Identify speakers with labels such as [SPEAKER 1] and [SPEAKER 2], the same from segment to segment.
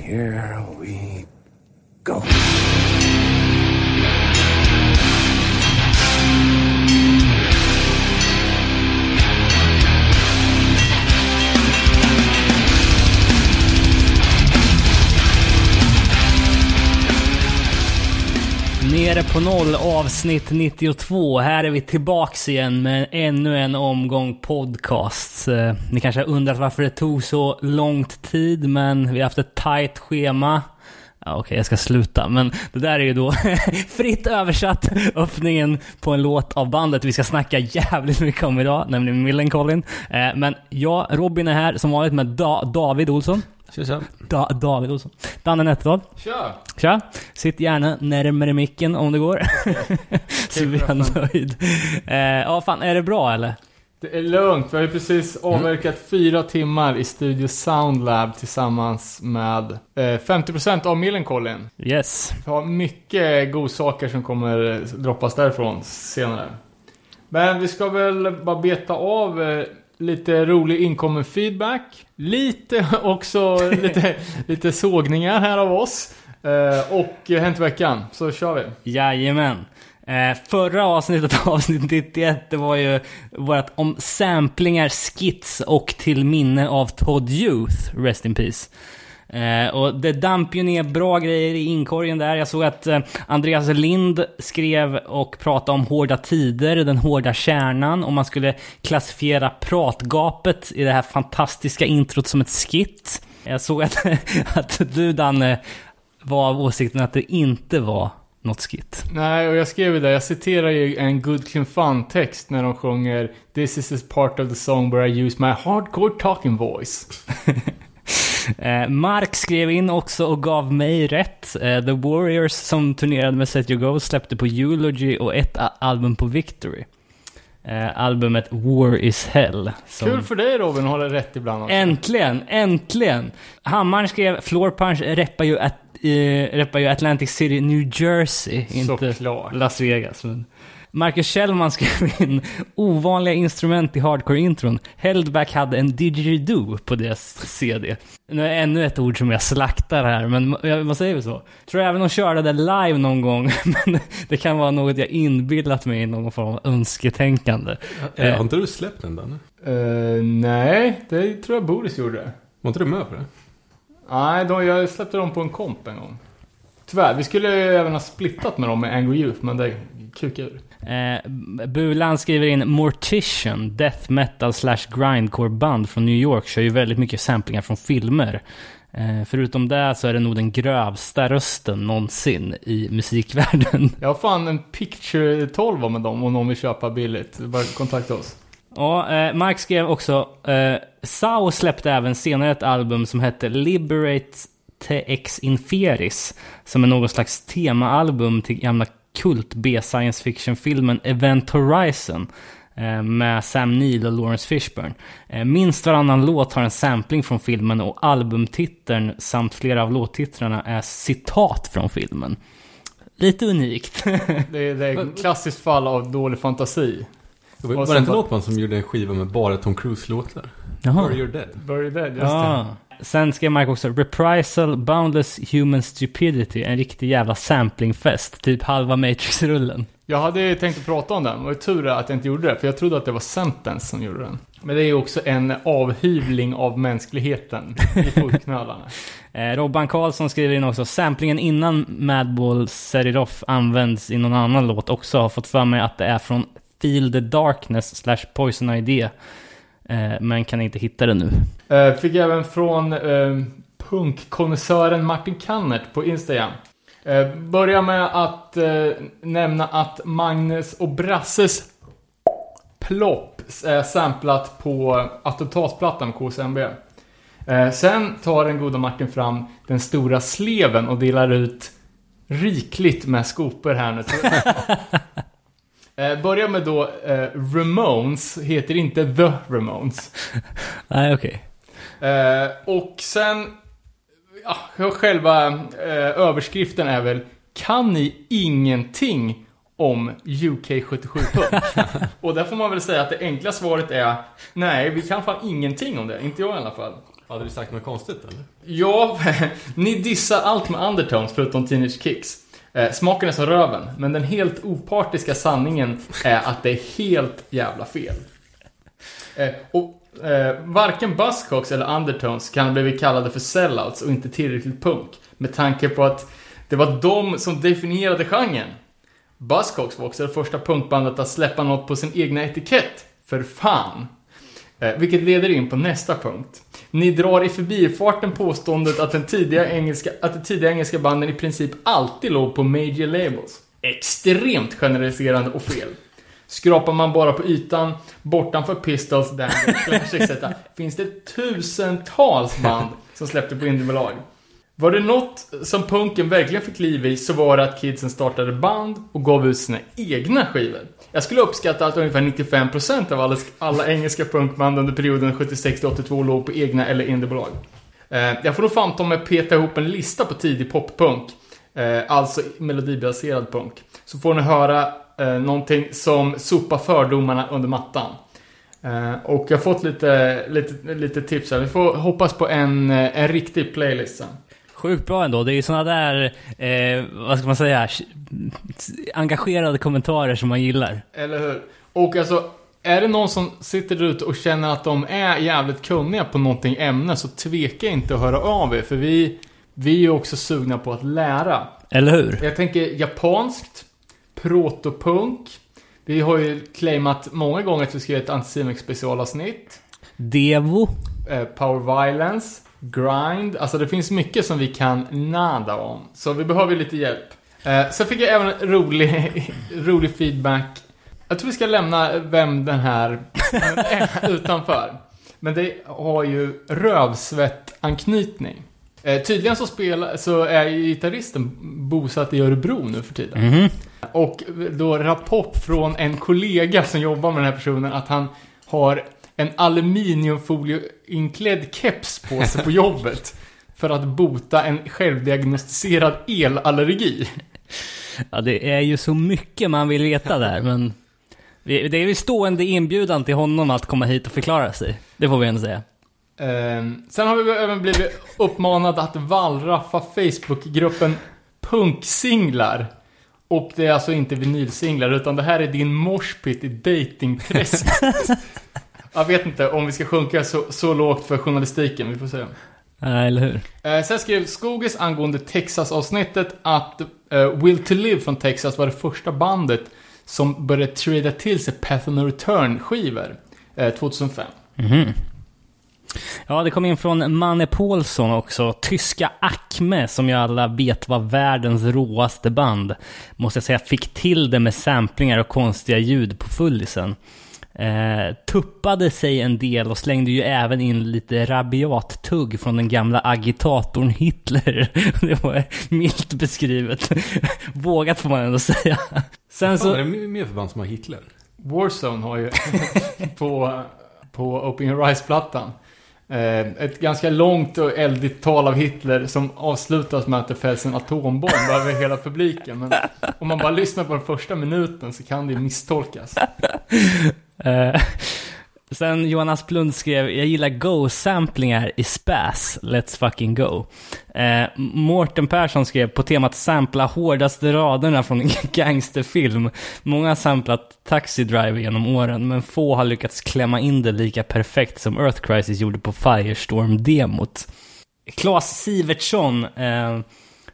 [SPEAKER 1] Here we go.
[SPEAKER 2] Nere på noll avsnitt 92. Här är vi tillbaks igen med ännu en omgång podcasts. Eh, Ni kanske har undrat varför det tog så långt tid, men vi har haft ett tajt schema. Ja, Okej, jag ska sluta, men det där är ju då fritt översatt öppningen på en låt av bandet vi ska snacka jävligt mycket om idag, nämligen Millencolin. Eh, Men jag, Robin är här som vanligt med da- David Olsson.
[SPEAKER 3] Tja tja.
[SPEAKER 2] Da- David Olsson. Danne Nätterdal.
[SPEAKER 3] Tja!
[SPEAKER 2] Tja! Sitt gärna närmare micken om det går. Så vi är nöjd. Eh, Ja, fan, är det bra eller?
[SPEAKER 3] Det är lugnt, vi har ju precis avverkat fyra timmar i Studio Soundlab tillsammans med eh, 50% av Millencolin.
[SPEAKER 2] Yes.
[SPEAKER 3] Vi har mycket godsaker som kommer eh, droppas därifrån senare. Men vi ska väl bara beta av eh, lite rolig inkommen feedback. Lite också lite, lite sågningar här av oss. Eh, Och eh, Hänt i veckan, så kör vi.
[SPEAKER 2] Jajamän. Eh, Förra avsnittet, avsnitt 91, det var ju vårt om samplingar, skits och till minne av Todd Youth, Rest in Peace. Eh, och det damp ju ner bra grejer i inkorgen där. Jag såg att eh, Andreas Lind skrev och pratade om hårda tider, den hårda kärnan, om man skulle klassifiera pratgapet i det här fantastiska introt som ett skit. Jag såg att, att du Danne var av åsikten att det inte var något skit.
[SPEAKER 3] Nej, och jag skrev ju det. Jag citerar ju en Good Clean Fun-text när de sjunger This is a part of the song where I use my hardcore talking voice.
[SPEAKER 2] Eh, Mark skrev in också och gav mig rätt. Eh, The Warriors som turnerade med Set Your Goals släppte på Eulogy och ett a- album på Victory. Eh, albumet War Is Hell. som-
[SPEAKER 3] Kul för dig Robin att hålla rätt ibland också.
[SPEAKER 2] Äntligen, äntligen! Hammaren skrev Floor Punch reppar ju, at, eh, reppar ju Atlantic City, New Jersey.
[SPEAKER 4] Eh,
[SPEAKER 2] Inte
[SPEAKER 3] Såklart.
[SPEAKER 2] Las Vegas. Men. Marcus Kjellman skrev in ovanliga instrument i hardcore-intron. Heldback hade en didgeridoo på deras CD. Nu är ännu ett ord som jag slaktar här, men jag- vad säger vi så? Tror även de körde det live någon gång, men det kan vara något jag inbillat mig i någon form av önsketänkande.
[SPEAKER 4] Eh,
[SPEAKER 2] Eh.
[SPEAKER 4] har inte du släppt den Danne?
[SPEAKER 3] Eh, nej, det tror jag Boris gjorde.
[SPEAKER 4] Var inte du med på det?
[SPEAKER 3] Nej, de, jag släppte dem på en komp en gång. Tyvärr, vi skulle ju även ha splittat med dem med Angry Youth, men det kukade ur.
[SPEAKER 2] Eh, Bulan skriver in Mortician, death metal slash grindcore band från New York, kör ju väldigt mycket samplingar från filmer. Eh, förutom det så är det nog den grövsta rösten någonsin i musikvärlden.
[SPEAKER 3] Jag har fan en picture 12 med dem om någon vill köpa billigt. Bara kontakta oss.
[SPEAKER 2] Ja, eh, Mark skrev också, eh, Sao släppte även senare ett album som hette Liberate TX Inferis, som är någon slags temaalbum till gamla kult B-science fiction-filmen Event Horizon eh, med Sam Neill och Lawrence Fishburne. Eh, Minst varannan låt har en sampling från filmen och albumtiteln samt flera av låttitlarna är citat från filmen. Lite unikt.
[SPEAKER 3] Det, det är ett klassiskt fall av dålig fantasi.
[SPEAKER 4] Det var,
[SPEAKER 3] Och
[SPEAKER 4] var
[SPEAKER 3] sen
[SPEAKER 4] det inte
[SPEAKER 3] var-
[SPEAKER 4] något band som gjorde en skiva med bara Tom Cruise-låtar?
[SPEAKER 2] Jaha.
[SPEAKER 4] Are You're Dead?
[SPEAKER 3] Börjar där, just det.
[SPEAKER 2] Ja. Ah. Sen skrev Mike också “Reprisal, Boundless Human Stupidity, en riktig jävla samplingfest, typ halva Matrix-rullen”.
[SPEAKER 3] Jag hade ju tänkt att prata om den, och det tur att jag inte gjorde det, för jag trodde att det var Sentence som gjorde den. Men det är ju också en avhyvling av mänskligheten i fotknölarna.
[SPEAKER 2] Eh, Robban Karlsson skriver in också “Samplingen innan Madball Seriroff används i någon annan låt också har fått för mig att det är från Feel the Darkness slash Poison Idea, eh, men kan inte hitta det nu”.
[SPEAKER 3] Eh, fick även från eh, punkkonnässören Martin Kannert på Instagram. Eh, börja med att eh, nämna att Magnus och Brasses plopp är samplat på attentatsplattan KSMB. Eh, sen tar den goda Martin fram den stora sleven och delar ut rikligt med skopor här nu. eh, börja med då eh, Ramones, heter inte The Ramones.
[SPEAKER 2] Nej, okej.
[SPEAKER 3] Eh, och sen, ja, själva eh, överskriften är väl Kan ni ingenting om UK 77 Och där får man väl säga att det enkla svaret är Nej, vi kan fan ingenting om det. Inte jag i alla fall.
[SPEAKER 4] Hade vi sagt något konstigt eller?
[SPEAKER 3] Ja, ni dissar allt med undertones förutom Teenage Kicks. Eh, smaken är som röven, men den helt opartiska sanningen är att det är helt jävla fel. Eh, och eh, varken Buzzcocks eller Undertones kan ha blivit kallade för sellouts och inte tillräckligt punk. Med tanke på att det var de som definierade genren. Buzzcocks var också det första punkbandet att släppa något på sin egna etikett. För fan! Eh, vilket leder in på nästa punkt. Ni drar i förbifarten påståendet att, den tidiga engelska, att de tidiga engelska banden i princip alltid låg på major labels. Extremt generaliserande och fel. Skrapar man bara på ytan, bortanför Pistols, Dangle, Clash etc. finns det tusentals band som släppte på indiebolag. Var det något som punken verkligen fick liv i så var det att kidsen startade band och gav ut sina egna skivor. Jag skulle uppskatta att ungefär 95% av alla, alla engelska punkband under perioden 76-82 låg på egna eller indiebolag. Eh, jag får nog fan ta mig peta ihop en lista på tidig poppunk, eh, alltså melodibaserad punk. Så får ni höra eh, någonting som sopar fördomarna under mattan. Eh, och jag har fått lite, lite, lite tips här. Vi får hoppas på en, eh, en riktig playlist sen.
[SPEAKER 2] Sjukt bra ändå. Det är ju sådana där, eh, vad ska man säga, engagerade kommentarer som man gillar.
[SPEAKER 3] Eller hur? Och alltså, är det någon som sitter där ute och känner att de är jävligt kunniga på någonting ämne så tveka inte att höra av er. För vi, vi är ju också sugna på att lära.
[SPEAKER 2] Eller hur?
[SPEAKER 3] Jag tänker japanskt, protopunk. Vi har ju claimat många gånger att vi ska göra ett antisimex specialavsnitt.
[SPEAKER 2] Devo.
[SPEAKER 3] Eh, power violence, grind. Alltså det finns mycket som vi kan nada om. Så vi behöver ju lite hjälp. Eh, sen fick jag även rolig, rolig feedback. Jag tror vi ska lämna vem den här är utanför. Men det har ju rövsvett-anknytning. Eh, tydligen så, spelar, så är ju gitarristen bosatt i Örebro nu för tiden.
[SPEAKER 2] Mhm.
[SPEAKER 3] Och då rapport från en kollega som jobbar med den här personen att han har en aluminiumfolieinklädd keps på sig på jobbet. För att bota en självdiagnostiserad elallergi.
[SPEAKER 2] Ja, det är ju så mycket man vill veta där, men vi- det är ju stående inbjudan till honom att komma hit och förklara sig. Det får vi ändå säga.
[SPEAKER 3] Ehm, sen har vi även blivit uppmanade att wallraffa Facebookgruppen punksinglar. Och det är alltså inte vinylsinglar, utan det här är din moshpit i datingträsk. Jag vet inte om vi ska sjunka så, så lågt för journalistiken, vi får se.
[SPEAKER 2] Ja, eller hur?
[SPEAKER 3] Eh, sen skrev Skogis angående Texas-avsnittet att eh, Will to Live från Texas var det första bandet som började trada till sig Path and Return-skivor eh, 2005.
[SPEAKER 2] Mhm. Ja, det kom in från Manne Paulsson också. Tyska Acme, som ju alla vet var världens råaste band, måste jag säga fick till det med samplingar och konstiga ljud på fullisen. Eh, tuppade sig en del och slängde ju även in lite rabiat tugg från den gamla agitatorn Hitler. Det var milt beskrivet. Vågat får man ändå säga. Sen
[SPEAKER 4] Fan,
[SPEAKER 2] så...
[SPEAKER 4] är det mer för band som har Hitler?
[SPEAKER 3] Warzone har ju på, på Open Your Eyes-plattan eh, ett ganska långt och eldigt tal av Hitler som avslutas med att det fälls en atombomb över hela publiken. Men om man bara lyssnar på den första minuten så kan det ju misstolkas.
[SPEAKER 2] Eh, sen Johan Asplund skrev, jag gillar Go-samplingar i spas, let's fucking go. Eh, Mårten Persson skrev på temat sampla hårdaste raderna från en gangsterfilm. Många har samplat Taxi Driver genom åren, men få har lyckats klämma in det lika perfekt som Earth Crisis gjorde på Firestorm-demot. Claes Sivertsson eh,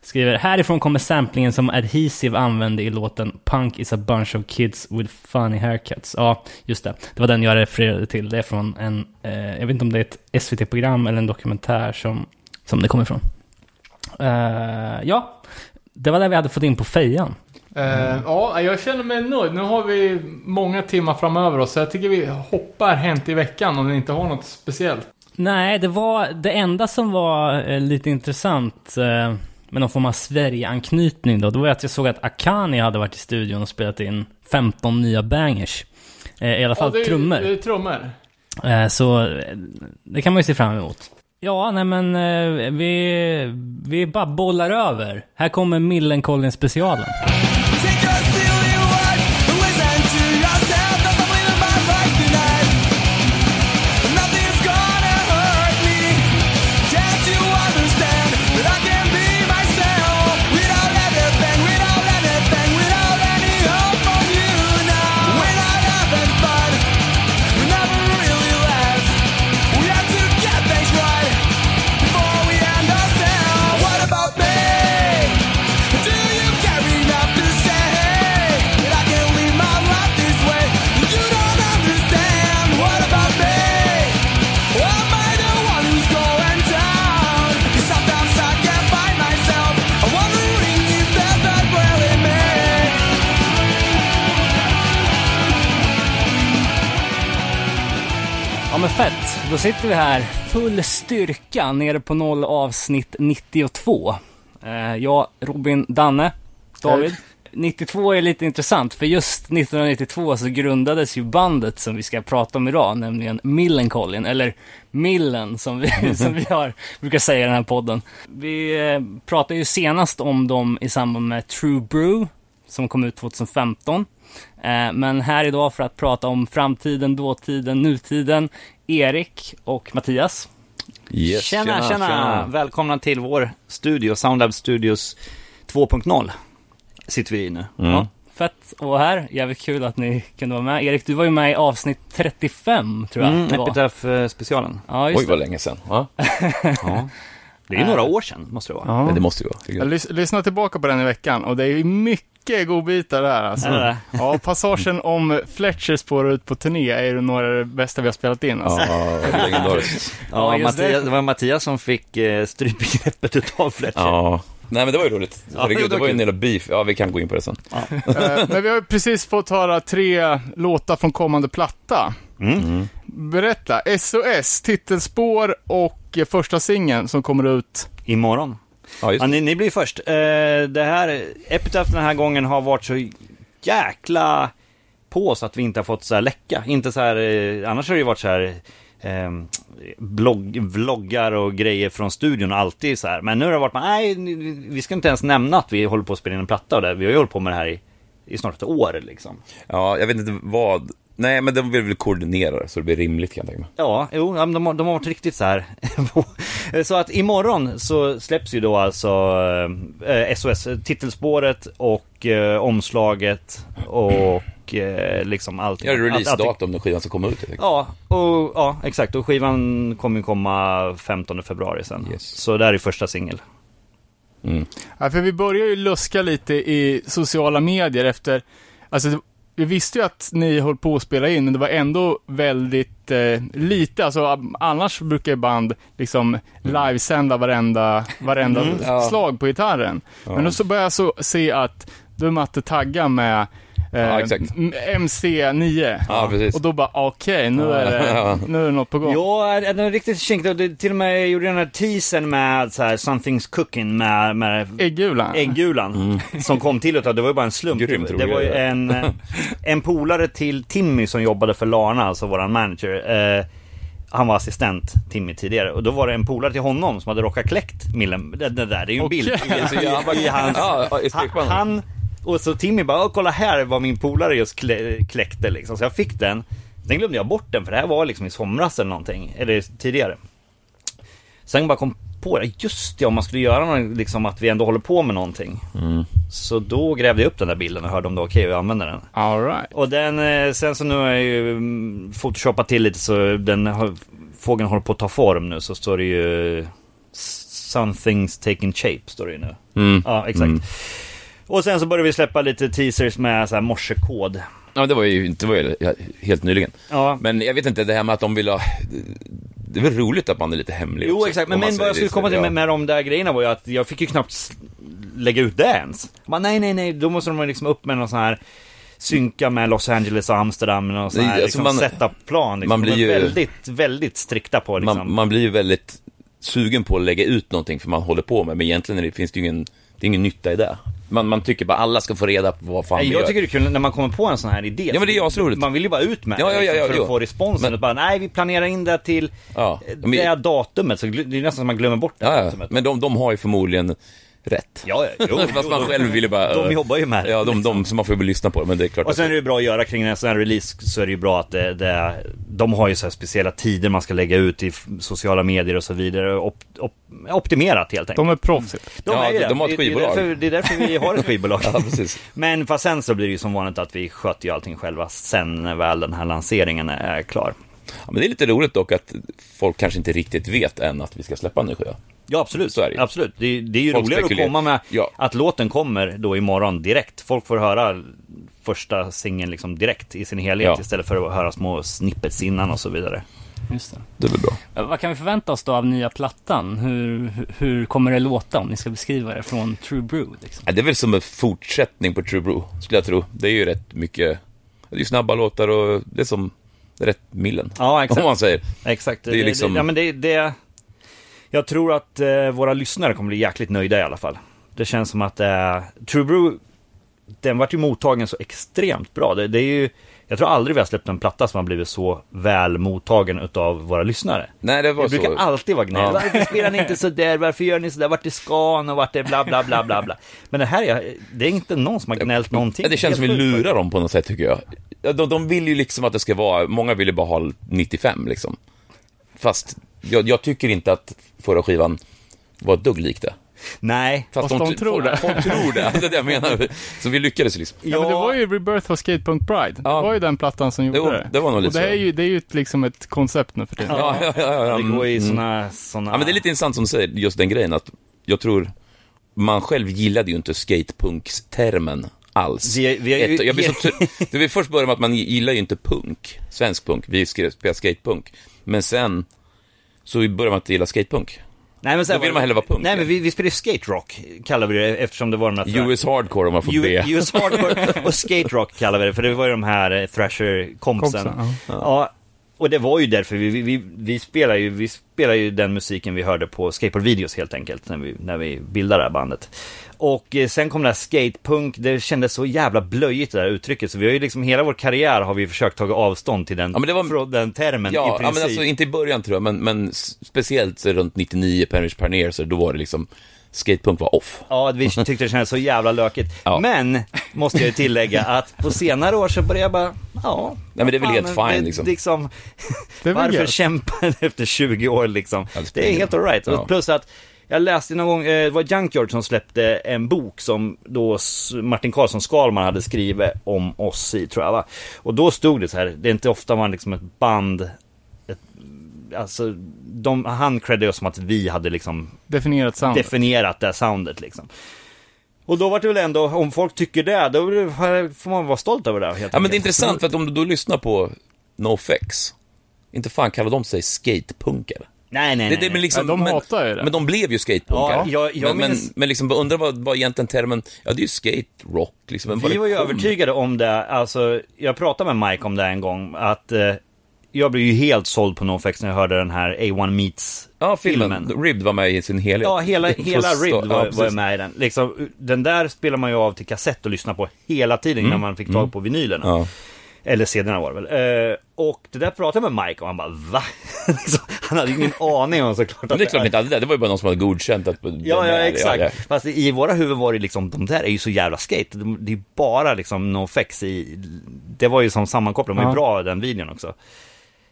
[SPEAKER 2] skriver Härifrån kommer samplingen som Adhesive använde i låten Punk is a bunch of kids with funny haircuts. Ja, just det. Det var den jag refererade till. Det är från en, eh, jag vet inte om det är ett SVT-program eller en dokumentär som, som det kommer ifrån. Eh, ja, det var det vi hade fått in på fejan.
[SPEAKER 3] Eh, Ja, jag känner mig nöjd. Nu har vi många timmar framöver oss, så jag tycker vi hoppar hänt i veckan om ni inte har något speciellt.
[SPEAKER 2] Nej, det var det enda som var eh, lite intressant eh, med någon form av Sverige-anknytning då. Det var att jag såg att Akani hade varit i studion och spelat in 15 nya bangers. Eh, I alla fall
[SPEAKER 3] Ja, det är-
[SPEAKER 2] trummor.
[SPEAKER 3] Det är trummor.
[SPEAKER 2] Eh, Så eh, det kan man ju se fram emot. Ja, nej men eh, vi, vi bara bollar över. Här kommer Millencolin-specialen.
[SPEAKER 5] Take your silly words and listen to yourself. That's the way that my life tonight. Nothing's gonna hurt me.
[SPEAKER 2] men fett. Då sitter vi här full styrka nere på noll avsnitt 92. Eh, jag, Robin, Danne, David. 92 är lite intressant för just 1992 så grundades ju bandet som vi ska prata om idag, nämligen Millencolin, eller Millen som vi, som vi har, brukar säga i den här podden. Vi eh, pratade ju senast om dem i samband med True Brew som kom ut 2015. Eh, Men här idag för att prata om framtiden, dåtiden, nutiden, Erik och Mattias.
[SPEAKER 6] Yes,
[SPEAKER 7] tjena, tjena, Välkomna till vår studio, Soundlab Studios 2.0. Sitter vi i nu.
[SPEAKER 2] Ja, fett att vara här. Jävligt kul att ni kunde vara med. Erik, du var ju med i avsnitt 35 tror jag
[SPEAKER 7] Mm,
[SPEAKER 2] det var.
[SPEAKER 7] Epitaph-specialen.
[SPEAKER 2] Ja,
[SPEAKER 6] Oj,
[SPEAKER 2] just det.
[SPEAKER 6] vad länge sedan. Ja.
[SPEAKER 7] Det är några år sedan, måste det vara.
[SPEAKER 6] Men det måste ju vara. tycker
[SPEAKER 3] Jag
[SPEAKER 6] jag.
[SPEAKER 3] lys- lyssnade tillbaka på den i veckan och det är ju mycket godbitar där alltså.
[SPEAKER 7] Är det det?
[SPEAKER 3] Ja, passagen om Fletcher spårar ut på turné är ju några av det bästa vi har spelat in alltså.
[SPEAKER 6] Ja, det är legendariskt.
[SPEAKER 7] Ja,
[SPEAKER 2] Ja, just
[SPEAKER 7] Mattias,
[SPEAKER 2] det.
[SPEAKER 7] det var Mattias som fick eh, strypgreppet utav Fletcher.
[SPEAKER 6] Ja. Nej, men det var ju roligt.
[SPEAKER 7] Ja,
[SPEAKER 6] Herregud,
[SPEAKER 7] det
[SPEAKER 6] det
[SPEAKER 7] var
[SPEAKER 6] var ju en
[SPEAKER 7] kul.
[SPEAKER 6] del beef. Ja, vi kan gå in på det sen.
[SPEAKER 3] Eh, Men vi har ju precis fått höra tre låtar från kommande platta. Mm. Berätta, SOS, titelspår och eh, första singeln som kommer ut.
[SPEAKER 7] Imorgon.
[SPEAKER 6] Ja, just
[SPEAKER 7] Ja,
[SPEAKER 6] det.
[SPEAKER 7] ni, ni blir först. Eh, det här, Epitaph den här gången har varit så jäkla på oss att vi inte har fått så här läcka. Inte så här, eh, annars har det ju varit så här eh, blogg, vloggar och grejer från studion alltid så här. Men nu har det varit, nej, ni- vi ska inte ens nämna att vi håller på att spela in en platta och det. Vi har ju hållit på med det här i, i snart ett år liksom.
[SPEAKER 6] Ja, jag vet inte vad. Nej, men de vill väl koordinera det, så det blir rimligt kan jag tänka mig.
[SPEAKER 7] Ja, jo, ja, men de, har- de har varit riktigt så här. så att imorgon så släpps ju då alltså eh, SOS, titelspåret och eh, omslaget och eh, liksom allt.
[SPEAKER 6] Ja,
[SPEAKER 7] Allt- allt-
[SPEAKER 6] releasedatum när skivan ska komma ut. helt enkelt.
[SPEAKER 7] Ja, och, ja, exakt. Och skivan kommer ju komma 15 februari sen.
[SPEAKER 6] Yes.
[SPEAKER 7] Så där är första singel.
[SPEAKER 3] Ja, för vi börjar ju luska lite i sociala medier efter, alltså det- vi visste ju att ni höll på att spela in, men det var ändå väldigt eh, lite. Alltså, a- annars brukar ju band liksom
[SPEAKER 6] Mm.
[SPEAKER 3] livesända varenda, varenda slag på gitarren. Men då så börjar jag så se att då är Matte taggad med eh,
[SPEAKER 6] Ja, exakt.
[SPEAKER 3] m- MC9.
[SPEAKER 6] Ja, precis.
[SPEAKER 3] Och då bara, okej, nu, är
[SPEAKER 6] Ja.
[SPEAKER 3] det- nu är det något på gång.
[SPEAKER 7] Ja, den är riktigt kinkig. Det- Till och med jag gjorde den här teasern med så här, Something's Cooking med, med
[SPEAKER 3] Äggulan.
[SPEAKER 7] Äggulan som kom till utav, det var ju bara en slump.
[SPEAKER 6] Mm. Grymt
[SPEAKER 7] det
[SPEAKER 6] rolig
[SPEAKER 7] var ju
[SPEAKER 6] grej.
[SPEAKER 7] en, eh, en polare till Timmy som jobbade för Larna, alltså våran manager. Eh, han var assistent, Timmy, tidigare. Och då var det en polare till honom som hade råkat kläckt Millen. Det, det där, det är ju en
[SPEAKER 3] Okej.
[SPEAKER 7] bild.
[SPEAKER 6] Så jag bara-
[SPEAKER 7] I hans-
[SPEAKER 6] Ja, ja, i
[SPEAKER 7] Han,
[SPEAKER 6] strykbandet.
[SPEAKER 7] han och så Timmy bara, "Åh, kolla här vad min polare just klä, kläckte liksom. Så jag fick den. Sen glömde jag bort den för det här var liksom i somras eller någonting. Eller tidigare. Sen bara kom på det, just det om man skulle göra någon, liksom att vi ändå håller på med någonting. Så då grävde jag upp den där bilden och hörde om det var okej att använda den.
[SPEAKER 3] All right.
[SPEAKER 7] Och den, eh, sen så nu har jag ju mm, photoshopat till lite så den har, fågeln håller på att ta form nu så står det ju Something's taking shape står det ju nu. Ja, exakt. Och sen så började vi släppa lite teasers med så här morsekod.
[SPEAKER 6] Ja, men det var ju, det var ju helt nyligen.
[SPEAKER 7] Ja.
[SPEAKER 6] Men jag vet inte, det här med att de vill ha... Det är väl roligt att man är lite hemlig
[SPEAKER 7] Jo
[SPEAKER 6] också,
[SPEAKER 7] exakt, men,
[SPEAKER 6] om man
[SPEAKER 7] men vad jag
[SPEAKER 6] säger
[SPEAKER 7] skulle
[SPEAKER 6] det,
[SPEAKER 7] komma till
[SPEAKER 6] ja.
[SPEAKER 7] med, med de där grejerna var ju att jag fick ju knappt s- lägga ut det ens. Man, nej, nej, nej, då måste de liksom upp med någon sån här synka med Los Angeles och Amsterdam och någon sån
[SPEAKER 6] Nej,
[SPEAKER 7] här
[SPEAKER 6] alltså
[SPEAKER 7] liksom,
[SPEAKER 6] man-
[SPEAKER 7] setup-plan. Liksom.
[SPEAKER 6] man
[SPEAKER 7] De
[SPEAKER 6] blir
[SPEAKER 7] är
[SPEAKER 6] ju-
[SPEAKER 7] väldigt, väldigt strikta på liksom.
[SPEAKER 6] man, man blir ju väldigt sugen på att lägga ut någonting för man håller på med, men egentligen är det, finns det ju ingen, det är ingen nytta i det. Man, man tycker bara alla ska få reda på vad fan
[SPEAKER 7] Nej,
[SPEAKER 6] vi
[SPEAKER 7] jag
[SPEAKER 6] gör.
[SPEAKER 7] tycker det är kul när man kommer på en sån här idé.
[SPEAKER 6] Ja, men det är asroligt.
[SPEAKER 7] Man vill ju bara ut med
[SPEAKER 6] Ja,
[SPEAKER 7] det
[SPEAKER 6] ja, ja,
[SPEAKER 7] liksom, för
[SPEAKER 6] ja.
[SPEAKER 7] att få responsen.
[SPEAKER 6] Men-
[SPEAKER 7] Och bara, nej, vi planerar in det till
[SPEAKER 6] Ja,
[SPEAKER 7] eh,
[SPEAKER 6] men-
[SPEAKER 7] det här datumet. Så gl- det är nästan som man glömmer bort det här
[SPEAKER 6] ja, ja.
[SPEAKER 7] datumet.
[SPEAKER 6] Men de, de har ju förmodligen rätt.
[SPEAKER 7] Ja, ja, jo,
[SPEAKER 6] Fast
[SPEAKER 7] jo,
[SPEAKER 6] man
[SPEAKER 7] de-
[SPEAKER 6] själv ville bara...
[SPEAKER 7] de
[SPEAKER 6] eh,
[SPEAKER 7] jobbar ju med det,
[SPEAKER 6] Ja, de, de, så man får väl lyssna på det, men det är klart
[SPEAKER 7] Och sen är
[SPEAKER 6] att...
[SPEAKER 7] det ju bra att göra kring en sån här release så är det ju bra att det, det, de har ju så här speciella tider man ska lägga ut i f- sociala medier och så vidare. Op, op, optimerat helt enkelt.
[SPEAKER 3] De är proffsigt.
[SPEAKER 6] Ja,
[SPEAKER 7] ju
[SPEAKER 6] de-
[SPEAKER 7] det.
[SPEAKER 6] de har ett
[SPEAKER 7] Det-
[SPEAKER 6] skivbolag.
[SPEAKER 7] Det är, därför, det är därför vi har ett skivbolag.
[SPEAKER 6] Ja, precis.
[SPEAKER 7] Men fast sen så blir det ju som vanligt att vi sköter ju allting själva sen när väl den här lanseringen är klar.
[SPEAKER 6] Ja, men det är lite roligt dock att folk kanske inte riktigt vet än att vi ska släppa en ny skiva.
[SPEAKER 7] Ja, absolut.
[SPEAKER 6] Så är det ju.
[SPEAKER 7] absolut. Det, är- det är ju
[SPEAKER 6] Folk
[SPEAKER 7] roligare att
[SPEAKER 6] spekulerar.
[SPEAKER 7] komma med
[SPEAKER 6] Ja.
[SPEAKER 7] att låten kommer då imorgon direkt. Folk får höra första singeln liksom direkt i sin helhet
[SPEAKER 6] Ja.
[SPEAKER 7] istället för att höra små snippets innan och så vidare.
[SPEAKER 2] Just det.
[SPEAKER 6] Det är väl bra.
[SPEAKER 2] Eh, Vad kan vi förvänta oss då av nya plattan? Hur, hur- hur kommer det låta om ni ska beskriva det från True Brew? Liksom?
[SPEAKER 6] Ja, det är väl som en fortsättning på True Brew, skulle jag tro. Det är ju rätt mycket... Det är ju snabba låtar och det är som... rätt millen.
[SPEAKER 7] Ja, exakt.
[SPEAKER 6] Om man säger.
[SPEAKER 7] Exakt.
[SPEAKER 6] Det är liksom-
[SPEAKER 7] ja, men det, det, jag tror att eh, våra lyssnare kommer bli jäkligt nöjda i alla fall. Det känns som att eh, True Brew, den vart ju mottagen så extremt bra. Det, det är ju, jag tror aldrig vi har släppt en platta som har blivit så väl mottagen utav våra lyssnare.
[SPEAKER 6] Nej, det var
[SPEAKER 7] Det
[SPEAKER 6] så.
[SPEAKER 7] brukar alltid vara gnäll.
[SPEAKER 6] Ja.
[SPEAKER 7] Varför spelar ni inte sådär? Varför gör ni sådär? Vart är skan och vart är bla bla bla bla bla? Men det här, är, det är inte någon som har gnällt någonting.
[SPEAKER 6] Ja, det känns som vi
[SPEAKER 7] Helt sjukt.
[SPEAKER 6] lurar dem på något sätt, tycker jag. Ja, De, de vill ju liksom att det ska vara, många vill ju bara ha 95, liksom. Fast jag, jag tycker inte att förra skivan var ett dugg lik det.
[SPEAKER 7] Nej.
[SPEAKER 6] Fast
[SPEAKER 3] Fast de tror
[SPEAKER 6] folk-
[SPEAKER 3] det.
[SPEAKER 6] Folk tror det, det är det jag menar. Så vi lyckades liksom.
[SPEAKER 3] Ja, men det var ju Rebirth of Skatepunk Pride.
[SPEAKER 6] Ja.
[SPEAKER 3] Det var ju den plattan som gjorde
[SPEAKER 6] Jo,
[SPEAKER 3] det.
[SPEAKER 6] det var nog
[SPEAKER 3] Och
[SPEAKER 6] lite
[SPEAKER 3] det här
[SPEAKER 6] så.
[SPEAKER 3] är ju, det är ju ett- liksom ett koncept nu för tiden.
[SPEAKER 6] Ja, ja, ja, ja,
[SPEAKER 7] Det går i
[SPEAKER 6] Mm.
[SPEAKER 7] såna, såna...
[SPEAKER 6] Ja, men det är lite intressant som du säger, just den grejen att jag tror man själv gillade ju inte skatepunkstermen alls.
[SPEAKER 7] Vi- vi har ju-
[SPEAKER 6] Ett- jag blir så tr- det var först började med att man gillar ju inte punk, svensk punk, vi skrev spelade skatepunk. Men sen så började man inte gilla skatepunk.
[SPEAKER 7] Nej, men sen
[SPEAKER 6] Då vill man hellre vara punk,
[SPEAKER 7] Nej,
[SPEAKER 6] ja.
[SPEAKER 7] men vi, vi spelade skate rock, kallar vi det, eftersom det var de här...
[SPEAKER 6] US hardcore om man får be.
[SPEAKER 7] U- US hardcore och skate rock kallar vi det, för det var ju de här eh, thrasher-kompsen.
[SPEAKER 3] Kompsen, ja.
[SPEAKER 7] Ja, och det var ju därför vi, vi, vi, vi spelar ju, vi spelar ju den musiken vi hörde på skateboardvideos helt enkelt, när vi, när vi bildade det här bandet. Och eh, sen kom det här skatepunk, det kändes så jävla blöjigt det där uttrycket, så vi har ju liksom hela vår karriär har vi försökt ta avstånd till den,
[SPEAKER 6] Ja, men det var-
[SPEAKER 7] från den termen i
[SPEAKER 6] Ja,
[SPEAKER 7] princip.
[SPEAKER 6] ja, men alltså inte i början tror jag, men, men s- speciellt runt 99, Penrich Parner, så då var det liksom, skatepunk var off.
[SPEAKER 7] Ja, vi tyckte det kändes så jävla lökigt.
[SPEAKER 6] Ja.
[SPEAKER 7] Men, måste jag ju tillägga, att på senare år så började jag bara, ja.
[SPEAKER 6] Nej, men det är väl
[SPEAKER 7] fan,
[SPEAKER 6] helt fine,
[SPEAKER 7] det-
[SPEAKER 6] liksom.
[SPEAKER 3] Det är väl
[SPEAKER 7] varför
[SPEAKER 3] gött.
[SPEAKER 7] kämpa efter 20 år liksom?
[SPEAKER 6] Ja, det spelar
[SPEAKER 7] Det är
[SPEAKER 6] ingen
[SPEAKER 7] helt
[SPEAKER 6] roll.
[SPEAKER 7] alright.
[SPEAKER 6] Ja.
[SPEAKER 7] Plus att, jag läste någon gång, eh, det var Junkyard som släppte en bok som då s- Martin Karlsson Skalman hade skrivit om oss i, tror jag va? Och då stod det så här, det är inte ofta man liksom ett band, ett, alltså, de, han creddade oss som att vi hade liksom
[SPEAKER 3] Definierat sound.
[SPEAKER 7] definierat det här soundet liksom. Och då var det väl ändå, om folk tycker det, då får man vara stolt över det helt
[SPEAKER 6] Ja, men
[SPEAKER 7] enkelt.
[SPEAKER 6] det är intressant för att om du då lyssnar på NoFX, inte fan kallar de sig skatepunkare.
[SPEAKER 7] Nej, nej,
[SPEAKER 6] Det,
[SPEAKER 7] nej.
[SPEAKER 6] det, men
[SPEAKER 7] nej.
[SPEAKER 6] liksom,
[SPEAKER 3] Ja, de
[SPEAKER 6] men,
[SPEAKER 3] hatar ju det.
[SPEAKER 6] Men de blev ju skatepunkare.
[SPEAKER 7] Ja, jag- jag
[SPEAKER 6] men,
[SPEAKER 7] minns-
[SPEAKER 6] men, men liksom, undrar vad, vad egentligen termen, ja det är ju skate rock liksom. men
[SPEAKER 7] Vi
[SPEAKER 6] det
[SPEAKER 7] var ju
[SPEAKER 6] kom-
[SPEAKER 7] övertygade om det, alltså jag pratade med Mike om det en gång, att eh, jag blev ju helt såld på NoFX när jag hörde den här A1 Meets
[SPEAKER 6] Ja, filmen. Ribbed var med i sin helhet.
[SPEAKER 7] Ja, hela,
[SPEAKER 6] Det får
[SPEAKER 7] hela
[SPEAKER 6] stå-
[SPEAKER 7] Ribbed var,
[SPEAKER 6] ja,
[SPEAKER 7] var
[SPEAKER 6] precis.
[SPEAKER 7] med i den. Liksom, den där spelar man ju av till kassett och lyssnar på hela tiden innan man fick tag på vinylerna.
[SPEAKER 6] Mm. Ja.
[SPEAKER 7] Eller cd var det väl. Eh, och det där pratade jag med Mike och han bara va? Liksom, han hade ju ingen aning om såklart
[SPEAKER 6] Men
[SPEAKER 7] att
[SPEAKER 6] det är klart ni inte hade det, det var ju bara någon som hade godkänt att...
[SPEAKER 7] Ja, ja, exakt.
[SPEAKER 6] ja.
[SPEAKER 7] Fast i våra huvuden var det liksom, de där är ju så jävla skate. De- Det är bara liksom NoFX i... Det var ju som sammankopplat, de var ju
[SPEAKER 3] Ja.
[SPEAKER 7] bra den videon också.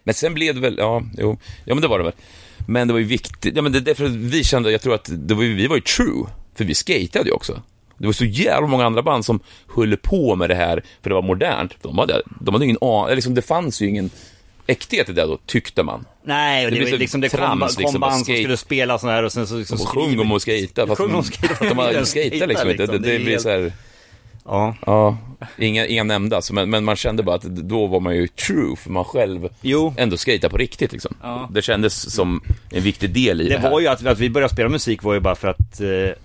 [SPEAKER 6] Men sen blev det väl, ja, jo, ja men det var det väl. Men det var ju viktigt, ja men det är därför vi kände, jag tror att det var, ju- vi var ju true, för vi skatade ju också. Det var så jävla många andra band som höll på med det här, för det var modernt. De hade, de hade ingen aning, eller liksom, det fanns ju ingen äkthet i det då, tyckte man.
[SPEAKER 7] Nej, och
[SPEAKER 6] Det
[SPEAKER 7] det,
[SPEAKER 6] blir
[SPEAKER 7] var
[SPEAKER 6] så
[SPEAKER 7] liksom det kom,
[SPEAKER 6] trams,
[SPEAKER 7] kom
[SPEAKER 6] liksom, bara
[SPEAKER 7] band som
[SPEAKER 6] skate.
[SPEAKER 7] skulle spela sån här och sen så liksom
[SPEAKER 6] Och sjung om att skejta, fast
[SPEAKER 7] Sjung om
[SPEAKER 6] de,
[SPEAKER 7] att skejta.
[SPEAKER 6] att de hade skejtat liksom inte. Det, det
[SPEAKER 7] är
[SPEAKER 6] blir
[SPEAKER 7] helt-
[SPEAKER 6] så här,
[SPEAKER 7] Ja.
[SPEAKER 6] ja, inga, inga nämnda, alltså, men, men man kände bara att då var man ju true, för man själv
[SPEAKER 7] Jo.
[SPEAKER 6] ändå skejtade på riktigt liksom. Det kändes som en viktig del i det,
[SPEAKER 7] Det
[SPEAKER 6] här.
[SPEAKER 7] var ju att, att vi började spela musik var ju bara för att eh,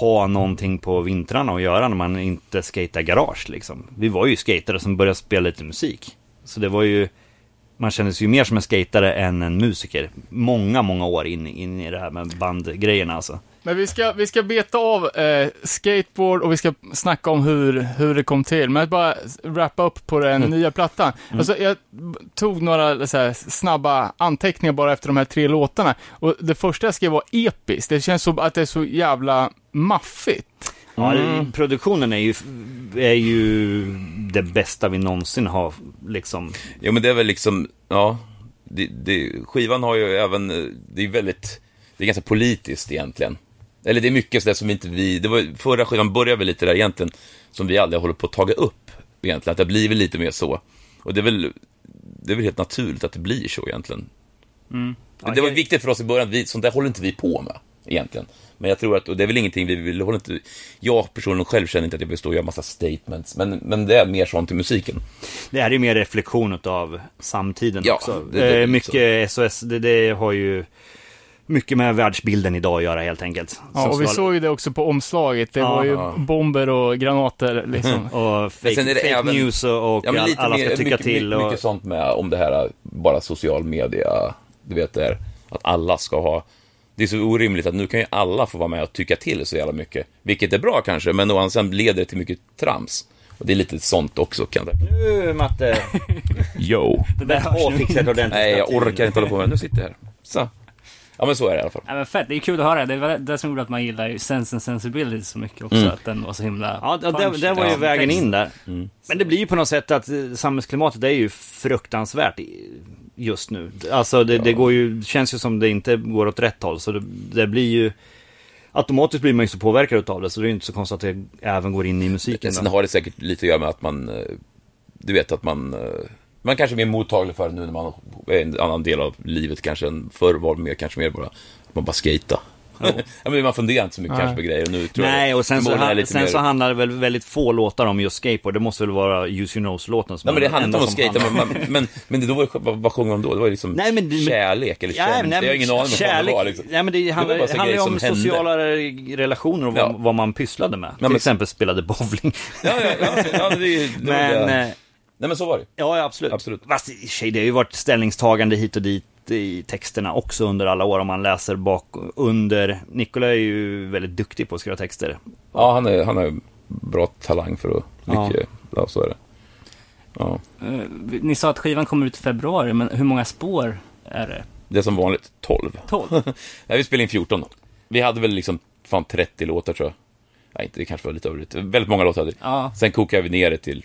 [SPEAKER 7] ha någonting på vintrarna att göra när man inte skatar garage liksom. Vi var ju skatare som började spela lite musik. Så det var ju, man kände sig ju mer som en skatare än en musiker. Många, många år in, in i det här med bandgrejerna alltså.
[SPEAKER 3] Men vi ska, vi ska beta av eh, skateboard och vi ska snacka om hur, hur det kom till. Men jag bara wrappa upp på den
[SPEAKER 6] Mm.
[SPEAKER 3] nya plattan. Alltså, jag b- tog några så här, snabba anteckningar bara efter de här tre låtarna. Och det första jag skrev var episkt. Det känns som att det är så jävla maffigt.
[SPEAKER 7] Ja,
[SPEAKER 6] Mm.
[SPEAKER 7] det- Produktionen är ju, är ju det bästa vi någonsin har liksom.
[SPEAKER 6] Jo, men det är väl liksom, ja. Det, det, skivan har ju även, eh, det är väldigt, det är ganska politiskt egentligen. Eller det är mycket sådär som inte vi, det var, förra skivan började väl lite där egentligen, som vi aldrig håller på att taga upp egentligen, att det blir väl lite mer så. Och det är väl, det är väl helt naturligt att det blir så egentligen. Men det var viktigt för oss i början, vi, sånt där håller inte vi på med egentligen. Men jag tror att, och det är väl ingenting vi vill, håller inte, jag personligen själv känner inte att jag vill stå och göra massa statements, men, men det är mer sånt i musiken.
[SPEAKER 7] Det här är ju mer reflektion av samtiden
[SPEAKER 6] Ja,
[SPEAKER 7] också.
[SPEAKER 6] det- det är
[SPEAKER 7] eh,
[SPEAKER 6] lite
[SPEAKER 7] mycket SOS, det, det har ju mycket med världsbilden idag att göra helt enkelt.
[SPEAKER 3] Ja, och vi
[SPEAKER 7] Social-
[SPEAKER 3] såg ju det också på omslaget. Det
[SPEAKER 7] Ja.
[SPEAKER 3] var ju
[SPEAKER 6] Ja.
[SPEAKER 3] bomber och granater liksom.
[SPEAKER 7] och fake,
[SPEAKER 6] sen är det
[SPEAKER 7] fake
[SPEAKER 6] även-
[SPEAKER 7] news och, och
[SPEAKER 6] Ja, men
[SPEAKER 7] all-
[SPEAKER 6] lite
[SPEAKER 7] alla
[SPEAKER 6] mer-
[SPEAKER 7] ska tycka
[SPEAKER 6] mycket,
[SPEAKER 7] till.
[SPEAKER 6] Mycket,
[SPEAKER 7] Och,
[SPEAKER 6] mycket sånt med om det här bara social media, du vet det här, att alla ska ha... Det är så orimligt att nu kan ju alla få vara med och tycka till så jävla mycket. Vilket är bra kanske, men å andra sidan leder det till mycket trams. Och det är lite sånt också kan jag tänka.
[SPEAKER 7] Nu Matte,
[SPEAKER 6] Yo!
[SPEAKER 7] det där har fixat ordentligt.
[SPEAKER 6] Nej, jag orkar inte hålla på med det. Nu sitter jag här. Så. Ja, men så är det i alla fall.
[SPEAKER 2] Ja, men fett, det är kul att höra. Det var det som gjorde att man gillar ju Sense and Sensibility så mycket också. Att den var så himla...
[SPEAKER 7] Mm. Ja, det, det,
[SPEAKER 2] punchy.
[SPEAKER 7] det var ju
[SPEAKER 2] Ja.
[SPEAKER 7] vägen
[SPEAKER 2] Text.
[SPEAKER 7] in där. Mm. Men det blir ju på något sätt att eh, samhällsklimatet är ju fruktansvärt i- just nu. Alltså det, det går ju, känns ju som det inte går åt rätt håll. Så det, det blir ju, automatiskt blir man ju så påverkad utav det. Så det är ju inte så konstigt att det även går in i musiken.
[SPEAKER 6] Sen
[SPEAKER 7] då.
[SPEAKER 6] har det säkert lite att göra med att man, eh, du vet att man, eh, man kanske är mer mottaglig för det nu när man är en annan del av livet kanske än förr var det mer, kanske mer bara, att man bara skejta. ja, men man funderar inte så mycket kanske på grejer nu tror
[SPEAKER 7] Nej,
[SPEAKER 6] jag.
[SPEAKER 7] och sen, så,
[SPEAKER 6] Förmodligen är det
[SPEAKER 7] han,
[SPEAKER 6] lite
[SPEAKER 7] sen
[SPEAKER 6] mer-
[SPEAKER 7] så handlar det väl väldigt få låtar om just skateboard. Det måste väl vara Use Your Nose-låten som
[SPEAKER 6] Nej, men det
[SPEAKER 7] är den
[SPEAKER 6] handlar inte om
[SPEAKER 7] enda
[SPEAKER 6] att
[SPEAKER 7] som
[SPEAKER 6] skejta, men,
[SPEAKER 7] handlar-
[SPEAKER 6] man- men, men det då var, det- vad, vad sjöng de då? Det var liksom
[SPEAKER 7] Nej, men- men-
[SPEAKER 6] kärlek eller
[SPEAKER 7] Ja,
[SPEAKER 6] känsla.
[SPEAKER 7] men-
[SPEAKER 6] Jag har ingen aning om vad fan det var. Liksom.
[SPEAKER 7] Nej, men det handlar,
[SPEAKER 6] var bara så
[SPEAKER 7] handlar ju
[SPEAKER 6] grejer
[SPEAKER 7] om
[SPEAKER 6] som hände.
[SPEAKER 7] sociala relationer och vad,
[SPEAKER 6] Ja.
[SPEAKER 7] vad man pysslade med. Till
[SPEAKER 6] men-
[SPEAKER 7] exempel spelade bowling.
[SPEAKER 6] Ja, ja, ja, ja, det, det,
[SPEAKER 7] Men,
[SPEAKER 6] det,
[SPEAKER 7] eh,
[SPEAKER 6] Nej, men så var det.
[SPEAKER 7] ja, ja, absolut.
[SPEAKER 6] Absolut.
[SPEAKER 7] Fast i och för sig, det har ju varit ställningstagande hit och dit i texterna också under alla år om man läser bak under. Nikola är ju väldigt duktig på att skriva texter.
[SPEAKER 6] Ja, han är, han har ju bra talang för att
[SPEAKER 7] Ja.
[SPEAKER 6] mycket, ja. så är det. Ja.
[SPEAKER 2] Eh, vi- Ni sa att skivan kommer ut i februari, men hur många spår är det?
[SPEAKER 6] Det är som vanligt 12.
[SPEAKER 2] 12?
[SPEAKER 6] Nej, vi spelade in 14 då. Vi hade väl liksom fan 30 låtar tror jag. Nej, inte, det kanske var lite överdrivet. Väldigt många låtar hade vi.
[SPEAKER 2] Ja.
[SPEAKER 6] Sen kokade vi ner det till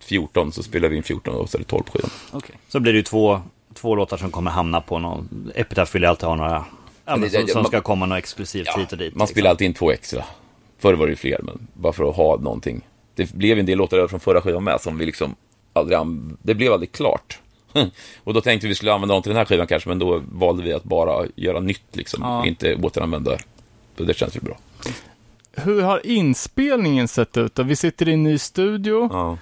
[SPEAKER 6] 14, så spelade vi in 14 och så är det 12 på skivan.
[SPEAKER 2] Okej.
[SPEAKER 7] Så blir det ju två, två låtar som kommer hamna på någon... Epitaph vill ju alltid ha några... Ja, men,
[SPEAKER 6] det-
[SPEAKER 7] som,
[SPEAKER 6] det-
[SPEAKER 7] som
[SPEAKER 6] man-
[SPEAKER 7] ska komma något exklusivt hit och dit. liksom.
[SPEAKER 6] Man spelar alltid in två extra. Förr var det ju fler, men bara för att ha någonting. Det blev ju en del låtar över från förra skivan med som vi liksom aldrig an... Det blev aldrig klart. och då tänkte vi vi skulle använda dem till den här skivan kanske, men då valde vi att bara göra nytt liksom.
[SPEAKER 2] Ja.
[SPEAKER 6] Inte återanvända. Och det känns ju bra.
[SPEAKER 3] Hur har inspelningen sett ut då? Vi sitter i en ny studio.
[SPEAKER 6] Ja.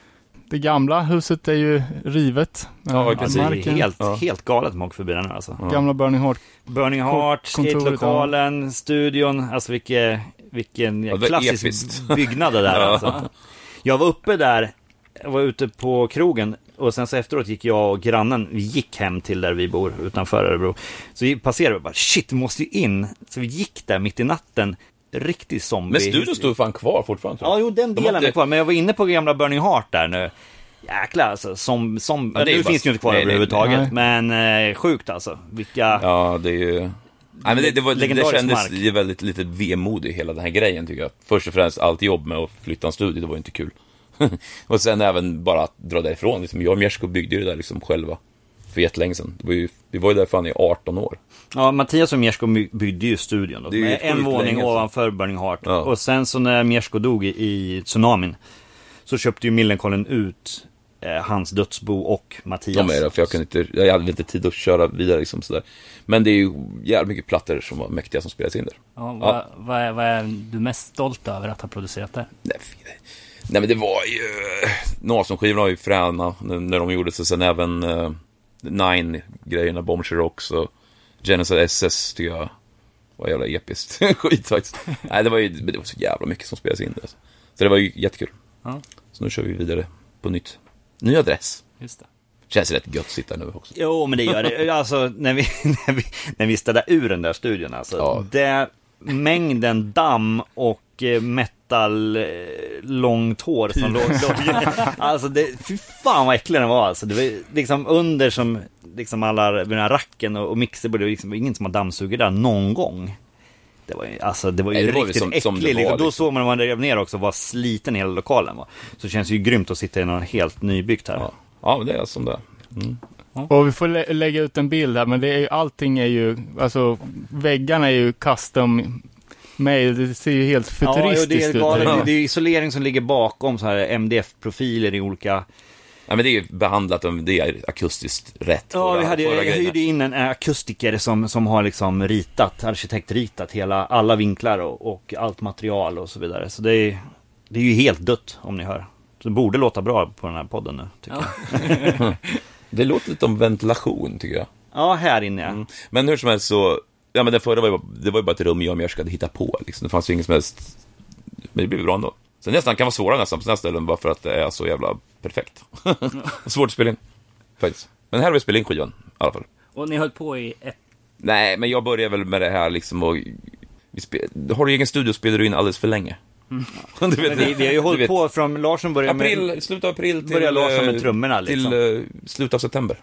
[SPEAKER 3] Det gamla huset är ju rivet. Eh,
[SPEAKER 6] verkligen.
[SPEAKER 7] Alltså, det är
[SPEAKER 3] marken,
[SPEAKER 7] helt, helt galet med att åka förbi den här alltså.
[SPEAKER 3] Gamla Burning Heart.
[SPEAKER 7] Burning Heart,
[SPEAKER 3] kontoret,
[SPEAKER 7] skatelokalen, studion, alltså vilke, vilken
[SPEAKER 6] det var
[SPEAKER 7] klassisk
[SPEAKER 6] episkt.
[SPEAKER 7] byggnad det där alltså. Jag var uppe där, jag var ute på krogen och sen så efteråt gick jag och grannen, vi gick hem till där vi bor utanför Örebro. Så vi passerade och bara shit, vi måste ju in. Så vi gick där mitt i natten, riktig zombie.
[SPEAKER 6] Men studion stod fan kvar fortfarande. tror jag.
[SPEAKER 7] Ja, jo den
[SPEAKER 6] De har
[SPEAKER 7] delen
[SPEAKER 6] inte-
[SPEAKER 7] är kvar, men jag var inne på gamla Burning Heart där nu. Jäklar alltså, som, som,
[SPEAKER 6] Ja, det är
[SPEAKER 7] nu
[SPEAKER 6] ju
[SPEAKER 7] finns
[SPEAKER 6] bara-
[SPEAKER 7] det ju inte kvar
[SPEAKER 6] nej, nej,
[SPEAKER 7] överhuvudtaget, men eh, sjukt alltså. Vilka...
[SPEAKER 6] Ja, det är ju... Nej, men det, det, var, det, det
[SPEAKER 7] Legendarisk
[SPEAKER 6] kändes
[SPEAKER 7] mark.
[SPEAKER 6] ju väldigt lite vemodig, hela den här grejen, tycker jag. Först och främst, allt jobb med att flytta en studio, det var ju inte kul. och sen även bara att dra därifrån. Liksom, jag och Mjersko byggde ju det där liksom själva för jättelänge sedan. Det var ju, vi var ju där fan i 18 år.
[SPEAKER 7] Ja, Mattias och Mjersko my- bydde ju studion då.
[SPEAKER 6] Det är ju
[SPEAKER 7] Med
[SPEAKER 6] sjukt
[SPEAKER 7] en våning
[SPEAKER 6] länge sedan.
[SPEAKER 7] ovanför Burning Heart.
[SPEAKER 6] Ja.
[SPEAKER 7] Och sen så när Mjersko dog i, i tsunamin så köpte ju Millencolin ut eh, hans dödsbo och Mattias.
[SPEAKER 6] De är det, för jag, kunde inte, jag hade inte tid att köra vidare liksom sådär. Men det är ju jävligt mycket plattor som var mäktiga som spelades in där.
[SPEAKER 2] Ja, vad, vad, är, vad är du mest stolt över att ha producerat där?
[SPEAKER 6] Nej, fy- nej men det var ju... Nasenskivorna var ju fräna när när de gjordes och sen även eh, Nine-grejerna, Bomb Rocks och Genocide SS tycker jag var jävla episkt skit faktiskt. Nej, det var ju men det var så jävla mycket som spelades in. Alltså. Så det var ju jättekul.
[SPEAKER 2] Ja.
[SPEAKER 6] Så nu kör vi vidare på nytt. Ny adress.
[SPEAKER 2] Just det.
[SPEAKER 6] Känns rätt gött att sitta nu också.
[SPEAKER 7] Jo, men det gör det. Alltså, när vi, när vi, när vi städade ur den där studion alltså.
[SPEAKER 6] Ja.
[SPEAKER 7] Det, mängden damm och eh, metal eh, långt hår
[SPEAKER 6] Typ.
[SPEAKER 7] som låg, låg Alltså, det, fy fan vad äcklig den var alltså. Det var liksom under som, liksom alla, den här racken och, och mixerbord, det var liksom ingen som har dammsugit där någon gång. Det var ju, alltså, det var ju
[SPEAKER 6] Nej, det var väl
[SPEAKER 7] riktigt
[SPEAKER 6] som-
[SPEAKER 7] äcklig.
[SPEAKER 6] som det
[SPEAKER 7] liksom.
[SPEAKER 6] var,
[SPEAKER 7] Då
[SPEAKER 6] liksom.
[SPEAKER 7] såg man när man rev ner också vad sliten hela lokalen var. Så det känns ju grymt att sitta i någon helt nybyggt här.
[SPEAKER 6] Ja, ja men det är som det är.
[SPEAKER 3] Och vi får lä- lägga ut en bild här, men det är ju, allting är ju, alltså väggarna är ju custom made. Det ser ju helt
[SPEAKER 7] jo,
[SPEAKER 3] futuristiskt
[SPEAKER 7] det är,
[SPEAKER 3] ut.
[SPEAKER 7] galet.
[SPEAKER 3] Ja.
[SPEAKER 7] Det, det är isolering som ligger bakom så här MDF-profiler i olika...
[SPEAKER 6] Nej, men det är ju behandlat, det är akustiskt rätt.
[SPEAKER 7] Ja, vi hade, jag
[SPEAKER 6] grejerna.
[SPEAKER 7] hyrde in en äh, akustiker som, som har liksom ritat, arkitektritat hela, alla vinklar och, och allt material och så vidare. Så det är, det är ju helt dött om ni hör. Så det borde låta bra på den här podden nu, tycker jag.
[SPEAKER 6] Det låter lite om ventilation tycker jag.
[SPEAKER 7] Ja, här inne ja.
[SPEAKER 6] Men hur som helst så, ja, men den förra var ju, bara- det var ju bara ett rum jag och Mjörsk hade hittat på. Liksom. Det fanns ju ingen som helst... Men det blev bra ändå. Sen nästan kan vara svårare nästan på sina ställen bara för att det är så jävla perfekt. Svårt att spela in. Faktiskt. Men här har vi spelat in skivan i alla fall.
[SPEAKER 2] Och ni höll på i ett...
[SPEAKER 6] Nej, men jag börjar väl med det här liksom och... Vi spe- har du egen studio spelar du in alldeles för länge. Du vet,
[SPEAKER 7] Men vi, vi har ju
[SPEAKER 6] du
[SPEAKER 7] hållit
[SPEAKER 6] vet.
[SPEAKER 7] på från Larsson började med...
[SPEAKER 6] April, slutet av april till...
[SPEAKER 7] Börjar Larsson med
[SPEAKER 6] eh,
[SPEAKER 7] trummorna, liksom.
[SPEAKER 6] Till eh, slutet av september.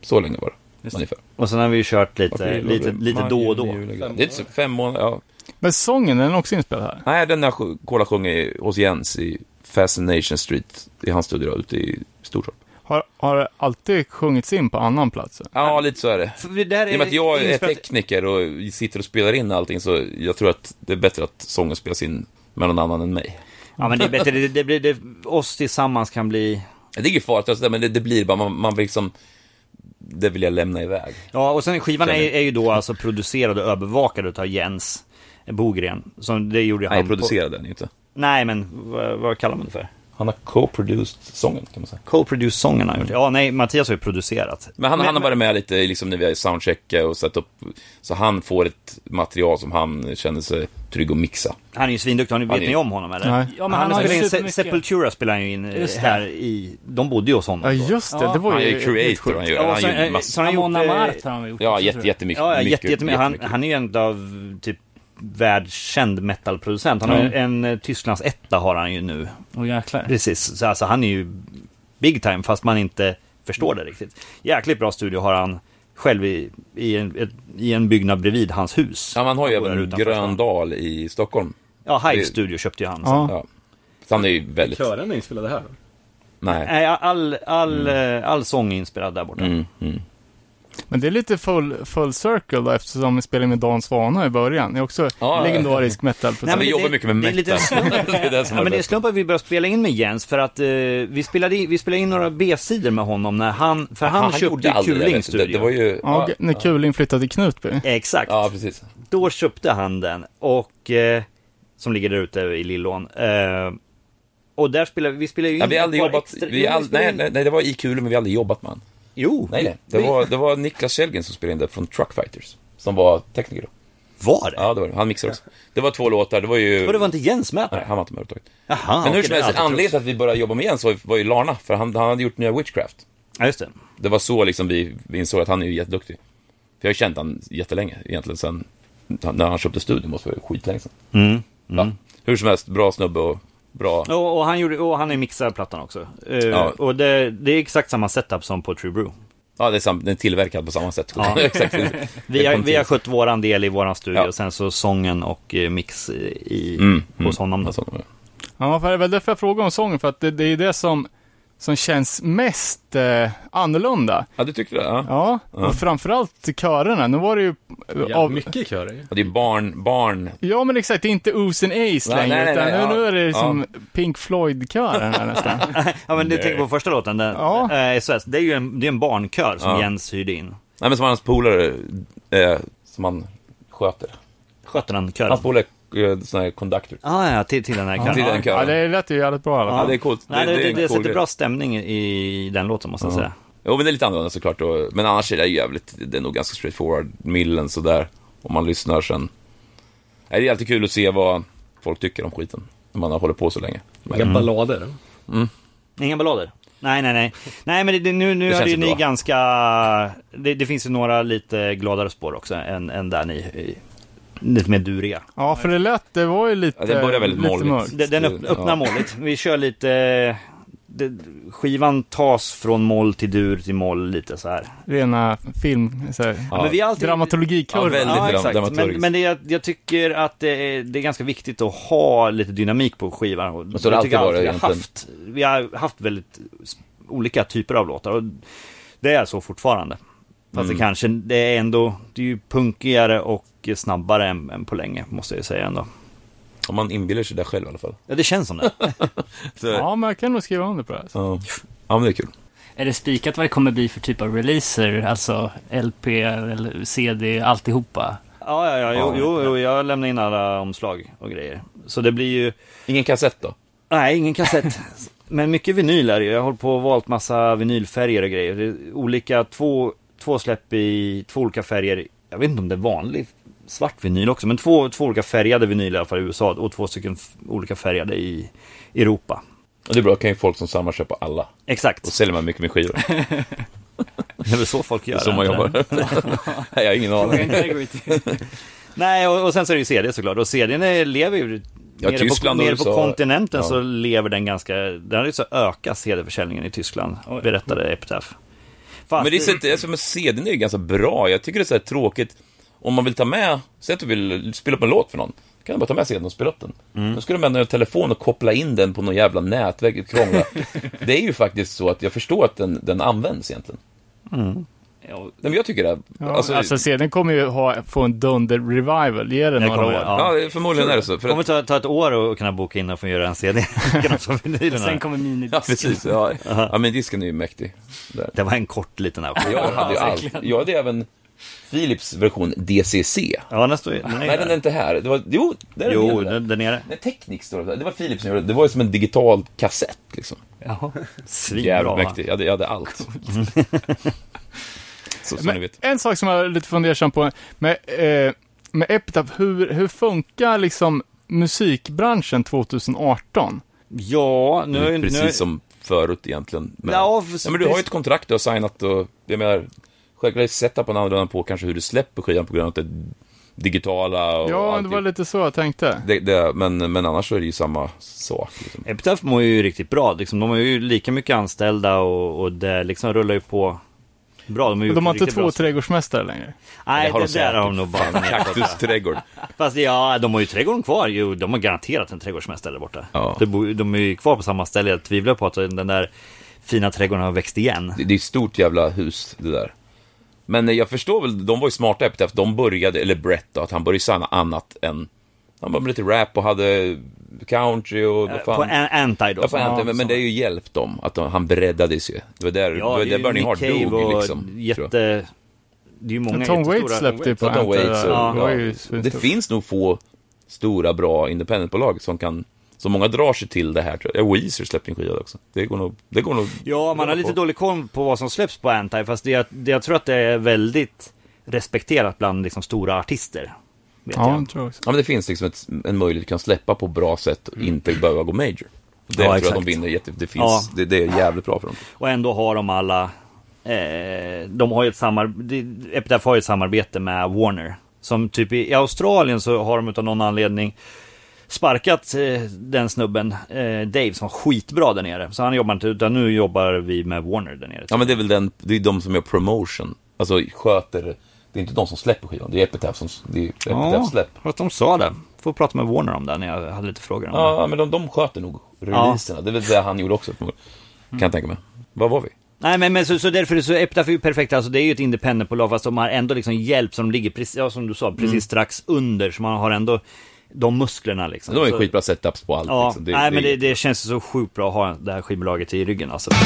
[SPEAKER 6] Så länge var det,
[SPEAKER 7] Just det.
[SPEAKER 6] ungefär.
[SPEAKER 7] Och sen har vi ju kört lite,
[SPEAKER 6] April,
[SPEAKER 7] lite,
[SPEAKER 6] maj,
[SPEAKER 7] lite då och då.
[SPEAKER 6] juni, juli, augusti. Det är inte så- fem månader, ja.
[SPEAKER 3] Men sången, den är också inspelad här.
[SPEAKER 6] Nej, den där sj- Kola sjöng i- hos Jens i Fascination Street, i hans studio då, ute i Stortorp.
[SPEAKER 3] Har, har det alltid sjungits in på annan plats?
[SPEAKER 6] Ja, lite så är det.
[SPEAKER 7] För det där
[SPEAKER 6] I och med att jag är
[SPEAKER 7] inspelat-
[SPEAKER 6] tekniker och sitter och spelar in allting så jag tror att det är bättre att sången spelas in med någon annan än mig.
[SPEAKER 7] Ja men det är bättre, det, det blir, det, oss tillsammans kan bli...
[SPEAKER 6] Det är inget farligt, alltså, men det, det blir bara, man, man vill liksom, det vill jag lämna iväg.
[SPEAKER 7] Ja och sen skivan är,
[SPEAKER 6] Känner.
[SPEAKER 7] är ju då alltså producerad och övervakad utav Jens Bogren. Som det gjorde
[SPEAKER 6] Nej,
[SPEAKER 7] han
[SPEAKER 6] jag
[SPEAKER 7] på-
[SPEAKER 6] producerade den ju inte.
[SPEAKER 7] Nej men vad, vad kallar man det för?
[SPEAKER 6] Han har co-produced sången, kan man säga.
[SPEAKER 7] Co-produce sången har han gjort. Ja nej, Mattias har ju producerat.
[SPEAKER 6] Men han, han har varit med lite i liksom, när vi har soundcheckat och satt upp, så han får ett material som han känner sig trygg att mixa.
[SPEAKER 7] Han är ju svinduktig, har ni, vet
[SPEAKER 6] är-
[SPEAKER 7] ni om honom eller?
[SPEAKER 3] Nej.
[SPEAKER 2] Ja, men
[SPEAKER 7] han,
[SPEAKER 2] han har
[SPEAKER 7] spelar
[SPEAKER 2] ju
[SPEAKER 7] in, Se-
[SPEAKER 2] supermycket-
[SPEAKER 7] Sepultura spelar han ju in eh,
[SPEAKER 2] Just det.
[SPEAKER 7] här i... De bodde ju hos honom
[SPEAKER 3] Ja,
[SPEAKER 7] då.
[SPEAKER 3] just det.
[SPEAKER 2] Ja.
[SPEAKER 3] Det var
[SPEAKER 6] Han är
[SPEAKER 3] ju...
[SPEAKER 6] ju creator, han gör,
[SPEAKER 7] Ja, och
[SPEAKER 6] han
[SPEAKER 7] sen,
[SPEAKER 6] gör
[SPEAKER 7] eh,
[SPEAKER 6] massa...
[SPEAKER 7] så har han gjort,
[SPEAKER 2] Amon
[SPEAKER 7] eh,
[SPEAKER 2] Amarth har han gjort
[SPEAKER 6] Ja,
[SPEAKER 2] också,
[SPEAKER 6] jätte,
[SPEAKER 2] tror jag.
[SPEAKER 6] jättemycket.
[SPEAKER 7] Ja, ja
[SPEAKER 6] mycket,
[SPEAKER 7] jättemycket. Han,
[SPEAKER 6] jättemycket.
[SPEAKER 7] han är ju en av typ världskänd metalproducent. Han har ju en eh, Tysklands etta har han ju nu.
[SPEAKER 2] Åh jäklar.
[SPEAKER 7] Precis, så alltså han är ju big time fast man inte förstår det riktigt. Jäkligt bra studio har han själv i, i, en, ett, i en byggnad bredvid hans hus.
[SPEAKER 6] Ja, man har ju
[SPEAKER 7] Han bor där
[SPEAKER 6] även
[SPEAKER 7] utanför stan.
[SPEAKER 6] Gröndal i Stockholm.
[SPEAKER 7] Ja, Hive
[SPEAKER 6] det-
[SPEAKER 7] Studio köpte ju han. sen.
[SPEAKER 3] Ja.
[SPEAKER 6] Ja. Så han är ju väldigt...
[SPEAKER 4] Kören är inspelade här.
[SPEAKER 6] Nej.
[SPEAKER 7] Nej, all, all, eh, all sång är inspelad där borta.
[SPEAKER 6] Mm, mm.
[SPEAKER 3] Men det är lite full, full circle då, eftersom vi spelade med Dan Svana i början. Det är också
[SPEAKER 6] Ja,
[SPEAKER 3] legendarisk metal.
[SPEAKER 7] Nej, men
[SPEAKER 6] vi
[SPEAKER 7] det-
[SPEAKER 6] jobbar mycket med
[SPEAKER 7] det är
[SPEAKER 6] metal.
[SPEAKER 7] lite slump.
[SPEAKER 6] det är det som
[SPEAKER 7] Ja,
[SPEAKER 6] är
[SPEAKER 7] men det är
[SPEAKER 6] bäst.
[SPEAKER 7] slump att vi började spela in med Jens för att eh, vi, spelade in, vi spelade in några B-sidor med honom när han, för han, köpte ju
[SPEAKER 6] aldrig
[SPEAKER 7] Kuling
[SPEAKER 6] det, vet du. det,
[SPEAKER 7] Studio.
[SPEAKER 6] det var ju...
[SPEAKER 3] Ja,
[SPEAKER 6] Ja,
[SPEAKER 3] g- när Kuling flyttade till Knutby.
[SPEAKER 7] Exakt.
[SPEAKER 6] ja, precis.
[SPEAKER 7] Då köpte han den och eh, som ligger där ute i Lillån. Eh, och där spelar vi, vi spelar ju in
[SPEAKER 6] Ja, vi har aldrig
[SPEAKER 7] ett par
[SPEAKER 6] jobbat...
[SPEAKER 7] extra-
[SPEAKER 6] Vi har
[SPEAKER 7] Jo,
[SPEAKER 6] all...
[SPEAKER 7] vi spelar
[SPEAKER 6] nej,
[SPEAKER 7] in-
[SPEAKER 6] nej, nej, det var i Kulum, men vi har aldrig jobbat med han.
[SPEAKER 7] Jo,
[SPEAKER 6] Nej, nej. Det
[SPEAKER 7] vi-
[SPEAKER 6] var, det var Niklas Källgren som spelade in det från Truck Fighters. Som var tekniker då.
[SPEAKER 7] var det?
[SPEAKER 6] Ja, det var det. Han mixade också. Det var två låtar, det var ju...
[SPEAKER 7] Och det var inte Jens med?
[SPEAKER 6] Nej, han var inte med överhuvudtaget.
[SPEAKER 7] Jaha,
[SPEAKER 6] Men
[SPEAKER 7] okej,
[SPEAKER 6] hur
[SPEAKER 7] alltså,
[SPEAKER 6] som
[SPEAKER 7] det har jag
[SPEAKER 6] helst,
[SPEAKER 7] alltid
[SPEAKER 6] anledningen
[SPEAKER 7] trott.
[SPEAKER 6] till att vi började jobba med Jens var ju- var ju Larna, för han, han hade gjort nya Witchcraft.
[SPEAKER 7] Ja, just det.
[SPEAKER 6] Det var så liksom vi vi insåg att han är ju jätteduktig. För jag har känt han jättelänge egentligen sen när han köpte studion, måste vara skitlänge sedan.
[SPEAKER 7] Mm.
[SPEAKER 6] Ja. Hur som helst, bra snubbe och bra...
[SPEAKER 7] Och, och han gjorde, och han är mixad plattan också. Eh,
[SPEAKER 6] Ja.
[SPEAKER 7] Och det, det är exakt samma setup som på True Brew.
[SPEAKER 6] Ja, det är sam- den är tillverkad på samma sätt.
[SPEAKER 7] Ja.
[SPEAKER 6] Exakt. Mm,
[SPEAKER 7] Vi har, vi har skött våran del i våran studio,
[SPEAKER 6] Ja.
[SPEAKER 7] sen så sången och eh, mix i,
[SPEAKER 6] Mm,
[SPEAKER 7] hos honom. då.
[SPEAKER 6] Ja, så-
[SPEAKER 3] Ja, för det är väl därför jag frågar om sången, för att det, det är det som, som känns mest eh, annorlunda.
[SPEAKER 6] Ja, du tyckte det? Ja.
[SPEAKER 3] Ja, och framförallt körerna. Nu var det ju...
[SPEAKER 4] Ja,
[SPEAKER 3] av,
[SPEAKER 4] mycket körer ju.
[SPEAKER 6] Ja, det är barn, barn.
[SPEAKER 3] ja, men exakt, det är inte Ooze and Ace
[SPEAKER 6] Nej,
[SPEAKER 3] längre,
[SPEAKER 6] nej, nej,
[SPEAKER 3] utan
[SPEAKER 6] nej,
[SPEAKER 3] nu,
[SPEAKER 6] ja.
[SPEAKER 3] nu är det som Pink Floyd-kören här nästan.
[SPEAKER 7] Ja men du tänker på första låten, den,
[SPEAKER 3] Ja.
[SPEAKER 7] eh, SOS, det är ju en, det är en barnkör som
[SPEAKER 6] Ja.
[SPEAKER 7] Jens hyrde in.
[SPEAKER 6] Nej, men som hans polare, eh, som han sköter.
[SPEAKER 7] Sköter han kören?
[SPEAKER 6] Hans polare, eh, sån här conductor.
[SPEAKER 7] Ah, ja, till, till den här kören.
[SPEAKER 6] Till
[SPEAKER 7] Ja.
[SPEAKER 6] den
[SPEAKER 3] Ja,
[SPEAKER 6] kören.
[SPEAKER 3] det lät ju jävligt bra i alla
[SPEAKER 6] Ja,
[SPEAKER 3] fall.
[SPEAKER 6] det är coolt.
[SPEAKER 7] Nej, det, det,
[SPEAKER 6] är
[SPEAKER 7] det,
[SPEAKER 6] en cool
[SPEAKER 7] sätter
[SPEAKER 6] grej.
[SPEAKER 7] bra stämning i den låten måste jag säga.
[SPEAKER 6] Jo, men det är lite annorlunda såklart. Och, men annars är det ju jävligt, det är nog ganska straightforward, millen sådär. Om man lyssnar sen. Nej, det är alltid kul att se vad folk tycker om skiten. När man har hållit på så länge. Men,
[SPEAKER 4] Inga ballader.
[SPEAKER 7] Inga ballader? Nej, nej, nej. Nej, men det, det, nu, nu
[SPEAKER 6] Det
[SPEAKER 7] är
[SPEAKER 6] känns
[SPEAKER 7] ju
[SPEAKER 6] ju
[SPEAKER 7] ni
[SPEAKER 6] bra.
[SPEAKER 7] ganska... Det, det finns ju några lite gladare spår också än, än där ni... i- Lite mer duriga.
[SPEAKER 3] Ja, för det lät, det var ju lite,
[SPEAKER 6] Ja, det börjar väldigt
[SPEAKER 3] lite
[SPEAKER 6] molligt.
[SPEAKER 3] mörkt.
[SPEAKER 7] Den, den öpp, öppnar
[SPEAKER 6] Ja.
[SPEAKER 7] målet. Vi kör lite... Det, skivan tas från moll till dur till moll lite så här.
[SPEAKER 3] Rena film, så här,
[SPEAKER 7] men vi har alltid-
[SPEAKER 6] Ja,
[SPEAKER 3] dramaturgikurva.
[SPEAKER 6] väldigt
[SPEAKER 7] Ja,
[SPEAKER 6] dram-
[SPEAKER 7] exakt. Men,
[SPEAKER 6] dramaturgiskt.
[SPEAKER 7] men det, jag, jag tycker att det är, det är ganska viktigt att ha lite dynamik på skivan. Och
[SPEAKER 6] så har det
[SPEAKER 7] jag tycker alltid
[SPEAKER 6] alltid varit
[SPEAKER 7] vi har
[SPEAKER 6] egentligen.
[SPEAKER 7] haft. Vi har haft väldigt s- olika typer av låtar och det är så fortfarande. Fast
[SPEAKER 6] Mm.
[SPEAKER 7] det kanske, det är ändå, det är ju punkigare och snabbare än, än på länge måste jag ju säga ändå.
[SPEAKER 6] om man inbillar sig det själv i alla fall.
[SPEAKER 7] Ja, det känns som det.
[SPEAKER 6] Så, ja.
[SPEAKER 3] Ja, men jag kan nog skriva under på det. Här.
[SPEAKER 6] ja, men det är kul.
[SPEAKER 2] Är det spikat vad det kommer bli för typ av releaser? Alltså LP, eller CD, alltihopa?
[SPEAKER 7] Ja, ja, ja, jo,
[SPEAKER 6] Ja.
[SPEAKER 7] jo, jo jag lämnar in alla omslag och grejer. Så det blir ju,
[SPEAKER 6] Ingen kassett då?
[SPEAKER 7] nej, ingen kassett. Men mycket vinyl är det ju. Jag har hållit på och valt massa vinylfärger och grejer. Det är olika, två, två släpp i två olika färger jag vet inte om det är vanlig svart vinyl också, men två, två olika färgade vinyl i alla fall i USA och två stycken f- olika färgade i Europa.
[SPEAKER 6] Och det är bra, kan ju folk som samlar köpa alla.
[SPEAKER 7] Exakt,
[SPEAKER 6] Och säljer man mycket med skivor.
[SPEAKER 7] det är väl så folk gör.
[SPEAKER 6] Det är så man
[SPEAKER 7] eller?
[SPEAKER 6] jobbar. Nej, jag har ingen aning.
[SPEAKER 2] Integrity.
[SPEAKER 7] Nej, och, och sen så är det ju CD såklart. Och CDn är- lever ju...
[SPEAKER 6] Ja,
[SPEAKER 7] nere
[SPEAKER 6] Tyskland
[SPEAKER 7] på,
[SPEAKER 6] och
[SPEAKER 7] nere på
[SPEAKER 6] USA.
[SPEAKER 7] kontinenten
[SPEAKER 6] Ja.
[SPEAKER 7] så lever den ganska... Den har ju så ökat CD-försäljningen i Tyskland, berättade Epitaph. Fast,
[SPEAKER 6] Men det är så, att- alltså, men CDn är ju ganska bra. Jag tycker det är så här tråkigt. Om man vill ta med, säg att du vill spela upp en låt för någon. Då kan du bara ta med CDn och spela upp den. Då ska du med en telefon och koppla in den på någon jävla nätverk och krångla. det är ju faktiskt så att jag förstår att den, den används egentligen.
[SPEAKER 7] Ja,
[SPEAKER 6] Nej, men jag tycker det.
[SPEAKER 3] Ja, alltså, sedan kommer ju ha, få en dunder-revival. Ge det
[SPEAKER 7] det
[SPEAKER 3] några
[SPEAKER 7] kommer-
[SPEAKER 3] år.
[SPEAKER 7] ja.
[SPEAKER 6] ja, förmodligen är det så. För
[SPEAKER 7] Det kommer
[SPEAKER 6] att,
[SPEAKER 7] ta, ta ett år att kunna boka in och få göra en CD. Kan också få vinylerna.
[SPEAKER 2] Sen kommer minidisken.
[SPEAKER 6] ja, precis. Ja, ja, men disken är ju mäktig. Där.
[SPEAKER 7] Det var en kort liten auktion.
[SPEAKER 6] Jag hade ju allt. Jag hade även Philips version DCC.
[SPEAKER 7] Ja, den står ju... den är
[SPEAKER 6] Nej, den är
[SPEAKER 7] där.
[SPEAKER 6] inte här. Det var, jo, där är
[SPEAKER 7] Jo,
[SPEAKER 6] den.
[SPEAKER 7] den där nere.
[SPEAKER 6] Nej, Technic står det där. Det var Philips som gjorde det. Det var ju som en digital kassett liksom.
[SPEAKER 7] Jaha.
[SPEAKER 6] Jävligt
[SPEAKER 7] Svinbra. va?
[SPEAKER 6] mäktig. Jag hade, jag hade allt. så som ni
[SPEAKER 3] Men
[SPEAKER 6] vet.
[SPEAKER 3] en sak som jag är lite fundersam på med, eh, med Epitaph, hur, hur funkar liksom musikbranschen 2018?
[SPEAKER 7] Ja, nu... nu
[SPEAKER 6] Precis som förut egentligen. Men,
[SPEAKER 7] Ja,
[SPEAKER 6] ja,
[SPEAKER 7] för-
[SPEAKER 6] men du har ju ett kontrakt du har signat och jag menar, självklart sätta på en annan på kanske hur du släpper skivan på grund av det digitala och
[SPEAKER 3] Ja, det
[SPEAKER 6] allting.
[SPEAKER 3] var lite så jag tänkte.
[SPEAKER 6] Det, det, men, men annars så är det ju samma sak. Liksom.
[SPEAKER 7] Epitaph mår ju riktigt bra. Liksom, de har ju lika mycket anställda och, och det liksom rullar ju på bra. De, är ju
[SPEAKER 3] Men de har inte
[SPEAKER 7] riktigt
[SPEAKER 3] två
[SPEAKER 7] bra.
[SPEAKER 3] trädgårdsmästare längre.
[SPEAKER 7] Nej,
[SPEAKER 6] Det har
[SPEAKER 7] det, där
[SPEAKER 6] de säkert.
[SPEAKER 7] har de nog bara
[SPEAKER 6] Kaktus trädgård.
[SPEAKER 7] Fast ja, de har ju trädgården kvar. Jo, de har garanterat en trädgårdsmästare där borta.
[SPEAKER 6] Ja.
[SPEAKER 7] De, bor, ju- de är ju kvar på samma ställe. Jag tvivlar på att den där fina trädgården har växt igen.
[SPEAKER 6] Det, det är ett stort jävla hus det där. Men eh, jag förstår väl, de var ju smarta Epitaph, de började, eller Brett då, att han började signa annat än, han var med lite rap och hade country och vad
[SPEAKER 7] Eh, På
[SPEAKER 6] fan.
[SPEAKER 7] An- Anti då.
[SPEAKER 6] Ja, på
[SPEAKER 7] som-
[SPEAKER 6] Anthem, men, men det är ju hjälpt dem, att de, han breddades ju. Det var där,
[SPEAKER 7] Ja,
[SPEAKER 6] det var
[SPEAKER 7] det är
[SPEAKER 6] där
[SPEAKER 7] ju
[SPEAKER 6] Burning
[SPEAKER 7] Nick
[SPEAKER 6] Heart
[SPEAKER 7] Cave
[SPEAKER 6] dog
[SPEAKER 7] och
[SPEAKER 6] liksom. tror jag.
[SPEAKER 7] Jätte... Det är ju många
[SPEAKER 3] Tom Waits
[SPEAKER 7] jättestora-
[SPEAKER 3] släppte ju på
[SPEAKER 6] Tom
[SPEAKER 3] Ante.
[SPEAKER 6] Waits och-
[SPEAKER 3] Ja, det var ju
[SPEAKER 6] ja.
[SPEAKER 3] svinstort.
[SPEAKER 6] Det finns nog få stora, bra independentbolag som kan som många drar sig till det här, tror jag. Ja, Weezer släppte en skiva också. Det går nog... Det går nog
[SPEAKER 7] Ja, man har lite dålig koll på vad som släpps på Anti, fast det, det, jag tror att det är väldigt respekterat bland liksom, stora artister. Vet
[SPEAKER 3] Ja,
[SPEAKER 7] jag.
[SPEAKER 3] det tror jag också.
[SPEAKER 6] Ja, men det finns liksom ett, en möjlighet att kan släppa på bra sätt och inte behöva gå major. Och det
[SPEAKER 7] Ja,
[SPEAKER 6] tror
[SPEAKER 7] exakt.
[SPEAKER 6] jag de vinner jätte... Det, finns,
[SPEAKER 7] Ja.
[SPEAKER 6] det, det är jävligt bra för dem.
[SPEAKER 7] Och ändå har de alla... Eh, de har ju ett samarbete... Epitaph har ju ett samarbete med Warner. Som typ i, i Australien så har de utav någon anledning sparkat eh, den snubben, eh, Dave, som var skitbra där nere. Så han jobbar inte, utan nu jobbar vi med Warner där nere.
[SPEAKER 6] Ja, men det är väl den... Det är de som gör promotion. Alltså sköter... Det är inte de som släpper skivan, det är Epitaph som... Det är Epitaph släpp.
[SPEAKER 7] fast de sa det. Får prata med Warner om det när jag hade lite frågor om det.
[SPEAKER 6] Ja, men de, de sköter nog releaserna. Det är väl det han gjorde också, förmodligen. Kan jag tänka mig. Vad var vi?
[SPEAKER 7] Nej men, men så, så därför är så Epitaph är ju perfekt, alltså det är ju ett independentbolag fast de har ändå liksom hjälp som ligger precis, ja, som du sa, precis
[SPEAKER 6] Mm.
[SPEAKER 7] strax under så man har ändå de musklerna liksom.
[SPEAKER 6] De har ju
[SPEAKER 7] Så-
[SPEAKER 6] skitbra setups på allt.
[SPEAKER 7] Ja,
[SPEAKER 6] liksom.
[SPEAKER 7] nej men det, det känns så sjukt bra att ha det här skivbolaget i ryggen alltså.
[SPEAKER 6] Mm.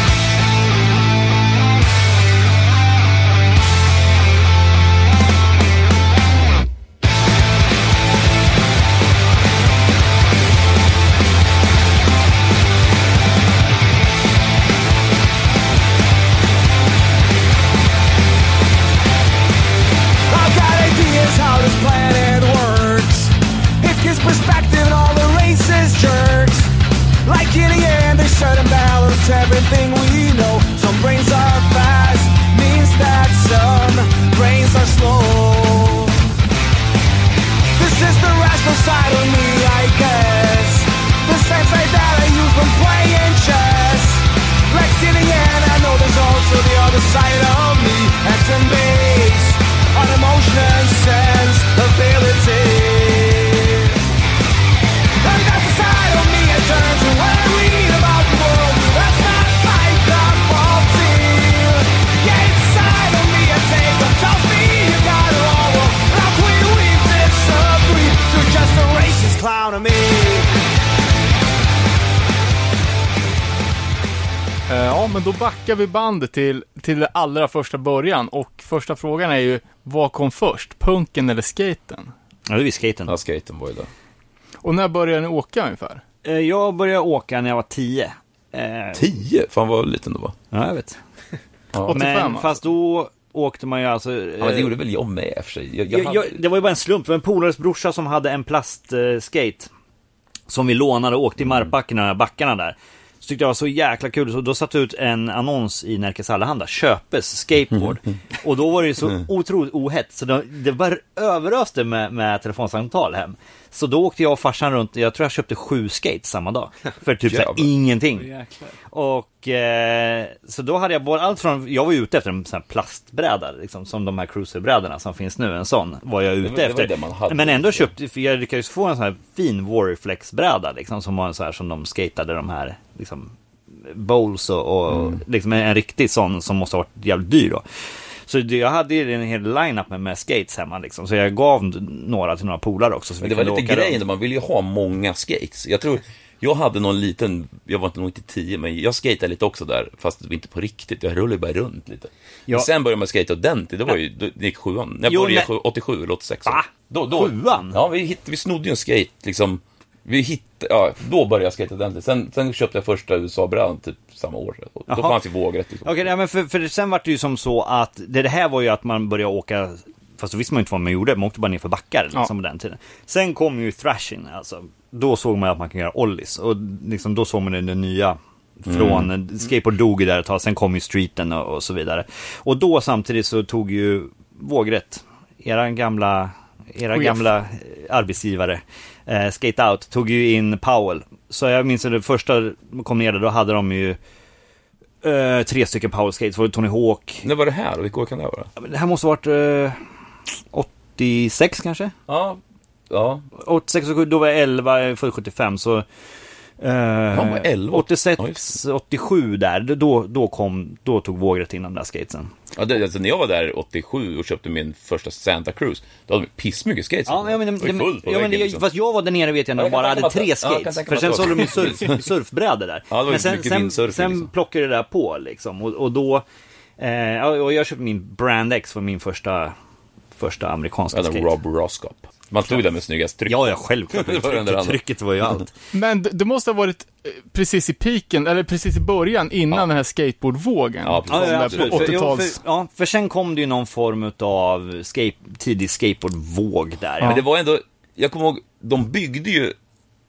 [SPEAKER 5] I've got ideas how this planet works. It gives perspective to all the racist jerks. Like in the end, they shut and balance everything we know. Some brains are fast, means that some brains are slow. This is the rational side of me, I guess. The same side that I use when playing chess. Like in the end, I know there's also the other side of me. Action based on emotion and sense ability. And that's the side of me I turn to when I read about the world that's not like the faulty. Yeah, it's the side of me I take that tells me you got it all. Well, Like we we disagree, uh, you're just a racist clown to me.
[SPEAKER 3] Eh, Ja, men då backar vi bandet till, till det allra första början. Och första frågan är ju, vad kom först? Punken eller skaten?
[SPEAKER 7] Ja, det är ju skaten.
[SPEAKER 6] Ja, skaten var ju där.
[SPEAKER 3] Och när började ni åka ungefär?
[SPEAKER 7] Eh, Jag började åka när jag var 10. Eh,
[SPEAKER 6] Tio? Fan vad liten det var.
[SPEAKER 7] ja, jag vet.
[SPEAKER 3] 85
[SPEAKER 7] Men
[SPEAKER 3] alltså.
[SPEAKER 7] fast då åkte man ju alltså...
[SPEAKER 6] Ja, men det
[SPEAKER 7] eh,
[SPEAKER 6] gjorde väl jag med i och för sig. Jag, jag,
[SPEAKER 7] jag, jag,
[SPEAKER 6] hade-
[SPEAKER 7] det var ju bara en slump, det var en polares brorsa som hade en plastskate Som vi lånade och åkte i
[SPEAKER 6] Mm.
[SPEAKER 7] markbacken, de här backarna där Så tyckte jag det var så jäkla kul, så då satte jag ut en annons i Närkes Allehanda, köpes
[SPEAKER 6] Mm,
[SPEAKER 7] skateboard Och då var det ju så otroligt ohett, så det, det bara överöste med, med telefonsamtal hem Så då åkte jag och farsan runt, jag tror jag köpte sju skates samma dag För typ såhär
[SPEAKER 6] Jävlar.
[SPEAKER 7] ingenting
[SPEAKER 2] Jäklar.
[SPEAKER 7] och eh, så då hade jag både allt från, jag var ju ute efter en sån här plastbräda liksom, som de här cruiserbrädorna som finns nu, en sån var jag ute
[SPEAKER 6] det var
[SPEAKER 7] efter.
[SPEAKER 6] det man hade.
[SPEAKER 7] Men ändå köpte, för jag lyckades få en sån här fin Warriflex-bräda liksom som var en sån här som de skatade de här liksom bowls och, och
[SPEAKER 6] Mm.
[SPEAKER 7] liksom en, en riktig sån som måste ha varit jävligt dyr då. Så det, jag hade ju en hel line-up med, med skates hemma liksom, så jag gav n- några till några polare också. Så
[SPEAKER 6] Men
[SPEAKER 7] vi
[SPEAKER 6] det var
[SPEAKER 7] kunde
[SPEAKER 6] lite
[SPEAKER 7] åka
[SPEAKER 6] grejen,
[SPEAKER 7] runt.
[SPEAKER 6] då, man ville ju ha många skates. Jag tror, jag hade någon liten, jag var inte nog inte tio, men jag skatade lite också där, fast inte på riktigt. Jag rullade bara runt lite.
[SPEAKER 7] Ja.
[SPEAKER 6] Men sen började man skata ordentligt, det var ju, då gick sjuan. När
[SPEAKER 7] Jo,
[SPEAKER 6] jag började
[SPEAKER 7] men-
[SPEAKER 6] sju- 87 eller 86.
[SPEAKER 7] Va?
[SPEAKER 6] Då, då,
[SPEAKER 7] Sjuan?
[SPEAKER 6] Ja, vi, hitt, vi snodde ju en skate, liksom. Vi hittade, ja, då började jag skata ordentligt. Sen, sen köpte jag första USA-brädan typ samma år. Och Då
[SPEAKER 7] Jaha.
[SPEAKER 6] fanns ju vågrätt liksom.
[SPEAKER 7] Okej, nej, men för, för sen var det ju som så att det, det här var ju att man började åka Fast då visste man ju inte vad man gjorde, man åkte bara ner för backar liksom på den tiden Sen kom ju thrashing alltså Då såg man att man kan göra ollies och liksom då såg man det, det nya Från, skateboard dog ju där ett tag, sen kom ju streeten och, och så vidare Och då samtidigt så tog ju Vågrätt Era gamla, era
[SPEAKER 3] Chef.
[SPEAKER 7] gamla eh, arbetsgivare eh, Skate Out tog ju in Powell Så jag minns att det första kom ner där, då hade de ju Eh, tre stycken power skates, var det Tony Hawk.
[SPEAKER 6] När var det här? Vilka år kan det här vara?
[SPEAKER 7] Ja, men Det här måste ha varit eh, 86 kanske?
[SPEAKER 6] Ja, ja.
[SPEAKER 7] 86 och 7, då var jag 11, född 75 så... Eh,
[SPEAKER 6] var 11.
[SPEAKER 7] 86, 87 där, då, då kom, då tog vågrätt in de där skatesen.
[SPEAKER 6] Ja, det, alltså, när jag var där 87 och köpte min första Santa Cruz, då hade de pissmycket skates.
[SPEAKER 7] Ja, men, men,
[SPEAKER 6] det var ju fullt på
[SPEAKER 7] ja, men,
[SPEAKER 6] väggen,
[SPEAKER 7] jag,
[SPEAKER 6] liksom.
[SPEAKER 7] fast jag var där nere vet jag när
[SPEAKER 6] Ja,
[SPEAKER 7] de
[SPEAKER 6] jag kan
[SPEAKER 7] bara
[SPEAKER 6] tänka
[SPEAKER 7] hade
[SPEAKER 6] mig
[SPEAKER 7] tre
[SPEAKER 6] att- ja, jag kan
[SPEAKER 7] skates. för
[SPEAKER 6] tänka mig
[SPEAKER 7] sen
[SPEAKER 6] att
[SPEAKER 7] så håller
[SPEAKER 6] det
[SPEAKER 7] de ju
[SPEAKER 6] var-
[SPEAKER 7] surf, surfbrädor där.
[SPEAKER 6] Ja, det var ju
[SPEAKER 7] men sen,
[SPEAKER 6] mycket
[SPEAKER 7] sen,
[SPEAKER 6] windsurfing,
[SPEAKER 7] sen
[SPEAKER 6] liksom.
[SPEAKER 7] plockade det där på liksom. Och, och då, eh, ja, och jag köpte min Brand X, var min första, första amerikanska
[SPEAKER 6] Eller
[SPEAKER 7] skate.
[SPEAKER 6] Rob Roscop. Man stod där med snyggast tryck.
[SPEAKER 7] Ja, ja, självklart.
[SPEAKER 6] Det var den där andra.
[SPEAKER 7] Trycket var ju allt.
[SPEAKER 3] Men d- det måste ha varit eh, precis i piken, eller precis i början, innan den här skateboardvågen.
[SPEAKER 6] Ja, precis.
[SPEAKER 3] Kom
[SPEAKER 7] Ja,
[SPEAKER 3] där
[SPEAKER 7] ja,
[SPEAKER 3] på
[SPEAKER 7] absolut. För, jo,
[SPEAKER 3] 80-tals...
[SPEAKER 7] för, ja, för sen kom det ju någon form av skate, tidig skateboardvåg där.
[SPEAKER 6] Men det var ändå, jag kommer ihåg, de byggde ju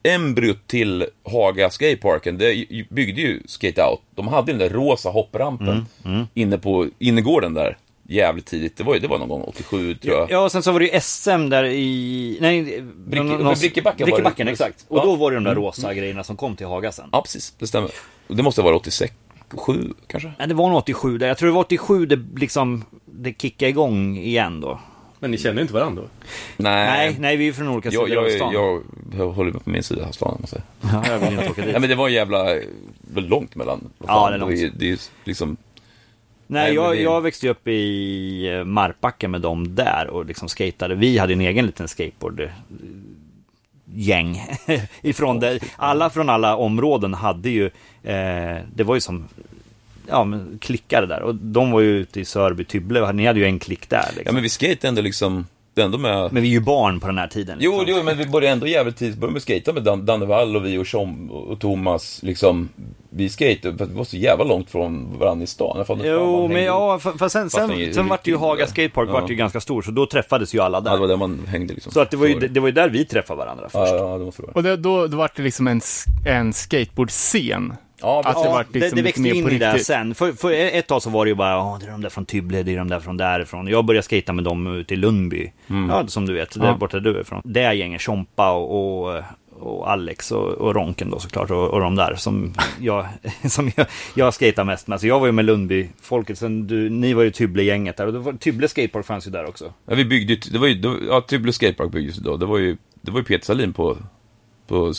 [SPEAKER 6] embryot till Haga Skateparken, det ju- byggde ju Skate Out. De hade den där rosa hopprampen
[SPEAKER 7] Mm,
[SPEAKER 6] inne på innergården där jävligt tidigt. Det var, ju- det var någon gång 87 tror jag.
[SPEAKER 7] Ja, och sen så var det ju SM där i... Nej, någon- någon-
[SPEAKER 6] Brickebacken var det.
[SPEAKER 7] Brickebacken, exakt. Och
[SPEAKER 6] Ja.
[SPEAKER 7] då var det de där rosa grejerna som kom till Haga sen.
[SPEAKER 6] Ja, precis. Det stämmer. Det måste ha varit 86, 7 kanske?
[SPEAKER 7] Nej, det var nog 87 där. Jag tror det var 87 det liksom, det kickade igång igen då.
[SPEAKER 4] Men ni känner inte varandra? va?
[SPEAKER 6] Nej.
[SPEAKER 7] Nej, nej, vi är ju från olika
[SPEAKER 6] Jag,
[SPEAKER 7] sidor av
[SPEAKER 6] jag,
[SPEAKER 7] stan.
[SPEAKER 6] jag, jag håller på min sida av stan, om man säger.
[SPEAKER 7] Ja, jag vill inte åka dit.
[SPEAKER 6] Nej, men det var jävla väl långt mellan. Vad
[SPEAKER 7] Ja, det är
[SPEAKER 6] ju-
[SPEAKER 7] långt.
[SPEAKER 6] det är ju liksom...
[SPEAKER 7] Nej,
[SPEAKER 6] Nej, men
[SPEAKER 7] jag,
[SPEAKER 6] det-
[SPEAKER 7] jag växte ju upp i eh, Marbacken med dem där och liksom skatade. Vi hade en egen liten skateboardgäng. Ifrån där. Alla från alla områden hade ju, eh, det var ju som ja, men klickar där. Och de var ju ute i Sörby, Tybble, och ni hade ju en klick där. Liksom.
[SPEAKER 6] Ja,
[SPEAKER 7] men...
[SPEAKER 6] men vi skate ändå liksom... Det är ändå med...
[SPEAKER 7] vi är ju barn på den här tiden.
[SPEAKER 6] Jo,
[SPEAKER 7] liksom.
[SPEAKER 6] jo, men vi började ändå jävligt tidigt börja med skata med Dan, Danne Wall och vi och Tjom och Thomas. Liksom, vi skatade, för vi var så jävla långt från varandra i stan. Jag fattar inte fan, man
[SPEAKER 7] Jo, men
[SPEAKER 6] hängde-
[SPEAKER 7] ja, fa- fast sen,
[SPEAKER 6] Fattar ni
[SPEAKER 7] sen, sen
[SPEAKER 6] hur
[SPEAKER 7] vart ju
[SPEAKER 6] riktigt det
[SPEAKER 7] Haga
[SPEAKER 6] var?
[SPEAKER 7] Skatepark
[SPEAKER 6] Ja.
[SPEAKER 7] vart ju ganska stor, så då träffades ju alla
[SPEAKER 6] Ja, det var
[SPEAKER 7] där.
[SPEAKER 6] där man hängde liksom.
[SPEAKER 7] Så att det var ju,
[SPEAKER 6] Så
[SPEAKER 7] det, det var ju där vi träffade varandra först.
[SPEAKER 6] Ja, ja, det måste det vara.
[SPEAKER 3] Och det, då, då var det liksom en, s- en skateboardscen.
[SPEAKER 6] Ja,
[SPEAKER 3] att det
[SPEAKER 7] Ja,
[SPEAKER 3] var
[SPEAKER 7] det,
[SPEAKER 3] liksom
[SPEAKER 7] det
[SPEAKER 3] lite
[SPEAKER 7] växte
[SPEAKER 3] mer
[SPEAKER 7] in
[SPEAKER 3] på
[SPEAKER 7] i det
[SPEAKER 3] riktigt.
[SPEAKER 7] sen. För, för ett tag så var det ju bara, "Åh, det är de där från Tybble, det är de där från därifrån. Jag började skata med dem ute i Lundby, ja, som du vet, där borta du är ifrån. Det gänget, Chompa och, och, och Alex och, och Ronken då såklart, och, och de där som jag, som jag, jag skatar mest med. Så jag var ju med Lundby-folket, sen du, ni var ju Tybble-gänget där, och det var, Tybble Skatepark fanns ju där också.
[SPEAKER 6] Ja, vi byggde ju, det var ju, det var, ja, Tybble Skatepark byggdes ju då. Det var ju, det var ju Peter Salin på, på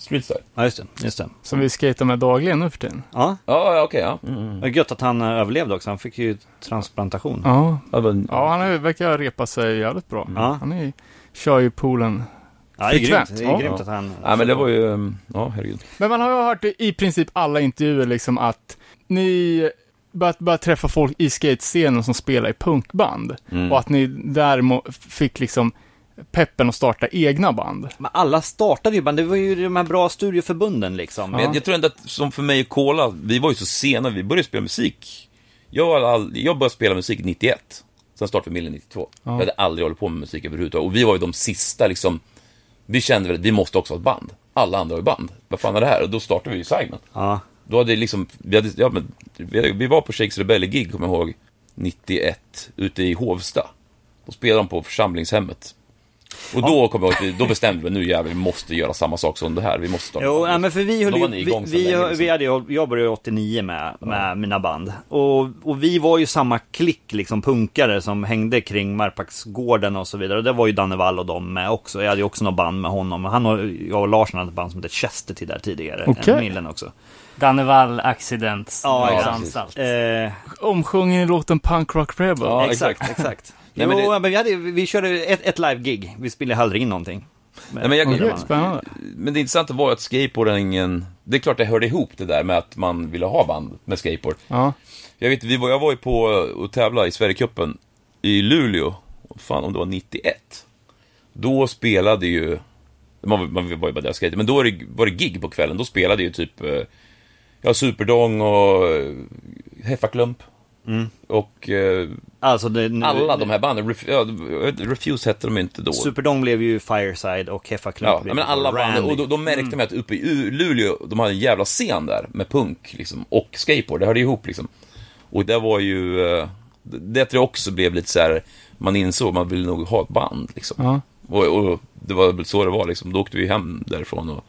[SPEAKER 6] Streetstar.
[SPEAKER 7] Ja, just det. Just det.
[SPEAKER 3] Som vi skatar med dagligen nu för tiden.
[SPEAKER 7] Ja,
[SPEAKER 6] Ja, ja, okej, ja. Mm.
[SPEAKER 7] och gött att han eh, överlevde också, han fick ju transplantation.
[SPEAKER 3] Ja,
[SPEAKER 6] ja, men,
[SPEAKER 3] ja han har- verkar repa sig jävligt bra.
[SPEAKER 7] Ja.
[SPEAKER 3] Han är, kör ju poolen.
[SPEAKER 7] Ja, det är grymt,
[SPEAKER 3] Frekvent,
[SPEAKER 7] det
[SPEAKER 3] ja.
[SPEAKER 7] är grymt att han...
[SPEAKER 6] ja, men det var ju, um, ja, herregud.
[SPEAKER 3] Men man har ju hört i princip alla intervjuer liksom att ni börjat, börjat träffa folk i skatescenen som spelar i punkband.
[SPEAKER 6] Mm.
[SPEAKER 3] Och att ni där må- fick liksom peppen att starta egna band.
[SPEAKER 7] Men alla startade ju band, det var ju de här bra studieförbunden liksom.
[SPEAKER 6] Men jag, jag tror ändå att, som för mig och Kola, vi var ju så sena, vi började spela musik Jag, har all, jag började spela musik 91. Sen startade familjen 92.
[SPEAKER 3] Ja.
[SPEAKER 6] Jag hade aldrig hållit på med musik överhuvudtaget. Och vi var ju de sista liksom... Vi kände väl att vi måste också ha ett band. Alla andra har ju band. Vad fan är det här? Och då startade vi ju Simon.
[SPEAKER 7] Ja.
[SPEAKER 6] Då hade det liksom, vi, hade, ja, men, vi, vi var på Shakes Rebelle-gig, kommer jag ihåg, 91, ute i Hovsta. Då spelade de på församlingshemmet. Och då kom jag ihåg, att vi- då bestämde vi, nu jävlar, vi måste göra samma sak som det här, vi måste starta
[SPEAKER 7] Jo,
[SPEAKER 6] band.
[SPEAKER 7] ja, men för vi höll
[SPEAKER 6] Då
[SPEAKER 7] ju,
[SPEAKER 6] var ni
[SPEAKER 7] vi,
[SPEAKER 6] igång så
[SPEAKER 7] vi,
[SPEAKER 6] länge,
[SPEAKER 7] vi
[SPEAKER 6] liksom.
[SPEAKER 7] hade, ju- jag började 89 med, med mina band. Och, och vi var ju samma klick liksom punkare som hängde kring Marpaksgården och så vidare. Och det var ju Danne Wall och de med också. Jag hade ju också något band med honom. Han och, jag och Larsson hade ett band som hette Chester till där tidigare.
[SPEAKER 3] Okej.
[SPEAKER 7] En Millen också.
[SPEAKER 2] Dannevall Accidents. liksom
[SPEAKER 7] Ja,
[SPEAKER 2] Norrlands
[SPEAKER 6] exakt.
[SPEAKER 2] anstalt.
[SPEAKER 7] Eh,
[SPEAKER 3] Omsjungen i låten Punk Rock Rebel.
[SPEAKER 6] Ja,
[SPEAKER 7] exakt,
[SPEAKER 6] exakt.
[SPEAKER 7] exakt.
[SPEAKER 6] Nej,
[SPEAKER 7] jo,
[SPEAKER 6] men det-
[SPEAKER 7] men vi, hade, vi körde ett, ett live-gig. Vi spelade aldrig in någonting.
[SPEAKER 6] Nej, men, jag,
[SPEAKER 3] Okej, spännande.
[SPEAKER 6] men det intressanta var ju att skateboardingen, det är klart det hörde ihop det där med att man ville ha band med skateboard.
[SPEAKER 3] Ja.
[SPEAKER 6] Jag vet, vi var, jag var ju på eh, och tävlade i Sverigecupen i Luleå, fan om det var 91. Då spelade ju, man, man var ju bara där och skejtade, men då var det, var det gig på kvällen. Då spelade ju typ, eh, ja, Superdong och eh, Heffaklump. Och eh,
[SPEAKER 7] Alltså, det, nu,
[SPEAKER 6] Mm. alla de här banden, Ref, ja, Refuse hette de ju inte då.
[SPEAKER 7] Superdong blev ju Fireside och Heffa Klump
[SPEAKER 6] Ja,
[SPEAKER 7] blev
[SPEAKER 6] men alla band,
[SPEAKER 7] Randy.
[SPEAKER 6] och då, då märkte
[SPEAKER 3] Mm.
[SPEAKER 6] man att uppe i U- Luleå, de hade en jävla scen där med punk liksom, och skateboard, det hörde ihop liksom. Och det var ju, eh, det det tror jag också blev lite så här, man insåg att man ville nog ha ett band liksom.
[SPEAKER 3] Ja.
[SPEAKER 6] Och, och det var väl så det var liksom, då åkte vi hem därifrån och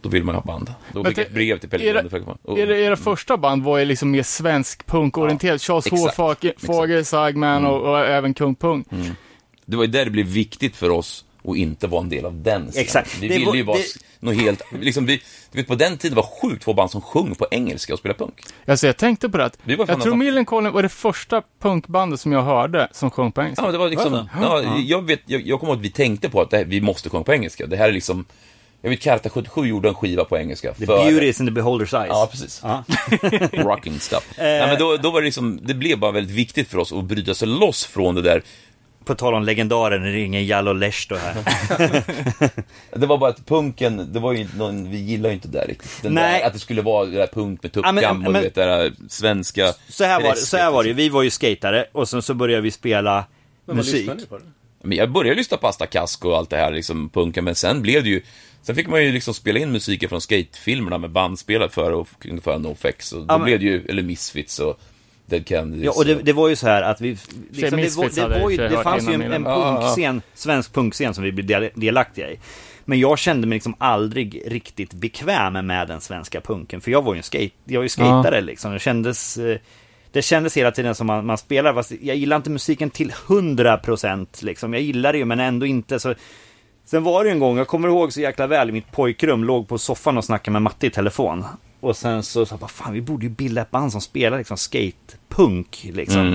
[SPEAKER 6] då ville man ju ha band. Då
[SPEAKER 3] Men
[SPEAKER 6] fick jag ett
[SPEAKER 3] det-
[SPEAKER 6] brev till Pelle
[SPEAKER 3] era-
[SPEAKER 6] Lundefalk. Och-
[SPEAKER 3] Era, era första band var ju liksom mer svensk punkorienterat. Charles H.
[SPEAKER 6] exakt,
[SPEAKER 3] Fag-
[SPEAKER 6] exakt. Mm.
[SPEAKER 3] Fager, Sagman och, och även Kung Pung.
[SPEAKER 6] Det var ju där det blev viktigt för oss att inte vara en del av den scenen.
[SPEAKER 7] Exakt.
[SPEAKER 6] Vi
[SPEAKER 7] Det var-
[SPEAKER 6] ville ju vara
[SPEAKER 7] det-
[SPEAKER 6] s- något helt, liksom vi, du vet på den tiden var sjukt få band som sjöng på engelska och spelade punk.
[SPEAKER 3] Alltså jag tänkte på det att,
[SPEAKER 6] Vi var fan alltså-
[SPEAKER 3] jag tror
[SPEAKER 6] nästan-
[SPEAKER 3] Millencolin var det första punkbandet som jag hörde som sjöng på engelska.
[SPEAKER 6] Ja, men det var liksom, ja, jag, vet, jag, jag kommer ihåg att vi tänkte på att det här, vi måste sjunga på engelska. Det här är liksom, jag vet Karta 77 gjorde en skiva på engelska.
[SPEAKER 7] The beauty is in the beholder's eyes.
[SPEAKER 6] Ja, precis. Rocking stuff. Nej, men då, då var det liksom, det blev bara väldigt viktigt för oss att bryta sig loss från det där.
[SPEAKER 7] På tal om legendaren, det ringer Jallo Leshto här.
[SPEAKER 6] Det var bara att punken, det var ju någon, vi gillar ju inte det där riktigt. Den
[SPEAKER 7] Nej.
[SPEAKER 6] Där, att det skulle vara det där punk med
[SPEAKER 7] Ja,
[SPEAKER 6] tuppkam
[SPEAKER 7] men- men-
[SPEAKER 6] och du vet, det där svenska.
[SPEAKER 7] Så här var det, så här var
[SPEAKER 6] alltså.
[SPEAKER 7] det. ju. vi var ju skatare och sen så började vi spela musik.
[SPEAKER 4] lyssnar ni på det?
[SPEAKER 6] Men jag började lyssna på Asta Kask och allt det här, liksom punken, men sen blev det ju... Sen fick man ju liksom spela in musiken från skatefilmerna med bandspelare för och kunde föra NoFX och då
[SPEAKER 7] Ja, men-
[SPEAKER 6] blev det ju, eller Misfits och Dead Kennedys.
[SPEAKER 7] Ja, och det, det var ju så här att vi... Liksom, det,
[SPEAKER 3] Misfits
[SPEAKER 7] var, det,
[SPEAKER 3] hade
[SPEAKER 7] var ju,
[SPEAKER 3] jag
[SPEAKER 7] det
[SPEAKER 3] hört
[SPEAKER 7] fanns ju en,
[SPEAKER 3] innan
[SPEAKER 7] en
[SPEAKER 3] innan.
[SPEAKER 7] punkscen, svensk punkscen som vi blev del, delaktiga i. Men jag kände mig liksom aldrig riktigt bekväm med den svenska punken, för jag var ju en skate, jag var ju skatare liksom. Det kändes, eh, det kändes hela tiden som man, man spelar, fast jag gillar inte musiken till 100% liksom. Jag gillar det ju, men ändå inte så... Sen var det ju en gång, jag kommer ihåg så jäkla väl, i mitt pojkrum, låg på soffan och snackade med Matti i telefon. Och sen så sa jag bara, fan vi borde ju bilda ett band som spelar liksom skatepunk liksom.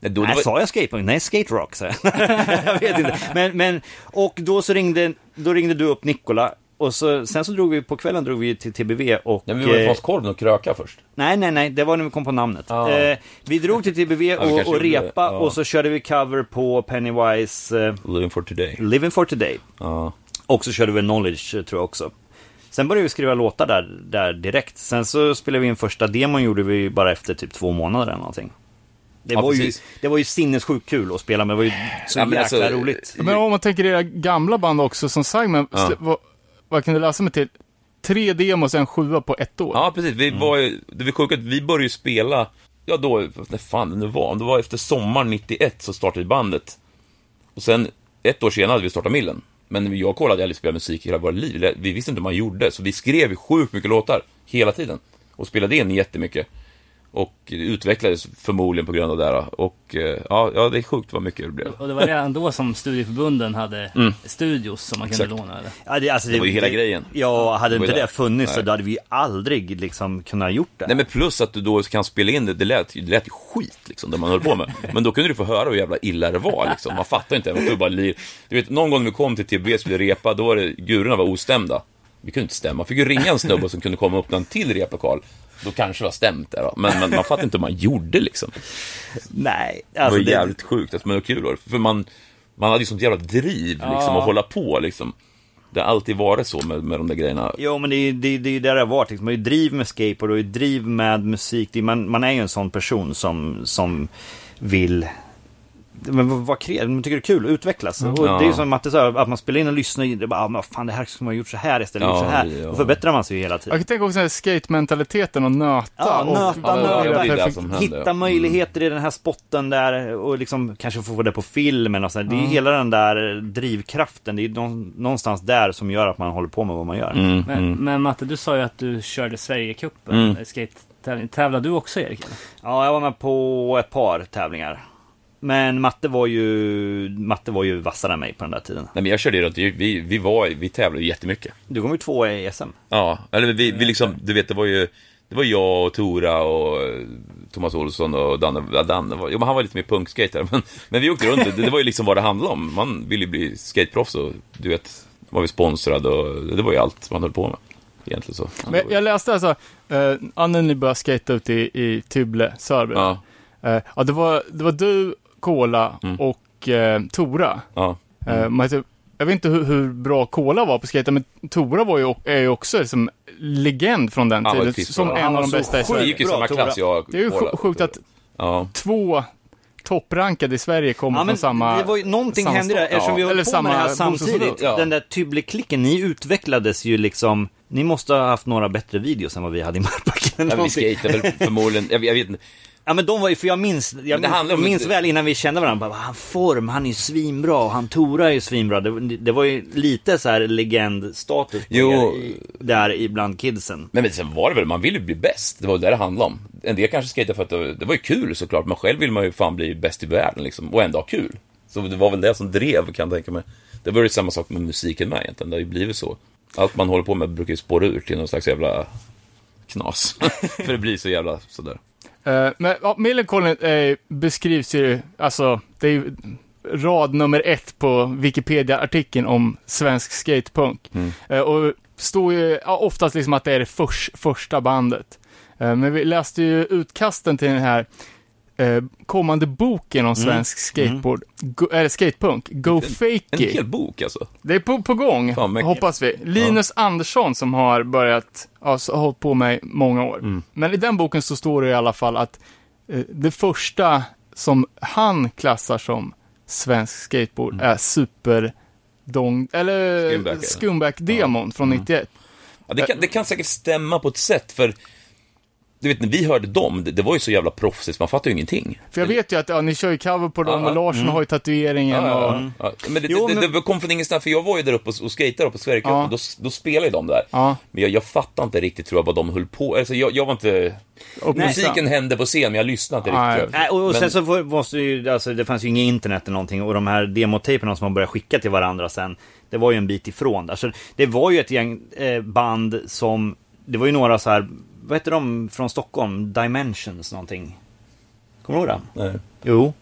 [SPEAKER 6] Nej, då, det
[SPEAKER 7] Nej,
[SPEAKER 6] var,
[SPEAKER 7] sa jag skatepunk? Nej, skaterock sa jag. jag vet inte. Men, men, och då så ringde, då ringde du upp Nikola. Och så, sen så drog vi, på kvällen drog vi till TBV och...
[SPEAKER 6] Nej, men vi var i
[SPEAKER 7] eh,
[SPEAKER 6] Fatskorven och kröka först.
[SPEAKER 7] Nej, nej, nej, det var när vi kom på namnet.
[SPEAKER 6] Ja.
[SPEAKER 7] Eh, vi drog till TBV
[SPEAKER 6] vi
[SPEAKER 7] och,
[SPEAKER 6] kanske
[SPEAKER 7] och
[SPEAKER 6] gjorde det.
[SPEAKER 7] repa
[SPEAKER 6] Ah. Ja.
[SPEAKER 7] och så körde vi cover på Pennywise eh,
[SPEAKER 6] Living for Today.
[SPEAKER 7] Living for Today.
[SPEAKER 6] Ja.
[SPEAKER 7] Och så körde vi Knowledge eh, tror jag också. Sen började vi skriva låtar där, där direkt. Sen så spelade vi in första demon gjorde vi bara efter typ två månader eller någonting. Det,
[SPEAKER 6] Ja,
[SPEAKER 7] var, ju,
[SPEAKER 6] precis.
[SPEAKER 7] det var ju sinnessjukt kul att spela men det var ju så
[SPEAKER 6] Ja, men
[SPEAKER 7] jäkla
[SPEAKER 6] alltså,
[SPEAKER 7] roligt.
[SPEAKER 3] Men om man tänker era gamla band också, som Simon,
[SPEAKER 6] Ja.
[SPEAKER 3] sl- vad, vad kan du läsa mig till? Tre demos och en sjua på ett år.
[SPEAKER 6] Ja, precis. Vi var ju, det var sjukt att vi började ju spela, ja då, när fan det nu var, om det var efter sommaren 91 så startade vi bandet. Och sen, ett år senare hade vi startat Millen. Men jag kollade aldrig spela musik i hela våra liv, vi visste inte hur man gjorde, så vi skrev ju sjukt mycket låtar, hela tiden. Och spelade in jättemycket. Och utvecklades förmodligen på grund av det här. Och eh, ja, ja, det är sjukt vad mycket det blev.
[SPEAKER 2] Och det var redan då som studieförbunden hade
[SPEAKER 7] Mm.
[SPEAKER 2] studios som man kunde låna. Eller?
[SPEAKER 7] Ja, det, alltså,
[SPEAKER 6] Det var ju hela grejen.
[SPEAKER 7] Ja, hade
[SPEAKER 6] Det var ju
[SPEAKER 7] inte det
[SPEAKER 6] där.
[SPEAKER 7] funnits så
[SPEAKER 6] Nej.
[SPEAKER 7] då hade vi ju aldrig liksom kunnat gjort det.
[SPEAKER 6] Nej men plus att du då kan spela in det, det lät, ju- det lät ju skit liksom det man höll på med. Men då kunde du få höra hur jävla illa det var liksom. Man fattar inte, man kunde bara lir. Du vet, någon gång när vi kom till TB och skulle repa, då var det, gurorna var ostämda. Vi kunde inte stämma, man fick ju ringa en snubbe som kunde komma upp till en till replokal. Då kanske det var stämt där va? men, men man fattar inte hur man gjorde liksom.
[SPEAKER 7] Nej,
[SPEAKER 6] Det
[SPEAKER 7] alltså
[SPEAKER 6] var
[SPEAKER 7] det,
[SPEAKER 6] jävligt sjukt, alltså, men det var kul var det. För man, man hade ju sånt jävla driv liksom att hålla på liksom. Det har alltid varit så med, med de där grejerna.
[SPEAKER 7] Jo, men det är ju det, är- det, är ju där det har varit. Liksom. Man är ju driv med skateboard och är driv med musik. Det är, man, man är ju en sån person som, som vill men vad- vad kreativ, man tycker det är kul att utvecklas. Och
[SPEAKER 6] Mm. Ja.
[SPEAKER 7] det är ju som Matte sa, att man spelar in och lyssnar, det är bara, ah, men vad fan det här skulle man ha gjort så här istället,
[SPEAKER 6] Ja,
[SPEAKER 7] gjort så här.
[SPEAKER 6] ja.
[SPEAKER 7] Då förbättrar man sig ju hela
[SPEAKER 3] Jag
[SPEAKER 7] tiden.
[SPEAKER 3] kan tänka också den här skate-mentaliteten och nöta.
[SPEAKER 7] Ja,
[SPEAKER 3] och,
[SPEAKER 7] nöta,
[SPEAKER 3] och-
[SPEAKER 7] nöta.
[SPEAKER 3] och-
[SPEAKER 6] det är det
[SPEAKER 3] perfekt-
[SPEAKER 6] som händer. Mm.
[SPEAKER 7] Hitta möjligheter i den här spotten där och liksom kanske få det på filmen och sådär. Det är ju hela den där drivkraften, det är ju nå- någonstans där som gör att man håller på med vad man gör.
[SPEAKER 6] Mm,
[SPEAKER 2] Men,
[SPEAKER 6] mm.
[SPEAKER 2] men Matte, du sa ju att du körde Sverigecupen,
[SPEAKER 6] Mm.
[SPEAKER 2] skate-tävling. Tävlar du också Erik? eller?
[SPEAKER 7] Ja, jag var med på ett par tävlingar. Men matte var ju, matte var ju vassare än mig på den där tiden.
[SPEAKER 6] Nej, men jag körde ju runt, vi, vi, var, vi tävlade ju jättemycket.
[SPEAKER 7] Du kom ju tvåa i SM.
[SPEAKER 6] Ja, eller vi,
[SPEAKER 3] Eh,
[SPEAKER 6] vi liksom, du vet, det var ju det var jag och Tora och eh, Thomas Olsson och Danne, ja, Danne var, jo, men han var lite mer punkskater, men, men vi åkte runt, det, det var ju liksom vad det handlade om. Man ville ju bli skateproffs och du vet, var vi sponsrade och det var ju allt man höll på med. Egentligen så. Ja, det
[SPEAKER 3] Men
[SPEAKER 6] var ju-
[SPEAKER 3] jag läste alltså, eh, Annie ni började skata ute i, i Tybble, Sörby. Ja.
[SPEAKER 6] Ja,
[SPEAKER 3] Eh, ja, det var, det var du, Kola
[SPEAKER 6] Mm.
[SPEAKER 3] och eh, Tora.
[SPEAKER 6] ja.
[SPEAKER 3] Eh, man heter, jag vet inte hur, hur bra Kola var på skater, men Tora var ju, o- är ju också liksom, legend från den
[SPEAKER 6] Han var
[SPEAKER 3] tiden.
[SPEAKER 6] pissbra.
[SPEAKER 3] Som
[SPEAKER 6] Han
[SPEAKER 3] en av de
[SPEAKER 7] så
[SPEAKER 3] bästa i
[SPEAKER 7] sjuk.
[SPEAKER 6] Vi
[SPEAKER 3] Sverige.
[SPEAKER 6] gick ju i
[SPEAKER 7] Bra,
[SPEAKER 6] samma
[SPEAKER 7] Tora.
[SPEAKER 6] klass, jag och
[SPEAKER 3] Det är ju
[SPEAKER 6] Paula.
[SPEAKER 3] sj- sjukt att
[SPEAKER 6] Ja,
[SPEAKER 3] två topprankade i Sverige kommer
[SPEAKER 7] Ja, men
[SPEAKER 3] från samma...
[SPEAKER 7] det var ju, någonting
[SPEAKER 3] samma
[SPEAKER 7] hände där,
[SPEAKER 3] stad.
[SPEAKER 7] eftersom vi
[SPEAKER 3] Ja,
[SPEAKER 7] höll
[SPEAKER 3] eller
[SPEAKER 7] på
[SPEAKER 3] samma
[SPEAKER 7] med det här
[SPEAKER 3] bostadsområde.
[SPEAKER 7] samtidigt.
[SPEAKER 6] Ja.
[SPEAKER 7] Den där Tybble-klicken, ni utvecklades ju liksom, ni måste ha haft några bättre videos än vad vi hade i Markbacken. eller
[SPEAKER 6] Nej, men vi
[SPEAKER 7] någonting.
[SPEAKER 6] skejtade väl förmodligen, jag, jag vet inte.
[SPEAKER 7] Ja men de var ju, för jag minns, jag
[SPEAKER 6] det handlar
[SPEAKER 7] minns,
[SPEAKER 6] om-
[SPEAKER 7] minns väl innan vi kände varandra, bara, han form, han är ju svinbra, och han Tora är ju svinbra. Det, det var ju lite så här legendstatus på
[SPEAKER 6] Jo.
[SPEAKER 7] er i- där ibland kidsen.
[SPEAKER 6] Men, men sen var det väl, man ville ju bli bäst. Det var det det handlade om. En del kanske skejtade för att det, var- det var ju kul såklart, men själv vill man ju fan bli bäst i världen liksom, och ändå ha kul. Så det var väl det som drev, kan jag tänka mig. Det var ju samma sak med musiken med egentligen, det har ju blivit så. Allt man håller på med brukar ju spåra ur till någon slags jävla knas. för det blir så jävla sådär.
[SPEAKER 3] Eh, men ja, Millencolin eh, beskrivs ju, alltså, det är ju rad nummer ett på Wikipedia-artikeln om svensk skatepunk.
[SPEAKER 6] Mm.
[SPEAKER 3] Eh, och står ju ja, oftast liksom att det är det förs- första bandet. Eh, men vi läste ju utkasten till den här eh, kommande boken om svensk skateboard, go, eller skatepunk, Go
[SPEAKER 6] Mm. En
[SPEAKER 3] Fakey.
[SPEAKER 6] hel bok alltså.
[SPEAKER 3] Det är på, på gång,
[SPEAKER 6] Fan, men-
[SPEAKER 3] hoppas vi. Linus Andersson som har börjat, alltså, har hållit på med i många år.
[SPEAKER 6] Mm.
[SPEAKER 3] Men i den boken så står det i alla fall att eh, det första som han klassar som svensk skateboard är super dong, eller
[SPEAKER 6] Scumbag, Mm. eller? Mm.
[SPEAKER 3] skumback-demon från 91.
[SPEAKER 6] Ja, det, kan, det kan säkert stämma på ett sätt, för du vet, när vi hörde dem, det, det var ju så jävla proffsigt, man fattade ju ingenting.
[SPEAKER 3] För jag vet ju att ja, ni kör ju cover på dem
[SPEAKER 6] Ja, Mm.
[SPEAKER 3] och Larsson har ju tatueringen
[SPEAKER 6] Ja,
[SPEAKER 3] och...
[SPEAKER 6] ja, ja. Ja, Men det,
[SPEAKER 7] Jo,
[SPEAKER 6] det,
[SPEAKER 7] men-
[SPEAKER 6] det, det kom från ingenstans, för jag var ju där uppe och, och skejtade uppe på Sverigecupen,
[SPEAKER 3] Ja.
[SPEAKER 6] då, då spelade ju de där.
[SPEAKER 3] Ja.
[SPEAKER 6] Men jag, jag fattade inte riktigt tror jag vad de höll på, alltså jag, jag var inte... Musiken hände på scen, men jag lyssnade inte
[SPEAKER 3] Nej.
[SPEAKER 6] riktigt. tror jag.
[SPEAKER 7] Nej, och, och sen
[SPEAKER 6] Men-
[SPEAKER 7] så får- måste ju, alltså det fanns ju inget internet eller någonting och de här demotejperna som man började skicka till varandra sen, det var ju en bit ifrån där. Så det var ju ett gäng eh, band som, det var ju några så här, vad heter de från Stockholm? Dimensions någonting. Kommer du ihåg det?
[SPEAKER 6] Nej.
[SPEAKER 7] Jo.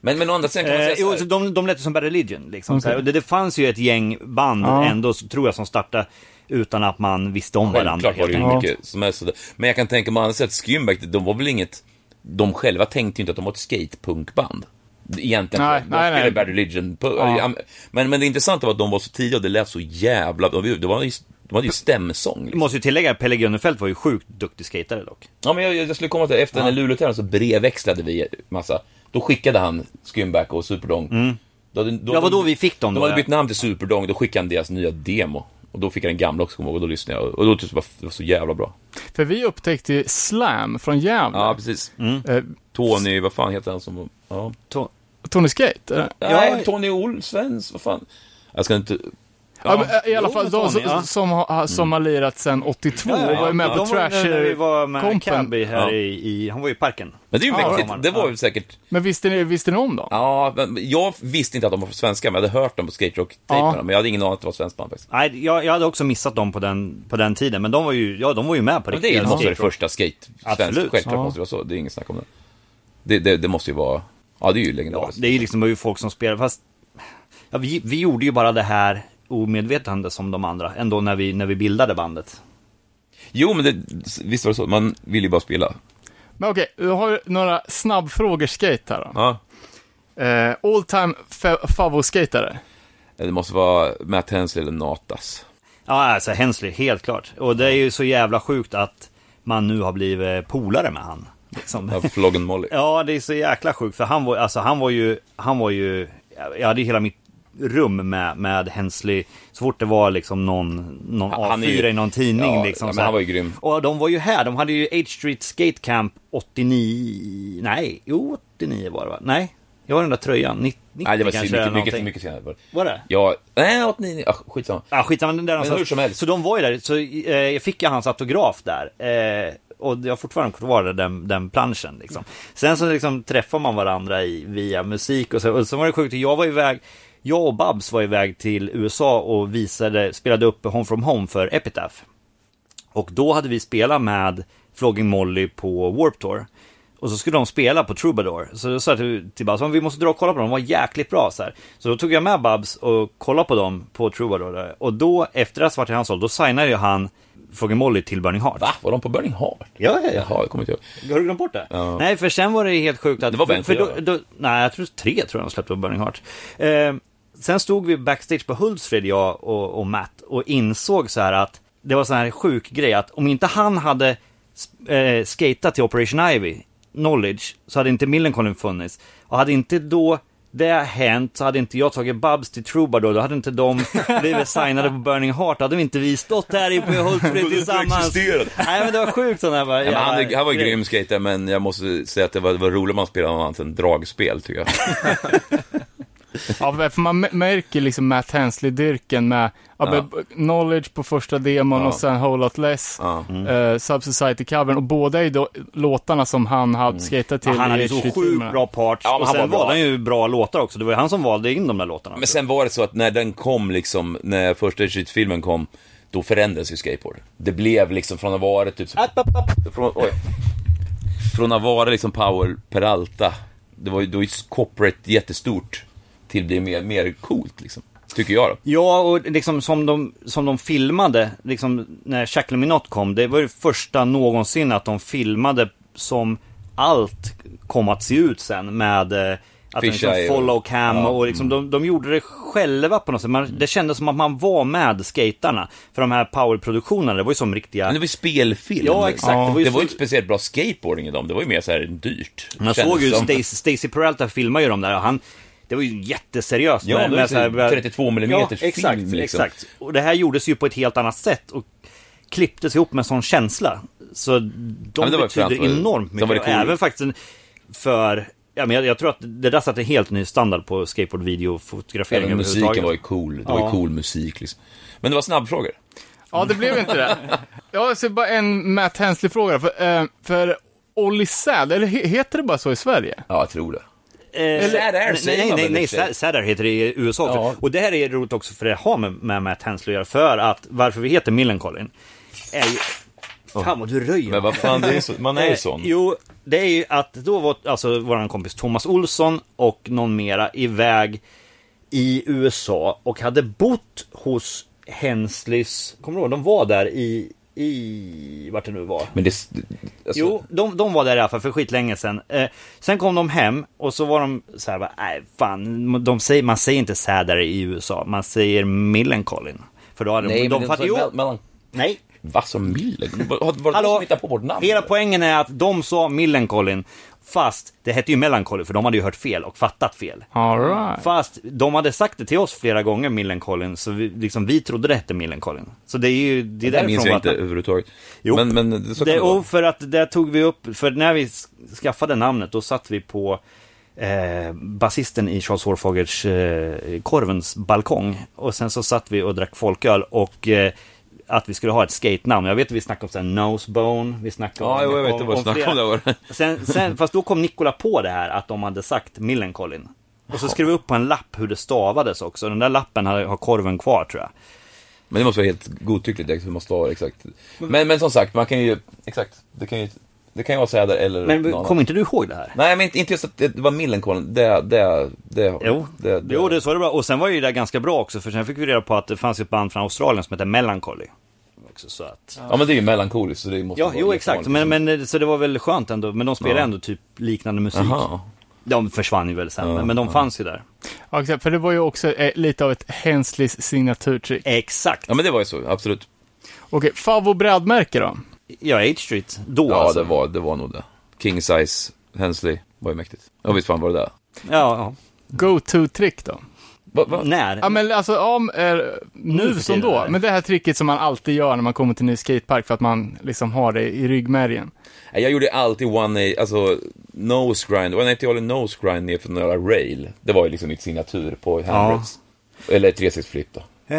[SPEAKER 6] Men, men å andra sidan kan man
[SPEAKER 7] Eh,
[SPEAKER 6] säga så
[SPEAKER 7] jo,
[SPEAKER 6] här,
[SPEAKER 7] så de, de lät ju som Bad Religion. Liksom,
[SPEAKER 3] Okej.
[SPEAKER 7] så här. Och det, det fanns ju ett gäng band
[SPEAKER 3] Ja.
[SPEAKER 7] ändå, så, tror jag, som startade utan att man visste om varandra.
[SPEAKER 6] Självklart var det ju
[SPEAKER 3] helt enkelt.
[SPEAKER 6] mycket som är sådär. Men jag kan tänka mig annars att Skymback, de var väl inget... De själva tänkte ju inte att de var ett skatepunkband. Egentligen.
[SPEAKER 3] Nej,
[SPEAKER 6] de
[SPEAKER 3] nej,
[SPEAKER 6] spelade
[SPEAKER 3] nej.
[SPEAKER 6] Bad Religion. På, men, men det intressanta var att de var så tidiga och det lät så jävla... De, de, var ju, de hade ju stämsång.
[SPEAKER 7] Jag
[SPEAKER 6] Liksom.
[SPEAKER 7] måste ju tillägga att Pelle Grönefelt var ju sjukt duktig skatare dock.
[SPEAKER 6] Ja, men jag, jag skulle komma till det. Efter den här Luleå-tävlingen så brevväxlade vi massa. Då skickade han Skymback och Superdong. Då, hade-
[SPEAKER 7] Ja, vad då vi fick dem
[SPEAKER 6] De
[SPEAKER 7] då?
[SPEAKER 6] hade
[SPEAKER 7] ja.
[SPEAKER 6] bytt namn till Superdong, då skickade han deras nya demo. Och då fick jag den gamla också, kommer jag ihåg, och då lyssnade jag. Och då tyckte jag bara, det var så jävla bra.
[SPEAKER 3] För vi upptäckte ju Slam från Gävle.
[SPEAKER 6] Ja, precis.
[SPEAKER 3] Eh,
[SPEAKER 6] Tony, vad fan heter han som var... Ja.
[SPEAKER 7] To-
[SPEAKER 3] Tony Skate? eller?
[SPEAKER 6] Nej, Tony Olsvens, vad fan. Jag ska inte...
[SPEAKER 3] Ja, men, eh, I alla
[SPEAKER 7] jo,
[SPEAKER 3] fall
[SPEAKER 7] men
[SPEAKER 3] de
[SPEAKER 7] Tony,
[SPEAKER 3] som,
[SPEAKER 7] ja. Mm.
[SPEAKER 3] som, har, som har lirat sedan 82
[SPEAKER 7] Ja, ja,
[SPEAKER 3] var ju med
[SPEAKER 6] ja.
[SPEAKER 3] på
[SPEAKER 7] De var ju när vi var med
[SPEAKER 3] Trasher-kompen.
[SPEAKER 7] Cabby här
[SPEAKER 6] Ja.
[SPEAKER 7] i, i, han var ju i parken.
[SPEAKER 6] Men det är ju
[SPEAKER 7] Ja,
[SPEAKER 6] mäktigt,
[SPEAKER 7] ja.
[SPEAKER 6] det var
[SPEAKER 7] Ja.
[SPEAKER 6] ju säkert...
[SPEAKER 3] Men visste ni, visste ni om dem?
[SPEAKER 6] Ja, men jag visste inte att de var svenska, men jag hade hört dem på skaterock-tejperna,
[SPEAKER 3] Ja.
[SPEAKER 6] men jag hade ingen aning att det var svenskt band faktiskt.
[SPEAKER 7] Nej, jag, jag hade också missat dem på den, på den tiden, men de var ju, ja, de var ju med på
[SPEAKER 6] Men det är
[SPEAKER 7] riktiga
[SPEAKER 6] ju måste vara det
[SPEAKER 7] skateboard.
[SPEAKER 6] första skate
[SPEAKER 7] Absolut.
[SPEAKER 6] svenskt, självklart
[SPEAKER 3] Ja.
[SPEAKER 6] måste det vara så, det är inget snack om det. Det, det, det måste ju vara... Ja, det är ju
[SPEAKER 7] Ja,
[SPEAKER 6] legendariskt.
[SPEAKER 7] det är ju liksom det var ju folk som spelade, fast ja, vi, vi gjorde ju bara det här omedvetande som de andra, ändå när vi, när vi bildade bandet.
[SPEAKER 6] Jo, men det, visst var det så, man vill ju bara spela.
[SPEAKER 3] Men okej, jag har några snabbfrågor skate här då.
[SPEAKER 6] Ja.
[SPEAKER 3] Eh, all time fa- favoritskatare?
[SPEAKER 6] Det måste vara Matt Hensley eller Natas.
[SPEAKER 7] Ja, alltså Hensley, helt klart. Och det är ju så jävla sjukt att man nu har blivit polare med han. Liksom.
[SPEAKER 6] Ja, Floggen Molly.
[SPEAKER 7] Ja, det är så jäkla sjukt. För han var, alltså, han var ju, han var ju, jag hade ju hela mitt rum med, med Hensley. Så fort det var liksom någon, någon
[SPEAKER 6] Han- han är
[SPEAKER 7] A4
[SPEAKER 6] ju-
[SPEAKER 7] i någon tidning
[SPEAKER 6] Ja,
[SPEAKER 7] liksom.
[SPEAKER 6] ja, men
[SPEAKER 7] så här.
[SPEAKER 6] han var ju grym.
[SPEAKER 7] Och de var ju här, de hade ju 8 Street Skate Camp 89, nej, jo 89 var det va? Nej, jag har den där tröjan, 90,
[SPEAKER 6] Nej, det var
[SPEAKER 7] kanske
[SPEAKER 6] synd. mycket,
[SPEAKER 7] eller
[SPEAKER 6] mycket,
[SPEAKER 7] någonting.
[SPEAKER 6] mycket senare. var det.
[SPEAKER 7] Var det?
[SPEAKER 6] Ja, nej, 89, ah, skitsamma.
[SPEAKER 7] Ja, skitsamma, den där någonstans.
[SPEAKER 6] hur som helst.
[SPEAKER 7] Så de var ju där, så eh, jag fick ju hans autograf där. Eh, och jag har fortfarande kvar den, den planschen liksom. Sen så liksom träffar man varandra i, via musik och så. Och så var det sjukt, jag var iväg, jag och Babs var iväg till USA och visade, spelade upp Home from Home för Epitaph. Och då hade vi spelat med Flogging Molly på Warp Tour. Och så skulle de spela på Troubadour. Så då sa jag till, till Babs, "Men vi måste dra och kolla på dem, de var jäkligt bra. Så, här. så då tog jag med Babs och kollade på dem på Troubadour. där. Och då, efter att ha varit i hans håll, då signade ju han Flogging Molly till Burning Heart.
[SPEAKER 6] Va? Var de på Burning Heart?
[SPEAKER 7] Ja, ja, ja.
[SPEAKER 6] Jaha, jag kommer inte ihåg.
[SPEAKER 7] Har du glömt bort det? Nej, för sen var det helt sjukt att...
[SPEAKER 6] Det var
[SPEAKER 7] för,
[SPEAKER 6] Bent
[SPEAKER 7] för
[SPEAKER 6] och
[SPEAKER 7] då,
[SPEAKER 6] jag,
[SPEAKER 7] då, Nej, jag tror tre tror jag de släppte på Burning Heart. Eh, sen stod vi backstage på Hultsfred, jag och, och Matt, och insåg så här att det var så här sjuk grej att om inte han hade eh, skatat till Operation Ivy, Knowledge, så hade inte Millencolin funnits. Och hade inte då det hänt så hade inte jag tagit Babs till Troubadour, då hade inte de blivit signade på Burning Heart, då hade vi inte vi stått här i på Hultsfred tillsammans.
[SPEAKER 6] existerat.
[SPEAKER 7] Nej men det var sjukt sådana här bara,
[SPEAKER 6] Ja, men han, är- han var ju
[SPEAKER 7] jävla-
[SPEAKER 6] grym skater, men jag måste säga att det var, det var roligare om han spelade något annat än dragspel, tycker jag.
[SPEAKER 3] Ja, för man m- märker liksom Matt Hensley-dyrken med ja.
[SPEAKER 6] Ja.
[SPEAKER 3] b- Knowledge på första demon
[SPEAKER 6] Ja.
[SPEAKER 3] och sen Whole Lot Less,
[SPEAKER 6] Ja.
[SPEAKER 7] Mm.
[SPEAKER 3] eh, Subsociety covern och båda är ju då låtarna som han
[SPEAKER 7] Mm.
[SPEAKER 3] hade skejtat till
[SPEAKER 7] Ja, han hade
[SPEAKER 3] i
[SPEAKER 7] ju så
[SPEAKER 3] 20
[SPEAKER 7] sjukt
[SPEAKER 3] timmar.
[SPEAKER 7] bra parts
[SPEAKER 6] Ja, men
[SPEAKER 7] och
[SPEAKER 6] han
[SPEAKER 7] sen
[SPEAKER 6] var bra.
[SPEAKER 7] valde han ju bra låtar också. Det var ju han som valde in de där låtarna.
[SPEAKER 6] Men sen var det så att när den kom, liksom, när första Street-filmen kom, då förändrades ju skateboard. Det blev liksom från att vara typ... Så, från, oj. från att vara liksom power peralta, det var ju då är ju corporate jättestort, till att bli mer, mer coolt liksom. Tycker jag då.
[SPEAKER 7] Ja, och liksom som de, som de filmade, liksom när Shackle Minot kom, det var det första någonsin att de filmade som allt kom att se ut sen med eh, att de liksom
[SPEAKER 6] Fisheye och-
[SPEAKER 7] follow cam
[SPEAKER 6] Ja.
[SPEAKER 7] och liksom de, de gjorde det själva på något sätt. Man, det kändes som att man var med skaterna För de här powerproduktionerna, det var ju som riktiga...
[SPEAKER 6] Men det var ju spelfilm.
[SPEAKER 7] Ja, exakt.
[SPEAKER 6] Det var ju,
[SPEAKER 7] så-
[SPEAKER 6] inte speciellt bra skateboarding i dem, det var ju mer så här dyrt.
[SPEAKER 7] Man
[SPEAKER 6] kändes
[SPEAKER 7] såg ju
[SPEAKER 6] som.
[SPEAKER 7] Stacy, Stacy Peralta filmade ju dem där och han det var ju jätteseriöst.
[SPEAKER 6] Ja, det var ju
[SPEAKER 7] så här-
[SPEAKER 6] 32 millimeters film,
[SPEAKER 7] exakt,
[SPEAKER 6] liksom.
[SPEAKER 7] exakt. Och det här gjordes ju på ett helt annat sätt och klipptes ihop med sån känsla. Så
[SPEAKER 6] Ja,
[SPEAKER 7] de
[SPEAKER 6] men det var
[SPEAKER 7] betyder
[SPEAKER 6] fränt, var det-
[SPEAKER 7] enormt
[SPEAKER 6] de
[SPEAKER 7] mycket.
[SPEAKER 6] var det
[SPEAKER 7] Och
[SPEAKER 6] coola.
[SPEAKER 7] Även faktiskt en- för, ja, men jag, jag tror att det där satte en helt ny standard på
[SPEAKER 6] Ja,
[SPEAKER 7] skateboardvideofotografering
[SPEAKER 6] men musiken var ju cool, det var ju cool musik liksom. Men det var snabbfrågor.
[SPEAKER 3] Ja, det blev inte det. Ja, så bara en Matt Hensley-fråga. För, eh, för Olli Säd, eller he- heter det bara så i Sverige?
[SPEAKER 6] Ja, jag tror det.
[SPEAKER 7] Eh,
[SPEAKER 6] Sad Air säger
[SPEAKER 7] nej,
[SPEAKER 6] man
[SPEAKER 7] nej,
[SPEAKER 6] väl i
[SPEAKER 7] nej,
[SPEAKER 6] och för sig?
[SPEAKER 7] Sad- Sad Air heter det i USA också.
[SPEAKER 6] Ja.
[SPEAKER 7] Och det här är roligt också för det har med, med Matt Hensley att göra. För att varför vi heter Millencolin är ju... Fan vad du röjer.
[SPEAKER 6] Men vad fan, det är så, man är ju
[SPEAKER 7] Eh,
[SPEAKER 6] sån.
[SPEAKER 7] Jo, det är ju att då var alltså våran kompis Thomas Olsson och någon mera iväg i USA och hade bott hos Hensleys, kommer du ihåg, de var där i, i, vart det nu var.
[SPEAKER 6] Men det... Alltså,
[SPEAKER 7] Jo, de, de var där i alla fall för skitlänge sedan. Eh, sen kom de hem och så var de så här, bara, nej fan, de säger, man säger inte sädare i USA, man säger Millencolin. För då hade de,
[SPEAKER 6] Nej,
[SPEAKER 7] de
[SPEAKER 6] men
[SPEAKER 7] fatt-
[SPEAKER 6] så-
[SPEAKER 7] jo,
[SPEAKER 6] mell- mellan-
[SPEAKER 7] nej.
[SPEAKER 6] Vad som Miller? Var var det du
[SPEAKER 7] Hallå,
[SPEAKER 6] som hittade på vårt namn?
[SPEAKER 7] hela poängen är att de sa Millencolin, fast det hette ju Melancholy, för de hade ju hört fel och fattat fel.
[SPEAKER 3] All right.
[SPEAKER 7] Fast de hade sagt det till oss flera gånger, Millencolin, så vi, liksom, vi trodde det hette Millencolin. Så det är ju, det är
[SPEAKER 6] det där minns
[SPEAKER 7] därifrån
[SPEAKER 6] jag
[SPEAKER 7] att-
[SPEAKER 6] inte överhuvudtaget.
[SPEAKER 7] Jo.
[SPEAKER 6] Men, men det, så kan det,
[SPEAKER 7] det,
[SPEAKER 6] vara.
[SPEAKER 7] och för att det tog vi upp, för när vi s- skaffade namnet då satt vi på eh, basisten i Charles Hårfagers eh, Korvens balkong. Och sen så satt vi och drack folköl och eh, att vi skulle ha ett skate-namn. Jag vet att vi snackade om så här Nosebone, vi snackade
[SPEAKER 6] Ja,
[SPEAKER 7] om...
[SPEAKER 6] jo, jag vet, det var snack om
[SPEAKER 7] flera-
[SPEAKER 6] det var det.
[SPEAKER 7] Sen, sen, fast då kom Nikola på det här att de hade sagt Millencolin. Och så skrev vi upp på en lapp hur det stavades också. Den där lappen har, har korven kvar tror jag.
[SPEAKER 6] Men det måste vara helt godtyckligt, det måste vara exakt. Men, men som sagt, man kan ju... Exakt, det kan ju, det kan ju vara Säder eller
[SPEAKER 7] Men
[SPEAKER 6] någon
[SPEAKER 7] kom
[SPEAKER 6] annan.
[SPEAKER 7] inte du ihåg det här?
[SPEAKER 6] Nej, men inte, inte just att det var Millencolin. Det, det, det,
[SPEAKER 7] Jo,
[SPEAKER 6] det, det.
[SPEAKER 7] jo det, så var det bra. Och sen var ju det där ganska bra också, för sen fick vi reda på att det fanns ju ett band från Australien som hette Melancholy. Också, så att...
[SPEAKER 6] Ja, men det är ju melankoliskt, så det måste
[SPEAKER 7] Ja,
[SPEAKER 6] vara
[SPEAKER 7] jo exakt.
[SPEAKER 6] jättevanligt.
[SPEAKER 7] Men, men, eh, så det var väl skönt ändå, men de spelade
[SPEAKER 6] Ja.
[SPEAKER 7] ändå typ liknande musik.
[SPEAKER 6] Jaha.
[SPEAKER 7] De försvann ju väl sen, men- men de fanns ju där.
[SPEAKER 3] Ja, exakt. För det var ju också eh, lite av ett Hensleys signaturtrick.
[SPEAKER 7] Exakt.
[SPEAKER 6] Ja, men det var ju så, absolut.
[SPEAKER 3] Okej, favoritbrädmärke då?
[SPEAKER 7] Ja, 8 Street. Då
[SPEAKER 6] Ja,
[SPEAKER 7] alltså.
[SPEAKER 6] det var, det var nog det. King size Hensley var ju mäktigt. Ja, visst fan var det där.
[SPEAKER 7] Ja,
[SPEAKER 3] Go-to-trick då?
[SPEAKER 6] Va,
[SPEAKER 7] ja.
[SPEAKER 6] va?
[SPEAKER 7] När?
[SPEAKER 3] Ja, men alltså om, eh, nu
[SPEAKER 7] för
[SPEAKER 3] som
[SPEAKER 7] tiden,
[SPEAKER 3] då.
[SPEAKER 7] eller?
[SPEAKER 3] Men det här tricket som man alltid gör när man kommer till en ny skatepark för att man liksom har det i ryggmärgen.
[SPEAKER 6] Nej, Jag gjorde alltid one alltså nose grind, 180 eller nose grind ner för några rail. Det var ju liksom mitt signatur på handbrakes. Eller 36 flip då.
[SPEAKER 7] Eh,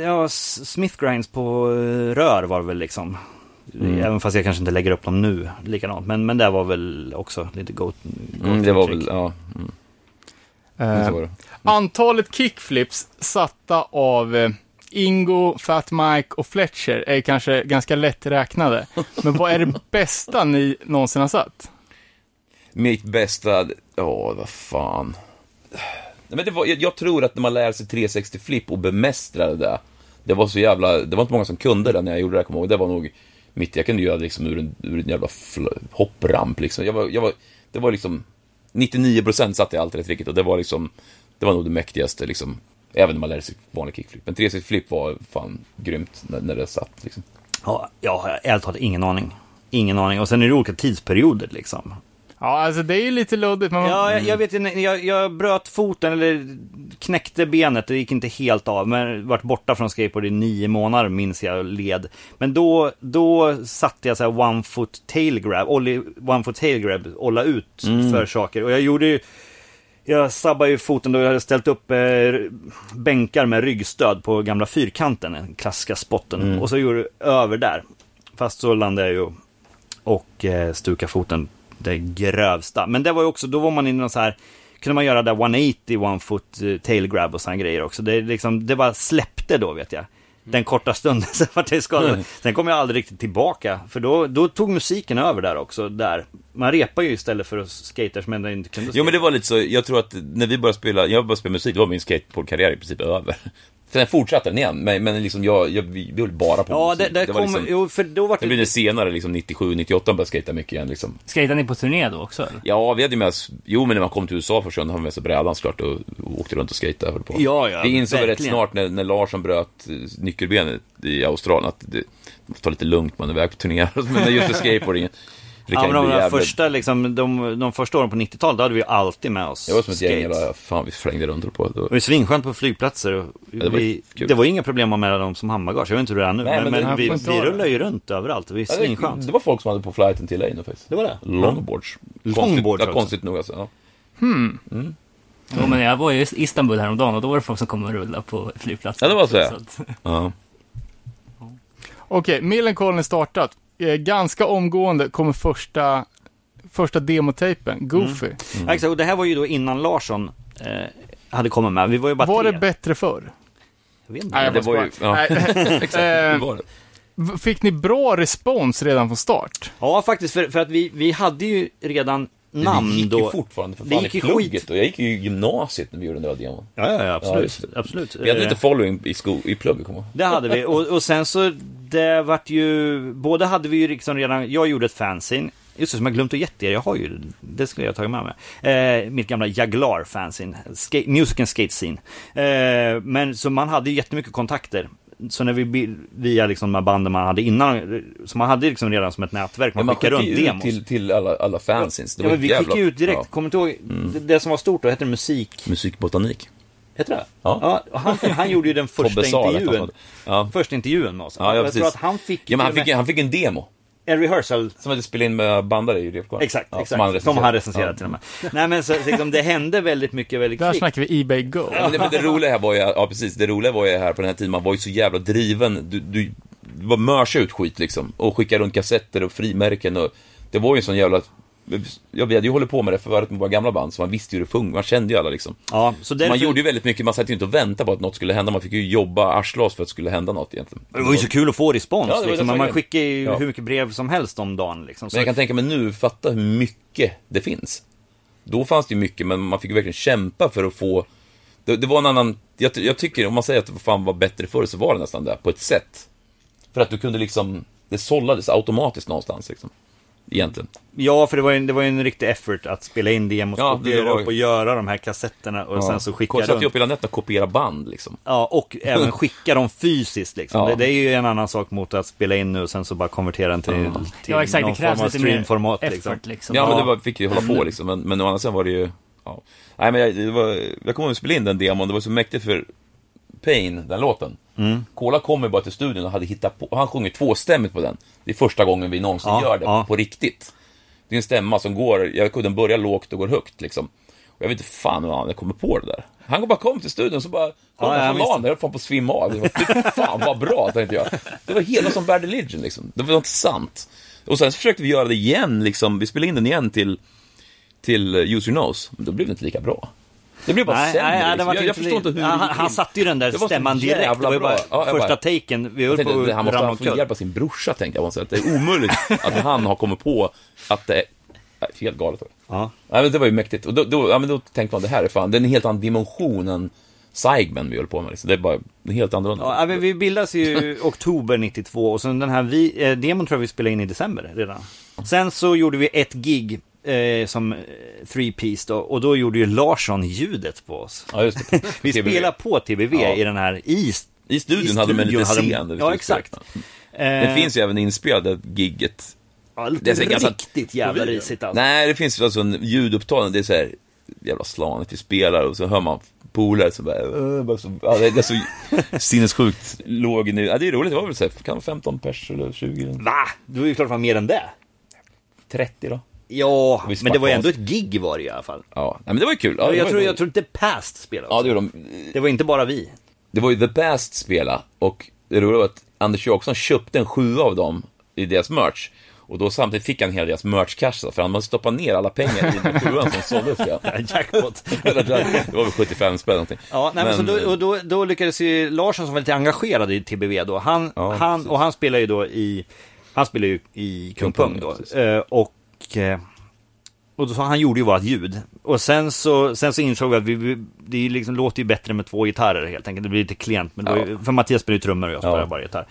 [SPEAKER 7] ja, S- Smith Grinds på eh, rör var väl liksom. Även fast jag kanske inte lägger upp dem nu likadant. Men, men det var väl också lite go, go
[SPEAKER 6] Mm, det var väl, ja. Mm,
[SPEAKER 3] Eh,
[SPEAKER 6] så var det.
[SPEAKER 3] Antalet kickflips satta av eh, Ingo, Fat Mike och Fletcher är kanske ganska lätt räknade. Men vad är det bästa ni någonsin har satt?
[SPEAKER 6] Mitt bästa, ja vad fan. Nej, men det var, jag, jag tror att när man lär sig 360 flip och bemästrar det, det var så jävla, det var inte många som kunde det när jag gjorde det, jag kommer ihåg. Det var nog mitt, jag kunde göra det liksom ur en, ur en jävla fl- hoppramp liksom. Jag var, jag var, det var liksom, 99% satte jag alltid rätt riktigt och det var liksom, det var nog det mäktigaste liksom. Även när man lärde sig vanlig kickflip. Men 360 flip var fan grymt när, när det satt liksom.
[SPEAKER 7] Ja, jag har ärligt talat ingen aning. Ingen aning. Och sen är det olika tidsperioder liksom.
[SPEAKER 3] Ja, alltså det är ju lite luddigt, men
[SPEAKER 7] Ja, jag, jag vet inte. Jag, jag bröt foten eller knäckte benet. Det gick inte helt av. Men vart borta från skateboard i nio månader minns jag led. Men då, då satte jag så här one foot tail grab. Ollie, one foot tail grab. Olla ut för saker. Och jag gjorde ju... Jag sabbade ju foten då jag hade ställt upp eh, r- bänkar med ryggstöd på gamla fyrkanten, den klassiska spotten. Och så gjorde jag över där. Fast så landade jag ju och eh, stuka foten det grövsta. Men det var ju också, då var man i någon så här, kunde man göra där 180, one foot eh, tail grab och sådana grejer också. Det, är liksom, det bara släppte då vet jag.
[SPEAKER 6] Mm.
[SPEAKER 7] Den korta stunden sen vart jag skadad. Sen kom jag aldrig riktigt tillbaka. För då, då tog musiken över där också. Där. Man repar ju istället för att skaters men inte kunde
[SPEAKER 6] Jo men det
[SPEAKER 7] skata.
[SPEAKER 6] var lite så, jag tror att när vi började spela, jag började spela musik, då var min skateboardkarriär i princip över. Sen fortsatte den igen, men, men liksom jag, jag, vi vi höll bara på med
[SPEAKER 7] Ja, det,
[SPEAKER 6] musik.
[SPEAKER 7] det,
[SPEAKER 6] var
[SPEAKER 7] kom,
[SPEAKER 6] liksom,
[SPEAKER 7] jo, för då var
[SPEAKER 6] Det blev det senare, liksom 97, 98 började skejta mycket igen liksom.
[SPEAKER 2] Skejtade ni på turné då också? eller?
[SPEAKER 6] Ja, vi hade ju med oss, jo men när man kom till USA första gången, då hade vi med oss brädan såklart och, och åkte runt och skejtade. och höll på.
[SPEAKER 7] Ja, ja,
[SPEAKER 6] vi insåg väl rätt
[SPEAKER 7] verkligen.
[SPEAKER 6] snart när, när Larsson bröt eh, nyckelbenet i Australien att det, man får ta lite lugnt man är iväg på turnéer, men det är just det skateboardingen. Det
[SPEAKER 7] Ja,
[SPEAKER 6] kan
[SPEAKER 7] men
[SPEAKER 6] ju
[SPEAKER 7] de,
[SPEAKER 6] bli
[SPEAKER 7] där
[SPEAKER 6] jävligt-
[SPEAKER 7] första, liksom, de, de första åren på 90-talet, då hade vi alltid med oss
[SPEAKER 6] Det var som ett gäng,
[SPEAKER 7] skates.
[SPEAKER 6] jävla- fan vi flängde runt på. Det var-
[SPEAKER 7] Det var ju svinskönt på flygplatser. Och
[SPEAKER 6] det var ju
[SPEAKER 7] vi,
[SPEAKER 6] kul.
[SPEAKER 7] det var ju inga problem att med dem som handbagage. Jag vet inte hur det är nu.
[SPEAKER 6] Nej,
[SPEAKER 7] men
[SPEAKER 6] men
[SPEAKER 7] men
[SPEAKER 6] det-
[SPEAKER 7] vi,
[SPEAKER 3] man får inte
[SPEAKER 7] vi
[SPEAKER 3] ha det.
[SPEAKER 7] rullar ju runt överallt. Det var ju
[SPEAKER 6] Ja,
[SPEAKER 7] svinskönt.
[SPEAKER 6] Det, det var folk som hade på flighten till Leino faktiskt.
[SPEAKER 7] Det var det?
[SPEAKER 6] Longboards.
[SPEAKER 7] Longboards
[SPEAKER 6] konstigt,
[SPEAKER 7] också.
[SPEAKER 6] ja, konstigt nog alltså. Ja.
[SPEAKER 2] Jo, men jag var ju i Istanbul häromdagen och då var det folk som kom och rullade på flygplatsen.
[SPEAKER 6] Ja, det var så, ja.
[SPEAKER 2] att-
[SPEAKER 6] Ja.
[SPEAKER 3] Okej, Millencolin är startat. Eh, ganska omgående kommer första, första
[SPEAKER 6] Mm.
[SPEAKER 3] demotejpen, Goofy.
[SPEAKER 7] Mm. Ja, exakt. Och det här var ju då innan Larsson eh, hade kommit med. Vi var ju bara
[SPEAKER 3] Var
[SPEAKER 7] tre.
[SPEAKER 3] det bättre förr?
[SPEAKER 7] Jag vet inte.
[SPEAKER 3] Nej, jag
[SPEAKER 6] det
[SPEAKER 3] måste
[SPEAKER 6] var ju-
[SPEAKER 3] bara-
[SPEAKER 6] ja.
[SPEAKER 3] Nej,
[SPEAKER 6] Hur
[SPEAKER 3] eh,
[SPEAKER 6] var det?
[SPEAKER 3] v- Fick ni bra respons redan från start?
[SPEAKER 7] Ja, faktiskt. För, för att vi, vi hade ju redan namn
[SPEAKER 6] det gick
[SPEAKER 7] då.
[SPEAKER 6] ju fortfarande för
[SPEAKER 7] Det
[SPEAKER 6] fan i
[SPEAKER 7] gick ju
[SPEAKER 6] plugget
[SPEAKER 7] skit.
[SPEAKER 6] och jag gick ju i gymnasiet när vi gjorde den där demon.
[SPEAKER 7] Ja, ja, ja,
[SPEAKER 6] Ja,
[SPEAKER 7] absolut.
[SPEAKER 6] just det.
[SPEAKER 7] absolut.
[SPEAKER 6] Vi hade
[SPEAKER 7] Eh,
[SPEAKER 6] lite following i, sko- i plugget, kommer jag ihåg.
[SPEAKER 7] Det hade vi. Och, och sen så, det vart ju, både hade vi ju liksom redan, jag gjorde ett fanzine. Just det, som jag glömt att gett er, jag har ju, det skulle jag ha tagit med mig. Eh, mitt gamla Jaglar fanzine, skate, music and skate scene. Eh, men så man hade ju jättemycket kontakter. Så när vi, bi- via liksom de här banden man hade innan, så man hade liksom redan som ett nätverk, man,
[SPEAKER 6] Men man
[SPEAKER 7] skickade
[SPEAKER 6] skickade
[SPEAKER 7] runt
[SPEAKER 6] ju ut
[SPEAKER 7] demos.
[SPEAKER 6] till, till alla, alla fansins. Det
[SPEAKER 7] ja,
[SPEAKER 6] var
[SPEAKER 7] men vi
[SPEAKER 6] ett jävla-
[SPEAKER 7] skickade ju ut direkt,
[SPEAKER 6] Ja. Mm.
[SPEAKER 7] kommer du inte ihåg, det, det som var stort då, hette det musik?
[SPEAKER 6] Musikbotanik.
[SPEAKER 7] Heter det?
[SPEAKER 6] Ja.
[SPEAKER 7] och han, han gjorde ju den första
[SPEAKER 6] Tobbe Sahl, hette han
[SPEAKER 7] intervjun.
[SPEAKER 6] som- Ja.
[SPEAKER 7] Första intervjun med oss.
[SPEAKER 6] Ja, ja,
[SPEAKER 7] jag
[SPEAKER 6] precis.
[SPEAKER 7] tror att han fick,
[SPEAKER 6] Ja, men han
[SPEAKER 7] till och
[SPEAKER 6] fick, ju-
[SPEAKER 7] med
[SPEAKER 6] han fick en demo.
[SPEAKER 7] en rehearsal.
[SPEAKER 6] Som hade spelat in med bandare i repkvarn.
[SPEAKER 7] Exakt,
[SPEAKER 6] Ja,
[SPEAKER 7] exakt. Som han recenserade,
[SPEAKER 6] Ja.
[SPEAKER 7] till och med. Nej men så, så liksom, det hände väldigt mycket väldigt
[SPEAKER 3] Där
[SPEAKER 7] kvickt.
[SPEAKER 3] snackar vi Ebay Go.
[SPEAKER 6] Ja, men det, men det roliga här var ju, ja precis, det roliga var ju här på den här tiden, man var ju så jävla driven. Du, du, du var mörsa ut skit liksom. Och skicka runt kassetter och frimärken och det var ju en sån jävla... Ja, vi hade ju hållit på med det förut med våra gamla band, så man visste ju hur det funkade, man kände ju alla liksom.
[SPEAKER 7] Ja, så därför,
[SPEAKER 6] Man gjorde ju väldigt mycket, man satt ju inte och väntade på att något skulle hända, man fick ju jobba arslas för att det skulle hända något egentligen.
[SPEAKER 7] Det var ju så kul att få respons
[SPEAKER 6] Ja, det var
[SPEAKER 7] liksom.
[SPEAKER 6] det
[SPEAKER 7] Men
[SPEAKER 6] som
[SPEAKER 7] man
[SPEAKER 6] var-
[SPEAKER 7] skickar ju
[SPEAKER 6] Ja.
[SPEAKER 7] hur mycket brev som helst om dagen liksom. Så,
[SPEAKER 6] Men jag kan tänka mig nu, fatta hur mycket det finns. Då fanns det ju mycket, men man fick ju verkligen kämpa för att få... Det, det var en annan... Jag, ty- jag tycker, om man säger att det fan var bättre förr, så var det nästan det, på ett sätt. För att du kunde liksom... Det sållades automatiskt någonstans liksom. egentligen.
[SPEAKER 7] Ja, för det var ju en, det var ju en riktig effort att spela in demos,
[SPEAKER 6] Ja,
[SPEAKER 7] kopiera
[SPEAKER 6] det var ju-
[SPEAKER 7] upp och göra de här kassetterna och sen så skicka
[SPEAKER 6] Jag satt ju
[SPEAKER 7] dem.
[SPEAKER 6] upp hela nätet och kopierade band liksom.
[SPEAKER 7] Ja, och även skicka dem fysiskt liksom.
[SPEAKER 6] Ja.
[SPEAKER 7] Det, det är ju en annan sak mot att spela in nu och sen så bara konvertera den till, till
[SPEAKER 2] Ja, exakt. Det
[SPEAKER 7] någon form
[SPEAKER 2] krävs
[SPEAKER 7] av
[SPEAKER 2] lite mer
[SPEAKER 7] streamformat
[SPEAKER 2] effort,
[SPEAKER 7] liksom.
[SPEAKER 2] liksom.
[SPEAKER 6] Ja, men det var, fick ju hålla på liksom. Men, men å andra sidan var det ju... Ja. Nej, men jag, det var, jag kommer ihåg att spela in den demon. Det var så mäktigt för Pain, den låten. Kola kom ju bara till studion och hade hittat på... Han sjunger tvåstämmigt på den. Det är första gången vi någonsin
[SPEAKER 7] Ja,
[SPEAKER 6] gör det
[SPEAKER 7] ja.
[SPEAKER 6] på riktigt. Det är en stämma som går... Jag kunde börja lågt och går högt liksom. Och jag vet inte fan hur han hade kommit på det där. Han bara kom till studion så bara... Kom
[SPEAKER 7] ja,
[SPEAKER 6] ja,
[SPEAKER 7] jag
[SPEAKER 6] från
[SPEAKER 7] visste.
[SPEAKER 6] LAN, jag höll fan på att svimma av. Det var, fy fan vad bra, tänkte jag. Det var hela som Bad Religion liksom. Det var inte sant. Och sen så försökte vi göra det igen, liksom. vi spelade in den igen till, till eh, Use Your Nose, men då blev det inte lika bra. Det blev bara
[SPEAKER 7] Nej,
[SPEAKER 6] sämre.
[SPEAKER 7] nej, det
[SPEAKER 6] liksom.
[SPEAKER 7] var typ-
[SPEAKER 6] jag, jag förstår inte hur det
[SPEAKER 7] ja, han,
[SPEAKER 6] gick
[SPEAKER 7] han
[SPEAKER 6] till.
[SPEAKER 7] satte ju den där
[SPEAKER 6] Det var så
[SPEAKER 7] stämman direkt. Det
[SPEAKER 6] jävla
[SPEAKER 7] var ju bara
[SPEAKER 6] bra. Ja, jag
[SPEAKER 7] första
[SPEAKER 6] bara-
[SPEAKER 7] taken. Vi höll
[SPEAKER 6] Jag
[SPEAKER 7] på
[SPEAKER 6] tänkte, han
[SPEAKER 7] att
[SPEAKER 6] måste
[SPEAKER 7] ramla
[SPEAKER 6] ha fått
[SPEAKER 7] omkull.
[SPEAKER 6] hjälp av sin brorsa, tänkte jag. på något sätt. Det är omöjligt att han har kommit på att det är... Nej, helt galet. var det.
[SPEAKER 7] Ja.
[SPEAKER 6] Nej, men det var ju mäktigt. Och då, då, ja, men då tänkte man, det här är fan, det är en helt annan dimension än Seigman vi höll på med. Liksom. Det är bara det är helt annorlunda.
[SPEAKER 7] Ja, men vi bildades ju i oktober 92 och sen den här vi, eh, demon tror jag vi spelade in i december redan. Sen så gjorde vi ett gig eh, som eh, three piece då och då gjorde ju Larsson ljudet på oss.
[SPEAKER 6] Ja, just det.
[SPEAKER 7] Vi
[SPEAKER 6] TBV.
[SPEAKER 7] spelade på TBV
[SPEAKER 6] Ja.
[SPEAKER 7] i den här i,
[SPEAKER 6] I studion hade de en liten
[SPEAKER 7] hade de-
[SPEAKER 6] scen. där vi
[SPEAKER 7] Ja,
[SPEAKER 6] skulle
[SPEAKER 7] exakt.
[SPEAKER 6] spela. Det finns ju även inspelat det gigget.
[SPEAKER 7] Eh, Ja, det
[SPEAKER 6] Det är
[SPEAKER 7] låter
[SPEAKER 6] så ganska-
[SPEAKER 7] riktigt jävla risigt alltså.
[SPEAKER 6] Nej, det finns ju alltså en ljudupptagning. Det är så här, jävla slanigt vi spelar och så hör man polare som bara, "Åh", bara så, ja, det det är så sinnessjukt låg nu. Ja, det är roligt, det var väl så här, kan det vara 15 pers eller 20 eller
[SPEAKER 7] Va? Det var ju klart det var mer än det.
[SPEAKER 6] 30 då?
[SPEAKER 7] Ja,
[SPEAKER 6] Visst
[SPEAKER 7] men det var ju
[SPEAKER 6] var
[SPEAKER 7] ändå ett gig var det i alla fall.
[SPEAKER 6] Ja, nej, men det var ju kul. Ja, det
[SPEAKER 7] jag,
[SPEAKER 6] var,
[SPEAKER 7] tror, jag tror inte Past spelade
[SPEAKER 6] Ja,
[SPEAKER 7] också.
[SPEAKER 6] det gjorde de.
[SPEAKER 7] Det var inte bara vi.
[SPEAKER 6] Det var ju The Past spela och det roliga var att Anders Jakobsson köpte en sjua av dem i deras merch. Och då samtidigt fick han hela deras merchkassa, för han hade stoppat ner alla pengar i den sjuan som såldes. Ja.
[SPEAKER 7] Jackpot.
[SPEAKER 6] Det var väl 75 spänn någonting.
[SPEAKER 7] Ja, nej, men, så då, och då, då lyckades ju Larsson som var lite engagerad i TBV då, han,
[SPEAKER 6] Ja,
[SPEAKER 7] han,
[SPEAKER 6] precis.
[SPEAKER 7] och han spelar ju då i, han spelar ju i Kung
[SPEAKER 6] Kung
[SPEAKER 7] Pung
[SPEAKER 6] Pung, ja,
[SPEAKER 7] då,
[SPEAKER 6] precis.
[SPEAKER 7] Eh, och, eh, och då, så han gjorde ju vårat ljud. Och sen så, sen så insåg vi att vi- vi, det är ju liksom, låter ju bättre med två gitarrer helt enkelt, det blir lite klent, men då,
[SPEAKER 6] Ja.
[SPEAKER 7] för Mattias spelar ju trummor och jag spelar
[SPEAKER 6] Ja.
[SPEAKER 7] bara gitarr.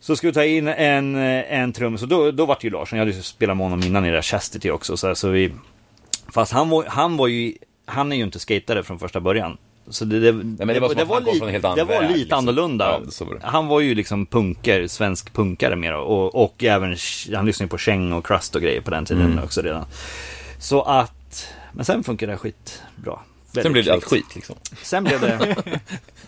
[SPEAKER 7] Så ska vi ta in en, eh, en trummis och då, då var det ju Larsson, jag hade ju spelat med honom innan i det här Chastity också, så, här, så vi, fast han var, han var ju, han är ju inte skatare från första början. Så det, det,
[SPEAKER 6] men det var som att han kom
[SPEAKER 7] li-
[SPEAKER 6] från en helt annan
[SPEAKER 7] det var
[SPEAKER 6] värld,
[SPEAKER 7] lite
[SPEAKER 6] liksom.
[SPEAKER 7] annorlunda.
[SPEAKER 6] Ja, så var det.
[SPEAKER 7] Han var ju liksom punker, svensk punkare mer och, och även, sh- han lyssnade ju på Cheng och Crust och grejer på den tiden
[SPEAKER 6] Mm.
[SPEAKER 7] också redan. Så att, men sen funkade det skitbra.
[SPEAKER 6] Sen
[SPEAKER 7] Väldigt
[SPEAKER 6] blev det allt
[SPEAKER 7] snyggt.
[SPEAKER 6] skit liksom.
[SPEAKER 7] Sen blev det...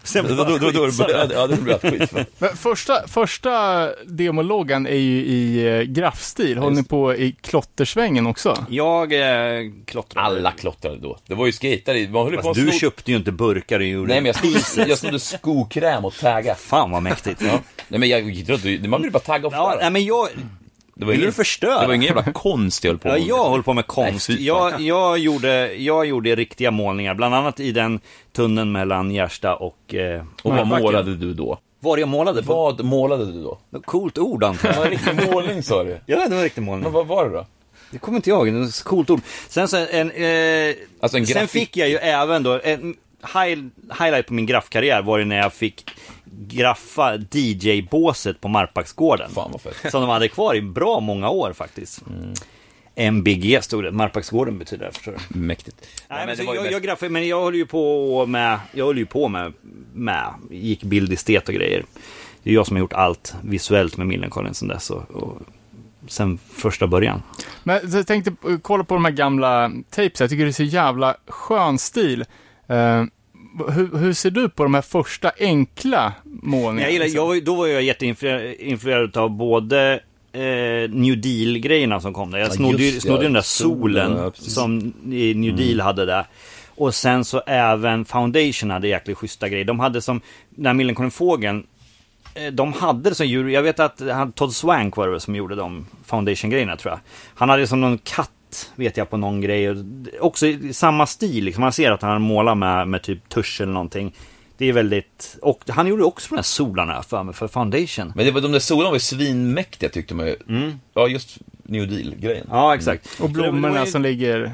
[SPEAKER 7] sen
[SPEAKER 6] Då,
[SPEAKER 7] blev det
[SPEAKER 6] då, då, då, då,
[SPEAKER 7] skit.
[SPEAKER 6] ja, det blev allt skit.
[SPEAKER 3] Men första, första demologgan är ju i eh, graffstil. Håller ni på i klottersvängen också?
[SPEAKER 7] Jag eh, klottrade.
[SPEAKER 6] Alla klottrade då. Det var ju skejtare, i- man höll ju på
[SPEAKER 7] Fast
[SPEAKER 6] att
[SPEAKER 7] du
[SPEAKER 6] sno...
[SPEAKER 7] köpte ju inte burkar i jorden.
[SPEAKER 6] Nej, men jag snodde, jag snodde skokräm och tagga.
[SPEAKER 7] Fan vad mäktigt.
[SPEAKER 6] Ja. Nej, men jag idrottade man blir bara taggad och
[SPEAKER 7] Ja, nej
[SPEAKER 6] förstöra.
[SPEAKER 7] men jag...
[SPEAKER 6] Det var
[SPEAKER 7] vill
[SPEAKER 6] ingen-
[SPEAKER 7] du förstöra?
[SPEAKER 6] Det var ingen jävla konst jag höll på
[SPEAKER 7] Ja,
[SPEAKER 6] med.
[SPEAKER 7] jag håller på med konst.
[SPEAKER 6] Nej, fy fan.
[SPEAKER 7] jag, jag, gjorde, jag gjorde riktiga målningar, bland annat i den tunneln mellan Gärsta och... Eh,
[SPEAKER 6] Och vad
[SPEAKER 7] Markbacken.
[SPEAKER 6] målade du då?
[SPEAKER 7] Var jag målade? På?
[SPEAKER 6] Vad målade du då?
[SPEAKER 7] Coolt ord antar
[SPEAKER 6] Det var
[SPEAKER 7] jag.
[SPEAKER 6] en riktig målning sa du.
[SPEAKER 7] Ja, det var en riktig
[SPEAKER 6] Men
[SPEAKER 7] målning.
[SPEAKER 6] vad var det då?
[SPEAKER 7] Det kommer inte jag ihåg, det är ett coolt ord. Sen, så en, eh,
[SPEAKER 6] Alltså en
[SPEAKER 7] sen
[SPEAKER 6] grafik-
[SPEAKER 7] fick jag ju även då, en high, highlight på min graffkarriär var ju när jag fick graffa DJ-båset på Marpaksgården.
[SPEAKER 6] Fan vad fett.
[SPEAKER 7] Som de hade kvar i bra många år faktiskt. MBG stod det, Marpaksgården betyder det förstår du.
[SPEAKER 6] Mäktigt.
[SPEAKER 7] Nej, men
[SPEAKER 6] det
[SPEAKER 7] så
[SPEAKER 6] var ju
[SPEAKER 7] jag, jag
[SPEAKER 6] mest-
[SPEAKER 7] graffade, men jag höll ju på med, jag höll ju på med, med, gick bildestet och grejer. Det är jag som har gjort allt visuellt med Millencolin sedan dess och, och sen första början.
[SPEAKER 3] Men så jag tänkte eh, kolla på de här gamla tapes. Jag tycker det är så jävla skön stil. Eh, hur, hur ser du på de här första enkla målningarna?
[SPEAKER 7] Men jag gillar,
[SPEAKER 3] liksom?
[SPEAKER 7] jag, var ju- då var jag jätteinfluerad av både eh, New Deal-grejerna som kom där. Jag snodde, ju-
[SPEAKER 6] just det,
[SPEAKER 7] snodde ju den där
[SPEAKER 6] solen,
[SPEAKER 7] solen
[SPEAKER 6] ja, precis. Mm.
[SPEAKER 7] som i New Deal hade där. Och sen så även Foundation hade jäkligt schyssta grejer. De hade som, den här Millencolin-fågeln, eh, de hade det som djur, jag vet att han, Todd Swank var det väl som gjorde de Foundation-grejerna tror jag. Han hade som någon katt, vet jag, på någon grej. Och d- Också i samma stil, liksom. man ser att han målar med, med typ tusch eller någonting. Det är väldigt, och han gjorde också de här solarna har jag för mig, för Foundation.
[SPEAKER 6] Men det var, de där solarna var ju svinmäktiga tyckte man ju. Ja, just New Deal-grejen.
[SPEAKER 7] Mm. Ja, exakt.
[SPEAKER 3] Mm.
[SPEAKER 7] Mm.
[SPEAKER 3] Och
[SPEAKER 7] Så det- det
[SPEAKER 3] blommorna
[SPEAKER 7] var ju-
[SPEAKER 3] som ligger...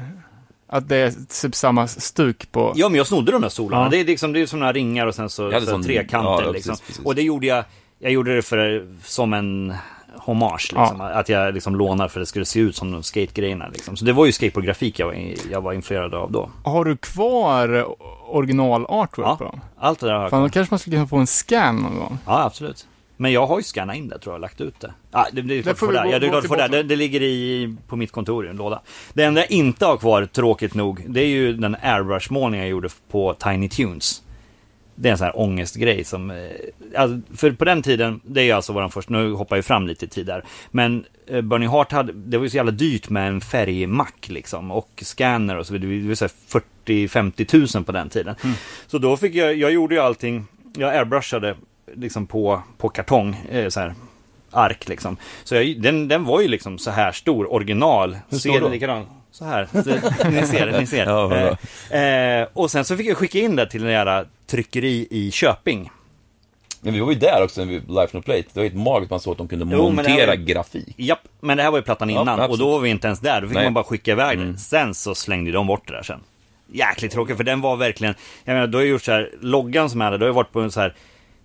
[SPEAKER 3] Att det är typ samma stuk på...
[SPEAKER 7] Ja, men jag snodde de där solarna.
[SPEAKER 3] Ja.
[SPEAKER 7] Det, är liksom, det är som några ringar och sen så,
[SPEAKER 6] hade
[SPEAKER 7] så
[SPEAKER 6] sån-
[SPEAKER 7] trekanter.
[SPEAKER 6] ja, ja,
[SPEAKER 7] liksom.
[SPEAKER 6] precis, precis.
[SPEAKER 7] Och det gjorde jag, jag gjorde det för, som en hommage. Liksom. Att jag liksom lånar för att det skulle se ut som de skate-grejerna. Liksom. Så det var ju skateboardgrafik jag var, in- jag var influerad av då.
[SPEAKER 3] Har du kvar original-artwork
[SPEAKER 7] Ja.
[SPEAKER 3] på dem?
[SPEAKER 7] Allt det där har jag
[SPEAKER 3] Fan,
[SPEAKER 7] kvar.
[SPEAKER 3] då kanske man skulle kunna få en scan någon gång.
[SPEAKER 7] Ja, absolut. Men jag har ju skannat in det tror jag, och lagt ut det. Ah, det, det är klart
[SPEAKER 3] får
[SPEAKER 7] för
[SPEAKER 3] vi
[SPEAKER 7] det.
[SPEAKER 3] gå-
[SPEAKER 7] Ja, det, är
[SPEAKER 3] gå
[SPEAKER 7] klart för det.
[SPEAKER 3] tillbaka.
[SPEAKER 7] det. Det ligger i, på mitt kontor i en låda. Det enda jag inte har kvar, tråkigt nog, det är ju den airbrush-målning jag gjorde på Tiny Tunes. Det är en sån här ångestgrej som... eh, Alltså, för på den tiden, det är ju alltså våran första, nu hoppar jag ju fram lite i tid där. Men eh, Burning Heart hade, det var ju så jävla dyrt med en färgmack liksom och scanner och så vidare. Det var så här 40-50 tusen på den tiden.
[SPEAKER 6] Mm.
[SPEAKER 7] Så då fick jag, jag gjorde ju allting, jag airbrushade liksom på, på kartong, eh, så här ark liksom. Så jag, den, den var ju liksom så här stor, original. Hur
[SPEAKER 6] stor då?
[SPEAKER 7] likadan? Så här, Så- ni ser det, ni ser.
[SPEAKER 6] Ja, vad bra.
[SPEAKER 7] Eh, eh, och sen så fick jag skicka in det till en jävla tryckeri i Köping.
[SPEAKER 6] Men vi var ju där också, när vi Life No Plate. Det var helt magiskt man såg att de kunde
[SPEAKER 7] Jo, men det här
[SPEAKER 6] montera
[SPEAKER 7] var-
[SPEAKER 6] grafik.
[SPEAKER 7] Japp, men det här var ju plattan innan och
[SPEAKER 6] absolut.
[SPEAKER 7] då var vi inte ens där. Då fick
[SPEAKER 6] Nej.
[SPEAKER 7] man bara skicka iväg det. Sen så slängde ju de bort det där sen. Jäkligt tråkigt för den var verkligen, jag menar då har jag gjort så här, loggan som jag hade, då har jag varit på en så här,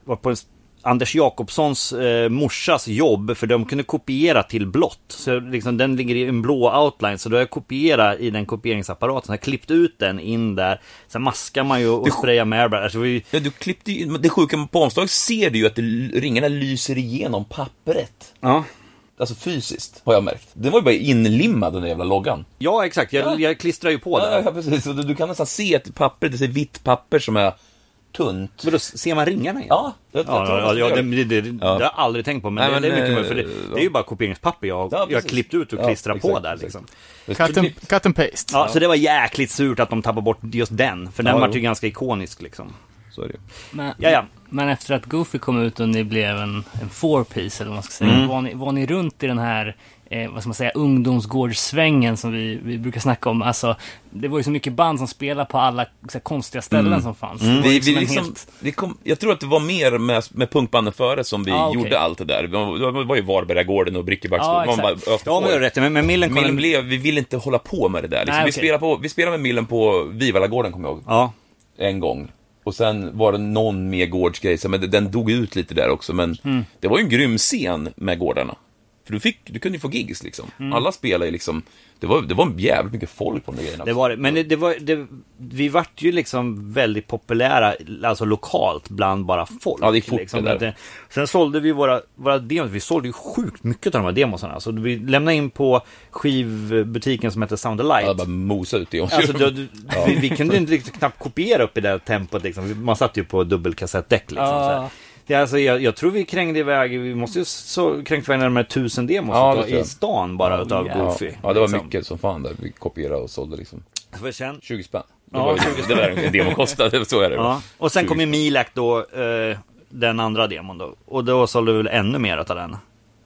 [SPEAKER 7] varit på en s- Anders Jakobssons eh, morsas jobb, för de kunde kopiera till blått. Så liksom, den ligger i en blå outline, så då har jag kopierat i den kopieringsapparaten. Så jag har klippt ut den in där, sen maskar man ju och sprayar med airbrush. Alltså, det var ju-
[SPEAKER 6] Ja, du klippte ju, men det sjuka med- på omslaget ser du ju att det, ringarna lyser igenom pappret.
[SPEAKER 7] ja.
[SPEAKER 6] Alltså fysiskt, har jag märkt. Den var ju bara inlimmad, den där jävla loggan.
[SPEAKER 7] ja, exakt. Jag, jag klistrar ju på
[SPEAKER 6] Ja,
[SPEAKER 7] där.
[SPEAKER 6] ja precis. Så Du, du kan nästan se ett papper, det är vitt papper som är tunt.
[SPEAKER 7] Men då ser man ringarna igen?
[SPEAKER 6] Ja, jag, jag
[SPEAKER 7] Ja,
[SPEAKER 6] tror
[SPEAKER 7] ja, ja,
[SPEAKER 6] det.
[SPEAKER 7] det, det, det, det har jag aldrig tänkt på, men,
[SPEAKER 6] Nej,
[SPEAKER 7] det,
[SPEAKER 6] men,
[SPEAKER 7] det är mycket
[SPEAKER 6] eh,
[SPEAKER 7] möjligt. För det, det är ju bara kopieringspapper jag,
[SPEAKER 6] Ja,
[SPEAKER 7] jag
[SPEAKER 6] precis.
[SPEAKER 7] klippt ut och
[SPEAKER 6] Ja,
[SPEAKER 7] klistrat på
[SPEAKER 6] exakt,
[SPEAKER 7] där.
[SPEAKER 6] exakt.
[SPEAKER 7] Liksom.
[SPEAKER 6] Det är
[SPEAKER 3] Cut and,
[SPEAKER 6] typ-
[SPEAKER 3] cut and paste.
[SPEAKER 7] Ja, Så det var jäkligt surt att de tappade bort just den, för den
[SPEAKER 6] Ja,
[SPEAKER 7] vart ju
[SPEAKER 6] jo.
[SPEAKER 7] ganska ikonisk. Liksom.
[SPEAKER 6] Så är det ju.
[SPEAKER 2] Men,
[SPEAKER 7] Ja, ja.
[SPEAKER 2] men efter att Goofy kom ut och ni blev en, en four-piece, eller vad man ska säga,
[SPEAKER 6] Mm.
[SPEAKER 2] var, ni, var ni runt i den här Eh, vad ska man säga, ungdomsgårdssvängen som vi, vi brukar snacka om. Alltså, det var ju så mycket band som spelade på alla så här, konstiga ställen som fanns. Det var
[SPEAKER 6] Mm. Vi,
[SPEAKER 2] liksom en
[SPEAKER 6] vi liksom,
[SPEAKER 2] helt-
[SPEAKER 6] vi kom, jag tror att det var mer med, med punkbanden före som vi
[SPEAKER 2] Ah, okej.
[SPEAKER 6] gjorde allt det där. Det var, det var ju Varbergagården och
[SPEAKER 2] Ja,
[SPEAKER 6] Brickebacksgården. Man bara
[SPEAKER 2] exakt.
[SPEAKER 6] öste
[SPEAKER 7] Ja, men
[SPEAKER 6] på.
[SPEAKER 7] jag har rätt i, men, men Millen kom...
[SPEAKER 6] Millen blev, vi ville inte hålla på med det där. Liksom,
[SPEAKER 2] Nej,
[SPEAKER 6] vi,
[SPEAKER 2] okej.
[SPEAKER 6] spelade på, vi spelade med Millen på Vivallagården, kommer jag ihåg,
[SPEAKER 7] Ja,
[SPEAKER 6] en gång. Och sen var det någon mer gårdsgrej, så- men det- den dog ut lite där också. Men
[SPEAKER 7] Mm.
[SPEAKER 6] det var ju en grym scen med gårdarna. För du, fick, du kunde ju få gigs liksom.
[SPEAKER 7] Mm.
[SPEAKER 6] Alla spelade ju liksom. Det var, det var jävligt mycket folk på de där grejerna.
[SPEAKER 7] det var det. Men det, det var, det, vi vart ju liksom väldigt populära, alltså lokalt, bland bara folk.
[SPEAKER 6] Ja, det gick fort,
[SPEAKER 7] liksom.
[SPEAKER 6] det där.
[SPEAKER 7] Att sen sålde vi våra, våra demos, vi sålde ju sjukt mycket av de här demosarna. Alltså, vi lämnade in på skivbutiken som heter Sound Alight.
[SPEAKER 6] Alla bara mosa ut det.
[SPEAKER 7] Alltså, du, du, vi, vi kunde inte liksom, knappt kopiera upp i det här tempot. Liksom. Vi- Man satt ju på dubbelkassettdäck. Liksom,
[SPEAKER 2] Ja.
[SPEAKER 7] så här. det, är alltså, jag, jag tror vi krängde iväg, vi måste ju så, kränkt iväg närmare tusen demos
[SPEAKER 6] Ja,
[SPEAKER 7] utav-
[SPEAKER 6] det tror
[SPEAKER 7] i
[SPEAKER 6] jag.
[SPEAKER 7] stan bara utav Goofy.
[SPEAKER 6] Ja, det var
[SPEAKER 7] liksom.
[SPEAKER 6] mycket som fan där. Vi kopierade och sålde liksom.
[SPEAKER 7] För sen,
[SPEAKER 6] 20 spänn. Det
[SPEAKER 7] Ja,
[SPEAKER 6] var, 20 spänn. Det var en demo kostade, så är det.
[SPEAKER 7] ja. Och sen
[SPEAKER 6] 20
[SPEAKER 7] kom ju Milak då, eh, den andra demon då. Och då sålde vi väl ännu mer utav den.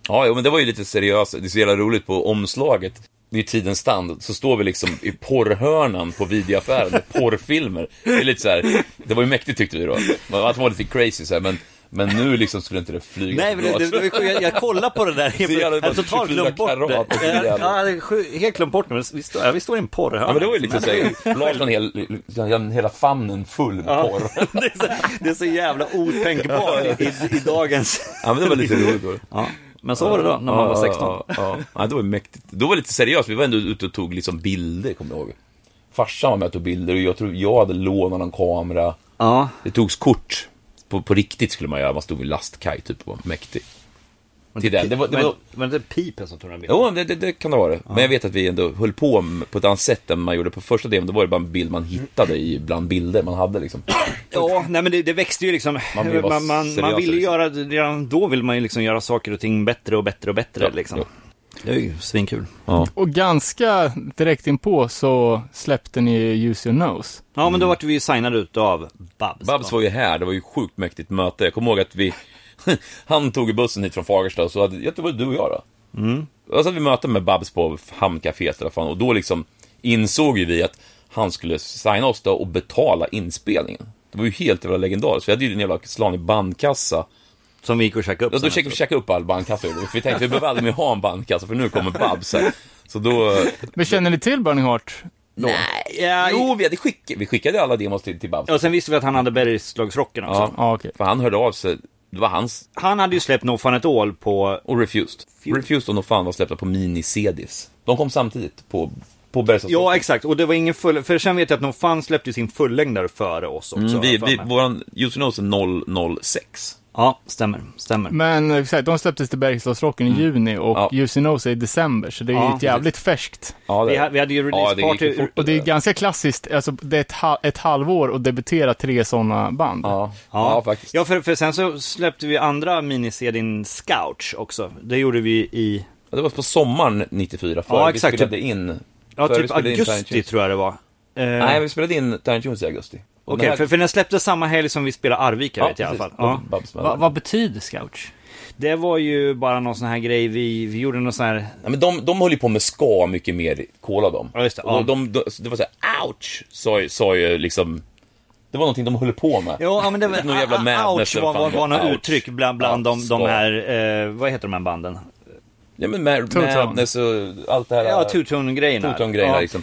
[SPEAKER 6] Ja, jo, men det var ju lite seriöst. Det är så jävla roligt på omslaget. Det är tidens stand, så står vi liksom i porrhörnan på videoaffären med porrfilmer. Det är lite så här, det var ju mäktigt tyckte vi då. Man- Att det var lite crazy så här, men, men nu liksom skulle inte det flyga
[SPEAKER 7] Nej,
[SPEAKER 6] så
[SPEAKER 7] men
[SPEAKER 6] bra.
[SPEAKER 7] det, det, det, jag, jag kollar på det där.
[SPEAKER 6] jävla
[SPEAKER 7] Jag hade
[SPEAKER 6] bara
[SPEAKER 7] totalt
[SPEAKER 6] 24
[SPEAKER 7] glömt bort
[SPEAKER 6] karat och så
[SPEAKER 7] det. Eh,
[SPEAKER 6] jävla-
[SPEAKER 7] Ja, det är sju- helt glömt bort det, men vi står, ja, vi står i en porrhörna.
[SPEAKER 6] Ja, men det var ju lite så här, Lars hade hel, hel- hela famnen full med porr.
[SPEAKER 7] det, är så, det är så jävla otänkbart i, i, i dagens...
[SPEAKER 6] Ja, men det var lite roligt då.
[SPEAKER 7] Ja, men så var det då, när man var 16.
[SPEAKER 6] Ja, ja, ja. ja, det var ju mäktigt. Då var det lite seriöst. Vi var ändå ute och tog liksom bilder, kommer jag ihåg. Farsan var med och tog bilder och jag tror jag hade lånat någon kamera.
[SPEAKER 7] Ja,
[SPEAKER 6] Det togs kort. På, på riktigt skulle man göra. Man stod vid lastkaj typ och var mäktig. Till den. Det var, det
[SPEAKER 7] men
[SPEAKER 6] var,
[SPEAKER 7] var det inte pipen som tog den bilden?
[SPEAKER 6] jo, det, det, det kan det vara. Men jag vet att vi ändå höll på med- på ett annat sätt än man gjorde på första delen. Då var det bara en bild man hittade i bland bilder man hade liksom.
[SPEAKER 7] Ja, nej men det, det växte ju liksom. Man
[SPEAKER 6] Man vill
[SPEAKER 7] ville,
[SPEAKER 6] vara
[SPEAKER 7] man, man,
[SPEAKER 6] seriös,
[SPEAKER 7] ville
[SPEAKER 6] liksom.
[SPEAKER 7] göra, redan då vill man ju liksom göra saker och ting bättre och bättre och bättre
[SPEAKER 6] Ja,
[SPEAKER 7] liksom.
[SPEAKER 6] ja.
[SPEAKER 7] Det är ju svinkul.
[SPEAKER 3] Och ganska direkt inpå så släppte ni Use Your Nose.
[SPEAKER 7] Ja, men då vart vi ju signade ut av Babs.
[SPEAKER 6] Babs var ju här, det var ju sjukt mäktigt möte. Jag kommer ihåg att vi... Han tog bussen hit från Fagersta, och så hade, jag tror det var du och jag då. Mm. Och så hade vi möte med Babs på Hamncaféet eller vad fan, och då liksom insåg ju vi att han skulle signa oss då och betala inspelningen. Det var ju helt jävla legendariskt, vi hade ju en jävla slanig bandkassa.
[SPEAKER 7] Som vi gick och käkade upp
[SPEAKER 6] Ja, då
[SPEAKER 7] sen
[SPEAKER 6] käkade vi
[SPEAKER 7] efteråt.
[SPEAKER 6] käkade upp all bandkassa, vi gjorde. För vi tänkte vi behöver aldrig mer ha en bandkassa, för nu kommer Babs här. Så då...
[SPEAKER 3] Men känner ni till Burning Heart?
[SPEAKER 7] Ja,
[SPEAKER 6] Jo, vi, hade skick, vi skickade alla demos till, till Babs.
[SPEAKER 7] Och sen visste vi att han hade bergslagsrocken också.
[SPEAKER 6] Ja.
[SPEAKER 3] Ja, okej.
[SPEAKER 6] För han hörde av sig det var hans.
[SPEAKER 7] Han hade ju släppt No Fun At All på...
[SPEAKER 6] Och Refused. Refused och No Fan var släppta på mini-CDs. De kom samtidigt på, på Bergslagsgatan.
[SPEAKER 7] Ja, exakt. Och det var ingen full... För sen vet jag att No Fun släppte ju sin fullängdare före oss också.
[SPEAKER 6] Mm, vi,
[SPEAKER 7] har jag
[SPEAKER 6] vi,
[SPEAKER 7] för mig.
[SPEAKER 6] våran user knows är 006.
[SPEAKER 7] Ja, stämmer. Stämmer.
[SPEAKER 3] Men eh, exakt, de släpptes till Bergslagsrocken i juni och
[SPEAKER 6] Mm. Ja.
[SPEAKER 3] You See Knows är i december, så det är ju
[SPEAKER 7] Ja,
[SPEAKER 3] ett jävligt färskt.
[SPEAKER 6] Ja,
[SPEAKER 7] Vi, ha, vi hade ju
[SPEAKER 6] Ja, det gick
[SPEAKER 7] releaseparty...
[SPEAKER 6] ju fort.
[SPEAKER 3] Och det är ganska klassiskt, alltså det är ett, ha- ett halvår och debutera tre sådana band.
[SPEAKER 6] Ja,
[SPEAKER 7] Ja,
[SPEAKER 6] ja. faktiskt.
[SPEAKER 7] Ja, för, för sen så släppte vi andra miniserien Scouch också. Det gjorde vi i...
[SPEAKER 6] Ja, Det var på sommaren 94, för
[SPEAKER 7] Ja,
[SPEAKER 6] vi
[SPEAKER 7] exakt.
[SPEAKER 6] spelade in...
[SPEAKER 7] Ja,
[SPEAKER 6] för vi
[SPEAKER 7] typ
[SPEAKER 6] spelade in Tiny
[SPEAKER 7] augusti
[SPEAKER 6] Tunes.
[SPEAKER 7] tror jag det var. Eh,
[SPEAKER 6] Nej,
[SPEAKER 7] Okej,
[SPEAKER 6] vi spelade in Tiny Tunes i augusti. Och den här-
[SPEAKER 7] för, för den släpptes samma helg som vi spelade Arvika
[SPEAKER 6] Ja,
[SPEAKER 7] vet jag i alla fall.
[SPEAKER 6] precis.
[SPEAKER 7] Ja.
[SPEAKER 6] Babs med
[SPEAKER 2] Va,
[SPEAKER 6] den.
[SPEAKER 2] vad betyder Scouch?
[SPEAKER 7] Det var ju bara någon sån här grej, vi, vi gjorde någon sån här...
[SPEAKER 6] Ja, men de, de höll ju på med ska mycket mer, kola dem.
[SPEAKER 7] Ja, just det,
[SPEAKER 6] Och
[SPEAKER 7] ja.
[SPEAKER 6] de, de, det var så här, ouch, sa, ju- sa ju liksom... Det var någonting de höll på med.
[SPEAKER 7] Ja, ja, men det var...
[SPEAKER 6] Någon jävla madness
[SPEAKER 7] ouch
[SPEAKER 6] eller
[SPEAKER 7] var,
[SPEAKER 6] vad fan
[SPEAKER 7] var,
[SPEAKER 6] det
[SPEAKER 7] var något
[SPEAKER 6] Ouch.
[SPEAKER 7] uttryck bland, bland
[SPEAKER 6] Ja,
[SPEAKER 7] de, de
[SPEAKER 6] ska.
[SPEAKER 7] här, eh, vad heter de här banden?
[SPEAKER 6] Ja, men mad,
[SPEAKER 3] Two-tone.
[SPEAKER 6] madness och allt det här.
[SPEAKER 7] Ja, Tutone-grejerna.
[SPEAKER 6] Tuton-grejerna
[SPEAKER 7] Ja.
[SPEAKER 6] liksom.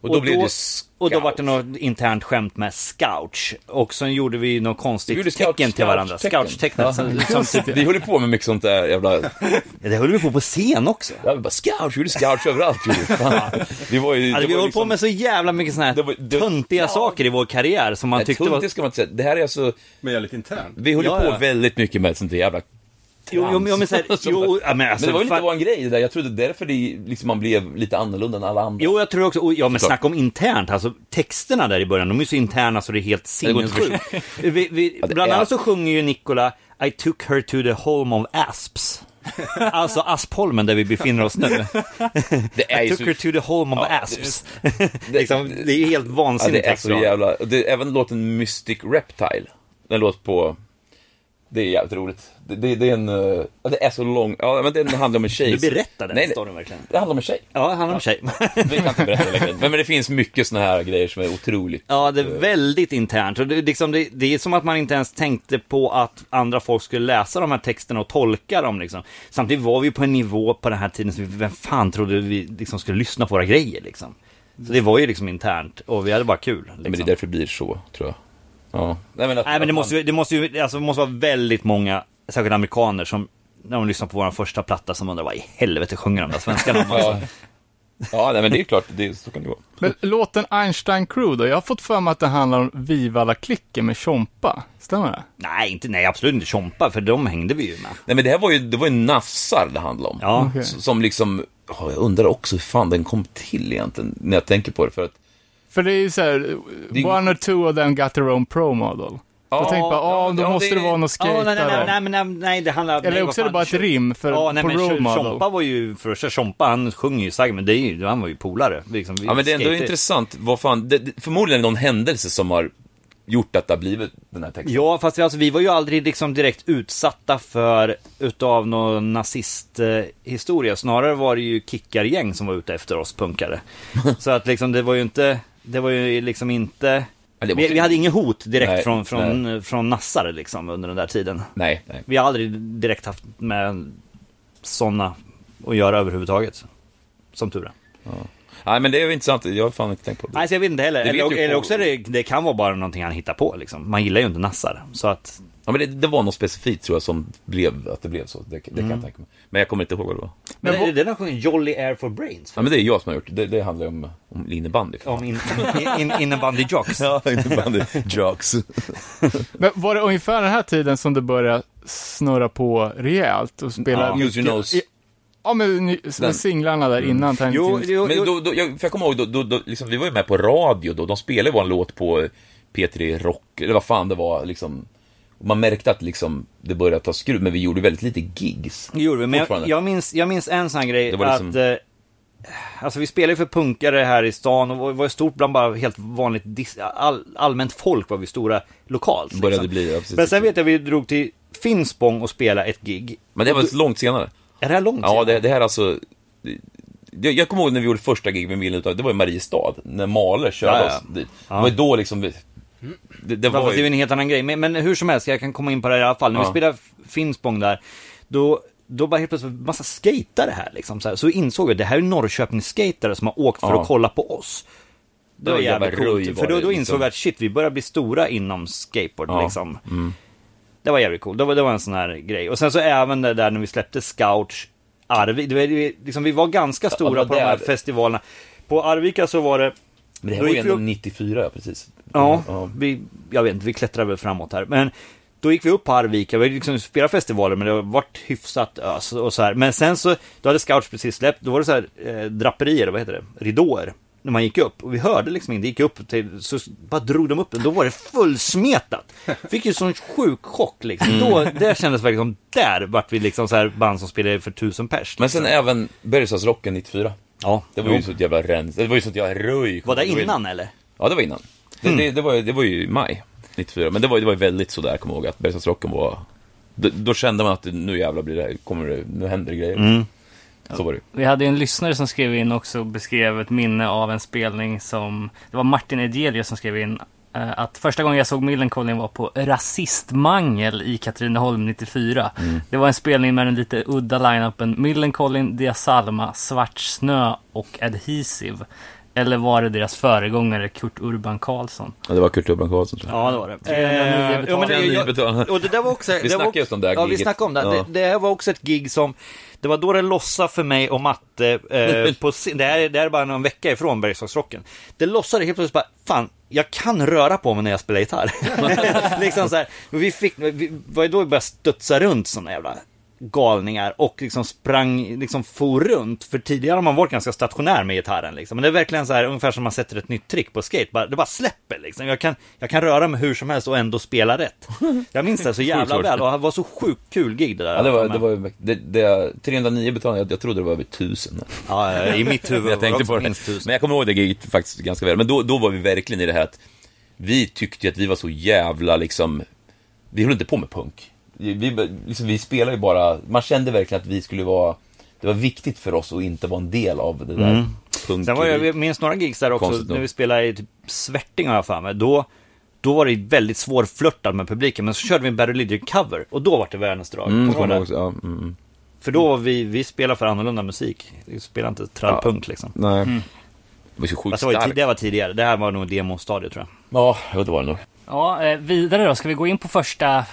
[SPEAKER 6] Och,
[SPEAKER 7] Och
[SPEAKER 6] då blev
[SPEAKER 7] då-
[SPEAKER 6] det ju
[SPEAKER 7] Och då
[SPEAKER 6] scout.
[SPEAKER 7] var det något internt skämt med scouch. Och sen gjorde vi något konstigt
[SPEAKER 6] Vi gjorde scout-
[SPEAKER 7] tecken till varandra.
[SPEAKER 6] scout-tecken.
[SPEAKER 7] Scouttecknet. Som,
[SPEAKER 6] Ja.
[SPEAKER 7] som,
[SPEAKER 6] Vi höll ju på med mycket sånt där jävla...
[SPEAKER 7] Ja, det höll vi på på scen också.
[SPEAKER 6] Ja, vi bara scouts, vi gjorde scouts överallt. gjorde vi. Fan. Vi var ju...
[SPEAKER 7] Alltså, vi har
[SPEAKER 6] var
[SPEAKER 7] hållit
[SPEAKER 6] liksom-
[SPEAKER 7] på med så jävla mycket sådana här
[SPEAKER 6] Det var- det-
[SPEAKER 7] töntiga
[SPEAKER 6] Ja.
[SPEAKER 7] saker i vår karriär som man
[SPEAKER 6] Nej,
[SPEAKER 7] tyckte var...
[SPEAKER 6] tungt, det ska man inte säga. Det här är alltså...
[SPEAKER 4] Men jag är lite intern.
[SPEAKER 6] Vi höll ju
[SPEAKER 7] Ja,
[SPEAKER 6] på
[SPEAKER 7] ja.
[SPEAKER 6] väldigt mycket med sånt där jävla...
[SPEAKER 7] Jo, jo, men, jo, men, så här, jo, ja, men, alltså,
[SPEAKER 6] men det var ju lite
[SPEAKER 7] fan-
[SPEAKER 6] vår grej det där. Jag trodde därför det, liksom, man blev lite annorlunda än alla andra.
[SPEAKER 7] Jo, jag tror också, och, ja men
[SPEAKER 6] Såklart.
[SPEAKER 7] snacka om internt, alltså texterna där i början, de är så interna så det är helt
[SPEAKER 6] Det går inte att
[SPEAKER 7] sinnessjukt. Vi, vi,
[SPEAKER 6] det
[SPEAKER 7] bland
[SPEAKER 6] är-
[SPEAKER 7] annat så sjunger ju Nikola I took her to the home of asps. Alltså Aspholmen där vi befinner oss nu.
[SPEAKER 6] det är
[SPEAKER 7] I
[SPEAKER 6] ju
[SPEAKER 7] took
[SPEAKER 6] så...
[SPEAKER 7] her to the home of
[SPEAKER 6] Ja,
[SPEAKER 7] asps. liksom, det är ju helt
[SPEAKER 6] Ja,
[SPEAKER 7] vansinnigt.
[SPEAKER 6] det är så
[SPEAKER 7] textrad.
[SPEAKER 6] jävla... och Det, även låten Mystic Reptile. Den låter på... Det är jävligt roligt. Det, det, det är en... eh, ja, Det är så lång... Ja, men den handlar om en tjej.
[SPEAKER 7] Du
[SPEAKER 6] som-
[SPEAKER 7] berättar den
[SPEAKER 6] Nej,
[SPEAKER 7] storyn
[SPEAKER 6] nej.
[SPEAKER 7] verkligen.
[SPEAKER 6] Det handlar om en tjej.
[SPEAKER 7] Ja, han har en tjej.
[SPEAKER 6] Vi kan inte berätta längre. Men, men det finns mycket såna här grejer som är otroligt...
[SPEAKER 7] Ja, det är väldigt internt. Och det, är liksom, det, det är som att man inte ens tänkte på att andra folk skulle läsa de här texterna och tolka dem. Liksom. Samtidigt var vi på en nivå på den här tiden som vi, vem fan trodde vi liksom skulle lyssna på våra grejer liksom. Så det var ju liksom internt och vi hade bara kul. Liksom.
[SPEAKER 6] Men det är därför det blir så, tror jag. Ja. Nej, men, att,
[SPEAKER 7] Nej, men det
[SPEAKER 6] att
[SPEAKER 7] måste, ju- det måste ju alltså, det måste vara väldigt många, särskilt amerikaner, som när de lyssnar på vår första platta som undrar vad i helvete sjunger de där svenskarna om? Alltså.
[SPEAKER 6] Ja, ja nej, men det är klart, det, är- så kan det gå.
[SPEAKER 3] Men låten Einstein Crew då, jag har fått för mig att det handlar om Vivala-klicken med Chompa, stämmer det?
[SPEAKER 7] Nej, inte, nej, absolut inte Chompa, för de hängde vi ju med.
[SPEAKER 6] Nej, men det här var ju, det var ju nafsar det handlade om.
[SPEAKER 7] Ja.
[SPEAKER 3] Okej.
[SPEAKER 6] S- Som liksom, ja, jag undrar också hur fan den kom till egentligen, när jag tänker på det. För att,
[SPEAKER 3] För det är ju såhär,
[SPEAKER 6] Det är-
[SPEAKER 3] one or two of them got their own pro model.
[SPEAKER 6] Ja,
[SPEAKER 3] jag tänkte bara, ah, då
[SPEAKER 6] ja,
[SPEAKER 3] måste det,
[SPEAKER 6] det-
[SPEAKER 3] vara någon
[SPEAKER 7] Ja,
[SPEAKER 3] skejtare.
[SPEAKER 7] nej, nej, nej, nej, men nej, nej, det handlar... nej,
[SPEAKER 3] Eller
[SPEAKER 7] vad
[SPEAKER 3] också är det
[SPEAKER 7] fan,
[SPEAKER 3] bara ett
[SPEAKER 7] Ch-
[SPEAKER 3] rim för,
[SPEAKER 7] Ja, nej,
[SPEAKER 3] på
[SPEAKER 7] men
[SPEAKER 3] role
[SPEAKER 7] Ch-
[SPEAKER 3] model.
[SPEAKER 7] Chompa var ju, för att säga Chompa, han sjunger ju sagg, men det är ju, han var ju polare. Liksom, vi
[SPEAKER 6] ja, men det är ändå
[SPEAKER 7] skatade.
[SPEAKER 6] intressant, vad fan, det, det, förmodligen är det någon händelse som har gjort att det har blivit den här texten.
[SPEAKER 7] Ja, fast vi, alltså, vi var ju aldrig liksom direkt utsatta för utav någon nazisthistoria. Eh, historia. Snarare var det ju kickargäng som var ute efter oss punkare. Så att liksom, det var ju inte, det var ju liksom inte...
[SPEAKER 6] Ja, det
[SPEAKER 7] Vi,
[SPEAKER 6] måste-
[SPEAKER 7] vi hade inget hot direkt
[SPEAKER 6] Nej,
[SPEAKER 7] från, från, från nassare liksom under den där tiden.
[SPEAKER 6] Nej, nej.
[SPEAKER 7] Vi har aldrig direkt haft med sådana att göra överhuvudtaget. Som tur är.
[SPEAKER 6] Nej, men det är ju intressant, jag har fan inte tänkt på det.
[SPEAKER 7] Nej, så jag vet inte heller.
[SPEAKER 6] Det vet
[SPEAKER 7] eller,
[SPEAKER 6] ju
[SPEAKER 7] eller
[SPEAKER 6] på-
[SPEAKER 7] också är det, det kan vara bara någonting han hittar på liksom. Man gillar ju inte nassar. Så att,
[SPEAKER 6] Ja, men det, det var något specifikt tror jag som blev, att det blev så. Det, det kan
[SPEAKER 7] Mm.
[SPEAKER 6] jag tänka mig. Men jag kommer inte ihåg vad det var.
[SPEAKER 7] men
[SPEAKER 3] Men
[SPEAKER 7] det, den har sjungit Jolly Air for Brains.
[SPEAKER 6] Ja, men det är jag som har gjort det. det. Det handlar ju om, om innebandy.
[SPEAKER 7] Om in, in, in, innebandy jocks.
[SPEAKER 6] Ja, innebandy. Jokes.
[SPEAKER 3] Men var det ungefär den här tiden som det började snurra på rejält och spela
[SPEAKER 6] Ja,
[SPEAKER 3] mycket-
[SPEAKER 6] Use Your Nose.
[SPEAKER 3] Ja, men ny- med singlarna där innan Tiny
[SPEAKER 7] Jo,
[SPEAKER 3] Tunes.
[SPEAKER 7] jo,
[SPEAKER 6] Men
[SPEAKER 7] jo.
[SPEAKER 6] då, då, jag, för jag kommer ihåg, då, då, då, liksom, vi var ju med på radio då. De spelade ju vår låt på P3 Rock, eller vad fan det var. Liksom. Man märkte att liksom, det började ta skruv, men vi gjorde väldigt lite gigs.
[SPEAKER 7] Det gjorde vi, men jag,
[SPEAKER 6] Fortfarande.
[SPEAKER 7] jag, minns, jag minns en sån här grej
[SPEAKER 6] Det var liksom-
[SPEAKER 7] att... Eh, alltså vi spelade ju för punkare här i stan och var- var stort bland bara helt vanligt, dis- all, allmänt folk var vi stora lokalt. Liksom.
[SPEAKER 6] Började bli, ja, precis.
[SPEAKER 7] Men sen vet jag vi drog till Finspång och spelade ett gig.
[SPEAKER 6] Men det var långt senare.
[SPEAKER 7] Är det här långt
[SPEAKER 6] Ja,
[SPEAKER 7] sedan?
[SPEAKER 6] det, det här alltså... Det, jag kommer ihåg när vi gjorde första gig med Milen utav, det var i Mariestad, när Maler körde
[SPEAKER 7] Ja, ja.
[SPEAKER 6] oss dit. Det var ju då liksom... vi- Det, det
[SPEAKER 7] Fast
[SPEAKER 6] var
[SPEAKER 7] det är ju
[SPEAKER 6] ju...
[SPEAKER 7] en helt annan grej. Men, men hur som helst, jag kan komma in på det här i alla fall. När vi
[SPEAKER 6] Ja.
[SPEAKER 7] spelade Finspång där, då, då bara helt plötsligt massa skatare här liksom. Så, här. så insåg jag att det här är Norrköpingsskejtare som har åkt för
[SPEAKER 6] Ja.
[SPEAKER 7] att kolla på oss. Det var
[SPEAKER 6] var jävla
[SPEAKER 7] jävligt
[SPEAKER 6] röj
[SPEAKER 7] coolt.
[SPEAKER 6] var
[SPEAKER 7] För då,
[SPEAKER 6] det,
[SPEAKER 7] då
[SPEAKER 6] liksom.
[SPEAKER 7] insåg jag att shit, vi börjar bli stora inom skateboard
[SPEAKER 6] Ja.
[SPEAKER 7] liksom. Det var jävligt coolt. Det var, det var en sån här grej. Och sen så även det där när vi släppte Scouts Arvika. Det var, det, liksom, vi var ganska stora
[SPEAKER 6] var
[SPEAKER 7] på de här
[SPEAKER 6] där.
[SPEAKER 7] festivalerna. På Arvika så var det...
[SPEAKER 6] Men det här
[SPEAKER 7] då
[SPEAKER 6] var ju
[SPEAKER 7] gick vi
[SPEAKER 6] ändå
[SPEAKER 7] upp-
[SPEAKER 6] 94, ja, precis.
[SPEAKER 7] Ja,
[SPEAKER 6] ja.
[SPEAKER 7] vi, jag vet inte, vi klättrar väl framåt här. Men då gick vi upp på Arvika, vi hade liksom spelat festivaler men det har varit hyfsat ös och så här. Men sen så, då hade Scouts precis släppt, då var det så här eh, draperier, vad heter det, ridåer. När man gick upp och vi hörde liksom inte, gick upp till, så bara drog de upp den, då var det fullsmetat. Fick ju sån sjuk chock liksom.
[SPEAKER 6] Mm.
[SPEAKER 7] Då, det kändes verkligen som, där vart vi liksom så här band som spelade för tusen pers. liksom.
[SPEAKER 6] Men sen även Bergslagsrocken 94.
[SPEAKER 7] ja,
[SPEAKER 6] Det var ju sånt jävla rens... Det var ju sånt jävla röj.
[SPEAKER 7] var det
[SPEAKER 6] ju-
[SPEAKER 7] innan Hmm. eller?
[SPEAKER 6] Ja, det var innan. Det, det, det, var, ju- det var ju i maj 94, men det var, ju- det var ju väldigt sådär, jag kommer ihåg, att Bergslagsrocken var... Då, då kände man att nu jävlar blir det här, kommer det, nu händer det grejer.
[SPEAKER 7] Mm.
[SPEAKER 6] Så var det ju.
[SPEAKER 2] Vi hade ju en lyssnare som skrev in också och beskrev ett minne av en spelning som... Det var Martin Edelius som skrev in eh, att första gången jag såg Millencolin var på Rasistmangel i Katrineholm 94.
[SPEAKER 6] Mm.
[SPEAKER 2] Det var en spelning med den lite udda line-upen Millencolin, Diasalma, Svart Snö och Adhesive. Eller var det deras föregångare Kurt Urban Karlsson?
[SPEAKER 6] Ja, det var Kurt Urban Karlsson, tror jag.
[SPEAKER 7] Ja, det var det.
[SPEAKER 2] Eh,
[SPEAKER 7] ja, men
[SPEAKER 6] det-
[SPEAKER 7] jag-
[SPEAKER 6] betalade.
[SPEAKER 7] och det där var också... det
[SPEAKER 6] snackade
[SPEAKER 7] var också-
[SPEAKER 6] just om det här
[SPEAKER 7] Ja, vi
[SPEAKER 6] giget.
[SPEAKER 7] snackade om det.
[SPEAKER 6] Ja.
[SPEAKER 7] det. Det här var också ett gig som... Det var då det lossade för mig och Matte eh, på scen- det, här, är- det här är bara någon vecka ifrån Bergslagsrocken. Det lossade helt plötsligt bara, fan, jag kan röra på mig när jag spelar gitarr. liksom så här, och vi fick, vi var ju då vi började studsa runt sådana jävla galningar och liksom sprang, liksom for runt. För tidigare har man varit ganska stationär med gitarren liksom. Men det är verkligen så här, ungefär som man sätter ett nytt trick på skate. Bara, det bara släpper liksom. Jag kan, jag kan röra mig hur som helst och ändå spela rätt. Jag minns det så jävla
[SPEAKER 6] Sjukt svårt.
[SPEAKER 7] väl och det var så sjukt kul gig det där.
[SPEAKER 6] Ja, det var, det var ju, det, det, 309 betalningar, jag, jag trodde det var över 1000.
[SPEAKER 7] Ja, i mitt huvud
[SPEAKER 6] Jag tänkte
[SPEAKER 7] var
[SPEAKER 6] på
[SPEAKER 7] också
[SPEAKER 6] det.
[SPEAKER 7] minst tusen.
[SPEAKER 6] Men jag kommer ihåg det giget faktiskt ganska väl. Men då, då var vi verkligen i det här att vi tyckte ju att vi var så jävla liksom, vi höll inte på med punk. Vi, vi, liksom, vi spelade ju bara, man kände verkligen att vi skulle vara, det var viktigt för oss att inte vara en del av det där mm. punk.
[SPEAKER 7] Sen var jag, jag minns några gigs där också,
[SPEAKER 6] Konstigt nog.
[SPEAKER 7] när vi spelade i typ Svärting har jag för mig. Då, då var det väldigt svårflörtat med publiken, men så körde vi en Barry Lydiard-cover och då var det världens drag. Kommer
[SPEAKER 6] Mm, kommer
[SPEAKER 7] du
[SPEAKER 6] jag
[SPEAKER 7] ihåg
[SPEAKER 6] ihåg också, ja, mm.
[SPEAKER 7] det? För då var vi, vi spelade för annorlunda musik. Vi spelade inte trallpunk liksom.
[SPEAKER 6] Nej. Mm. Det var så sjukt
[SPEAKER 7] Fast det, var ju,
[SPEAKER 6] starkt.
[SPEAKER 7] tid- det var tidigare, det här var nog demostadiet tror jag.
[SPEAKER 6] Ja, jo, det var det nog.
[SPEAKER 2] Ja, eh, vidare då. Ska vi gå in på första,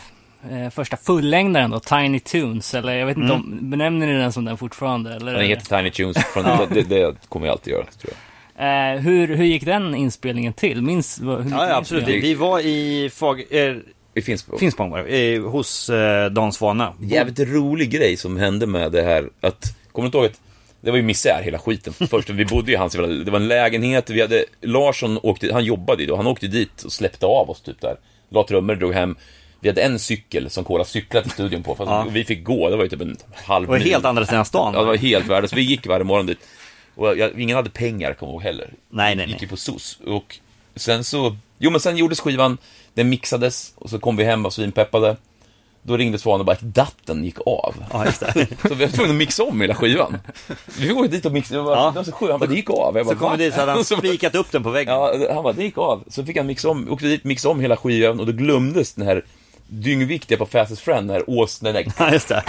[SPEAKER 2] eh, första fullängdaren då? Tiny Toons? Eller jag vet inte om, benämner ni den som den fortfarande? Eller?
[SPEAKER 6] Mm. Den heter Tiny Tunes, från, det, det kommer jag alltid göra, tror jag.
[SPEAKER 2] Eh, hur, hur gick den inspelningen till? Minns, vad- hur
[SPEAKER 7] Ja,
[SPEAKER 2] minns
[SPEAKER 7] ja
[SPEAKER 2] ni
[SPEAKER 7] absolut.
[SPEAKER 2] den?
[SPEAKER 7] Vi, vi var i Fag... Eh,
[SPEAKER 6] Det finns på.
[SPEAKER 7] Finspång var det, eh, hos eh, Dan Svana.
[SPEAKER 6] jävligt rolig grej som hände med det här att, kommer du inte ihåg att det var ju misär hela skiten. Först, vi bodde ju i hans jävla- det var en lägenhet, vi hade, Larsson åkte, han jobbade ju då, han åkte dit och släppte av oss typ där. La trummor, drog hem. Vi hade en cykel som Kola cyklade till studion på, fast
[SPEAKER 7] Ja.
[SPEAKER 6] vi fick gå, det var ju typ en halv
[SPEAKER 7] Och
[SPEAKER 6] mil.
[SPEAKER 7] helt andra sidan stan.
[SPEAKER 6] Ja, det var helt värdelöst. Vi gick varje morgon dit. Och jag, ingen hade pengar, kommer jag ihåg heller.
[SPEAKER 7] Nej, nej,
[SPEAKER 6] Gick
[SPEAKER 7] nej.
[SPEAKER 6] ju på SOS. Och sen så... Jo, men sen gjordes skivan, den mixades och så kom vi hem och svinpeppade. Då ringde Svan och bara att datten gick av.
[SPEAKER 7] Ja, just det.
[SPEAKER 6] Så vi var tvungna att mixa om hela skivan. Vi fick gå dit och mixa, jag bara,
[SPEAKER 7] Ja.
[SPEAKER 6] det var så sjukt, han bara, det gick av. Jag bara,
[SPEAKER 7] Så kom vi dit så hade han
[SPEAKER 6] Så bara-
[SPEAKER 7] spikat upp den på väggen.
[SPEAKER 6] Ja, han bara, det gick av. Så fick han mixa om, åkte dit, mixa om hela skivan och då glömdes den här dyngviktiga på Fastest Friend, den här åsnen, den där
[SPEAKER 7] Ja, just det.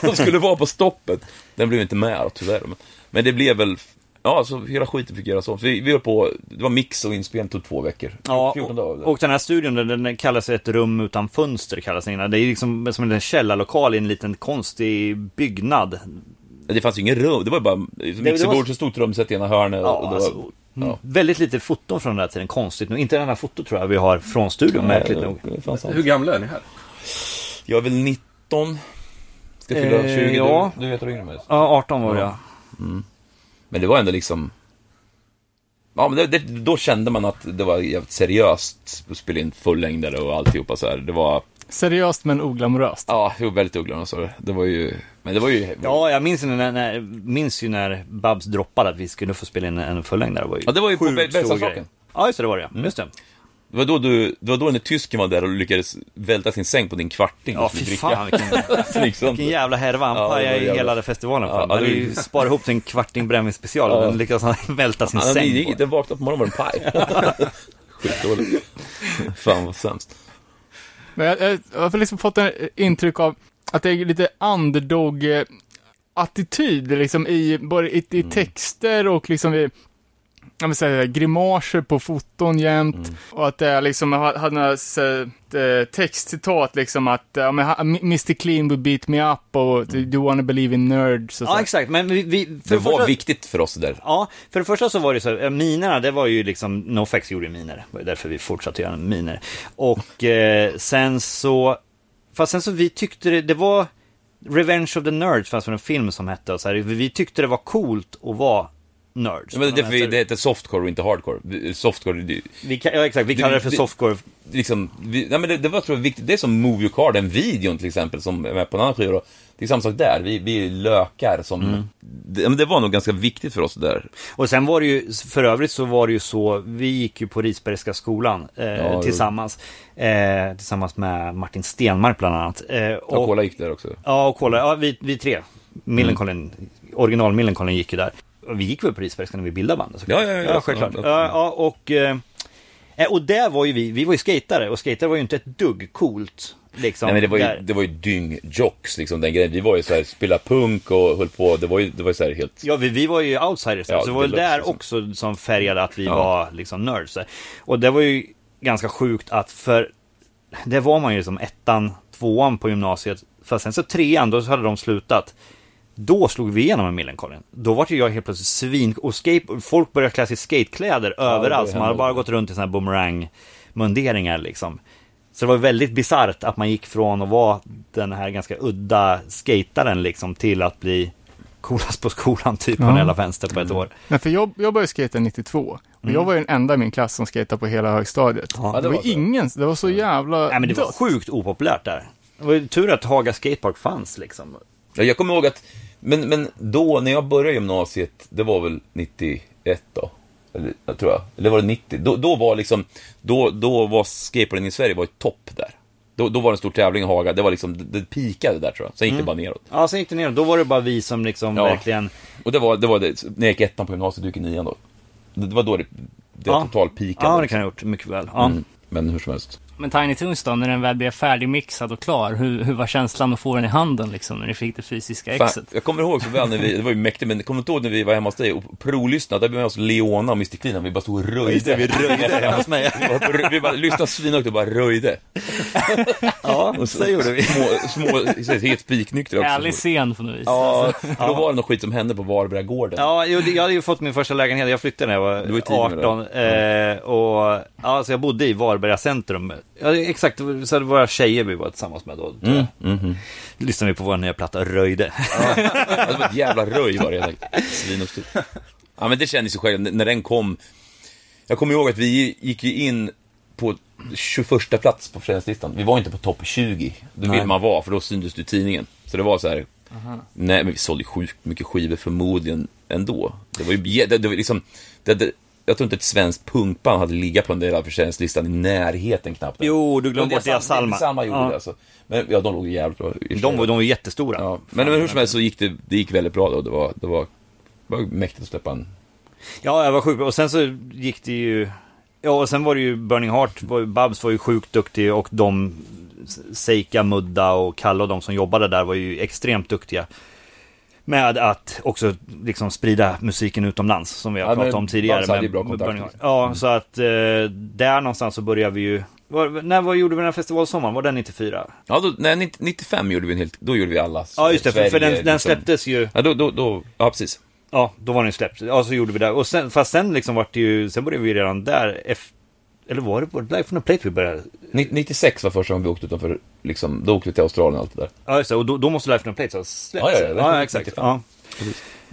[SPEAKER 6] som skulle vara på stoppet. Den blev inte med då, tyvärr. Men, men det blev väl, ja, så hela skiten fick göras om. Så vi, vi höll på, det var mix och inspelning tog två veckor.
[SPEAKER 7] Ja,
[SPEAKER 6] 14 dagar.
[SPEAKER 7] och, och den här studion, den, den kallas ett rum utan fönster kallas den innan. Det är liksom som en källarlokal i en liten konstig byggnad.
[SPEAKER 6] det fanns ju ingen rum, det var ju bara liksom mixerbord, så stod trumset i ena hörnet.
[SPEAKER 7] Ja,
[SPEAKER 6] och det var,
[SPEAKER 7] alltså,
[SPEAKER 6] ja.
[SPEAKER 7] Väldigt lite foton från den här tiden, konstigt nog. Inte den här foto tror jag vi har från studion, märkligt nog.
[SPEAKER 6] Det fanns allt.
[SPEAKER 4] Hur gamla är ni här?
[SPEAKER 6] Jag är väl 19, ska fylla
[SPEAKER 7] Eh,
[SPEAKER 6] 20. du-
[SPEAKER 7] ja.
[SPEAKER 6] Du vet hur yngre mig.
[SPEAKER 7] Ja, 18 var jag.
[SPEAKER 6] Men det var ändå liksom... Ja, men det, det, då kände man att det var jävligt seriöst att spela in fullängdare och alltihopa så här. Det var,
[SPEAKER 3] Seriöst men oglamoröst.
[SPEAKER 6] ja, det var väldigt ugglande och så. Det var ju, men det var ju...
[SPEAKER 7] Ja, jag minns ju när, när, minns ju när Babs droppade att vi skulle få spela in en förlängdare. Det var ju,
[SPEAKER 6] Ja, det var ju på
[SPEAKER 7] sjukt
[SPEAKER 6] Be-
[SPEAKER 7] stor
[SPEAKER 6] Bergslagsrocken.
[SPEAKER 7] grej. Ja, just det, det var
[SPEAKER 6] Mm.
[SPEAKER 7] det. Just det.
[SPEAKER 6] Det var då du, det var då när tysken var där och lyckades välta sin säng på din kvarting.
[SPEAKER 7] Ja,
[SPEAKER 6] och skulle
[SPEAKER 7] fy
[SPEAKER 6] dricka.
[SPEAKER 7] fan vilken...
[SPEAKER 6] liksom.
[SPEAKER 7] Vilken jävla härva han
[SPEAKER 6] Ja, det var
[SPEAKER 7] pajade i
[SPEAKER 6] jävla-
[SPEAKER 7] hela den festivalen för.
[SPEAKER 6] Ja,
[SPEAKER 7] Han hade
[SPEAKER 6] det-
[SPEAKER 7] ju sparat ihop till en kvarting brännvinsspecial och
[SPEAKER 6] Ja.
[SPEAKER 7] den lyckades han välta sin
[SPEAKER 6] Han
[SPEAKER 7] säng
[SPEAKER 6] gick,
[SPEAKER 7] på.
[SPEAKER 6] den vaknade på morgonen var det en paj. Skitdåligt. Fan vad sämst.
[SPEAKER 3] Men jag, jag, jag har liksom fått en eh, intryck av att det är lite eh, underdog eh, attityd liksom i, både i, i texter och liksom i jag vill säga, grimaser på foton jämt. Och att det är liksom, jag hade några så här, eh, textcitat liksom att ja, men, ha- Mr Clean would beat me up och do you wanna believe in nerds och så.
[SPEAKER 7] Ja, exakt. Men vi... vi för
[SPEAKER 6] Det var
[SPEAKER 7] första-
[SPEAKER 6] viktigt för oss det där.
[SPEAKER 7] Ja, för det första så var det så här, eh, minerna, det var ju liksom, NoFX gjorde ju miner, det var ju därför vi fortsatte göra miner. Och eh, sen så, fast sen så vi tyckte det, det var Revenge of the Nerds, fanns det en film som hette, och så här, vi tyckte det var coolt att vara nerds. Alltså,
[SPEAKER 6] Men det är därför vi- det heter softcore och inte hardcore. Softcore, det,
[SPEAKER 7] vi, ka- ja, exakt, vi kallar det för
[SPEAKER 6] det-
[SPEAKER 7] softcore.
[SPEAKER 6] liksom, vi, nej men det, det var tror jag viktigt. Det är som Move Your Car, den videon till exempel, som är med på en annan skiva då. Det är samma sak där, vi, vi lökar som... Det, ja, men det var nog ganska viktigt för oss det där.
[SPEAKER 7] Mm. Och sen var det ju, för övrigt så var det ju så, vi gick ju på Risbergska skolan eh,
[SPEAKER 6] jo.
[SPEAKER 7] tillsammans. Eh, tillsammans med Martin Stenmark bland annat. Eh,
[SPEAKER 6] Och Kola gick där också.
[SPEAKER 7] Ja, och kolla. Ja, vi, vi tre. Millencolin,
[SPEAKER 6] Mm.
[SPEAKER 7] original Millencolin gick ju där. Och Vi gick väl på Risbergskan när vi bildade bandet såklart.
[SPEAKER 6] Ja, ja, ja,
[SPEAKER 7] ja självklart.
[SPEAKER 6] ja,
[SPEAKER 7] Ja,
[SPEAKER 6] ja.
[SPEAKER 7] ja, och, eh, eh, och där var ju vi, vi var ju skatare och skatare var ju inte ett dugg coolt. Liksom,
[SPEAKER 6] nej men det var
[SPEAKER 7] där.
[SPEAKER 6] ju, det var ju dyngjocks, liksom den grejen. Vi var ju så här, spela punk och höll på, det var ju, det var ju så här helt...
[SPEAKER 7] Ja, vi, vi var ju outsiders,
[SPEAKER 6] Ja,
[SPEAKER 7] så det var väl
[SPEAKER 6] deluxe,
[SPEAKER 7] där
[SPEAKER 6] liksom.
[SPEAKER 7] också som färgade att vi
[SPEAKER 6] Ja.
[SPEAKER 7] var liksom nerds. Och det var ju ganska sjukt att för, det var man ju som ettan, tvåan på gymnasiet, fast sen så trean, då hade de slutat. Då slog vi igenom med Millencolin. Då var ju jag helt plötsligt svin... Och skate, folk började klä sig i skatekläder överallt. Så man hade
[SPEAKER 6] hände.
[SPEAKER 7] bara gått runt i såna här boomerang-munderingar liksom. Så det var väldigt bisarrt att man gick från att vara den här ganska udda skataren liksom till att bli coolast på skolan typ på
[SPEAKER 3] Ja.
[SPEAKER 7] en jävla vänster på ett år.
[SPEAKER 3] Nej, för jag, jag började skata 92 och jag var ju den enda i min klass som skatade på hela högstadiet.
[SPEAKER 7] Mm. Ja,
[SPEAKER 3] det,
[SPEAKER 6] det
[SPEAKER 3] var,
[SPEAKER 6] var så.
[SPEAKER 3] ingen, det var så jävla
[SPEAKER 7] Nej men det var
[SPEAKER 3] dött.
[SPEAKER 7] sjukt opopulärt där. Det var ju tur att Haga Skatepark fanns liksom.
[SPEAKER 6] Ja, jag kommer ihåg att, men, men då när jag började gymnasiet, det var väl 91 då? Eller, jag tror jag. Eller var det 90? Då, då var liksom, då, då var skateboarden i Sverige var i topp där. Då, då var det en stor tävling i Haga, det var liksom, det, det pikade där tror jag. Sen
[SPEAKER 7] Mm.
[SPEAKER 6] gick det bara neråt.
[SPEAKER 7] Ja, sen gick det ner och då var det bara vi som liksom
[SPEAKER 6] Ja.
[SPEAKER 7] verkligen...
[SPEAKER 6] Och det var, det var det, när jag gick ettan på gymnasiet, du gick i nian då. Det, det var då det, det
[SPEAKER 7] Ja.
[SPEAKER 6] totalpikade. liksom.
[SPEAKER 7] Ja, det kan jag ha gjort mycket väl. Ja.
[SPEAKER 6] Mm. Men hur som helst.
[SPEAKER 2] Men Tiny Toons då, när den väl blev färdigmixad och klar, hur, hur var känslan att få den i handen liksom, när ni fick det fysiska
[SPEAKER 6] Fan,
[SPEAKER 2] exet?
[SPEAKER 6] jag kommer ihåg så väl när vi, det var ju mäktigt, men kommer du inte ihåg när vi var hemma hos dig och provlyssnade? Där blev vi med oss Leona och Mr Clean, vi bara stod och röjde.
[SPEAKER 7] Just det, vi röjde hemma hos mig.
[SPEAKER 6] Vi bara- Vi bara lyssnade svinhögt och bara röjde.
[SPEAKER 7] Ja,
[SPEAKER 6] Och
[SPEAKER 7] så gjorde vi.
[SPEAKER 6] Små, små så här, helt spiknyktra också.
[SPEAKER 2] Ärlig scen på något vis.
[SPEAKER 6] Ja, för då var det någon skit som hände på Varbergagården.
[SPEAKER 7] Ja, jo, det- jag hade ju fått min första lägenhet. Jag flyttade när jag var,
[SPEAKER 6] Du var ju tidig med det.
[SPEAKER 7] 18. Eh, och, ja, så jag bodde i Varberga centrum. Ja, det- exakt, det var- så det var våra tjejer vi var tillsammans med då. Mm,
[SPEAKER 6] mhm.
[SPEAKER 7] Lyssnade vi på vår nya platta Röjde.
[SPEAKER 6] Ja, Det var ett jävla röj var det helt enkelt. Svinhögt. Ja, men det kändes ju själv, när den kom. Jag kommer ihåg att vi gick ju in på 21 plats på fredagslistan. Vi var inte på topp 20. Det vill man vara, för då syntes du i tidningen. Så det var så här. Nej, men vi sålde ju sjukt mycket skivor förmodligen ändå. Det var ju jä- det, det var liksom, det, det, jag tror inte ett svenskt punkband hade legat på den där försäljningslistan i närheten knappt.
[SPEAKER 7] Jo, du glömde
[SPEAKER 6] Men det är
[SPEAKER 7] bort Dia
[SPEAKER 6] sant, det är
[SPEAKER 7] Salma.
[SPEAKER 6] Samma gjorde
[SPEAKER 7] Ja.
[SPEAKER 6] det alltså. Men ja, de låg ju jävligt bra. i och för sig.
[SPEAKER 7] De, var- de var jättestora.
[SPEAKER 6] Ja, men, men hur som helst så gick det, det gick väldigt bra då. Det var, det var, det var mäktigt att släppa en...
[SPEAKER 7] Ja, jag var sjuk. Och sen så gick det ju... Ja, och sen var det ju Burning Heart. var ju- Babs var ju sjukt duktig och de... Seika, Mudda och Kalle och de som jobbade där var ju extremt duktiga. Med att också liksom sprida musiken utomlands som vi har
[SPEAKER 6] Ja,
[SPEAKER 7] pratat
[SPEAKER 6] men
[SPEAKER 7] om tidigare.
[SPEAKER 6] Babs hade
[SPEAKER 7] med-
[SPEAKER 6] ju bra Mm.
[SPEAKER 7] med
[SPEAKER 6] kontakter.
[SPEAKER 7] Burning Heart. Ja, så att eh, där någonstans så började vi ju... Var, när var, gjorde vi den här festivalsommaren? Var den 94?
[SPEAKER 6] Ja, då, nej, 90 95 gjorde vi en helt... Då gjorde vi alla.
[SPEAKER 7] Ja, just det. För, för
[SPEAKER 6] Sverige,
[SPEAKER 7] den, den
[SPEAKER 6] liksom.
[SPEAKER 7] släpptes ju...
[SPEAKER 6] Ja, då, då, då, ja, precis.
[SPEAKER 7] Ja, då var den ju släppt. Ja, så gjorde vi det. Och sen, fast sen liksom vart det ju, sen började vi redan där. F- eller var det på Life from the Plate vi började?
[SPEAKER 6] Ni- 96 var första gången vi åkte utanför, liksom, då åkte vi till Australien och allt det där.
[SPEAKER 7] Ja, just det. Och då, då måste Life from the Plate ha släppts.
[SPEAKER 6] Ja, ja, ja.
[SPEAKER 7] ja exakt. Ja.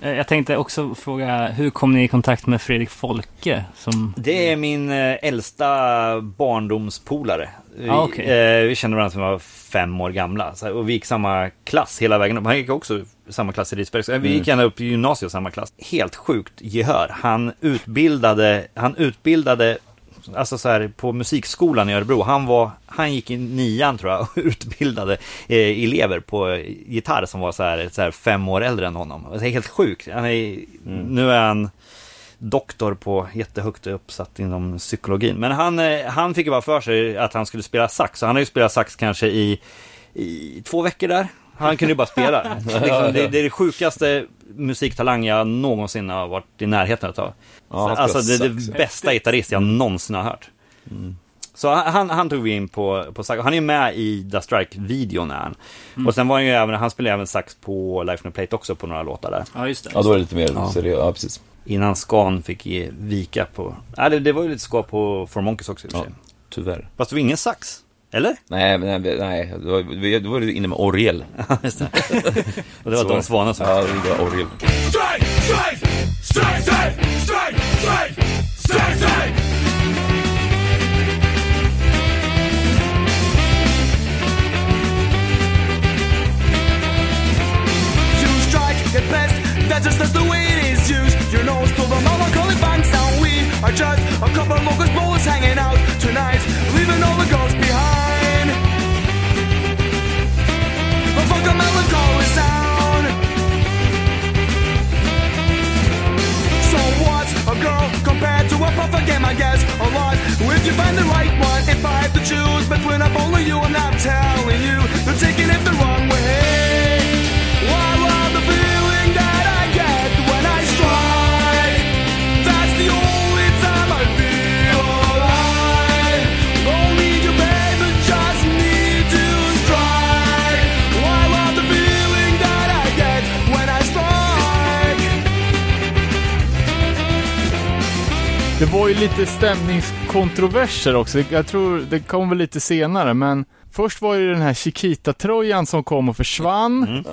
[SPEAKER 2] Eh, Jag tänkte också fråga, hur kom ni i kontakt med Fredrik Folke? Som...
[SPEAKER 7] Det är min eh, äldsta barndomspolare. Vi,
[SPEAKER 2] Ah, okej.
[SPEAKER 7] eh, vi kände varandra som var fem år gamla. Så här, och vi gick samma klass hela vägen upp. Han gick också samma klass i Risberg. Så, eh, Vi
[SPEAKER 2] Mm.
[SPEAKER 7] gick ända upp i gymnasiet samma klass. Helt sjukt gehör. Han utbildade, han utbildade Alltså så här på musikskolan i Örebro, han, var, han gick i nian tror jag och utbildade eh, elever på eh, gitarr som var så här, så här fem år äldre än honom. Det är helt sjukt. Han är,
[SPEAKER 2] Mm.
[SPEAKER 7] Nu är han doktor på jättehögt uppsatt inom psykologin. Men han, eh, han fick ju bara för sig att han skulle spela sax. Så han har ju spelat sax kanske i, i två veckor där. Han kunde ju bara spela. liksom, det, det är det sjukaste musiktalang jag någonsin har varit i närheten av.
[SPEAKER 6] Ja, han
[SPEAKER 7] alltså det,
[SPEAKER 6] spelar
[SPEAKER 7] det
[SPEAKER 6] sax. Mm.
[SPEAKER 7] bästa gitarrist jag någonsin har hört. Så han, han tog vi in på, på sax. Han är med i Da Strike-videon är han. Och sen var han ju även, han spelade även sax på Life No Plate också på några låtar där.
[SPEAKER 2] Ja, just det.
[SPEAKER 6] Ja, då är det lite mer seriöst. Ja, precis.
[SPEAKER 7] Innan Scan fick ge vika på... Nej, det, det var ju lite skap på For Monkeys också i och för
[SPEAKER 6] Ja,
[SPEAKER 7] sig.
[SPEAKER 6] tyvärr.
[SPEAKER 7] Fast det var ingen sax, eller?
[SPEAKER 6] Nej, men nej, nej, då var vi- då var du inne med orgel.
[SPEAKER 7] Och det var
[SPEAKER 6] Så.
[SPEAKER 7] Don Svanen som...
[SPEAKER 6] Ja, det var orgel.
[SPEAKER 5] Strike, strike, strike, strike, strike, strike, strike, strike. You strike at best, that's just that's the way it is used. Your nose to the melancholy banks down. We are just a couple of locust bowlers hanging out tonight, leaving all the ghosts behind. But fuck the melancholy sound. So what's a girl compared to a puffer game? I guess a lot. If you find the right one, if I have to choose between up only you, I'm not telling you. You're taking it the wrong way. Well, I love the feeling that I get when I strike. That's the only time I feel alive. Only you, baby, just need to strike. Well, I love the feeling that I get when I strike.
[SPEAKER 3] Det var ju lite stämningskontroverser också. Jag tror det kom väl lite senare, men först var ju den här Chiquita-tröjan som kom och försvann.
[SPEAKER 7] Mm.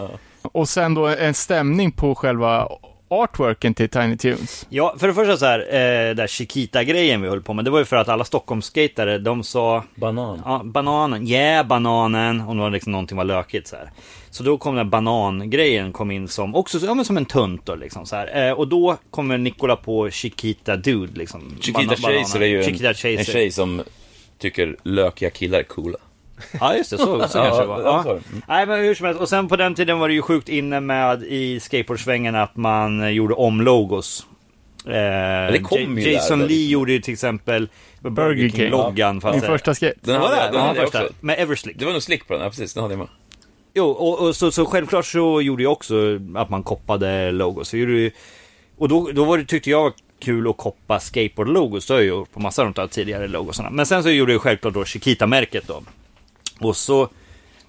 [SPEAKER 3] Och sen då en stämning på själva artworken till Tiny Tunes.
[SPEAKER 7] Ja, för det första så här, eh, där Chiquita-grejen vi höll på med, det var ju för att alla Stockholmsskejtare, de sa
[SPEAKER 6] Banan.
[SPEAKER 7] ja, bananen, yeah bananen, om det var liksom någonting var lökigt så här. Så då kom den här banangrejen kom in som, också ja, men som en tunt då liksom så här. Eh, och då kommer Nikola på Chiquita Dude liksom.
[SPEAKER 6] Chiquita
[SPEAKER 7] Bana- bananen.
[SPEAKER 6] Chaser är ju en,
[SPEAKER 7] Chiquita Chaser.
[SPEAKER 6] en tjej som tycker lökiga killar är coola.
[SPEAKER 7] Ja just det, så, så kanske
[SPEAKER 6] Ja,
[SPEAKER 7] det var.
[SPEAKER 6] ja,
[SPEAKER 7] Ja.
[SPEAKER 6] så är det. Mm.
[SPEAKER 7] Nej men hur som helst, och sen på den tiden var det ju sjukt inne med i skateboardsvängen att man eh, gjorde om logos. Eh,
[SPEAKER 6] det kom ju
[SPEAKER 7] J-
[SPEAKER 6] där,
[SPEAKER 7] Jason
[SPEAKER 6] där,
[SPEAKER 7] Lee
[SPEAKER 6] liksom.
[SPEAKER 7] gjorde ju till exempel Burger
[SPEAKER 3] King,
[SPEAKER 7] King-loggan. fast-
[SPEAKER 3] Min första skate.
[SPEAKER 6] Den
[SPEAKER 7] Var
[SPEAKER 6] hade,
[SPEAKER 7] det?
[SPEAKER 6] jag-
[SPEAKER 7] Den
[SPEAKER 6] den
[SPEAKER 7] var
[SPEAKER 6] hade jag
[SPEAKER 7] första?
[SPEAKER 6] också.
[SPEAKER 7] Med Everslick.
[SPEAKER 6] Det var nog slick på den, ja, precis. Den hade jag med.
[SPEAKER 7] Jo, och, och så, så självklart så gjorde jag också att man koppade logos. Så gjorde ju, och då, då var det, tyckte jag var kul att koppa skateboard-logos. Det har jag gjort på massa av de tidigare logosarna. Men sen så gjorde jag självklart då Chiquita-märket då. Och så...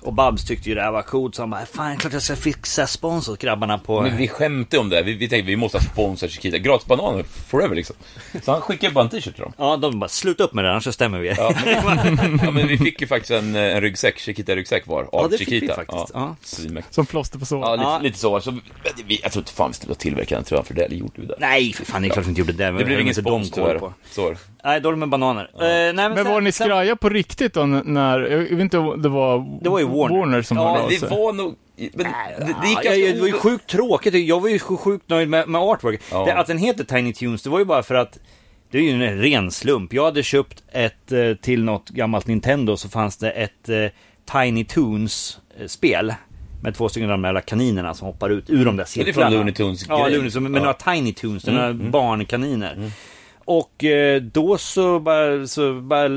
[SPEAKER 7] Och Babs tyckte ju det här var coolt så han bara Fan klart jag ska fixa spons åt grabbarna på...
[SPEAKER 6] Men vi skämtade om det. här. Vi, vi tänkte vi måste ha sponsrat Chiquita. Gratis bananer forever liksom. Så han skickade bara en t-shirt till dem.
[SPEAKER 7] Ja de bara sluta upp med det annars så stämmer vi er.
[SPEAKER 6] Ja men, ja, men vi fick ju faktiskt en, en ryggsäck, Chiquita-ryggsäck var, av
[SPEAKER 7] Ja, det fick vi
[SPEAKER 6] Chiquita.
[SPEAKER 7] faktiskt, ja.
[SPEAKER 6] Ja, svinmäktigt.
[SPEAKER 3] Som plåster på såren.
[SPEAKER 6] Ja, lite,
[SPEAKER 7] Ja.
[SPEAKER 6] lite så. så vi, jag tror inte fan vi skulle ha tillverkat den tröjan för det, eller gjorde vi det?
[SPEAKER 7] Nej för fan det är klart vi inte gjorde det.
[SPEAKER 6] det blev ingen
[SPEAKER 7] inte de
[SPEAKER 6] spons
[SPEAKER 7] koll
[SPEAKER 6] tyvärr.
[SPEAKER 7] på.
[SPEAKER 6] Så var det.
[SPEAKER 7] Nej då är det med bananer. Eh, nej, men
[SPEAKER 3] Men
[SPEAKER 7] sen-
[SPEAKER 3] var ni
[SPEAKER 7] sen-
[SPEAKER 3] skraja på riktigt då när, jag vet inte om det var,
[SPEAKER 7] Det var ju Warner.
[SPEAKER 3] som
[SPEAKER 7] Ja,
[SPEAKER 3] hörde
[SPEAKER 6] Men
[SPEAKER 3] av
[SPEAKER 6] det
[SPEAKER 3] sig.
[SPEAKER 6] var nog... Men, det, det gick
[SPEAKER 7] Ja,
[SPEAKER 6] ganska
[SPEAKER 7] det var ju
[SPEAKER 6] o-
[SPEAKER 7] sjukt tråkigt. Jag var ju sj- sjukt nöjd med, med artwork.
[SPEAKER 6] Ja.
[SPEAKER 7] Det, att den heter Tiny Tunes, det var ju bara för att det är ju en ren slump. Jag hade köpt ett eh, till något gammalt Nintendo så fanns det ett eh, Tiny Tunes-spel. Med två stycken av de jävla kaninerna som hoppar ut ur de där
[SPEAKER 6] Men det är
[SPEAKER 7] cirklarna.
[SPEAKER 6] från Looney Tunes
[SPEAKER 7] Ja,
[SPEAKER 6] grej.
[SPEAKER 7] Looney Tunes, men
[SPEAKER 6] Ja. Mm,
[SPEAKER 7] några Tiny Tunes, några barnkaniner. Och eh, då så bara, så bara,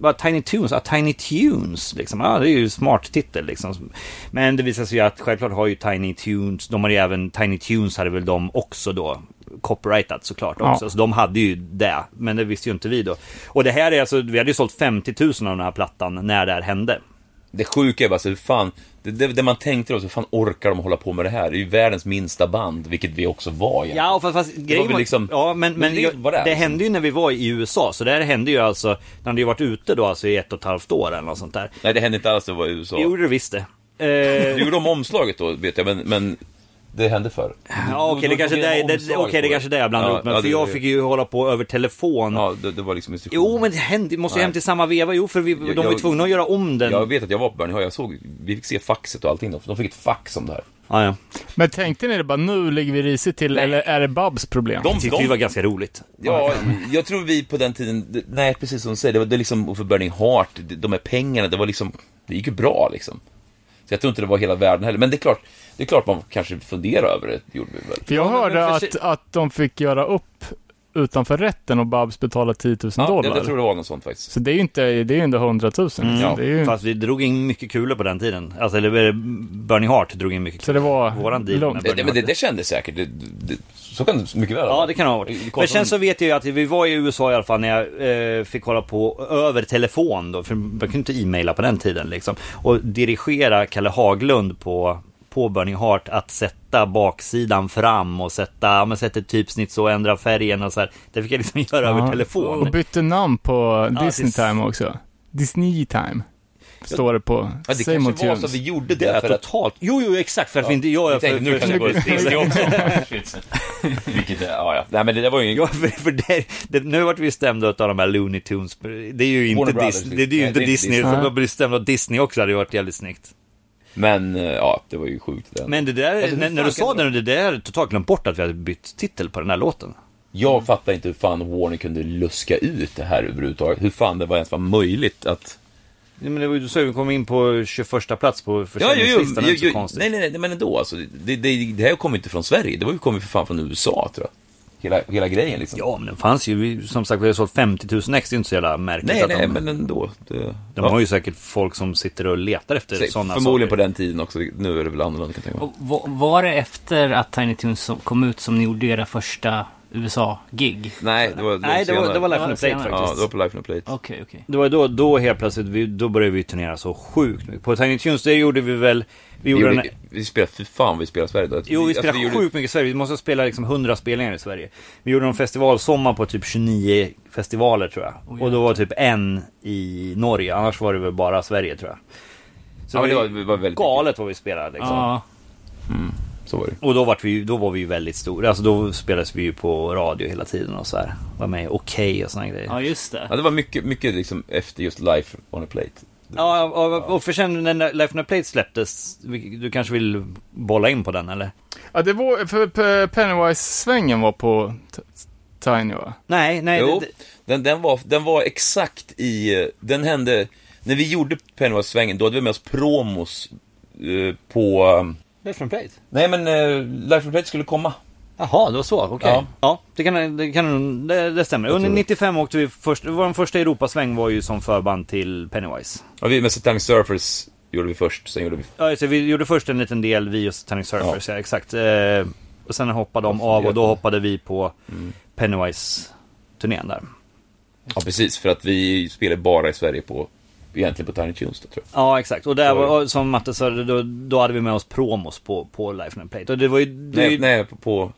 [SPEAKER 7] bara Tiny Tunes, ja, Tiny Tunes liksom. Ja, det är ju smart titel liksom. Men det visar sig ju att självklart har ju Tiny Tunes, de har ju även, Tiny Tunes hade väl de också då copyrightat såklart också.
[SPEAKER 3] Ja.
[SPEAKER 7] Så de hade ju det, men det visste ju inte vi då. Och det här är alltså, vi hade ju sålt 50 000 av den här plattan när det här hände.
[SPEAKER 6] Det sjuka är bara så, hur fan, det, det, det man tänkte då, så hur fan orkar de hålla på med det här? Det är ju världens minsta band, vilket vi också var egentligen.
[SPEAKER 7] Ja, och fast, fast grejen
[SPEAKER 6] väl
[SPEAKER 7] var,
[SPEAKER 6] liksom-
[SPEAKER 7] ja, men, men
[SPEAKER 6] men det
[SPEAKER 7] jag,
[SPEAKER 6] var
[SPEAKER 7] det,
[SPEAKER 6] det. liksom.
[SPEAKER 7] hände ju när vi var i USA, så det här hände ju alltså, den hade ju varit ute då alltså i ett och ett halvt år eller något sånt där.
[SPEAKER 6] Nej, det hände inte alls när det var i USA.
[SPEAKER 7] Det gjorde det visst det. Eh,
[SPEAKER 6] Du gjorde om omslaget då, vet jag, men, men det hände förr.
[SPEAKER 7] ja, okej, det kanske det, det, det,
[SPEAKER 6] Omslaget
[SPEAKER 7] okej, det
[SPEAKER 6] på
[SPEAKER 7] kanske det jag blandade
[SPEAKER 6] Ja,
[SPEAKER 7] upp med,
[SPEAKER 6] ja,
[SPEAKER 7] för
[SPEAKER 6] det-
[SPEAKER 7] jag fick ju hålla på över telefon.
[SPEAKER 6] Ja, det, det var liksom instruktioner.
[SPEAKER 7] Jo, men det hände, vi måste ju
[SPEAKER 6] Nej.
[SPEAKER 7] hem till samma veva, jo, för vi, de var ju
[SPEAKER 6] jag-
[SPEAKER 7] tvungna att göra om den.
[SPEAKER 6] Jag vet att jag var på Bernie Hö, jag såg, vi fick se faxet och allting då, för de fick ett fax om det här.
[SPEAKER 7] ja, ja.
[SPEAKER 3] Men tänkte ni det bara, nu ligger vi risigt till, eller är det Babs problem?
[SPEAKER 6] De,
[SPEAKER 7] Tyckte vi
[SPEAKER 6] de
[SPEAKER 7] var ganska roligt.
[SPEAKER 6] Ja, jag tror vi på den tiden, det- nej precis som du säger, det var det liksom, och för Burning Heart, det- de här pengarna, det var liksom, det gick ju bra liksom. Så jag tror inte det var hela världen heller, men det är klart, det är klart man kanske funderar över det, gjorde vi väl.
[SPEAKER 3] För jag hörde
[SPEAKER 7] men för
[SPEAKER 3] att,
[SPEAKER 7] sig-
[SPEAKER 3] att de fick göra upp utanför rätten och Babs betalar 10 000
[SPEAKER 6] Ja,
[SPEAKER 3] dollar.
[SPEAKER 6] jag, jag tror det var något sånt faktiskt.
[SPEAKER 3] Så det är ju inte, det är ju ändå 100 000.
[SPEAKER 6] Ja,
[SPEAKER 3] det är ju,
[SPEAKER 7] Mm. Fast vi drog in mycket kulor på den tiden. Alltså, eller eh, Burning Heart drog in mycket
[SPEAKER 3] så
[SPEAKER 7] kulor.
[SPEAKER 3] det var
[SPEAKER 7] Våran deal
[SPEAKER 3] långt.
[SPEAKER 7] med
[SPEAKER 6] Det, det, men det, det kändes säkert. Det, det, så kan det mycket väl ha
[SPEAKER 7] Ja,
[SPEAKER 6] varit.
[SPEAKER 7] det kan det ha varit.
[SPEAKER 6] Kostnaden-
[SPEAKER 7] Men sen så vet jag ju att vi var i USA i alla fall när jag eh, fick kolla på över telefon då, för man kunde inte e-maila på den tiden liksom. Och dirigera Kalle Haglund på, på Burning Heart att sätta baksidan fram och sätta, ja men sätta typsnitt så och ändra färgen och så här. Det fick jag liksom göra över
[SPEAKER 3] Ja,
[SPEAKER 7] telefon.
[SPEAKER 3] Och bytte namn på
[SPEAKER 7] Ja,
[SPEAKER 3] Disney
[SPEAKER 7] det-
[SPEAKER 3] Time också. Disney Time. Står det på
[SPEAKER 6] Ja, det
[SPEAKER 3] Seymour
[SPEAKER 6] kanske var
[SPEAKER 3] Tunes.
[SPEAKER 6] så att vi gjorde
[SPEAKER 7] Det
[SPEAKER 6] det
[SPEAKER 7] är
[SPEAKER 6] för att...
[SPEAKER 7] totalt, jo jo exakt för att vi inte, jag,
[SPEAKER 6] Jag
[SPEAKER 7] jag, för,
[SPEAKER 6] tänkte, nu
[SPEAKER 7] för,
[SPEAKER 6] kanske jag går ut Disney också. Shit. Vilket, är- ja, ja. Nej, men det, det var
[SPEAKER 7] Ja,
[SPEAKER 6] ju ingen...
[SPEAKER 7] för, för det, det, nu vart vi stämda av de här Looney Tunes. Det är ju inte,
[SPEAKER 6] Warner Brothers,
[SPEAKER 7] Dis, det, är ju
[SPEAKER 6] nej,
[SPEAKER 7] inte
[SPEAKER 6] det är inte
[SPEAKER 7] Disney.
[SPEAKER 3] Disney.
[SPEAKER 7] Om de blir stämda av Disney också hade ju varit jävligt snyggt.
[SPEAKER 6] Men, eh, ja, det var ju sjukt. Det.
[SPEAKER 7] Men det där,
[SPEAKER 6] Alltså, hur
[SPEAKER 7] när, när
[SPEAKER 6] fan
[SPEAKER 7] du
[SPEAKER 6] kan
[SPEAKER 7] sa
[SPEAKER 6] det
[SPEAKER 7] det, det där hade jag totalt glömt bort att vi hade bytt titel på den här låten.
[SPEAKER 6] Jag fattar inte hur fan Warner kunde luska ut det här överhuvudtaget. Hur fan det var ens var möjligt att...
[SPEAKER 7] Ja, men det var ju så vi kom in på 21 plats på försäljningslistan, det är inte så konstigt.
[SPEAKER 6] nej, nej, nej, men ändå alltså. Det, det, det här kom inte från Sverige, det var ju kommit för fan från USA, tror jag. Hela, hela grejen liksom.
[SPEAKER 7] Ja, men den fanns ju, vi- som sagt vi har sålt 50 000 ex, det är inte så jävla märkligt
[SPEAKER 6] nej,
[SPEAKER 7] att
[SPEAKER 6] nej,
[SPEAKER 7] de,
[SPEAKER 6] men ändå. Det,
[SPEAKER 7] de har ju säkert folk som sitter och letar efter
[SPEAKER 6] Säg,
[SPEAKER 7] sådana
[SPEAKER 6] Förmodligen på
[SPEAKER 7] saker.
[SPEAKER 6] den tiden också, nu är det väl annorlunda kan jag tänka mig.
[SPEAKER 2] Och va- Var det efter att Tiny Toons som- kom ut som ni gjorde era första USA-gig?
[SPEAKER 6] Nej, det var, det
[SPEAKER 7] Alltså, Nej, det var, det var Life
[SPEAKER 2] Ja,
[SPEAKER 7] on a Plate
[SPEAKER 2] det senare.
[SPEAKER 7] faktiskt.
[SPEAKER 6] Ja, det var på Life on a Plate.
[SPEAKER 2] Okej, okej.
[SPEAKER 7] Det var då, då helt plötsligt, vi, då började vi turnera så sjukt mycket. På Tiny Tunes, det gjorde vi väl... Vi
[SPEAKER 6] Vi,
[SPEAKER 7] gjorde en,
[SPEAKER 6] gjorde, vi spelade, fy fan vi spelade Sverige då.
[SPEAKER 7] jo, vi
[SPEAKER 6] Alltså,
[SPEAKER 7] spelade
[SPEAKER 6] gjorde-
[SPEAKER 7] sjukt mycket i Sverige. Vi måste spela liksom 100 spelningar i Sverige. Vi gjorde en festivalsommar på typ 29 festivaler tror jag. och då var typ en i Norge, annars var det väl bara Sverige tror jag. Så
[SPEAKER 6] Ja,
[SPEAKER 7] det,
[SPEAKER 6] men
[SPEAKER 7] var,
[SPEAKER 6] det var- det var väldigt
[SPEAKER 7] galet vad vi spelade liksom.
[SPEAKER 2] Ja,
[SPEAKER 6] Så var det.
[SPEAKER 7] Och då var, vi, ju- då var vi ju väldigt stora. Alltså då spelades vi ju på radio hela tiden och så här. Var med i Okej och såna grejer.
[SPEAKER 2] ja, just det.
[SPEAKER 6] Ja, det var mycket, mycket liksom efter just Life on a Plate.
[SPEAKER 7] Ja, och, och för sen när Life on a Plate släpptes, vi- du kanske vill bolla in på den eller?
[SPEAKER 3] Ja, det var, för P- Pennywise-svängen var på T- Tiny va?
[SPEAKER 7] Nej, nej.
[SPEAKER 6] Jo,
[SPEAKER 7] det-
[SPEAKER 6] den, den, var, den var exakt i, eh, den hände, när vi gjorde Pennywise-svängen, då hade vi med oss promos eh, på, eh,
[SPEAKER 7] det är från Plate.
[SPEAKER 6] nej men eh, Life on a Plate skulle komma.
[SPEAKER 7] Jaha, det var så. Okej. Ja.
[SPEAKER 6] Ja.
[SPEAKER 7] det kan, det, kan, det, det stämmer. Under 95 åkte vi först, vår första Europasväng var ju som förband till Pennywise.
[SPEAKER 6] Ja, vi med Satanic Surfers gjorde vi först, sen gjorde vi,
[SPEAKER 7] Ja, just det, vi gjorde först en liten del, vi och Satanic Surfers, ja, exakt. Eh, och sen hoppade de av och då hoppade vi på
[SPEAKER 6] Mm.
[SPEAKER 7] Pennywise-turnén där.
[SPEAKER 6] ja precis, för att vi spelade bara i Sverige på, egentligen på Tiny Tunes då, tror jag.
[SPEAKER 7] Ja, exakt. Och där
[SPEAKER 6] Så var det.
[SPEAKER 7] var, som Matte sa, då, då hade vi med oss promos på, på Life and Plate. Och det var ju... Det är ju-
[SPEAKER 6] Nej, nej, på, på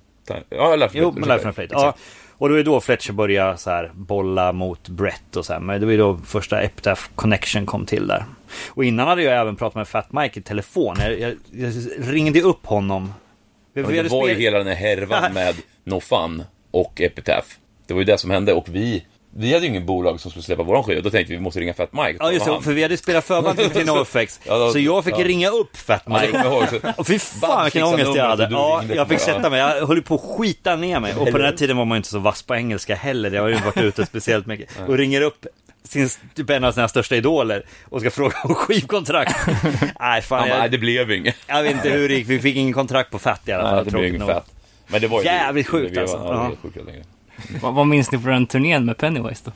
[SPEAKER 6] ja, Life on a Plate.
[SPEAKER 7] Jo, men Life
[SPEAKER 6] ursäkta.
[SPEAKER 7] on a Plate. Ja.
[SPEAKER 6] Exakt.
[SPEAKER 7] Och det var ju då Fletcher började så här, bolla mot Brett och så här. Men det var ju då första Epitaph Connection kom till där. Och innan hade jag även pratat med Fat Mike i telefon. Jag, jag, jag ringde upp honom. Vi,
[SPEAKER 6] Ja, det var ju
[SPEAKER 7] spel-
[SPEAKER 6] hela den här härvan med No Fun och Epitaph. Det var ju det som hände och vi, vi hade ju ingen bolag som skulle släppa våran skiva. Då tänkte vi, vi måste ringa Fat Mike.
[SPEAKER 7] Ja just det, för vi hade spelat förband till NoFX.
[SPEAKER 6] Ja, då-
[SPEAKER 7] så jag fick
[SPEAKER 6] ja.
[SPEAKER 7] ringa upp Fat
[SPEAKER 6] Ja, det kommer
[SPEAKER 7] Mike.
[SPEAKER 6] jag ihåg. Så-
[SPEAKER 7] Och fy
[SPEAKER 6] Bam,
[SPEAKER 7] fan vilken
[SPEAKER 6] fixa
[SPEAKER 7] ångest jag
[SPEAKER 6] numret
[SPEAKER 7] hade.
[SPEAKER 6] och du
[SPEAKER 7] Ja,
[SPEAKER 6] ringde.
[SPEAKER 7] jag fick sätta mig. Jag höll ju på att skita ner mig. Och på den här tiden var man ju inte så vass på engelska heller. Jag har ju inte varit ute speciellt mycket. Och ringer upp sin, typ en av sina största idoler och ska fråga om skivkontrakt. Nej, fan.
[SPEAKER 6] Han bara, nej
[SPEAKER 7] Jag,
[SPEAKER 6] det blev inget.
[SPEAKER 7] jag vet inte hur det gick. Vi fick ingen kontrakt på Fat i alla
[SPEAKER 6] Nej,
[SPEAKER 7] fall.
[SPEAKER 6] det blev
[SPEAKER 7] tråkigt
[SPEAKER 6] inget
[SPEAKER 7] nog.
[SPEAKER 6] Fat. Men det var ju
[SPEAKER 7] Jävligt
[SPEAKER 6] det-
[SPEAKER 7] sjukt
[SPEAKER 6] det-
[SPEAKER 7] alltså.
[SPEAKER 6] Ja, det var
[SPEAKER 7] Ja.
[SPEAKER 6] helt sjukt, jag tänker.
[SPEAKER 2] Vad, vad minns ni från den turnén med Pennywise då?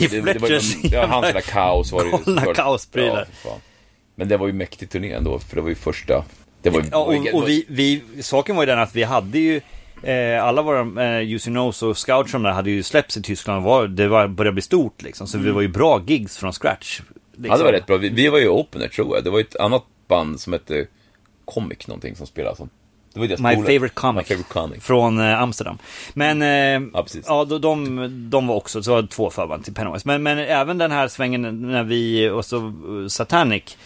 [SPEAKER 7] I
[SPEAKER 6] Det- det var ju-
[SPEAKER 7] Fletchers
[SPEAKER 6] Ja, hans
[SPEAKER 7] jävla...
[SPEAKER 6] lilla kaos var det ju.
[SPEAKER 7] galna
[SPEAKER 6] såklart.
[SPEAKER 7] kaosprylar.
[SPEAKER 6] Ja, för fan. Men det var ju mäktig turné ändå, för det var ju första. Det var ju...
[SPEAKER 7] Ja, och, och vi, vi, saken var ju den att vi hade ju eh, alla våra eh, Use You Knows och Scouts som där hade ju släppts i Tyskland och var, det var, började bli stort liksom. Så vi var ju bra gigs från scratch. Liksom.
[SPEAKER 6] Mm. Ja, det var rätt bra. Vi, vi var ju opener, tror jag. Det var ju ett annat band som hette Comic någonting som spelade sånt. Det var ju deras
[SPEAKER 7] My
[SPEAKER 6] polare.
[SPEAKER 7] favorite comic.
[SPEAKER 6] My favorite comic.
[SPEAKER 7] Från eh, Amsterdam. Men eh,
[SPEAKER 6] Ja, precis.
[SPEAKER 7] ja, då, de, de var också, så var det två förband till Pennywise. Men, men även den här svängen när vi, och så eh, Satanic,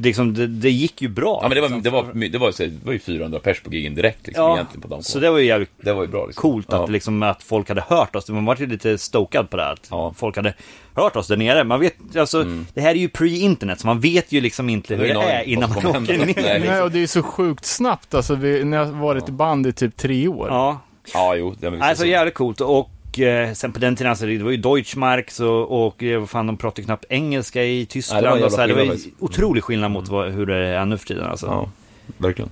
[SPEAKER 7] liksom, det, det gick ju bra.
[SPEAKER 6] Ja, men det var,
[SPEAKER 7] liksom.
[SPEAKER 6] det var, det var, ju så- det var ju 400 pers på gigen direkt liksom,
[SPEAKER 7] Ja,
[SPEAKER 6] egentligen på de
[SPEAKER 7] så
[SPEAKER 6] så
[SPEAKER 7] det var ju jävligt
[SPEAKER 6] det var ju bra liksom.
[SPEAKER 7] coolt att,
[SPEAKER 6] ja.
[SPEAKER 7] liksom, att folk hade hört oss. Man var ju lite stokad på det här, att
[SPEAKER 6] Ja. Mm.
[SPEAKER 7] folk hade hört oss där nere. Man vet, alltså, Det här är ju pre-internet, så man vet ju liksom inte
[SPEAKER 6] Det
[SPEAKER 7] hur det
[SPEAKER 6] är ingen aning
[SPEAKER 7] är
[SPEAKER 6] vad
[SPEAKER 7] innan
[SPEAKER 6] som
[SPEAKER 7] man
[SPEAKER 6] kommer
[SPEAKER 7] åker
[SPEAKER 6] hända.
[SPEAKER 7] ner.
[SPEAKER 6] Nej.
[SPEAKER 3] Nej, och det är ju så sjukt snabbt alltså. Vi, ni har varit i band i typ tre år.
[SPEAKER 7] Ja,
[SPEAKER 6] Ja, jo. Det var
[SPEAKER 7] Nej, så
[SPEAKER 6] så.
[SPEAKER 7] jävligt coolt. Och eh, sen på den tiden, alltså, det var ju Deutschmark så, och eh, vad fan, de pratade knappt engelska i Tyskland.
[SPEAKER 6] Ja, det var en
[SPEAKER 7] och så här, det
[SPEAKER 6] jävla Mm.
[SPEAKER 7] var ju
[SPEAKER 6] skillnad,
[SPEAKER 7] otrolig skillnad mot vad, hur det är nu för tiden. Alltså.
[SPEAKER 6] Ja, verkligen.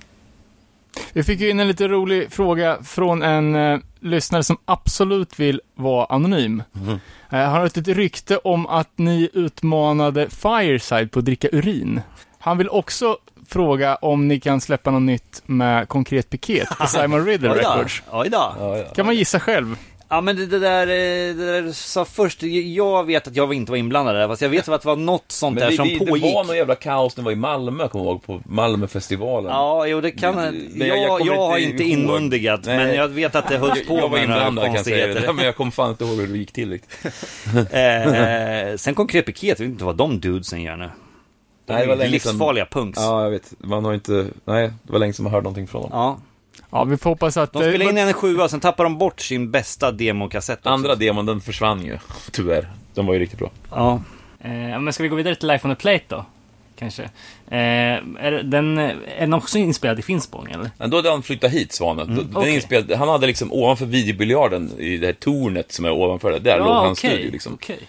[SPEAKER 3] Vi fick ju in en lite rolig fråga från en eh, lyssnare som absolut vill vara anonym.
[SPEAKER 7] Mm.
[SPEAKER 3] Eh, han har ett litet rykte om att ni utmanade Fireside på att dricka urin. Han vill också fråga om ni kan släppa något nytt med konkret piket på Simon Riddle
[SPEAKER 7] Oj då,
[SPEAKER 3] Records.
[SPEAKER 7] oj då.
[SPEAKER 6] Ja, ja.
[SPEAKER 3] Kan man gissa själv?
[SPEAKER 7] Ja men det, det där, eh, det där du sa först, jag vet att jag inte var inblandad där, fast jag vet att det var något sånt där
[SPEAKER 6] Men vi,
[SPEAKER 7] som
[SPEAKER 6] vi, det
[SPEAKER 7] pågick.
[SPEAKER 6] var någon jävla kaos när vi var i Malmö, kommer jag ihåg, på Malmöfestivalen.
[SPEAKER 7] Ja, jo det kan,
[SPEAKER 6] Men
[SPEAKER 7] jag,
[SPEAKER 6] jag-
[SPEAKER 7] jag,
[SPEAKER 6] jag kommer
[SPEAKER 7] har
[SPEAKER 6] inte
[SPEAKER 7] inte
[SPEAKER 6] ihåg.
[SPEAKER 7] inmundigat,
[SPEAKER 6] Nej.
[SPEAKER 7] men jag vet att det hölls på
[SPEAKER 6] jag var
[SPEAKER 7] med några
[SPEAKER 6] inblandad kan jag säga, det.
[SPEAKER 7] konstigheter.
[SPEAKER 6] men jag kommer fan inte ihåg hur det gick till riktigt.
[SPEAKER 7] eh, sen kom Krepiket, jag vet inte vad de dudesen gör nu. De
[SPEAKER 6] Nej, det var
[SPEAKER 7] är ju
[SPEAKER 6] länge sedan.
[SPEAKER 7] livsfarliga punks. Ja.
[SPEAKER 6] Ja, jag vet. Man har inte, nej, det var länge sedan man hörde någonting från dem.
[SPEAKER 3] Ja, vi får hoppas att...
[SPEAKER 7] De spelade
[SPEAKER 3] eh,
[SPEAKER 7] in en sjua, sen tappade de bort sin bästa demokassett också.
[SPEAKER 6] Andra demon, den försvann ju, tyvärr. Den var ju riktigt bra.
[SPEAKER 7] Ja.
[SPEAKER 2] Eh, men ska vi gå vidare till Life on the Plate då? Kanske. Eh, är, den, eh, är den också inspelad i Finspång eller?
[SPEAKER 6] Men då hade han flyttat hit, Svanen. Då- den
[SPEAKER 2] okej.
[SPEAKER 6] inspelade, han hade liksom ovanför videobiljarden, i det här tornet som är ovanför det, där låg hans
[SPEAKER 2] okej,
[SPEAKER 6] studio liksom.
[SPEAKER 2] okej.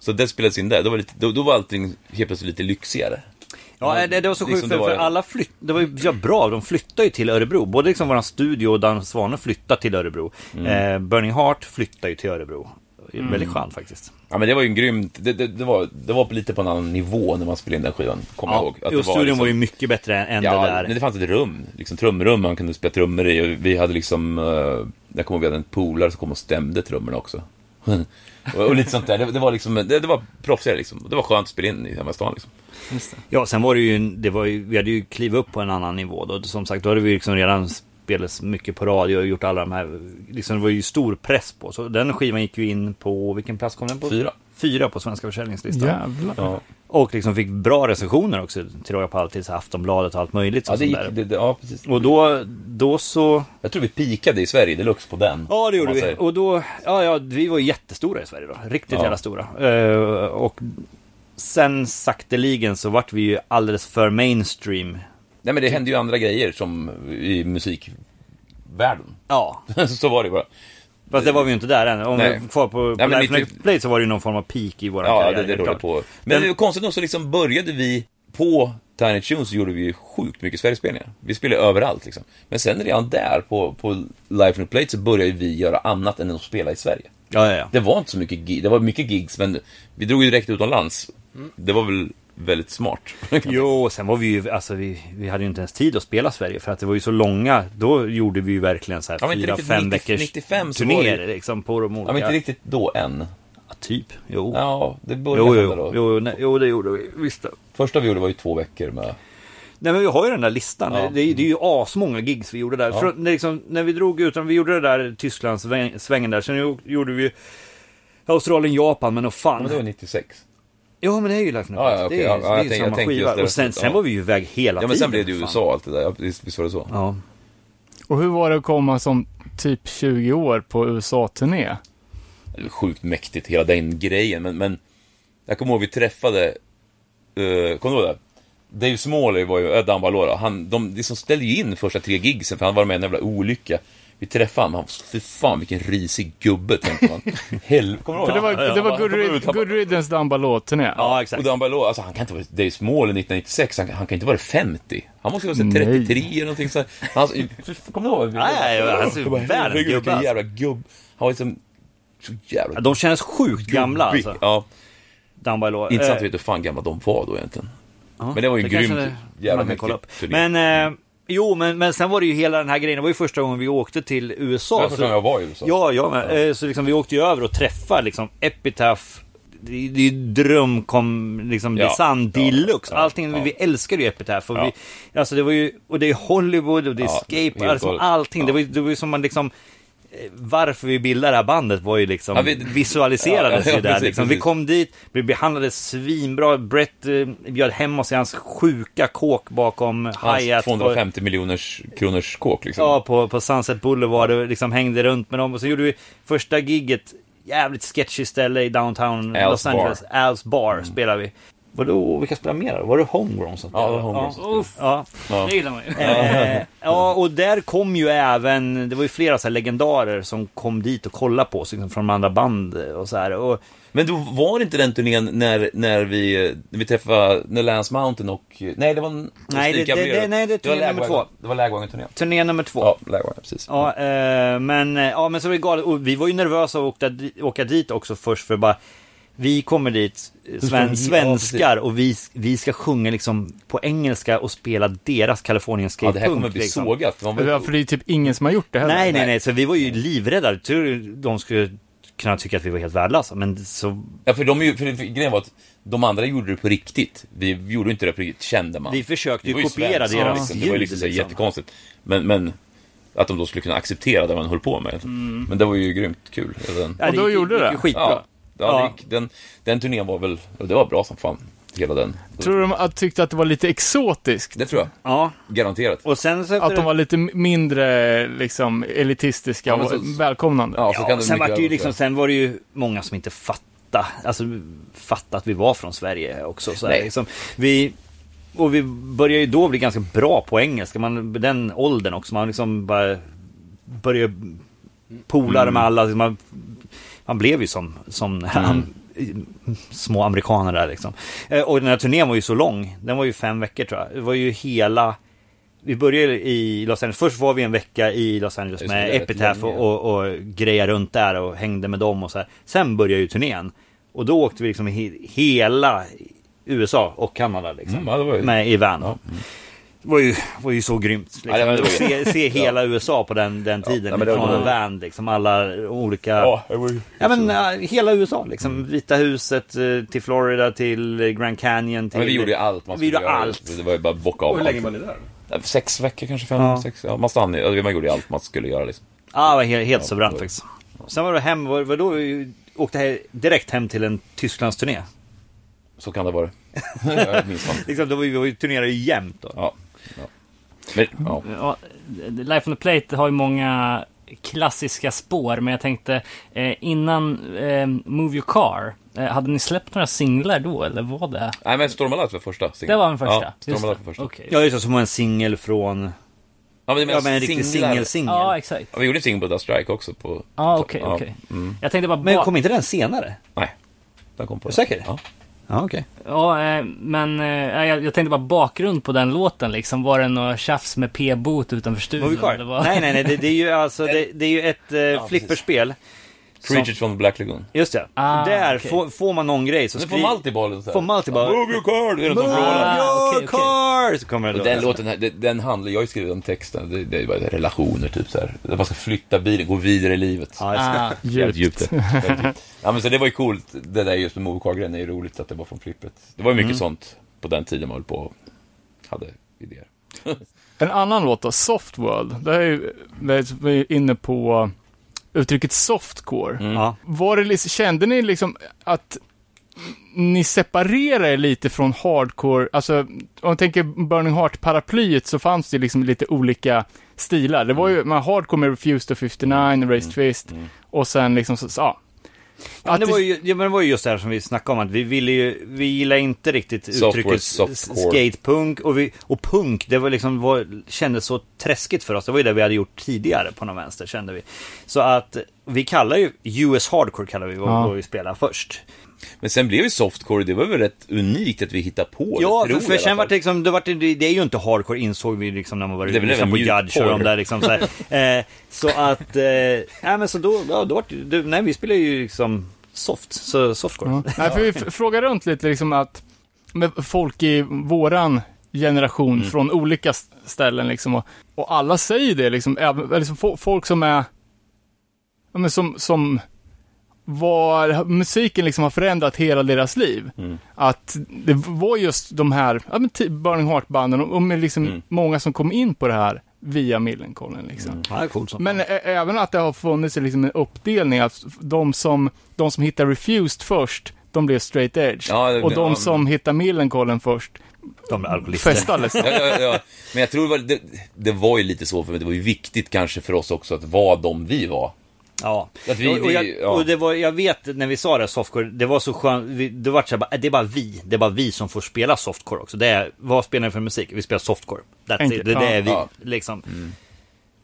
[SPEAKER 6] Så det spelades in där, då var, lite, då, då var allting helt plötsligt lite lyxigare.
[SPEAKER 7] Ja, eh,
[SPEAKER 6] Men
[SPEAKER 7] det, det var så sjukt
[SPEAKER 6] liksom,
[SPEAKER 7] för,
[SPEAKER 6] det var-
[SPEAKER 7] för alla flytt, det var ju ja, bra, de flyttade ju till Örebro. Både liksom våran studio och Dan Svane flyttade till Örebro.
[SPEAKER 6] Mm.
[SPEAKER 7] Eh, Burning Heart flyttade ju till Örebro. Väldigt skönt faktiskt.
[SPEAKER 6] Ja men det var ju en grymt, det, det, det, var, det var på lite på en annan nivå när man spelade in den skivan, kommer jag
[SPEAKER 7] Ja,
[SPEAKER 6] ihåg.
[SPEAKER 7] och
[SPEAKER 6] det
[SPEAKER 7] studion var,
[SPEAKER 6] liksom-
[SPEAKER 7] ju mycket bättre än, än
[SPEAKER 6] Ja,
[SPEAKER 7] det där.
[SPEAKER 6] men det fanns ett rum, liksom trumrum man kunde spela trummor i. Och vi hade liksom, eh, jag kommer ihåg vi hade en polare som kom och stämde trummorna också. och, och lite sånt där, det, det var liksom, det, det var proffsigare liksom. Det var skönt att spela in i hemma i stan liksom.
[SPEAKER 7] Ja, sen var det ju, en- det var ju, vi hade ju klivit upp på en annan nivå då. Som sagt, då hade vi liksom redan spelat mycket på radio och gjort alla de här, liksom det var ju stor press på. Så den skivan gick ju in på, vilken plats kom den på?
[SPEAKER 6] Fyra.
[SPEAKER 7] Fyra på svenska försäljningslistan.
[SPEAKER 3] Jävlar.
[SPEAKER 6] Ja,
[SPEAKER 7] Och liksom fick bra recensioner också till råga på allt, till så här Aftonbladet och allt möjligt.
[SPEAKER 6] ja,
[SPEAKER 7] och
[SPEAKER 6] det
[SPEAKER 7] sånt
[SPEAKER 6] gick,
[SPEAKER 7] där.
[SPEAKER 6] det, det, ja precis.
[SPEAKER 7] Och då, då så...
[SPEAKER 6] Jag tror vi pikade i Sverige deluxe på den.
[SPEAKER 7] Ja, det gjorde
[SPEAKER 6] om man
[SPEAKER 7] vi.
[SPEAKER 6] säger.
[SPEAKER 7] Och då, ja, ja, vi var ju jättestora i Sverige då. Riktigt
[SPEAKER 6] Ja.
[SPEAKER 7] jävla stora. Eh, och sen sakteligen så vart vi ju alldeles för mainstream.
[SPEAKER 6] Nej men det hände ju andra grejer som i musikvärlden.
[SPEAKER 7] Ja,
[SPEAKER 6] så var det bara.
[SPEAKER 7] fast det var vi ju inte där än. Om
[SPEAKER 6] Nej.
[SPEAKER 7] vi är kvar på, på
[SPEAKER 6] Nej, men
[SPEAKER 7] Life
[SPEAKER 6] vi
[SPEAKER 7] Next
[SPEAKER 6] tyck-
[SPEAKER 7] Play så var det ju någon form av peak i våra
[SPEAKER 6] Ja,
[SPEAKER 7] karriärer,
[SPEAKER 6] det, det
[SPEAKER 7] helt
[SPEAKER 6] rullar
[SPEAKER 7] klart.
[SPEAKER 6] på. Men,
[SPEAKER 7] Men-
[SPEAKER 6] konstigt nog så liksom började vi på Tiny Tunes så gjorde vi ju sjukt mycket Sverigespelningar. Vi spelade överallt liksom. Men sen redan där på, på Life in Plate så började vi göra annat än att spela i Sverige.
[SPEAKER 7] Ja, ja, ja.
[SPEAKER 6] Det var inte så mycket gig, det var mycket gigs men vi drog ju direkt utomlands.
[SPEAKER 7] Mm.
[SPEAKER 6] Det var väl väldigt smart.
[SPEAKER 7] Jo, sen var vi ju, alltså vi, vi hade ju inte ens tid att spela Sverige för att det var ju så långa. Då gjorde vi ju verkligen så här
[SPEAKER 6] Ja, men inte
[SPEAKER 7] fyra,
[SPEAKER 6] riktigt
[SPEAKER 7] fem
[SPEAKER 6] 90
[SPEAKER 7] veckors
[SPEAKER 6] 95 så var det ju-
[SPEAKER 7] turnéer liksom på de
[SPEAKER 6] Ja,
[SPEAKER 7] olika...
[SPEAKER 6] men inte riktigt då än.
[SPEAKER 7] Ja, typ, jo.
[SPEAKER 6] Ja, det började
[SPEAKER 7] Jo,
[SPEAKER 6] hända
[SPEAKER 7] jo,
[SPEAKER 6] då.
[SPEAKER 7] jo, nej, jo, det gjorde vi. Visst. det.
[SPEAKER 6] Första vi gjorde var ju två veckor med...
[SPEAKER 7] Nej, men vi har ju den där listan.
[SPEAKER 6] Ja.
[SPEAKER 7] Det, är- det är ju asmånga gigs vi gjorde där. Från, när, liksom, när vi drog utan vi gjorde det där Tysklandssvängen där. Sen jo- gjorde vi Australien, Japan, men och fan.
[SPEAKER 6] Ja, men det var 96.
[SPEAKER 7] Jo, men det är ju Life in
[SPEAKER 6] Ja, ja,
[SPEAKER 7] Palace.
[SPEAKER 6] okej,
[SPEAKER 7] Det är,
[SPEAKER 6] ja,
[SPEAKER 7] ju-
[SPEAKER 6] ja,
[SPEAKER 7] det är ju
[SPEAKER 6] jag tänkte-
[SPEAKER 7] samma
[SPEAKER 6] jag tänkte
[SPEAKER 7] skiva.
[SPEAKER 6] just det.
[SPEAKER 7] Och sen, sen
[SPEAKER 6] Ja.
[SPEAKER 7] var vi ju iväg hela
[SPEAKER 6] Ja, men sen
[SPEAKER 7] tiden.
[SPEAKER 6] blev det ju
[SPEAKER 7] för fan.
[SPEAKER 6] USA och allt det där. Ja, visst visst var det så?
[SPEAKER 7] Ja.
[SPEAKER 3] Och hur var det att komma som typ 20 år på USA-turné?
[SPEAKER 6] Det var sjukt mäktigt, hela den grejen. Men, men jag kommer ihåg vi träffade, uh, kommer du ihåg det? Dave Smalley var ju, äh, Dan Valora, han, de liksom ställde ju in första tre gigsen för han var med i en jävla olycka. Vi träffade honom, han var, fy fan vilken risig gubbe tänkte man. Helvete, kommer du ihåg?
[SPEAKER 3] För det var,
[SPEAKER 6] Han- han
[SPEAKER 3] det var
[SPEAKER 6] bara
[SPEAKER 3] Good,
[SPEAKER 6] kom
[SPEAKER 3] Rid-
[SPEAKER 6] ut, han bara-
[SPEAKER 3] Good Riddance Dambalot-turné.
[SPEAKER 7] ja,
[SPEAKER 6] Och
[SPEAKER 7] exakt.
[SPEAKER 6] Dan Barlow, alltså han kan inte vara Dave Smalley 1996, han, han kan inte vara 50. Han måste ju vara så
[SPEAKER 3] Nej.
[SPEAKER 6] 33 eller någonting sånt. Alltså, kommer du ihåg?
[SPEAKER 7] Nej, nej, nej, han ser
[SPEAKER 6] Jag bara,
[SPEAKER 7] världens
[SPEAKER 6] herregud, vilken
[SPEAKER 7] gubbe, alltså.
[SPEAKER 6] jävla gubb. Han var liksom så jävla
[SPEAKER 7] De känns sjukt gamla
[SPEAKER 6] gubbig.
[SPEAKER 7] alltså.
[SPEAKER 6] Ja,
[SPEAKER 7] Dan Bailor.
[SPEAKER 6] intressant att
[SPEAKER 7] Eh,
[SPEAKER 6] veta hur fan gamla de var då egentligen. Men det var ju
[SPEAKER 7] Det
[SPEAKER 6] grymt.
[SPEAKER 7] kanske det-
[SPEAKER 6] jävla
[SPEAKER 7] man kan
[SPEAKER 6] mycket
[SPEAKER 7] kolla upp.
[SPEAKER 6] turné.
[SPEAKER 7] Men, eh, jo, men, men sen var det ju hela den här grejen. Det var ju första gången vi åkte till
[SPEAKER 6] det
[SPEAKER 7] USA.
[SPEAKER 6] var första gången jag var i USA.
[SPEAKER 7] Ja, jag med. Eh, Så liksom, vi åkte ju över och träffade liksom Epitaph. Det är det är ju dröm kom, liksom
[SPEAKER 6] Ja.
[SPEAKER 7] design
[SPEAKER 6] Ja.
[SPEAKER 7] deluxe.
[SPEAKER 6] Ja.
[SPEAKER 7] Allting,
[SPEAKER 6] Ja.
[SPEAKER 7] vi älskar ju Epitaph. Och,
[SPEAKER 6] Ja.
[SPEAKER 7] vi, alltså det var ju, och det är Hollywood och det är
[SPEAKER 6] Ja,
[SPEAKER 7] Escape,
[SPEAKER 6] helt
[SPEAKER 7] alltså,
[SPEAKER 6] galet.
[SPEAKER 7] allting. Det,
[SPEAKER 6] Ja.
[SPEAKER 7] var, ju- det var ju som man liksom... eh, Varför vi bildade det här bandet var ju liksom,
[SPEAKER 6] Ja, vi-
[SPEAKER 7] visualiserades
[SPEAKER 6] Ja, ja,
[SPEAKER 7] ju där
[SPEAKER 6] precis,
[SPEAKER 7] liksom. Vi
[SPEAKER 6] precis.
[SPEAKER 7] kom dit, blev behandlade svinbra. Brett eh, bjöd hem oss i hans sjuka kåk bakom hi-hat.
[SPEAKER 6] Hans
[SPEAKER 7] på-
[SPEAKER 6] 250 miljoners kronors kåk liksom.
[SPEAKER 7] Ja, på, på Sunset Boulevard och liksom hängde runt med dem. Och så gjorde vi första gigget, jävligt sketchy ställe i downtown
[SPEAKER 6] Al's
[SPEAKER 7] Los Angeles. Al's Bar spelade vi. Mm. Vadå, vilka spelar mer? Var det Homegrown som
[SPEAKER 6] Ja, det var
[SPEAKER 7] spelade?
[SPEAKER 6] Homegrown som
[SPEAKER 7] Ja. Ja.
[SPEAKER 2] Det gillar man ju.
[SPEAKER 7] Eh, ja, och där kom ju även, det var ju flera så här legendarer som kom dit och kollade på oss liksom, från de andra band och så här. Och,
[SPEAKER 6] Men då var det inte den turnén när, när vi, eh, när vi träffade när Lance Mountain och... Nej, det var... en-
[SPEAKER 7] Nej, det-
[SPEAKER 6] Stig Gabriel.
[SPEAKER 7] det- det- nej, det är
[SPEAKER 6] var
[SPEAKER 7] turné nummer
[SPEAKER 6] Lagwagon.
[SPEAKER 7] två.
[SPEAKER 6] Det var Lagwagon-turnén.
[SPEAKER 7] turné nummer två.
[SPEAKER 6] Ja, Lagwagon, precis.
[SPEAKER 7] Ja, eh, men, eh, ja, men så var det galet. Och vi var ju nervösa att åka, di- åka dit också först för bara vi kommer dit, eh, sven, svenskar, och vi, vi ska sjunga liksom på engelska och spela deras Kalifornien
[SPEAKER 6] Ja,
[SPEAKER 7] Skate
[SPEAKER 6] det här kommer
[SPEAKER 7] Punk,
[SPEAKER 6] bli
[SPEAKER 7] liksom.
[SPEAKER 6] sågat. Man
[SPEAKER 3] Ja,
[SPEAKER 6] var...
[SPEAKER 3] för det är typ ingen som har gjort det heller.
[SPEAKER 7] Nej, nej, nej, så vi var ju livrädda. Tur de skulle kunna tycka att vi var helt värdelösa, alltså, men så
[SPEAKER 6] Ja, för, de, är ju- för, för grejen var att de andra gjorde det på riktigt. Vi gjorde inte det på riktigt, kände man.
[SPEAKER 7] vi försökte
[SPEAKER 6] Det var
[SPEAKER 7] ju kopiera
[SPEAKER 6] svenskt,
[SPEAKER 7] deras
[SPEAKER 6] liksom.
[SPEAKER 7] ljud.
[SPEAKER 6] Det var ju liksom, så här jättekonstigt. Men, men att de då skulle kunna acceptera det man höll på med. Men det var ju grymt kul. Ja, Den,
[SPEAKER 7] Mm. Ja,
[SPEAKER 3] Och då
[SPEAKER 7] gick-
[SPEAKER 3] gjorde
[SPEAKER 7] gick
[SPEAKER 3] det.
[SPEAKER 7] ju Skitbra.
[SPEAKER 6] ja, ja.
[SPEAKER 7] Ja.
[SPEAKER 6] det gick- Den, den turnén var väl... Det var bra som fan, hela den.
[SPEAKER 3] Tror du de att- tyckte att det var lite exotiskt?
[SPEAKER 6] Det tror jag.
[SPEAKER 7] Ja,
[SPEAKER 6] Garanterat.
[SPEAKER 7] och sen så efter
[SPEAKER 3] Att de var lite mindre liksom, elitistiska
[SPEAKER 6] Ja, men
[SPEAKER 3] och
[SPEAKER 6] så-
[SPEAKER 3] välkomnande?
[SPEAKER 6] Ja, så
[SPEAKER 7] Ja,
[SPEAKER 6] kan det
[SPEAKER 7] sen,
[SPEAKER 6] mycket
[SPEAKER 7] var det ju
[SPEAKER 6] väl
[SPEAKER 7] liksom,
[SPEAKER 6] vara.
[SPEAKER 7] sen var det ju många som inte fattade, alltså fattade att vi var från Sverige också. Så här,
[SPEAKER 6] Nej.
[SPEAKER 7] liksom, vi, och vi började ju då bli ganska bra på engelska, man, den åldern också. Man liksom bara började
[SPEAKER 6] Mm.
[SPEAKER 7] polare med alla. Man, man blev ju som, som am, små amerikaner där liksom. Eh, Och den här turnén var ju så lång, den var ju fem veckor tror jag. Det var ju hela vi började i Los Angeles. Först var vi en vecka i Los Angeles
[SPEAKER 6] Just det,
[SPEAKER 7] med
[SPEAKER 6] det är rätt
[SPEAKER 7] Epitaph
[SPEAKER 6] länge.
[SPEAKER 7] och, och, och grejade runt där och hängde med dem och så här. Sen började ju turnén. Och då åkte vi liksom he hela USA och Kanada liksom.
[SPEAKER 6] Mm, ja, det var ju-
[SPEAKER 7] Med i van. Mm. Det var ju, var ju så grymt. Liksom.
[SPEAKER 6] Ja, det var- det var
[SPEAKER 7] se, se hela USA på den, den tiden.
[SPEAKER 6] nej, men det
[SPEAKER 7] från
[SPEAKER 6] var-
[SPEAKER 7] en van liksom. Alla olika... Ja,
[SPEAKER 6] det var ju...
[SPEAKER 7] men äh, hela USA liksom. Vita huset eh, till Florida till eh, Grand Canyon. Till...
[SPEAKER 6] Men vi gjorde ju allt man
[SPEAKER 7] Vi
[SPEAKER 6] skulle
[SPEAKER 7] gjorde
[SPEAKER 6] göra.
[SPEAKER 7] allt.
[SPEAKER 6] Det var ju bara att bocka av.
[SPEAKER 4] Hur länge
[SPEAKER 6] allt.
[SPEAKER 4] var ni där?
[SPEAKER 6] Sex veckor kanske, fem,
[SPEAKER 7] Ja.
[SPEAKER 6] sex. Ja, man stannade ju- Man gjorde ju allt man skulle göra liksom.
[SPEAKER 7] Ja, det var helt, helt suveränt
[SPEAKER 6] det-
[SPEAKER 7] faktiskt. Sen var det hem, var, var då vi åkte här direkt hem till en Tysklandsturné.
[SPEAKER 6] Så kan det vara. Jag minns fan.
[SPEAKER 7] Liksom, då var vi, vi turnerade ju jämt då.
[SPEAKER 6] Ja. ja. Men, ja.
[SPEAKER 2] Ja, Life on the Plate har ju många klassiska spår, men jag tänkte eh, innan eh, Move Your Car, eh, hade ni släppt några singlar då eller var det?
[SPEAKER 6] Nej, men Storm Alive var första
[SPEAKER 2] Det
[SPEAKER 6] singeln.
[SPEAKER 2] var den första?
[SPEAKER 6] Ja,
[SPEAKER 2] Just
[SPEAKER 6] Storm Alive
[SPEAKER 2] det.
[SPEAKER 6] var första.
[SPEAKER 2] Okej.
[SPEAKER 7] Ja, just det, som var en singel från...
[SPEAKER 6] Ja, men, det
[SPEAKER 7] Ja,
[SPEAKER 6] menar
[SPEAKER 7] men en riktig
[SPEAKER 6] singlar.
[SPEAKER 7] singel-singel.
[SPEAKER 2] Ja, exakt.
[SPEAKER 6] Ja, vi gjorde en singel på Dust Strike också. På...
[SPEAKER 2] Ja, okej,
[SPEAKER 6] Ja. Mm.
[SPEAKER 2] okej. Jag tänkte bara...
[SPEAKER 7] Men
[SPEAKER 2] ba-
[SPEAKER 7] kom inte den senare?
[SPEAKER 6] Nej, den kom på
[SPEAKER 7] Är du säker?
[SPEAKER 6] Ja.
[SPEAKER 7] Ja, okej.
[SPEAKER 6] Mm,
[SPEAKER 2] Ja, eh, men eh, jag, jag tänkte bara bakgrund på den låten liksom. Var det något tjafs med p-boot utanför
[SPEAKER 7] Var vi
[SPEAKER 2] studion? eller
[SPEAKER 7] kvar?
[SPEAKER 2] vad?
[SPEAKER 7] Nej, nej, nej, det, det är ju alltså, det, det är ju ett eh, flipperspel.
[SPEAKER 6] Creatures from the Black Lagoon.
[SPEAKER 7] Just det.
[SPEAKER 2] Ah,
[SPEAKER 7] Där
[SPEAKER 2] okej.
[SPEAKER 7] får, får man någon grej så
[SPEAKER 6] Nu
[SPEAKER 7] skriv...
[SPEAKER 6] får Multiballen så här.
[SPEAKER 7] Får Multiball.
[SPEAKER 6] Move your card! Är det som frågar.
[SPEAKER 2] Ah,
[SPEAKER 7] Ah,
[SPEAKER 2] okej, okej.
[SPEAKER 7] your car! Så kommer det
[SPEAKER 6] Och
[SPEAKER 7] då.
[SPEAKER 6] den låten, här, den, den handlar, jag har ju skrivit om texten, det, det är bara relationer typ så här. Att Man ska flytta bilen, gå vidare i livet.
[SPEAKER 7] Ja, just det.
[SPEAKER 2] Ah,
[SPEAKER 6] Jävligt djupt. det. Jävligt djupt. Ja men så det var ju coolt, det där just med Movecar-grejen är ju roligt att det var från flippret. Det var ju mycket sånt på den tiden man höll på och hade idéer.
[SPEAKER 3] En annan låt då, Soft World. Där är ju, där är vi inne på uttrycket softcore.
[SPEAKER 6] Mm.
[SPEAKER 7] Ja.
[SPEAKER 3] Var det, liksom- kände ni liksom att ni separerar er lite från hardcore, alltså om man tänker Burning Heart-paraplyet så fanns det liksom lite olika stilar. Det var ju,
[SPEAKER 6] Mm.
[SPEAKER 3] man hardcore med Refused to 59, Raised Fist och sen liksom, så, så, ja.
[SPEAKER 7] Men
[SPEAKER 3] Att
[SPEAKER 7] det, var
[SPEAKER 3] det-
[SPEAKER 7] ju, ja, men det var ju just det här som vi snackade om, att vi ville ju, vi gillade inte riktigt
[SPEAKER 6] Softcore,
[SPEAKER 7] uttrycket
[SPEAKER 6] softcore.
[SPEAKER 7] skatepunk och, vi, och punk, det var liksom, var, kändes så träskigt för oss. Det var ju det vi hade gjort tidigare på någon vänster, kände vi. Så att vi kallar ju, US Hardcore kallar vi vad,
[SPEAKER 3] Ja.
[SPEAKER 7] vad vi spelar först.
[SPEAKER 6] Men sen blev ju softcore, det var väl rätt unikt att vi hittade på det,
[SPEAKER 7] Ja,
[SPEAKER 6] tror
[SPEAKER 7] för,
[SPEAKER 6] jag
[SPEAKER 7] för
[SPEAKER 6] i alla
[SPEAKER 7] sen vart
[SPEAKER 6] fall.
[SPEAKER 7] det liksom, det, vart, det det är ju inte hardcore insåg vi liksom när man var
[SPEAKER 6] Det är väl
[SPEAKER 7] lyssnade på
[SPEAKER 6] även
[SPEAKER 7] Judge och de
[SPEAKER 6] mjukporr.
[SPEAKER 7] där liksom så här. Eh, Så att, eh, nej men så då, ja, då vart det- det, nej vi spelar ju liksom soft, så softcore.
[SPEAKER 3] Ja. Nej, för vi f- frågar runt lite liksom att med folk i våran generation från olika s- ställen liksom och, och alla säger det liksom, även, eller liksom fo- folk som är, ja, men som, som var, musiken liksom har förändrat hela deras liv. Att det var just de här, ja men typ Burning Heart-banden och, och med liksom många som kom in på det här via Millencolin liksom.
[SPEAKER 7] Ja, det är coolt som
[SPEAKER 3] Men
[SPEAKER 7] fan.
[SPEAKER 3] ä- även att det har funnits liksom en uppdelning, att de som, de som hittar Refused först, de blev straight edge.
[SPEAKER 6] Ja, det-
[SPEAKER 3] och de
[SPEAKER 6] ja,
[SPEAKER 3] som hittar Millencolin först, liksom.
[SPEAKER 7] de är alkoholister.
[SPEAKER 3] festades.
[SPEAKER 6] Ja, ja, ja. Men jag tror det var, det, det var ju lite så, för mig. det var ju viktigt kanske för oss också att vara de vi var.
[SPEAKER 7] Ja,
[SPEAKER 6] Att vi-
[SPEAKER 7] och, och, jag,
[SPEAKER 6] vi- ja.
[SPEAKER 7] och det var, jag vet när vi sa det, softcore, det var så skönt, vi- det var så här, bara, "Äh, det är bara vi, det är bara vi som får spela softcore också. Det är, vad spelar vi för musik? Vi spelar softcore, that's
[SPEAKER 3] Enkelt,
[SPEAKER 7] it, det, det
[SPEAKER 3] ja.
[SPEAKER 7] är vi.
[SPEAKER 6] Ja. Mm.
[SPEAKER 7] Liksom.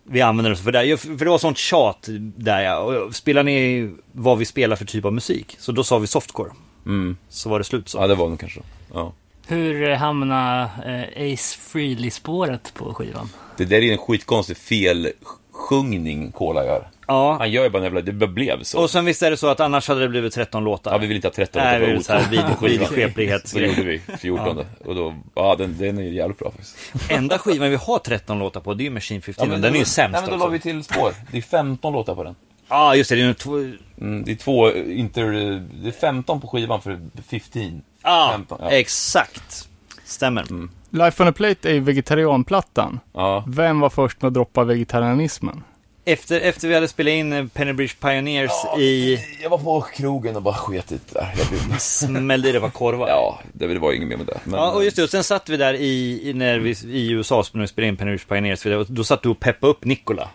[SPEAKER 7] Vi använder oss för det, här. för det var sånt tjat där, ja. Och spelar ni vad vi spelar för typ av musik? Så då sa vi softcore.
[SPEAKER 6] Mm.
[SPEAKER 7] Så var det slut så.
[SPEAKER 6] Ja, det var nog kanske så. ja.
[SPEAKER 2] Hur eh, hamnar eh, Ace Frehley-spåret på skivan?
[SPEAKER 6] Det där är en skitkonstig felsjungning Kola gör.
[SPEAKER 7] Ja,
[SPEAKER 6] Han gör ju bara en jävla... Det bara blev så.
[SPEAKER 7] och sen visst är det så att annars hade det blivit 13 låtar.
[SPEAKER 6] Ja, vi vill inte ha 13
[SPEAKER 7] Nej, vi
[SPEAKER 6] låtar
[SPEAKER 7] vill så här, vid,
[SPEAKER 6] på skivan.
[SPEAKER 7] vidskeplighet.
[SPEAKER 6] Så gjorde vi 14. Och då, ja, den, den är ju jävligt bra faktiskt.
[SPEAKER 7] Enda skivan vi har 13 låtar på, det är ju Machine 15. den, är ju sämst
[SPEAKER 6] Nej, men då
[SPEAKER 7] också.
[SPEAKER 6] la vi till spår. Det är 15 låtar på den.
[SPEAKER 7] Ja, just det. Det är ju två...
[SPEAKER 6] Mm, det är två eh, inter... eh, Det är 15 på skivan för 15.
[SPEAKER 7] ah,
[SPEAKER 6] 15, ja. Mm.
[SPEAKER 7] exakt. Stämmer.
[SPEAKER 3] Life on a Plate är ju vegetarianplattan.
[SPEAKER 6] Ja.
[SPEAKER 3] Vem var först med att droppa vegetarianismen? Efter,
[SPEAKER 7] Efter, efter vi hade spelat in eh, Pennybridge Pioneers i...
[SPEAKER 6] Jag var på krogen och bara sket i det där. Jag blev...
[SPEAKER 7] Smällde i det på korvar. Ja.
[SPEAKER 6] Ja, det det var inget mer med det. Men,
[SPEAKER 7] och just det, och sen satt vi där i, i- när vi, i USA när vi spelade in Pennybridge Pioneers, och då satt du och peppade upp Nikola.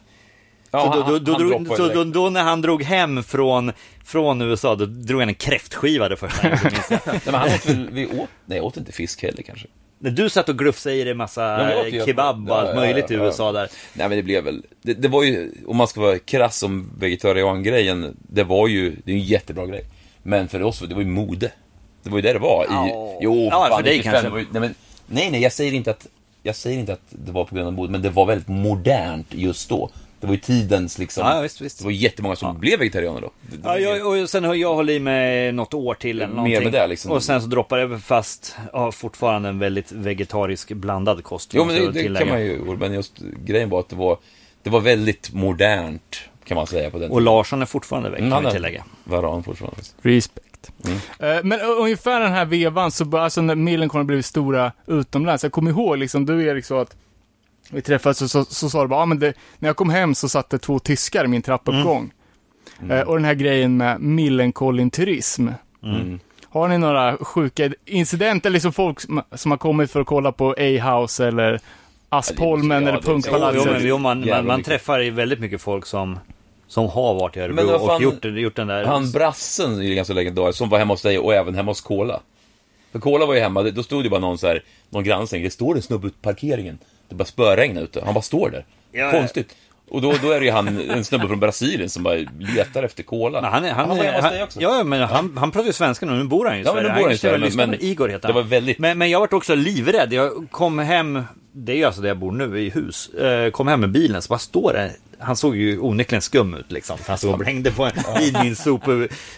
[SPEAKER 6] ja,
[SPEAKER 7] så
[SPEAKER 6] han-
[SPEAKER 7] då, då, då,
[SPEAKER 6] han
[SPEAKER 7] drog-
[SPEAKER 6] droppade
[SPEAKER 7] så
[SPEAKER 6] direkt.
[SPEAKER 7] då, då när han drog hem från, från USA, då drog han en kräftskiva det första gången. minns jag.
[SPEAKER 6] Nej, men han åt väl... Vi åt... Nej, jag åt inte fisk heller kanske.
[SPEAKER 7] När du satt och glufsade i dig
[SPEAKER 6] Ja,
[SPEAKER 7] massa
[SPEAKER 6] men jag åt ju-
[SPEAKER 7] kebab och
[SPEAKER 6] Ja,
[SPEAKER 7] allt
[SPEAKER 6] ja,
[SPEAKER 7] möjligt i
[SPEAKER 6] ja, ja.
[SPEAKER 7] USA där.
[SPEAKER 6] Nej men det blev väl, det, det var ju, om man ska vara krass om vegetarian-grejen, det var ju, det är ju en jättebra grej. Men för oss, det var ju mode. Det var ju det det var. I,
[SPEAKER 7] Ja.
[SPEAKER 6] Jo,
[SPEAKER 7] Ja, för dig
[SPEAKER 6] 95,
[SPEAKER 7] kanske.
[SPEAKER 6] det var ju- nej, men, nej, nej, jag säger inte att, jag säger inte att det var på grund av mode, men det var väldigt modernt just då. Det var ju tidens liksom,
[SPEAKER 7] Ja, visst, visst.
[SPEAKER 6] det var ju jättemånga som blev vegetarianer då. Det, det var
[SPEAKER 7] Ja,
[SPEAKER 6] ju-
[SPEAKER 7] jag, och sen har jag hållit i mig något år till eller
[SPEAKER 6] Mer
[SPEAKER 7] någonting.
[SPEAKER 6] med det, liksom.
[SPEAKER 7] Och sen så droppar jag fast, ja, fortfarande en väldigt vegetarisk blandad kost.
[SPEAKER 6] jo men
[SPEAKER 7] måste
[SPEAKER 6] det,
[SPEAKER 7] jag
[SPEAKER 6] det
[SPEAKER 7] tillägga.
[SPEAKER 6] kan man ju, men just grejen var att det var, det var väldigt modernt, kan man säga på den
[SPEAKER 7] Och Larsson är fortfarande väg, kan
[SPEAKER 6] Mm, han
[SPEAKER 7] vi
[SPEAKER 6] är
[SPEAKER 7] tillägga.
[SPEAKER 6] Varan fortfarande.
[SPEAKER 3] Respect.
[SPEAKER 6] Mm.
[SPEAKER 3] Eh, Men u- ungefär den här vevan, så bör, alltså när Millencolin blivit stora utomlands. Jag kommer ihåg, liksom, du Erik sa att vi träffades så, så, så sa du bara, ah, men det, när jag kom hem så satt det två tyskar i min
[SPEAKER 6] Mm.
[SPEAKER 3] trappuppgång. Eh, Och den här grejen med Millencolin-turism.
[SPEAKER 6] Mm.
[SPEAKER 3] Har ni några sjuka incidenter, liksom folk som, som har kommit för att kolla på A-house eller Aspholmen eller
[SPEAKER 6] Ja, det- ja, det-
[SPEAKER 7] Jo,
[SPEAKER 6] Alltså,
[SPEAKER 7] jo,
[SPEAKER 3] Punkpalatset?
[SPEAKER 7] men, jo, man, man,
[SPEAKER 6] jävla
[SPEAKER 7] man
[SPEAKER 6] mycket.
[SPEAKER 7] träffar ju väldigt mycket folk som, som har varit i
[SPEAKER 6] Men
[SPEAKER 7] Örebro
[SPEAKER 6] vad
[SPEAKER 7] och
[SPEAKER 6] fan-
[SPEAKER 7] gjort, gjort den där...
[SPEAKER 6] Han brassen är ju ganska legendarisk, som var hemma hos dig och även hemma hos Kola. För Kola var ju hemma, då stod det bara någon så här, någon granne som tänkte, det står en snubbe ute på parkeringen. Det bara spöregnar ute, han bara står där.
[SPEAKER 7] Ja,
[SPEAKER 6] Konstigt. Och då, då är det ju han, en snubbe från Brasilien som bara letar efter Kola.
[SPEAKER 7] Nej, han, är, han,
[SPEAKER 6] var hemma
[SPEAKER 7] är,
[SPEAKER 6] hos
[SPEAKER 7] han,
[SPEAKER 6] dig också.
[SPEAKER 7] ja, men han, han pratar ju svenska nu, nu bor han ju i
[SPEAKER 6] Ja, men nu
[SPEAKER 7] Sverige.
[SPEAKER 6] bor han i
[SPEAKER 7] just det,
[SPEAKER 6] Sverige,
[SPEAKER 7] lyssnar
[SPEAKER 6] men-
[SPEAKER 7] på Igor heter
[SPEAKER 6] det
[SPEAKER 7] han.
[SPEAKER 6] var väldigt-
[SPEAKER 7] men, men jag vart också livrädd. Jag kom hem, det är ju alltså där jag bor nu, i hus. Eh, Kom hem med bilen, så bara står det. Han såg ju onekligen skum ut liksom. för Han stod och hängde på en, vid min sop.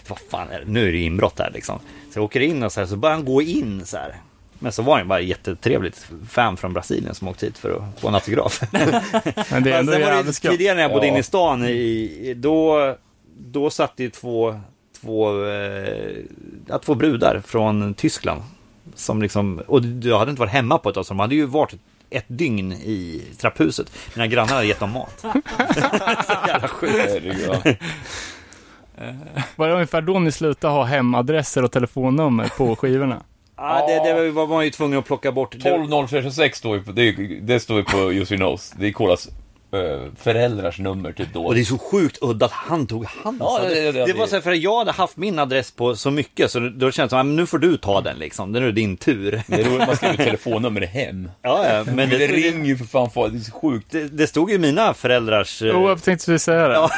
[SPEAKER 7] Vad fan är det? Nu är det inbrott här liksom. Så jag åker in och så här, så börjar han gå in så här. Men så var han ju bara jättetrevligt fan från Brasilien som åkte hit för att få en autograf.
[SPEAKER 3] Men det är
[SPEAKER 7] Fast
[SPEAKER 3] ändå
[SPEAKER 7] sen var det
[SPEAKER 3] jävligt skumt.
[SPEAKER 7] tidigare när jag bodde
[SPEAKER 6] Ja.
[SPEAKER 7] inne i stan, i, i- då, då satt det ju två, två, eh, ja, två brudar från Tyskland. Som liksom, och jag hade inte varit hemma på ett tag, så de hade ju varit ett dygn i trapphuset. Mina grannar hade gett dem mat. så jävla sjukt.
[SPEAKER 6] Herregud, ja.
[SPEAKER 3] Var det ungefär då ni slutade ha hemadresser och telefonnummer på skivorna?
[SPEAKER 7] Ja, det, det var ju- var man ju tvungen att plocka bort. Det-
[SPEAKER 6] 12.04.26 står ju på, det, är- det står ju på Jussi Knows. Det är Kolas eh, föräldrars nummer typ då.
[SPEAKER 7] Och det är så sjukt udda att han tog hans
[SPEAKER 6] Ja,
[SPEAKER 7] adress.
[SPEAKER 6] det- det- det-
[SPEAKER 7] det var så här, för att jag hade haft min adress på så mycket så då kändes det som, "Ja, men nu får du ta den liksom, nu är det din tur.
[SPEAKER 6] Det är roligt, man skriver telefonnummer hem.
[SPEAKER 7] Ja, ja, men
[SPEAKER 6] Men det,
[SPEAKER 7] det, det,
[SPEAKER 6] ringer ju för fan, fan, det är så sjukt.
[SPEAKER 7] det, det stod ju mina föräldrars... eh,
[SPEAKER 3] Jo, jag tänkte precis säga det.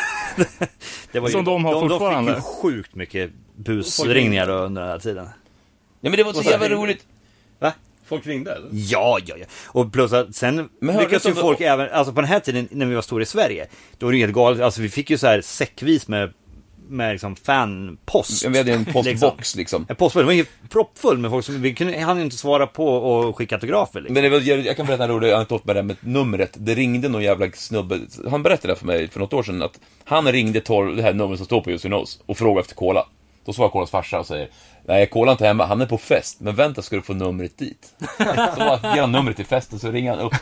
[SPEAKER 7] det var ju,
[SPEAKER 3] som de har fortfarande.
[SPEAKER 7] De fick ju sjukt mycket busringningar då under den här tiden.
[SPEAKER 6] Ja, men det var så jävla roligt.
[SPEAKER 7] Va?
[SPEAKER 4] Folk ringde eller?
[SPEAKER 7] Ja, ja, ja. Och plus att sen
[SPEAKER 6] Men hörde
[SPEAKER 7] lyckades
[SPEAKER 6] du
[SPEAKER 7] ju
[SPEAKER 6] inte om
[SPEAKER 7] folk
[SPEAKER 6] det-
[SPEAKER 7] även, alltså på den här tiden när vi var stora i Sverige, då var det ju helt galet. Alltså vi fick ju så här säckvis med, med liksom fanpost.
[SPEAKER 6] Ja, Vi hade ju en
[SPEAKER 7] Liksom.
[SPEAKER 6] postbox liksom.
[SPEAKER 7] En postbil, den var ju proppfull med folk som vi kunde, hann ju inte svara på och skicka autografer liksom.
[SPEAKER 6] Men det var, jag, jag kan berätta en rolig anekdot med det här med numret. Det ringde någon jävla snubbe, han berättade det här för mig för något år sedan, att han ringde 12, det här numret som står på Jussi Knows och frågade efter Cola. Då svarar Colas farsa och säger Nej, Cola är inte hemma, han är på fest, men vänta ska du få numret dit. Så bara, ger han numret till festen så ringer han upp.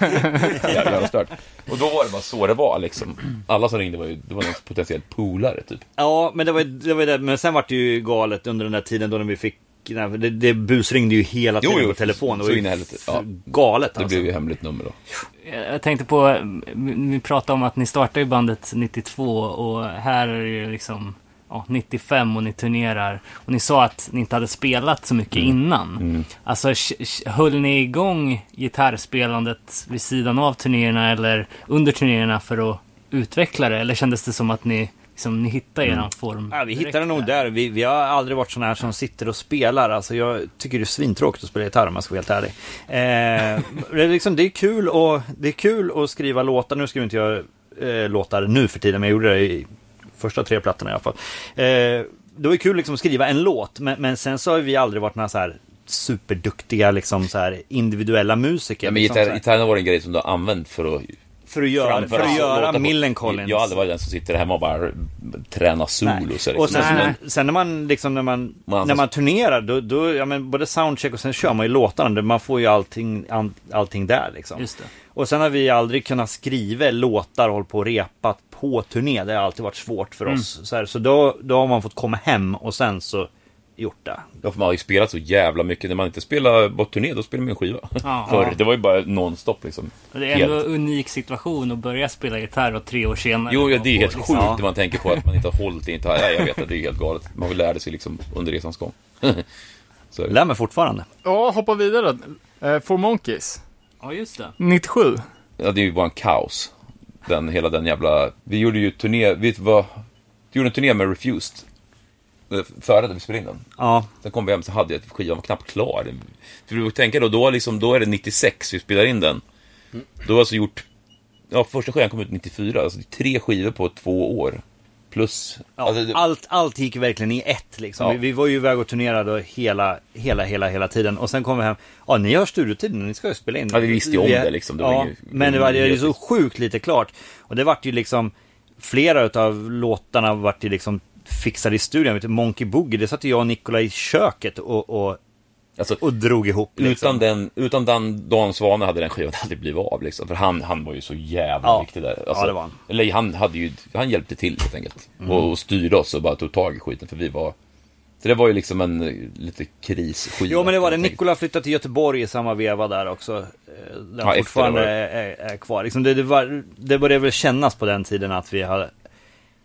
[SPEAKER 6] Jävla stört. Och då var det bara så det var liksom. Alla som ringde var ju, det var någon potentiell polare typ.
[SPEAKER 7] Ja, men det var ju det. Var ju det. Men sen var det ju galet under den där tiden då när vi fick fickorna. Det, det busringde ju hela
[SPEAKER 6] Jo,
[SPEAKER 7] tiden
[SPEAKER 6] jo,
[SPEAKER 7] på telefonen. Det
[SPEAKER 6] så
[SPEAKER 7] var
[SPEAKER 6] in i
[SPEAKER 7] ju
[SPEAKER 6] helvete.
[SPEAKER 7] f-
[SPEAKER 6] Ja.
[SPEAKER 7] galet
[SPEAKER 6] Det
[SPEAKER 7] alltså.
[SPEAKER 6] blev ju hemligt nummer då.
[SPEAKER 2] Eh, Jag tänkte på, vi- vi pratade om att ni startade ju bandet 92 och här är det ju liksom ja, 95 och ni turnerar. Och ni sa att ni inte hade spelat så
[SPEAKER 6] Mm.
[SPEAKER 2] mycket innan. Alltså, sh- sh- höll ni igång gitarrspelandet vid sidan av turnéerna eller under turnéerna för att utveckla det? Eller kändes det som att ni, liksom, ni hittade
[SPEAKER 6] Mm.
[SPEAKER 2] er form?
[SPEAKER 7] Ja, vi
[SPEAKER 2] direkt
[SPEAKER 7] hittade nog där. Vi, vi har aldrig varit sådana här som sitter och spelar. Alltså, jag tycker det är svintråkigt att spela gitarr om jag ska vara helt ärlig. Eh, det, är liksom, det, är kul och, det är kul att skriva låtar. Nu skriver inte jag eh, låtar nu för tiden, men jag gjorde det i första tre plattorna i alla fall. Eh, det var ju kul liksom att skriva en låt, men, men sen så har vi aldrig varit några så här superduktiga liksom så här individuella musiker.
[SPEAKER 6] Ja, men
[SPEAKER 7] liksom, så
[SPEAKER 6] gitarr,
[SPEAKER 7] här,
[SPEAKER 6] gitarren var en grej som du har använt för att
[SPEAKER 7] för att göra, för att göra
[SPEAKER 6] låta på-
[SPEAKER 7] Millencolin.
[SPEAKER 6] Jag har aldrig varit den som sitter hemma och bara tränar solo. Så
[SPEAKER 7] Nej.
[SPEAKER 6] liksom.
[SPEAKER 7] Och sen,
[SPEAKER 6] Men-
[SPEAKER 7] sen när man liksom, när man,
[SPEAKER 6] Man-
[SPEAKER 7] när man turnerar, då, då ja men både soundcheck och sen kör man ju låtarna, man får ju allting, an, allting där liksom.
[SPEAKER 2] Just det.
[SPEAKER 7] Och sen har vi aldrig kunnat skriva låtar och hållit på och repat på turné, det har alltid varit svårt
[SPEAKER 2] Mm.
[SPEAKER 7] för oss. Så, här, så då, då har man fått komma hem och sen så gjort det.
[SPEAKER 6] Ja, för man har ju spelat så jävla mycket. När man inte spelar bort turné, då spelar man en skiva.
[SPEAKER 2] Ja.
[SPEAKER 6] Förr, det var ju bara nonstop liksom.
[SPEAKER 2] Det är ändå
[SPEAKER 6] Helt.
[SPEAKER 2] en unik situation att börja spela gitarr och tre år senare.
[SPEAKER 6] Jo, ja, det är helt
[SPEAKER 2] Liksom.
[SPEAKER 6] sjukt när man tänker på att man inte har hållit det. Inte har... Nej, jag vet att det är helt galet. Man lärde sig liksom under resans gång. så är det.
[SPEAKER 7] Lär mig fortfarande.
[SPEAKER 3] Ja, hoppa vidare då. Eh, Four Monkeys,
[SPEAKER 2] Ja, just det.
[SPEAKER 3] 97.
[SPEAKER 6] Ja, det är ju bara en kaos. Den, hela den jävla... Vi gjorde ju turné... Vet du vad? Vi gjorde en turné med Refused. Eh, Före att vi spelade in den.
[SPEAKER 7] Ja,
[SPEAKER 6] Sen kom vi hem så hade jag typ skivan var knappt klar. För du får tänka då, då, liksom, då är det 96 vi spelar in den. Då har jag alltså gjort... Ja, första skivan kom ut 94, alltså det är tre skivor på två år. Plus...
[SPEAKER 7] ja
[SPEAKER 6] alltså, det-
[SPEAKER 7] allt, allt gick verkligen i ett liksom.
[SPEAKER 6] Ja.
[SPEAKER 7] Vi, vi var ju iväg och turnerade då hela, hela, hela, hela tiden. Och sen kom vi hem, ja ni har studiotid nu, ni ska ju spela in.
[SPEAKER 6] Ja, vi visste ju om det, liksom. Det var
[SPEAKER 7] ja,
[SPEAKER 6] ingen-
[SPEAKER 7] men det var det är ju så sjukt lite klart. Och det vart ju liksom, flera utav låtarna vart ju liksom fixade i studion. Vet du, Monkey Boogie, det satt ju jag och Nikola i köket och, och,
[SPEAKER 6] alltså,
[SPEAKER 7] och drog ihop. Liksom.
[SPEAKER 6] utan, den, utan den, Dan Svane hade den skivan aldrig blivit av. Liksom. För han, han var ju så jävla
[SPEAKER 7] Ja.
[SPEAKER 6] viktig där. Alltså,
[SPEAKER 7] Ja, det var han. Mm.
[SPEAKER 6] Eller han, hade ju, han hjälpte till helt enkelt. Och, och styrde oss och bara tog tag i skiten, för vi var... Så det var ju liksom en eh, lite krisskiva.
[SPEAKER 7] Jo men det var det,
[SPEAKER 6] helt enkelt.
[SPEAKER 7] Nikola flyttade till Göteborg i samma veva där också. Eh, Den
[SPEAKER 6] Ja, efter
[SPEAKER 7] fortfarande
[SPEAKER 6] det var
[SPEAKER 7] är, är, är kvar. Liksom det, det, var, det började väl kännas på den tiden att vi har,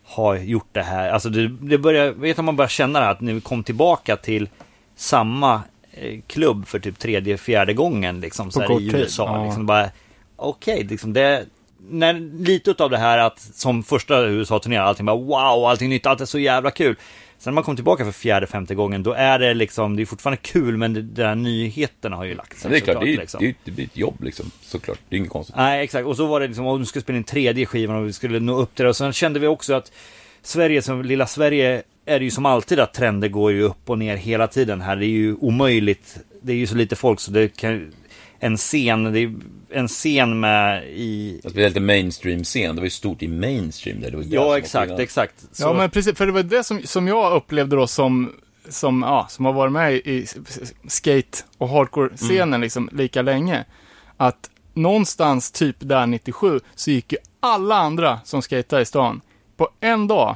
[SPEAKER 7] har gjort det här. Alltså det, det började, vet du, man börjar känna det här, att när vi kom tillbaka till samma eh, klubb för typ tredje, fjärde gången liksom, så här,
[SPEAKER 3] kort
[SPEAKER 7] i
[SPEAKER 3] tid,
[SPEAKER 7] USA.
[SPEAKER 3] ja.
[SPEAKER 7] Liksom, bara, Okej, liksom det... När, lite av det här att som första USA-turnén, allting bara wow, allting nytt, allt är så jävla kul. Sen när man kommer tillbaka för fjärde, femte gången, då är det liksom, det är fortfarande kul, men det, den här nyheterna har ju lagt
[SPEAKER 6] Ja, det är klart,
[SPEAKER 7] såklart,
[SPEAKER 6] det, är, ju-
[SPEAKER 7] liksom.
[SPEAKER 6] det, är, ju- det blir ett jobb liksom, såklart. Det är inget konstigt.
[SPEAKER 7] Nej, exakt. Och så var det liksom, om vi skulle spela in tredje skivan och vi skulle nå upp till det. Och sen kände vi också att Sverige, som lilla Sverige, är det ju som alltid att trender går ju upp och ner hela tiden här. Det är ju omöjligt. Det är ju så lite folk så det kan... En scen, det är en scen med i...
[SPEAKER 6] Att vi är lite mainstream-scen, det var ju stort i mainstream där. Det var ju det som var
[SPEAKER 7] Ja, exakt,
[SPEAKER 6] skillnaden.
[SPEAKER 7] exakt. Så,
[SPEAKER 3] Ja, men precis. För det var det som, som jag upplevde då som, som, ja, som har varit med i, i skate och hardcore-scenen liksom lika länge. Att någonstans typ där 97 så gick ju alla andra som skater i stan på en dag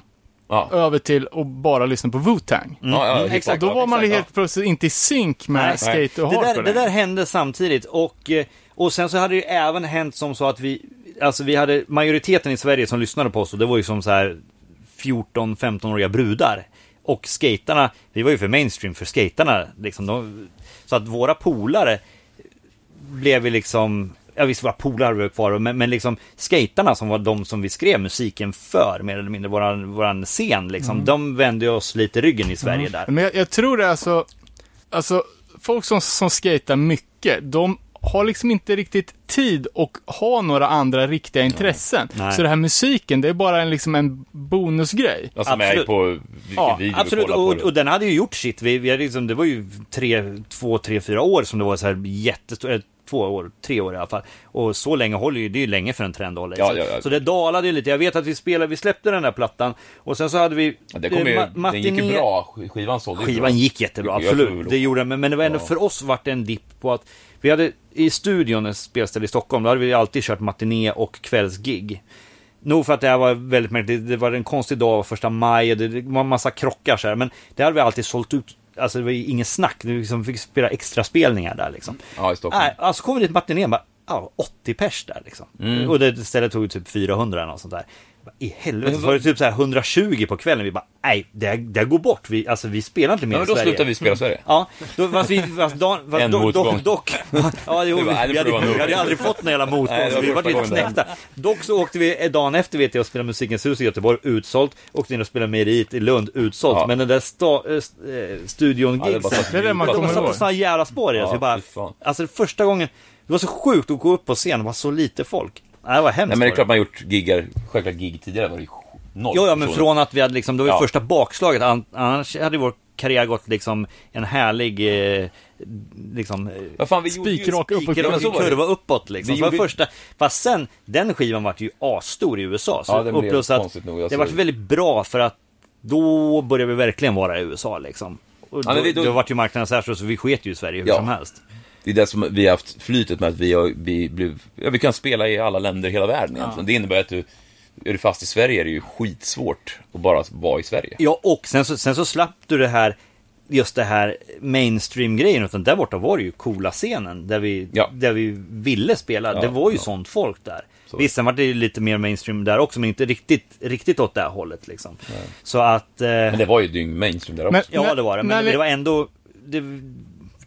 [SPEAKER 6] Ja.
[SPEAKER 3] över till att bara lyssna på Wu-Tang.
[SPEAKER 6] Ja, ja, hiphop,
[SPEAKER 7] mm, exakt.
[SPEAKER 3] Då
[SPEAKER 6] ja,
[SPEAKER 3] var man
[SPEAKER 6] exakt,
[SPEAKER 3] helt plötsligt inte i synk med
[SPEAKER 7] Nej.
[SPEAKER 3] skate och
[SPEAKER 7] det,
[SPEAKER 3] hardcore
[SPEAKER 7] där, det där
[SPEAKER 3] längre.
[SPEAKER 7] hände samtidigt och, eh, och sen så hade det ju även hänt som så att vi, alltså vi hade majoriteten i Sverige som lyssnade på oss och det var ju som så här 14-15-åriga brudar. Och skaterna, vi var ju för mainstream för skaterna liksom. De, så att våra polare blev vi liksom, ja visst våra polare var kvar, men, men liksom skaterna som var de som vi skrev musiken för, mer eller mindre våran, våran scen liksom, de vände ju oss lite ryggen i Sverige där.
[SPEAKER 3] Men jag, jag tror det är alltså, alltså folk som, som skater mycket, de har liksom inte riktigt tid och ha några andra riktiga intressen.
[SPEAKER 7] Nej.
[SPEAKER 3] Så det här musiken, det är bara en, liksom en bonusgrej.
[SPEAKER 6] Alltså med
[SPEAKER 7] Absolut.
[SPEAKER 6] på vilken
[SPEAKER 3] Ja,
[SPEAKER 6] video
[SPEAKER 7] Absolut,
[SPEAKER 6] vi kollar
[SPEAKER 7] och,
[SPEAKER 6] på. liksom. det.
[SPEAKER 7] och den hade ju gjort sitt. Vi, vi hade liksom, det var ju tre, två, tre, fyra år som det var så här jättestort. eh, Två år, tre år i alla fall. Och så länge håller ju, det är ju länge för en trend håller.
[SPEAKER 6] Ja,
[SPEAKER 7] så,
[SPEAKER 6] ja, ja.
[SPEAKER 7] så det dalade ju lite. Jag vet att vi spelade, vi släppte den där plattan och sen så hade vi...
[SPEAKER 6] Ja, det kom ju,
[SPEAKER 7] eh, ma-
[SPEAKER 6] den gick ju
[SPEAKER 7] matiné-
[SPEAKER 6] bra, sk- skivan sålde ju
[SPEAKER 7] Skivan
[SPEAKER 6] bra.
[SPEAKER 7] gick jättebra,
[SPEAKER 6] Jag tror väl
[SPEAKER 7] absolut.
[SPEAKER 6] också.
[SPEAKER 7] Det gjorde den, men, men det var ändå
[SPEAKER 6] Ja.
[SPEAKER 7] för oss vart det en dipp på att vi hade i studion, ett spelställe i Stockholm, då hade vi alltid kört matiné och kvällsgig. Nog för att det här var väldigt märkligt, det var en konstig dag, första maj, och det det var en massa krockar så här, men det hade vi alltid sålt ut. alltså det var ju inget snack. Du liksom fick spela extra spelningar där liksom.
[SPEAKER 6] Ja, i Stockholm.
[SPEAKER 7] Nej, alltså kommer det ett matiné bara, ja, 80 pers där liksom.
[SPEAKER 6] Mm.
[SPEAKER 7] Och det stället tog ju typ 400 eller något sånt där. Bara, I helvete, så var det typ så här 120 på kvällen. Vi bara, nej, det, det går bort. Vi, alltså vi spelar inte mer
[SPEAKER 6] Ja,
[SPEAKER 7] i
[SPEAKER 6] men då
[SPEAKER 7] Sverige. Mm.
[SPEAKER 6] slutar vi spela Sverige.
[SPEAKER 7] Ja, då, fast vi, fast dan, fast
[SPEAKER 6] En
[SPEAKER 7] dock,
[SPEAKER 6] motgång.
[SPEAKER 7] dock, dock, ja, jo,
[SPEAKER 6] Det
[SPEAKER 7] vi,
[SPEAKER 6] var- nej, det
[SPEAKER 7] vi, hade,
[SPEAKER 6] får det vara nog.
[SPEAKER 7] vi hade aldrig fått någon jävla motgång,
[SPEAKER 6] Nej, det
[SPEAKER 7] så
[SPEAKER 6] var
[SPEAKER 7] vi var
[SPEAKER 6] första
[SPEAKER 7] lite
[SPEAKER 6] gången.
[SPEAKER 7] knäckta. Dock så åkte vi, eh, dagen efter vet jag, och spelade Musikens hus i Göteborg, utsålt. Åkte in och spelade Merit i Lund, utsålt.
[SPEAKER 6] Ja.
[SPEAKER 7] Men den där sta, eh, st- eh, studion
[SPEAKER 6] Ja, det
[SPEAKER 7] gigsen
[SPEAKER 6] bara satt
[SPEAKER 3] Det är det man
[SPEAKER 6] djupt.
[SPEAKER 3] kommer
[SPEAKER 7] de satte
[SPEAKER 3] ihåg.
[SPEAKER 7] sådana jävla spår i det. så
[SPEAKER 6] Ja,
[SPEAKER 7] vi bara,
[SPEAKER 6] fy fan.
[SPEAKER 7] alltså det första gången, det var så sjukt att gå upp på scen, det var så lite folk. Nej, det var hemskt.
[SPEAKER 6] Nej, men det är
[SPEAKER 7] var
[SPEAKER 6] klart man har gjort giggar, självklart gig tidigare var det ju noll
[SPEAKER 7] Jo, ja, men
[SPEAKER 6] personer.
[SPEAKER 7] från att vi hade liksom, det var ju
[SPEAKER 6] Ja.
[SPEAKER 7] första bakslaget, An- annars hade vår karriär gått liksom en härlig, eh, liksom, eh,
[SPEAKER 6] Vad fan, vi gjorde ju-
[SPEAKER 3] Spikrak upp och-
[SPEAKER 6] Ja, men så var det.
[SPEAKER 7] kurva uppåt liksom.
[SPEAKER 6] Vi
[SPEAKER 7] Det var
[SPEAKER 6] gjorde-
[SPEAKER 7] första, fast sen, den skivan vart ju asstor i USA. Så
[SPEAKER 6] Ja, den
[SPEAKER 7] och
[SPEAKER 6] blev
[SPEAKER 7] plus att
[SPEAKER 6] konstigt nog, alltså-
[SPEAKER 7] det vart väldigt bra för att då började vi verkligen vara i USA liksom. Och
[SPEAKER 6] Ja,
[SPEAKER 7] då,
[SPEAKER 6] men vi-
[SPEAKER 7] då...
[SPEAKER 6] då-
[SPEAKER 7] vart ju marknaden särskilt så vi sket ju i Sverige hur
[SPEAKER 6] Ja.
[SPEAKER 7] som helst.
[SPEAKER 6] Det är det som vi har haft flytet med att vi, har, vi, blev, ja, vi kan spela i alla länder i hela världen egentligen. Det innebär att du, är du fast i Sverige är det ju skitsvårt att bara vara i Sverige.
[SPEAKER 7] Ja, och sen så, sen så slapp du det här, just det här mainstream-grejen, utan där borta var det ju coola scenen, där vi,
[SPEAKER 6] Ja.
[SPEAKER 7] där vi ville spela.
[SPEAKER 6] Ja,
[SPEAKER 7] det var ju
[SPEAKER 6] ja.
[SPEAKER 7] sånt folk där.
[SPEAKER 6] Så.
[SPEAKER 7] Visst, sen var det ju lite mer mainstream där också, men inte riktigt, riktigt åt det här hållet liksom. Så att... eh,
[SPEAKER 6] Men det var ju dyng mainstream där också.
[SPEAKER 3] Men-
[SPEAKER 7] Ja,
[SPEAKER 3] När-
[SPEAKER 7] det var det,
[SPEAKER 3] när
[SPEAKER 7] men
[SPEAKER 3] ni-
[SPEAKER 7] det var ändå... Det,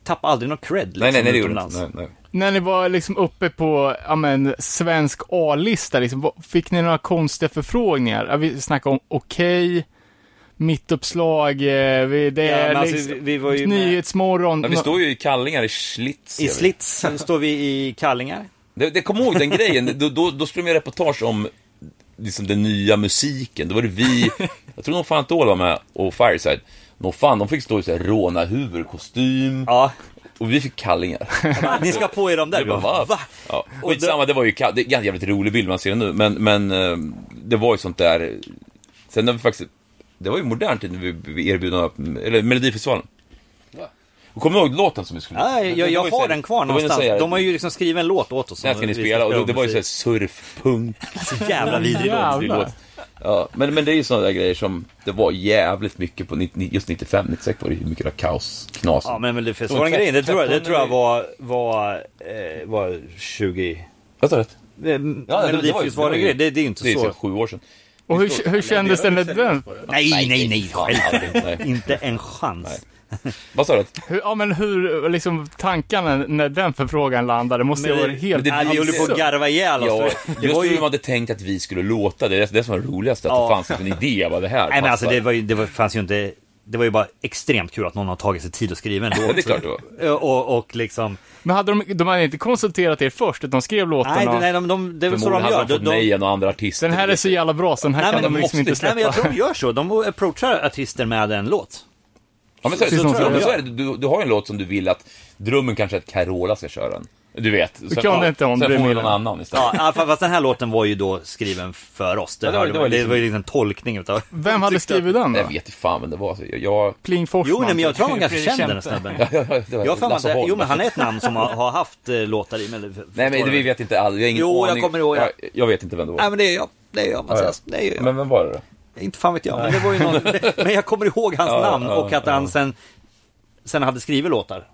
[SPEAKER 7] Tappa aldrig någon cred liksom,
[SPEAKER 6] nej, nej, nej, det gjorde det
[SPEAKER 7] utomlands.
[SPEAKER 6] inte. Nej, nej.
[SPEAKER 3] När ni var liksom uppe på, ja men, svensk A-lista liksom, vad- fick ni några konstiga förfrågningar? Ja, vi snackade om Okej, Mittuppslag, eh, vi, det
[SPEAKER 7] Ja,
[SPEAKER 3] är
[SPEAKER 7] men alltså,
[SPEAKER 3] liksom,
[SPEAKER 7] vi- vi var ju med-
[SPEAKER 3] Nyhetsmorgon.
[SPEAKER 6] Ja, vi står ju i kallingar i Schlitz.
[SPEAKER 7] I
[SPEAKER 6] jag vet.
[SPEAKER 7] Slits sen står vi i kallingar.
[SPEAKER 6] Det, det kom ihåg den grejen, då, då, då skulle de göra reportage om liksom den nya musiken. Då var det vi, jag tror nog fan Antol var med och Fireside. Nå fan, de fick stå i så här råna huvudkostym
[SPEAKER 7] Ja,
[SPEAKER 6] och vi fick kallingar.
[SPEAKER 7] ni ska på er dem där.
[SPEAKER 6] Vi bara, va? Ja.
[SPEAKER 7] Och
[SPEAKER 6] Skitsamma, det var ju ka- det är en ganska jävligt rolig bild man ser den nu, men, men eh, det var ju sånt där. Sen när vi faktiskt, det var ju modern tid när vi- vi erbjöd, eller Melodifestivalen. Och Kommer du ihåg låten som vi skulle
[SPEAKER 7] Nej, jag, jag har den kvar
[SPEAKER 6] Det var ju
[SPEAKER 7] någonstans.
[SPEAKER 6] så här-
[SPEAKER 7] De har ju liksom skrivit en låt åt oss.
[SPEAKER 6] Den här ska ni
[SPEAKER 7] som vi
[SPEAKER 6] spela, och det, det var ju
[SPEAKER 7] musik.
[SPEAKER 6] såhär surfpunk.
[SPEAKER 7] så jävla vidrig låt.
[SPEAKER 3] Jävlar.
[SPEAKER 6] låt. Ja, men, men det är ju sådana där grejer som, det var jävligt mycket på 90, just 95, 96 var det ju mycket där kaos, knas.
[SPEAKER 7] Ja,
[SPEAKER 6] Ja,
[SPEAKER 7] men väl det festivalen grejen, det tror jag, det tror jag var, var, eh, var 20...
[SPEAKER 6] Jag tar rätt.
[SPEAKER 7] Eh, Melodifestivalen grejen, det, det är ju inte
[SPEAKER 6] Det är
[SPEAKER 7] så.
[SPEAKER 6] så sju år sedan.
[SPEAKER 3] Och hur, hur kändes den? den?
[SPEAKER 7] Nej, nej, nej, självklart.
[SPEAKER 6] Nej.
[SPEAKER 7] Inte en chans.
[SPEAKER 6] Vad sa du?
[SPEAKER 3] Hur, ja, men hur, liksom tankarna när den förfrågan landade måste ju ha varit helt...
[SPEAKER 6] det-
[SPEAKER 7] Nej, vi håller på att garva ihjäl oss.
[SPEAKER 6] Ja,
[SPEAKER 7] för det
[SPEAKER 6] just
[SPEAKER 7] var
[SPEAKER 6] hur
[SPEAKER 7] ju,
[SPEAKER 6] de hade tänkt att vi skulle låta, det är det som var roligast, att
[SPEAKER 7] Ja.
[SPEAKER 6] det fanns en idé vad det här
[SPEAKER 7] nej, men alltså
[SPEAKER 6] passar.
[SPEAKER 7] det, var ju, det var, fanns ju inte... Det var ju bara extremt kul att någon har tagit sig tid att skriva en
[SPEAKER 6] Ja,
[SPEAKER 7] låt.
[SPEAKER 6] det är klart det var.
[SPEAKER 7] Och, och liksom...
[SPEAKER 3] Men hade de, de hade inte konsulterat er först, utan de skrev låtarna?
[SPEAKER 7] Nej, nej de, de, det är väl så de
[SPEAKER 6] Förmodligen
[SPEAKER 7] gör.
[SPEAKER 6] hade de
[SPEAKER 7] De,
[SPEAKER 6] fått
[SPEAKER 7] de,
[SPEAKER 6] nej av några andra artister.
[SPEAKER 3] Den här är så jävla bra, så den här
[SPEAKER 7] Nej,
[SPEAKER 3] kan
[SPEAKER 7] men
[SPEAKER 3] de
[SPEAKER 7] de
[SPEAKER 3] liksom inte
[SPEAKER 6] måste-
[SPEAKER 7] Nej,
[SPEAKER 3] släppa.
[SPEAKER 7] men jag tror de gör så. De approachar artister med en låt.
[SPEAKER 6] Ja, men så,
[SPEAKER 3] Precis
[SPEAKER 6] så,
[SPEAKER 3] som
[SPEAKER 6] så,
[SPEAKER 3] Carola.
[SPEAKER 6] men så är det. Du, du har ju en låt som du vill att drömmen kanske är att Carola ska köra den. Du vet. Sen,
[SPEAKER 3] kan det inte hon
[SPEAKER 6] sen
[SPEAKER 3] bryr
[SPEAKER 6] får
[SPEAKER 3] mig
[SPEAKER 6] hon
[SPEAKER 3] om.
[SPEAKER 6] någon annan istället.
[SPEAKER 7] Ja, ja, fa- fast den här låten var ju då skriven för oss. Det,
[SPEAKER 6] Ja, det var-
[SPEAKER 7] hörde
[SPEAKER 6] det
[SPEAKER 7] man.
[SPEAKER 6] var
[SPEAKER 7] det, var,
[SPEAKER 6] liksom-
[SPEAKER 7] ju liksom en tolkning utav...
[SPEAKER 3] Vem hade skrivit den då?
[SPEAKER 6] Jag vet inte fan vem det var. Så jag, jag,
[SPEAKER 3] Pling Forsman?
[SPEAKER 7] Jo, nej, men jag tror han var ganska
[SPEAKER 2] Fredrik
[SPEAKER 7] känd den här
[SPEAKER 2] Kempe.
[SPEAKER 7] snubben.
[SPEAKER 6] jag, jag, det var
[SPEAKER 7] Jag har för mig att
[SPEAKER 6] Lasse
[SPEAKER 7] det-
[SPEAKER 6] Holm.
[SPEAKER 7] Jo, men han är ett namn som har, har haft eh, låtar i Melodifestivalen.
[SPEAKER 6] Nej, men det, vi vet inte alls. Jag har ingen
[SPEAKER 7] Jo, jag
[SPEAKER 6] aning.
[SPEAKER 7] kommer ihåg, ja.
[SPEAKER 6] Jag, jag vet inte vem det var.
[SPEAKER 7] Nej, men det är jag. Det är jag, Mattias.
[SPEAKER 6] Ja, ja.
[SPEAKER 7] Det är jag.
[SPEAKER 6] Men vem var det då?
[SPEAKER 7] Inte fan vet jag, men det var ju någon... Men jag kommer ihåg hans
[SPEAKER 6] Ja,
[SPEAKER 7] namn
[SPEAKER 6] ja,
[SPEAKER 7] och att
[SPEAKER 6] ja.
[SPEAKER 7] han sen, sen hade skrivit låtar.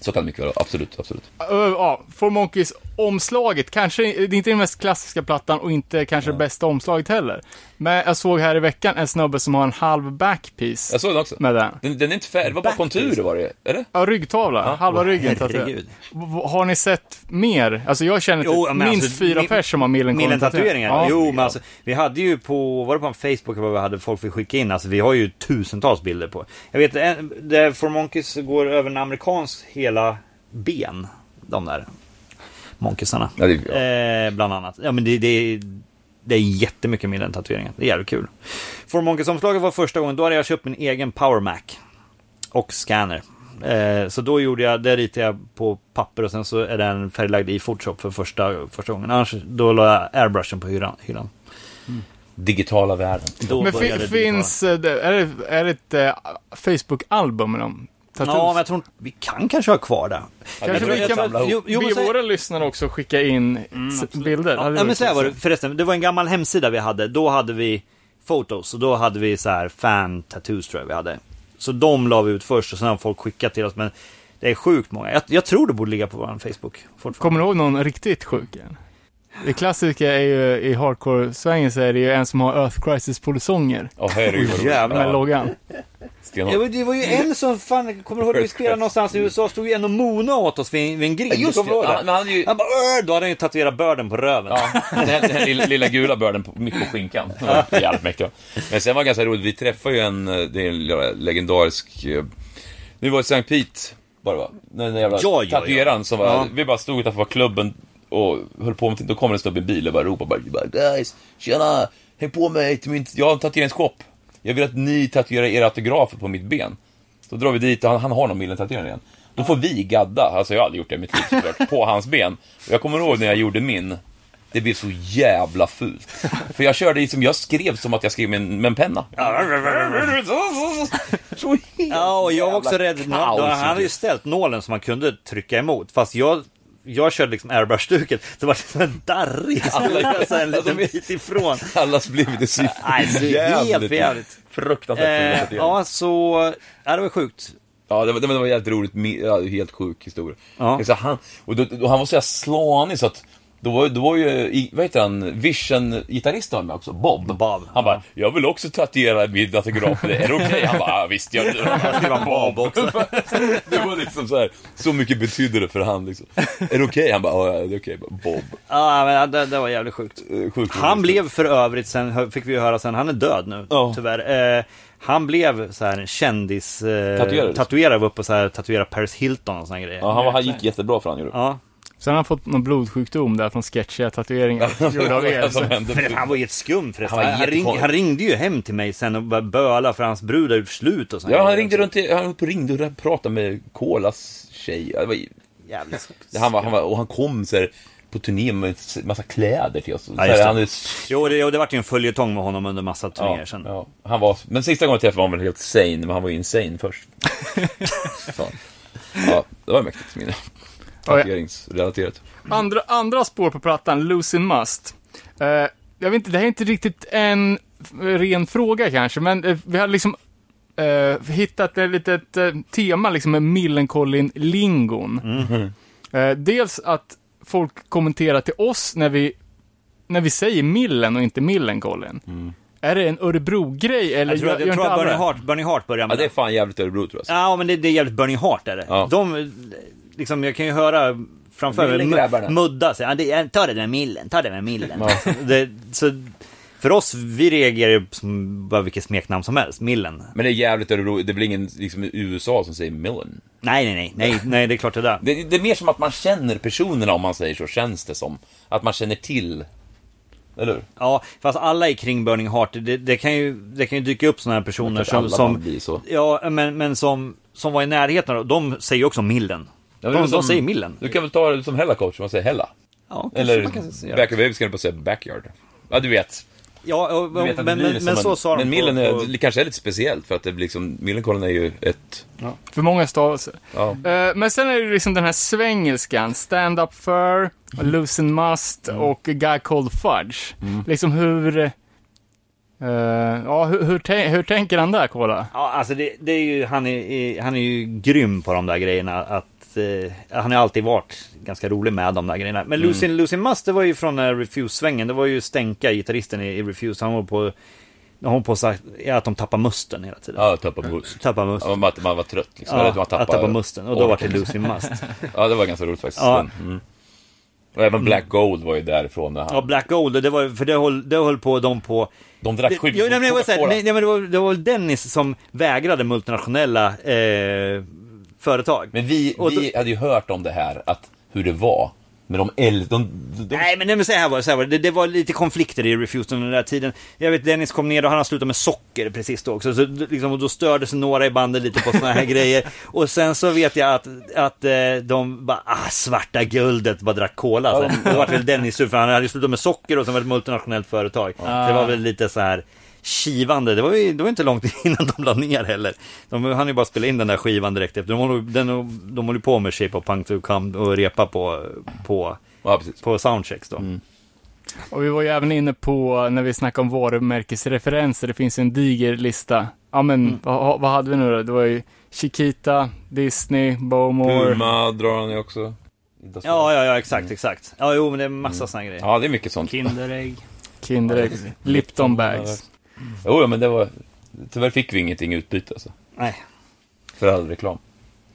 [SPEAKER 6] Så kan det mycket väl vara. Absolut, absolut.
[SPEAKER 3] Ö, Ja, Four Monkeys omslaget, kanske, det är inte den mest klassiska plattan och inte kanske det bästa omslaget heller. Men jag såg här i veckan en snubbe som har en halv backpiece
[SPEAKER 6] Jag såg den också.
[SPEAKER 3] med den.
[SPEAKER 6] Den, den är inte färdig. Det var bara konturer var det Eller?
[SPEAKER 3] Ja, ryggtavla, halva ryggen tatuerad.
[SPEAKER 7] Herregud.
[SPEAKER 3] V- Har ni sett mer? Alltså jag känner till
[SPEAKER 7] Jo, men
[SPEAKER 3] minst
[SPEAKER 7] alltså,
[SPEAKER 3] fyra
[SPEAKER 7] mi-
[SPEAKER 3] pers som har Millencolin
[SPEAKER 7] Millen-tatueringar?
[SPEAKER 3] Ja.
[SPEAKER 7] Jo, men alltså, vi hade ju på, var det på en Facebook vad vi hade folk fick skicka in? Alltså vi har ju tusentals bilder på. Jag vet, en- det For Monkeys går över en amerikansk hela ben, de där monkeysarna.
[SPEAKER 6] Ja, det är, ja.
[SPEAKER 7] Eh, bland annat. Ja, men det, det, det är jättemycket Millen-tatueringar. Det är jävligt kul. For Monkeys-omslaget var första gången, då hade jag köpt min egen Power Mac och scanner. Eh, så då gjorde jag, det ritade jag på papper och sen så är den färglagd i Photoshop för första, första gången. Annars då la jag airbrushen på hyllan. hyllan.
[SPEAKER 6] Digitala världen.
[SPEAKER 7] Då
[SPEAKER 3] Men
[SPEAKER 7] började
[SPEAKER 3] fi-
[SPEAKER 7] det
[SPEAKER 3] finns, eh, det- är det, är det ett eh, Facebook-album med dem?
[SPEAKER 7] vara- Ja, men jag tror inte- vi kan kanske ha kvar det.
[SPEAKER 6] Jag
[SPEAKER 3] Kanske
[SPEAKER 6] tror
[SPEAKER 3] vi
[SPEAKER 6] jag
[SPEAKER 3] kan
[SPEAKER 6] samlar ihop.
[SPEAKER 7] jo, jo, men
[SPEAKER 3] be
[SPEAKER 7] så-
[SPEAKER 3] våra lyssnare också skicka in s- bilder.
[SPEAKER 7] Mm, Ja,
[SPEAKER 3] Hade
[SPEAKER 7] ja, men
[SPEAKER 3] varit
[SPEAKER 7] så här var
[SPEAKER 3] kul.
[SPEAKER 7] det förresten. Det var en gammal hemsida vi hade. Då hade vi fotos och då hade vi så här fan tattoos tror jag vi hade. Så de la vi ut först och sen har folk skickat till oss. Men det är sjukt många. Jag, jag tror det borde ligga på vår Facebook fortfarande.
[SPEAKER 3] Kommer du ihåg någon riktigt sjuk igen? Det klassiska är ju, i hardcore-svängen så är det ju en som har Earth Crisis-polisånger.
[SPEAKER 6] Åh, herregud vad roligt.
[SPEAKER 7] jävlar.
[SPEAKER 3] Med
[SPEAKER 6] Ja,
[SPEAKER 3] loggan.
[SPEAKER 6] stenhårt.
[SPEAKER 7] Ja, men det var ju en som fan, kommer du ihåg när vi spelade någonstans i USA? Stod ju en och mona åt oss vid, en- vid en grind.
[SPEAKER 6] Just
[SPEAKER 7] Kommer du ihåg
[SPEAKER 6] det. Han- men han är ju-
[SPEAKER 7] Han bara "Åh!" Då hade han ju tatuerat börden på röven.
[SPEAKER 6] Ja, den här, den här lilla, lilla gula börden på, mitt på skinkan. Jävligt mäktigt. Men sen var det ganska roligt, vi träffade ju en, eh, det är en le- legendarisk... eh, Nu var i St. Pete, var det va? Den där jävla
[SPEAKER 7] Ja, ja, ja.
[SPEAKER 6] tatueraren som var...
[SPEAKER 7] Ja.
[SPEAKER 6] Vi bara stod utanför klubben och höll på med Då kommer en snubbe i en bil och bara ropar bara, bara Guys, tjena! Häng på mig till min... Jag har en tatueringsshop. Jag vill att ni tatuerar era autografer på mitt ben. Då drar vi dit och han, han har någon millentatuering igen. Då får vi gadda, alltså jag har aldrig gjort det i mitt liv såklart, på hans ben. Och jag kommer ihåg när jag gjorde min. Det blev så jävla fult. För jag körde liksom, jag skrev som att jag skrev med en, med en penna. Så
[SPEAKER 7] Ja, och jag var också rädd.
[SPEAKER 6] kaos.
[SPEAKER 7] Nå- Han hade ju ställt nålen som man kunde trycka emot. Fast jag, jag körde liksom airbrush-duket. Det var liksom en darrig så en liten bit ifrån.
[SPEAKER 6] Allas blev det siffror.
[SPEAKER 7] Nej, det är helt jävligt.
[SPEAKER 6] Fruktansvärt
[SPEAKER 7] Eh,
[SPEAKER 6] fult.
[SPEAKER 7] ja, så... Ja, det var sjukt.
[SPEAKER 6] Ja, det var, det var- det var jävligt roligt. Me- Ja, helt sjuk historia.
[SPEAKER 7] Ja.
[SPEAKER 6] Så han, och, då, och han var så jävla slanig så att då var, då var ju, i- vad heter han, Vision-gitarristen var med också, Bob.
[SPEAKER 7] Bob,
[SPEAKER 6] Han bara, jag vill också tatuera min autograf, är det okej? Han bara, "Ja, visst gör det. Han skrev Bob också. det var liksom så här, så mycket betydde det för han liksom. Är det okej? Han bara, ja, ja, det är okej. Bob.
[SPEAKER 7] Ja, men det, det var jävligt sjukt.
[SPEAKER 6] Eh, Sjukt roligt.
[SPEAKER 7] Han blev för övrigt, sen hö- fick vi ju höra sen, han är död nu
[SPEAKER 6] Ja.
[SPEAKER 7] tyvärr. Eh, han blev så här en kändis... Eh,
[SPEAKER 6] Tatuerare.
[SPEAKER 7] Tatuerare, var uppe och så här, tatuerade Paris Hilton och såna grejer.
[SPEAKER 6] Ja, han, var, han gick jättebra för han gjorde.
[SPEAKER 7] Ja.
[SPEAKER 3] Sen har han fått någon blodsjukdom där från sketchiga tatueringar gjorda av er.
[SPEAKER 6] Som
[SPEAKER 3] Så.
[SPEAKER 6] hände.
[SPEAKER 7] Men det- han var helt skum förresten.
[SPEAKER 6] Han var
[SPEAKER 7] Han, han, ring,
[SPEAKER 6] jättekonstig.
[SPEAKER 7] han ringde ju hem till mig sen och började böla för hans brud hade gjort slut och såna
[SPEAKER 6] Ja, han
[SPEAKER 7] grejer.
[SPEAKER 6] ringde runt till, han ringde och pratade med Kolas tjej. Ja, Det var
[SPEAKER 7] Jävligt
[SPEAKER 6] Det Han var, han var, och han kom så här, på turné med s- massa kläder till oss. Så här,
[SPEAKER 7] just det.
[SPEAKER 6] han, är-
[SPEAKER 7] Jo, det, jo, det vart ju en följetong med honom under massa turnéer
[SPEAKER 6] ja,
[SPEAKER 7] sen.
[SPEAKER 6] ja, han var, men sista gången jag träffade honom var han helt sane, men han var ju insane först. Fan. Ja, det var mäktigt minne.
[SPEAKER 3] ja.
[SPEAKER 6] Tatueringsrelaterat.
[SPEAKER 3] Andra, andra spår på plattan, Losing Must. Eh, jag vet inte, det här är inte riktigt en f- ren fråga kanske, men eh, vi har liksom eh, hittat ett litet eh, tema liksom med Millencolin-lingon.
[SPEAKER 7] Mm.
[SPEAKER 3] Eh, dels att folk kommenterar till oss när vi, när vi säger Millen och inte Millencolin. Är det en Örebro-grej eller
[SPEAKER 7] Mm. Jag tror att, jag tror att Bernie, Hart, Bernie Hart började med
[SPEAKER 6] Ja, det är fan jävligt Örebro tror jag.
[SPEAKER 7] Ja, men det, det är jävligt Burning Heart är det.
[SPEAKER 6] Ja.
[SPEAKER 7] De, liksom, jag kan ju höra framför mig,
[SPEAKER 6] Millegrabbarna.
[SPEAKER 7] mu- mudda sig. Ja, det, ja, ta det med millen, ta det med millen. det, så, för oss, vi reagerar ju som bara vilket smeknamn som helst, millen.
[SPEAKER 6] Men det är jävligt Örebro, det är väl ingen liksom, i USA som säger Millen.
[SPEAKER 7] Nej, nej, nej, nej, nej, det är klart det där.
[SPEAKER 6] Det, det är mer som att man känner personerna om man säger så, känns det som. Att man känner till. Eller hur?
[SPEAKER 7] Ja, fast alla är kring Burning Heart, det, det, kan, ju, det kan ju dyka upp sådana här personer
[SPEAKER 6] klart
[SPEAKER 7] som...
[SPEAKER 6] alla
[SPEAKER 7] som
[SPEAKER 6] man blir så.
[SPEAKER 7] Ja, men, men som, som var i närheten av, de säger ju också millen.
[SPEAKER 6] Ja, men det är
[SPEAKER 7] de,
[SPEAKER 6] som-
[SPEAKER 7] de säger millen.
[SPEAKER 6] Du kan väl ta det som Hella coach, man säger Hella.
[SPEAKER 7] Ja, kanske
[SPEAKER 6] Eller
[SPEAKER 7] man kan säga.
[SPEAKER 6] Backyard, ska du bara säga Backyard. Ja, du vet.
[SPEAKER 7] Ja, och,
[SPEAKER 6] Du vet att det
[SPEAKER 7] men,
[SPEAKER 6] blir
[SPEAKER 7] men,
[SPEAKER 6] liksom
[SPEAKER 7] men
[SPEAKER 6] en-
[SPEAKER 7] så sa de
[SPEAKER 6] Men Millen
[SPEAKER 7] på-
[SPEAKER 6] är,
[SPEAKER 7] på-
[SPEAKER 6] det kanske är lite speciellt för att det blir liksom, Millencolin är ju ett...
[SPEAKER 3] För många stavelser.
[SPEAKER 6] Ja.
[SPEAKER 3] Eh, men sen är det ju liksom den här svängelskan, Stand Up Fur, Loosen Must och A Guy Called Fudge. Liksom hur... eh, ja, hur, hur, tän- hur tänker han där, Kola?
[SPEAKER 7] Ja, alltså det, det är ju, han, är- är, han är ju grym på de där grejerna. Att, eh, han har alltid varit ganska rolig med de där grejerna.
[SPEAKER 6] Mm.
[SPEAKER 7] Men Lucy, Lucy Must, det var ju från eh, Refuse-svängen. Det var ju Stenka, gitarristen i, i Refuse. Han var på, han var på sagt, att de tappar musten hela tiden.
[SPEAKER 6] Ja, tappa must.
[SPEAKER 7] Tappar musten.
[SPEAKER 6] Ja, man, man var trött liksom. Eller
[SPEAKER 7] Ja,
[SPEAKER 6] att man tappade...
[SPEAKER 7] att tappa musten. Och då var det Lucy Must.
[SPEAKER 6] Ja, det var ganska roligt faktiskt.
[SPEAKER 7] Ja. Mm.
[SPEAKER 6] Den. Mm. Och även Black Gold var ju därifrån. När han,
[SPEAKER 7] Ja, Black Gold, det var, för det höll, det höll på de på...
[SPEAKER 6] De drack
[SPEAKER 7] Det-
[SPEAKER 6] sjukt
[SPEAKER 7] jo, nej, men det var så här,
[SPEAKER 6] Coca-Cola.
[SPEAKER 7] nej, nej, men det var, det var väl Dennis som vägrade multinationella eh, företag.
[SPEAKER 6] Men vi,
[SPEAKER 7] Och då-
[SPEAKER 6] vi hade ju hört om det här, att hur det var. Men de äldre, de, de, de
[SPEAKER 7] Nej men, nej men så här var det, så här var det. det, det var lite konflikter i Refused under den där tiden. Jag vet Dennis kom ner och han har slutat med socker precis då också. Så, d- liksom, och då störde sig några i bandet lite på såna här grejer. Och sen så vet jag att, att eh, de bara, ah svarta guldet, bara drack cola. Så, här. Då vart väl Dennis sur för han hade ju slutat med socker och sen var det ett multinationellt företag. Så det var väl lite så här kivande. Det var ju det var inte långt innan de la ner heller. De hann ju bara spela in den där skivan direkt efter. De håller, den, de håller ju på med Shape of Punk to Come och repa på, på
[SPEAKER 6] Ja, precis.
[SPEAKER 7] på soundchecks då.
[SPEAKER 6] Mm.
[SPEAKER 3] Och vi var ju även inne på, när vi snackade om varumärkesreferenser, det finns ju en diger lista ja men vad, vad hade vi nu då? Det var ju Chiquita, Disney, Bowmore.
[SPEAKER 6] Burma drar han ju också. Inte så-
[SPEAKER 7] Ja, ja, ja, exakt, exakt. Ja, jo, men det är massa såna grejer.
[SPEAKER 6] Mm. ja, det är mycket sånt.
[SPEAKER 2] Kinderägg.
[SPEAKER 3] Kinderägg, Lipton bags.
[SPEAKER 6] Jo, ja, men det var... Tyvärr fick vi ingenting i utbyte alltså.
[SPEAKER 7] Nej.
[SPEAKER 6] För all reklam.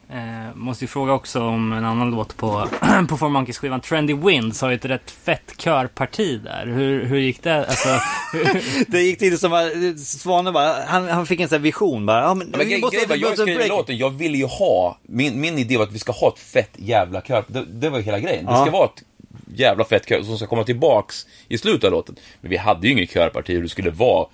[SPEAKER 2] Eh, måste ju fråga också om en annan låt på, på Four Monkeys-skivan. Trendy Winds har ju ett rätt fett körparti där. Hur, hur gick det? Alltså,
[SPEAKER 7] Det gick till som att Svanen bara, han, han fick en sån här vision bara. Ja, men,
[SPEAKER 6] Men
[SPEAKER 7] vi
[SPEAKER 6] grej,
[SPEAKER 7] måste,
[SPEAKER 6] grejen var,
[SPEAKER 7] vi
[SPEAKER 6] jag
[SPEAKER 7] måste
[SPEAKER 6] skrev
[SPEAKER 7] break.
[SPEAKER 6] låten, jag ville ju ha, min, min idé var att vi ska ha ett fett jävla kör, det, det var ju hela grejen. Det
[SPEAKER 7] Ja.
[SPEAKER 6] ska vara ett jävla fett kör som ska komma tillbaks i slutet av låten. Men vi hade ju ingen körparti hur det skulle vara.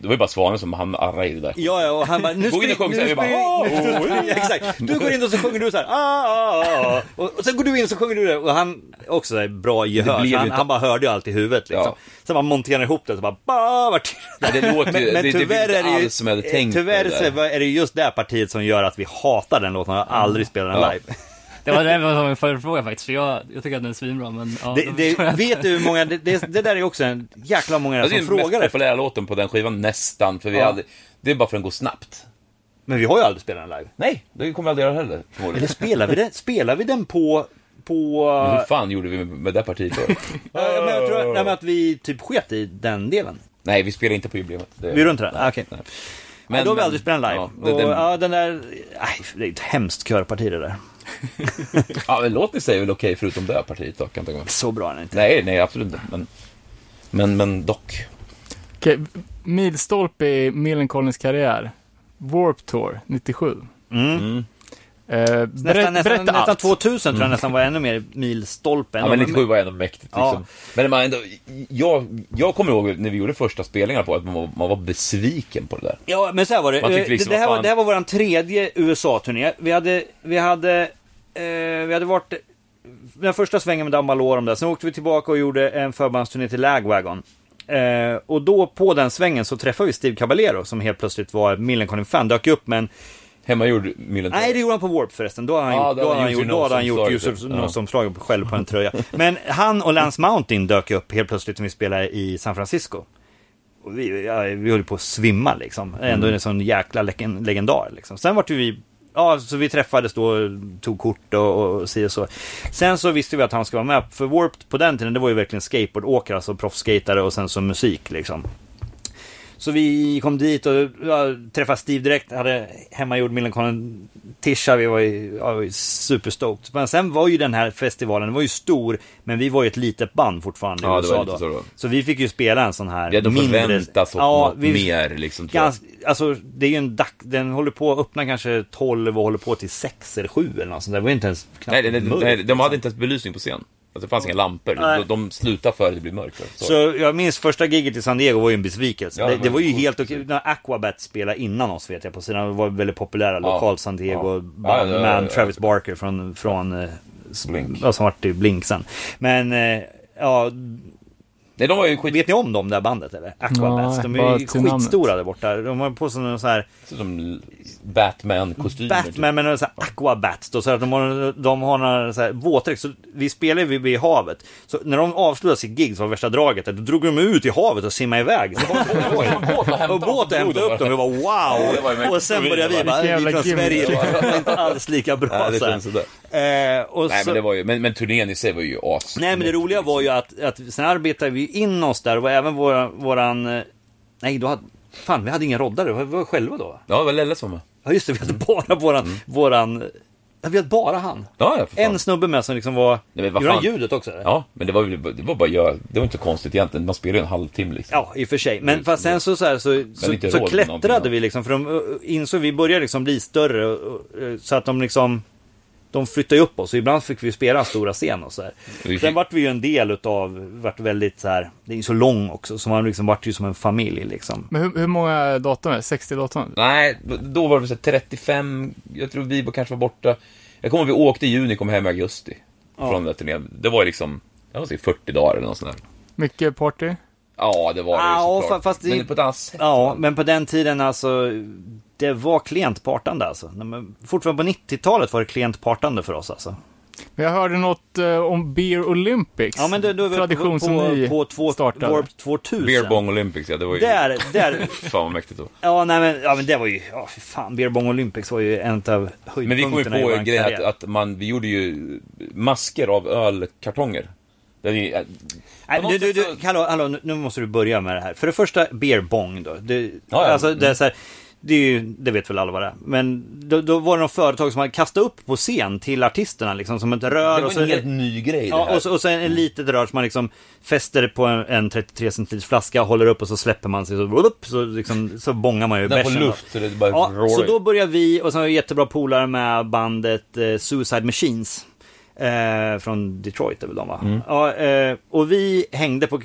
[SPEAKER 6] Det var ju bara Svanen som han arrade i det där.
[SPEAKER 7] Ja, ja, och han bara, nu
[SPEAKER 6] Gå in och sjung så här, vi bara,
[SPEAKER 7] nu spring- Exakt, du går in och så sjunger du så här, ah, ah, ah, ah. Och, och sen går du in och så sjunger du det. Och han, också så här, bra gehör,
[SPEAKER 6] blev
[SPEAKER 7] så han,
[SPEAKER 6] ju inte-
[SPEAKER 7] han bara hörde ju allt i huvudet liksom.
[SPEAKER 6] Ja.
[SPEAKER 7] Sen bara monterar han ihop det och så bara, bah, vart
[SPEAKER 6] Men det låter ju, det, det var inte
[SPEAKER 7] ju-
[SPEAKER 6] alls som jag hade tänkt
[SPEAKER 7] Tyvärr
[SPEAKER 6] på det
[SPEAKER 7] så
[SPEAKER 6] där.
[SPEAKER 7] är det just det här partiet som gör att vi hatar den låten och aldrig spelar den
[SPEAKER 6] Mm. Ja.
[SPEAKER 7] live.
[SPEAKER 2] det var det var min förfråga faktiskt, för jag, jag tycker att den är svinbra. Men, ja,
[SPEAKER 7] Det,
[SPEAKER 2] då förstår jag
[SPEAKER 7] det,
[SPEAKER 2] att-
[SPEAKER 7] vet du hur många, det, det, det där är också en jäkla många
[SPEAKER 6] Ja, det är
[SPEAKER 7] som
[SPEAKER 6] den mest
[SPEAKER 7] frågar efter.
[SPEAKER 6] populära låten på den skivan, nästan. För vi
[SPEAKER 7] Ja.
[SPEAKER 6] hade, det är bara för att den går snabbt.
[SPEAKER 7] Men vi har ju aldrig spelat den live.
[SPEAKER 6] Nej, det kommer vi aldrig göra heller, förmodligen.
[SPEAKER 7] Eller spelar vi den, spelar vi den på, på... eh,
[SPEAKER 6] Men Hur fan gjorde vi med, med det partiet då?
[SPEAKER 7] Ja, men jag tror att- nej, men att vi typ sket i den delen.
[SPEAKER 6] Nej, vi spelar inte på jubileet. Det-
[SPEAKER 7] Vi runt den? Ah, Okej. Men, då har vi aldrig spelat den live.
[SPEAKER 6] Ja,
[SPEAKER 7] Ja,
[SPEAKER 6] det,
[SPEAKER 7] och,
[SPEAKER 6] det,
[SPEAKER 7] ja, den där... Nej, det är ett hemskt körparti det där.
[SPEAKER 6] Ja, men låten i sig är väl okej förutom det här partiet då, kan jag tänka mig.
[SPEAKER 7] Så bra är den inte.
[SPEAKER 6] Nej, nej, absolut inte. Men, men, men dock.
[SPEAKER 3] Okej, milstolpe i Millencolins karriär. Warp Tour, 97. Eh, berä,
[SPEAKER 7] Mm. Nästan, nästan,
[SPEAKER 3] berätta
[SPEAKER 7] nästan
[SPEAKER 3] allt.
[SPEAKER 7] 2000 tror jag nästan var ännu mer milstolpe. än
[SPEAKER 6] Mm. Ja, men
[SPEAKER 7] de-
[SPEAKER 6] 97 var ändå mäktigt
[SPEAKER 7] Ja.
[SPEAKER 6] liksom. Men man ändå, jag, jag kommer ihåg när vi gjorde första spelningarna på att man var, man var besviken på det där.
[SPEAKER 7] Ja, men så här var det. Eh,
[SPEAKER 6] Man tyckte liksom,
[SPEAKER 7] det, det, här
[SPEAKER 6] vad
[SPEAKER 7] var,
[SPEAKER 6] fan.
[SPEAKER 7] det här var vår tredje USA-turné. Vi hade, vi hade, eh, vi hade varit den första svängen med Dambalore om det. Sen åkte vi tillbaka och gjorde en förbandsturné till Lagwagon. Eh, och då på den svängen så träffade vi Steve Caballero som helt plötsligt var Millencolin-fan. Dök upp men
[SPEAKER 6] Hemmagjord Myllen
[SPEAKER 7] Nej, det gjorde han på Warp förresten. Då hade han
[SPEAKER 6] Ja,
[SPEAKER 7] gjort,
[SPEAKER 6] det
[SPEAKER 7] då
[SPEAKER 6] var
[SPEAKER 7] hade han
[SPEAKER 6] User
[SPEAKER 7] gjort, då hade han gjort
[SPEAKER 6] North-omslaget,
[SPEAKER 7] User
[SPEAKER 6] ja.
[SPEAKER 7] North-omslaget själv på en tröja. Men han och Lance Mountain dök upp helt plötsligt när vi spelade i San Francisco. Och vi, ja, vi höll på att svimma liksom. Ändå en sån jäkla leken- legendar liksom. Sen vart ju vi, ja, så vi träffades då, tog kort och, och si och så. Sen så visste vi att han skulle vara med. För Warp på den tiden, det var ju verkligen skateboardåkare, alltså proffsskatare och sen så musik liksom. Så vi kom dit och ja, träffade Steve direkt, hade hemmagjord Millencolin tisha, vi var ju, ja, vi var ju superstoked. Men sen var ju den här festivalen, den var ju stor, men vi var ju ett litet band fortfarande
[SPEAKER 6] Ja,
[SPEAKER 7] i
[SPEAKER 6] det
[SPEAKER 7] USA
[SPEAKER 6] var lite
[SPEAKER 7] då.
[SPEAKER 6] så det var.
[SPEAKER 7] så vi fick ju spela en sån här
[SPEAKER 6] Vi hade
[SPEAKER 7] mindre...
[SPEAKER 6] förväntat oss
[SPEAKER 7] Ja,
[SPEAKER 6] något
[SPEAKER 7] vi-
[SPEAKER 6] mer liksom. tror jag.
[SPEAKER 7] Ganska, alltså det är ju en dag, den håller på att öppna kanske 12 och håller på till 6 eller 7 eller något sånt där. Det var ju inte ens knappt
[SPEAKER 6] Nej, nej, nej,
[SPEAKER 7] mörkt.
[SPEAKER 6] nej, de hade inte ens belysning på scen. Alltså, det fanns inga lampor.
[SPEAKER 7] Nej.
[SPEAKER 6] De, de slutade före det blev mörkt. Så.
[SPEAKER 7] Så jag minns första giget i San Diego var ju en besvikelse.
[SPEAKER 6] Ja,
[SPEAKER 7] det,
[SPEAKER 6] det
[SPEAKER 7] det,
[SPEAKER 6] var
[SPEAKER 7] var ju
[SPEAKER 6] coolt.
[SPEAKER 7] helt okej. När Aquabat spelade innan oss vet jag på sidan, det var väldigt populära
[SPEAKER 6] Ja.
[SPEAKER 7] lokal San Diego
[SPEAKER 6] Ja.
[SPEAKER 7] band
[SPEAKER 6] Ja, ja, ja,
[SPEAKER 7] med
[SPEAKER 6] ja.
[SPEAKER 7] Travis Barker från, från eh, s-
[SPEAKER 6] Blink.
[SPEAKER 7] Ja, som vart i Blink sen. Men eh, ja,
[SPEAKER 6] Nej, de var ju skit...
[SPEAKER 7] vet ni om dem där bandet eller? Aquabats.
[SPEAKER 3] Nej,
[SPEAKER 7] de
[SPEAKER 3] bara
[SPEAKER 7] är ju
[SPEAKER 3] till namnet.
[SPEAKER 7] skitstora där borta. De har på sig någon sån här
[SPEAKER 6] som Batman-kostymer. typ.
[SPEAKER 7] Batman med några så här aquabats då, så att de har, de har några så här våtdräkt. Så vi spelade ju vid havet. Så när de avslutade sitt gig, som var värsta draget, då drog de ut i havet och simmade iväg. Så de kom på en båt och hämtade
[SPEAKER 6] hämtade
[SPEAKER 7] upp dem. Vi bara
[SPEAKER 6] det var ju
[SPEAKER 7] wow!
[SPEAKER 6] mäktigt.
[SPEAKER 7] Och sen började vi
[SPEAKER 6] Vilken
[SPEAKER 7] bara, vi
[SPEAKER 3] jävla
[SPEAKER 7] från
[SPEAKER 3] gimmick.
[SPEAKER 7] Sverige, det var inte alls lika bra.
[SPEAKER 6] Nej, det
[SPEAKER 7] så här.
[SPEAKER 6] känns sådär.
[SPEAKER 7] Eh, och
[SPEAKER 6] Nej,
[SPEAKER 7] så-
[SPEAKER 6] men, det var ju, men, men turnén i sig var ju as.
[SPEAKER 7] Nej, men det roliga var ju att,
[SPEAKER 6] liksom.
[SPEAKER 7] att sen arbetade vi in oss där och även våra, våran... eh, Nej, då hade... Fan, vi hade inga roddare. Vi var själva då, va?
[SPEAKER 6] Ja, det var Lelle som var med.
[SPEAKER 7] Ja just det, vi
[SPEAKER 6] Mm.
[SPEAKER 7] hade bara våran, våran, ja, vi hade bara han.
[SPEAKER 6] Ja, ja, för fan.
[SPEAKER 7] En snubbe med som liksom var,
[SPEAKER 6] Nej, men vad
[SPEAKER 7] gjorde han
[SPEAKER 6] fan.
[SPEAKER 7] ljudet också? eller?
[SPEAKER 6] Ja, men det var, väl- det var bara jag. Det var inte konstigt egentligen. Man spelar ju en halvtimme liksom.
[SPEAKER 7] Ja, i och för sig. Men fast sen så, så, här, så,
[SPEAKER 6] inte
[SPEAKER 7] så, så
[SPEAKER 6] råd med någonting,
[SPEAKER 7] klättrade
[SPEAKER 6] ja.
[SPEAKER 7] vi liksom, för de ö, ö, insåg, vi började liksom bli större, och- och, ö, så att de liksom, de flyttade ju upp oss. Och ibland fick vi spela stora scen och så här.
[SPEAKER 6] Vi
[SPEAKER 7] Sen
[SPEAKER 6] fick-
[SPEAKER 7] vart vi ju en del utav, vart väldigt så här, det är ju så lång också, så man liksom vart ju som en familj liksom.
[SPEAKER 3] Men hur, hur många datum är det? 60 datum?
[SPEAKER 6] Nej, då var det så här 35. Jag tror vi kanske var borta. Jag kommer ihåg vi åkte i juni, kom hem i augusti. Från den där turnén. Det var ju liksom, jag måste säga 40 dagar eller något sånt där.
[SPEAKER 3] Mycket party?
[SPEAKER 6] Ja, det var det
[SPEAKER 7] Ja,
[SPEAKER 6] ju såklart.
[SPEAKER 7] fa- fast det-
[SPEAKER 6] Men på ett annat sätt.
[SPEAKER 7] Ja, men på den tiden alltså, det var klent partande alltså. Nej, men Fortfarande på 90-talet var det klent partande för oss alltså.
[SPEAKER 3] Men Jag hörde något eh, om Beer Olympics.
[SPEAKER 7] Ja men då, då är vi
[SPEAKER 3] Tradition
[SPEAKER 7] på,
[SPEAKER 3] som ni
[SPEAKER 7] på, på två,
[SPEAKER 3] startade.
[SPEAKER 7] Warp 2000.
[SPEAKER 6] Beer Bong Olympics, ja det var ju...
[SPEAKER 7] Där, där.
[SPEAKER 6] Fan vad mäktigt då.
[SPEAKER 7] Ja, nej, men, ja men det var ju, ja fy fan, Beer Bong Olympics var ju en av
[SPEAKER 6] Men vi kom ju
[SPEAKER 7] höjdpunkterna i
[SPEAKER 6] på
[SPEAKER 7] vår
[SPEAKER 6] grejen att,
[SPEAKER 7] karriär.
[SPEAKER 6] att man, vi gjorde ju masker av ölkartonger. Där vi, äh,
[SPEAKER 7] Nej,
[SPEAKER 6] på
[SPEAKER 7] du,
[SPEAKER 6] något
[SPEAKER 7] du, du,
[SPEAKER 6] sätt så-
[SPEAKER 7] hallå, hallå, nu- nu måste du börja med det här. För det första, Beer Bong då. Det,
[SPEAKER 6] Ja, Mm. ja.
[SPEAKER 7] alltså, det, är så här, det, är ju, det vet väl alla vad det är. Men då, då var det något företag som hade kastat upp på scen till artisterna liksom, som ett rör.
[SPEAKER 6] det var
[SPEAKER 7] och så,
[SPEAKER 6] en helt ny grej det
[SPEAKER 7] Ja,
[SPEAKER 6] här. Mm.
[SPEAKER 7] och så, och så en, en litet rör som man liksom fäster på en, en 33 centiliters flaska, håller upp och så släpper man sig så, upp, så, liksom, så bångar man ju
[SPEAKER 6] Den får
[SPEAKER 7] bärsen då.
[SPEAKER 6] luft så det bara
[SPEAKER 7] Ja,
[SPEAKER 6] roar
[SPEAKER 7] så
[SPEAKER 6] ut.
[SPEAKER 7] då börjar vi, och sen har vi jättebra polare med bandet eh, Suicide Machines. Eh, från Detroit är väl de va?
[SPEAKER 6] Mm.
[SPEAKER 7] Ja, eh, och vi hängde på,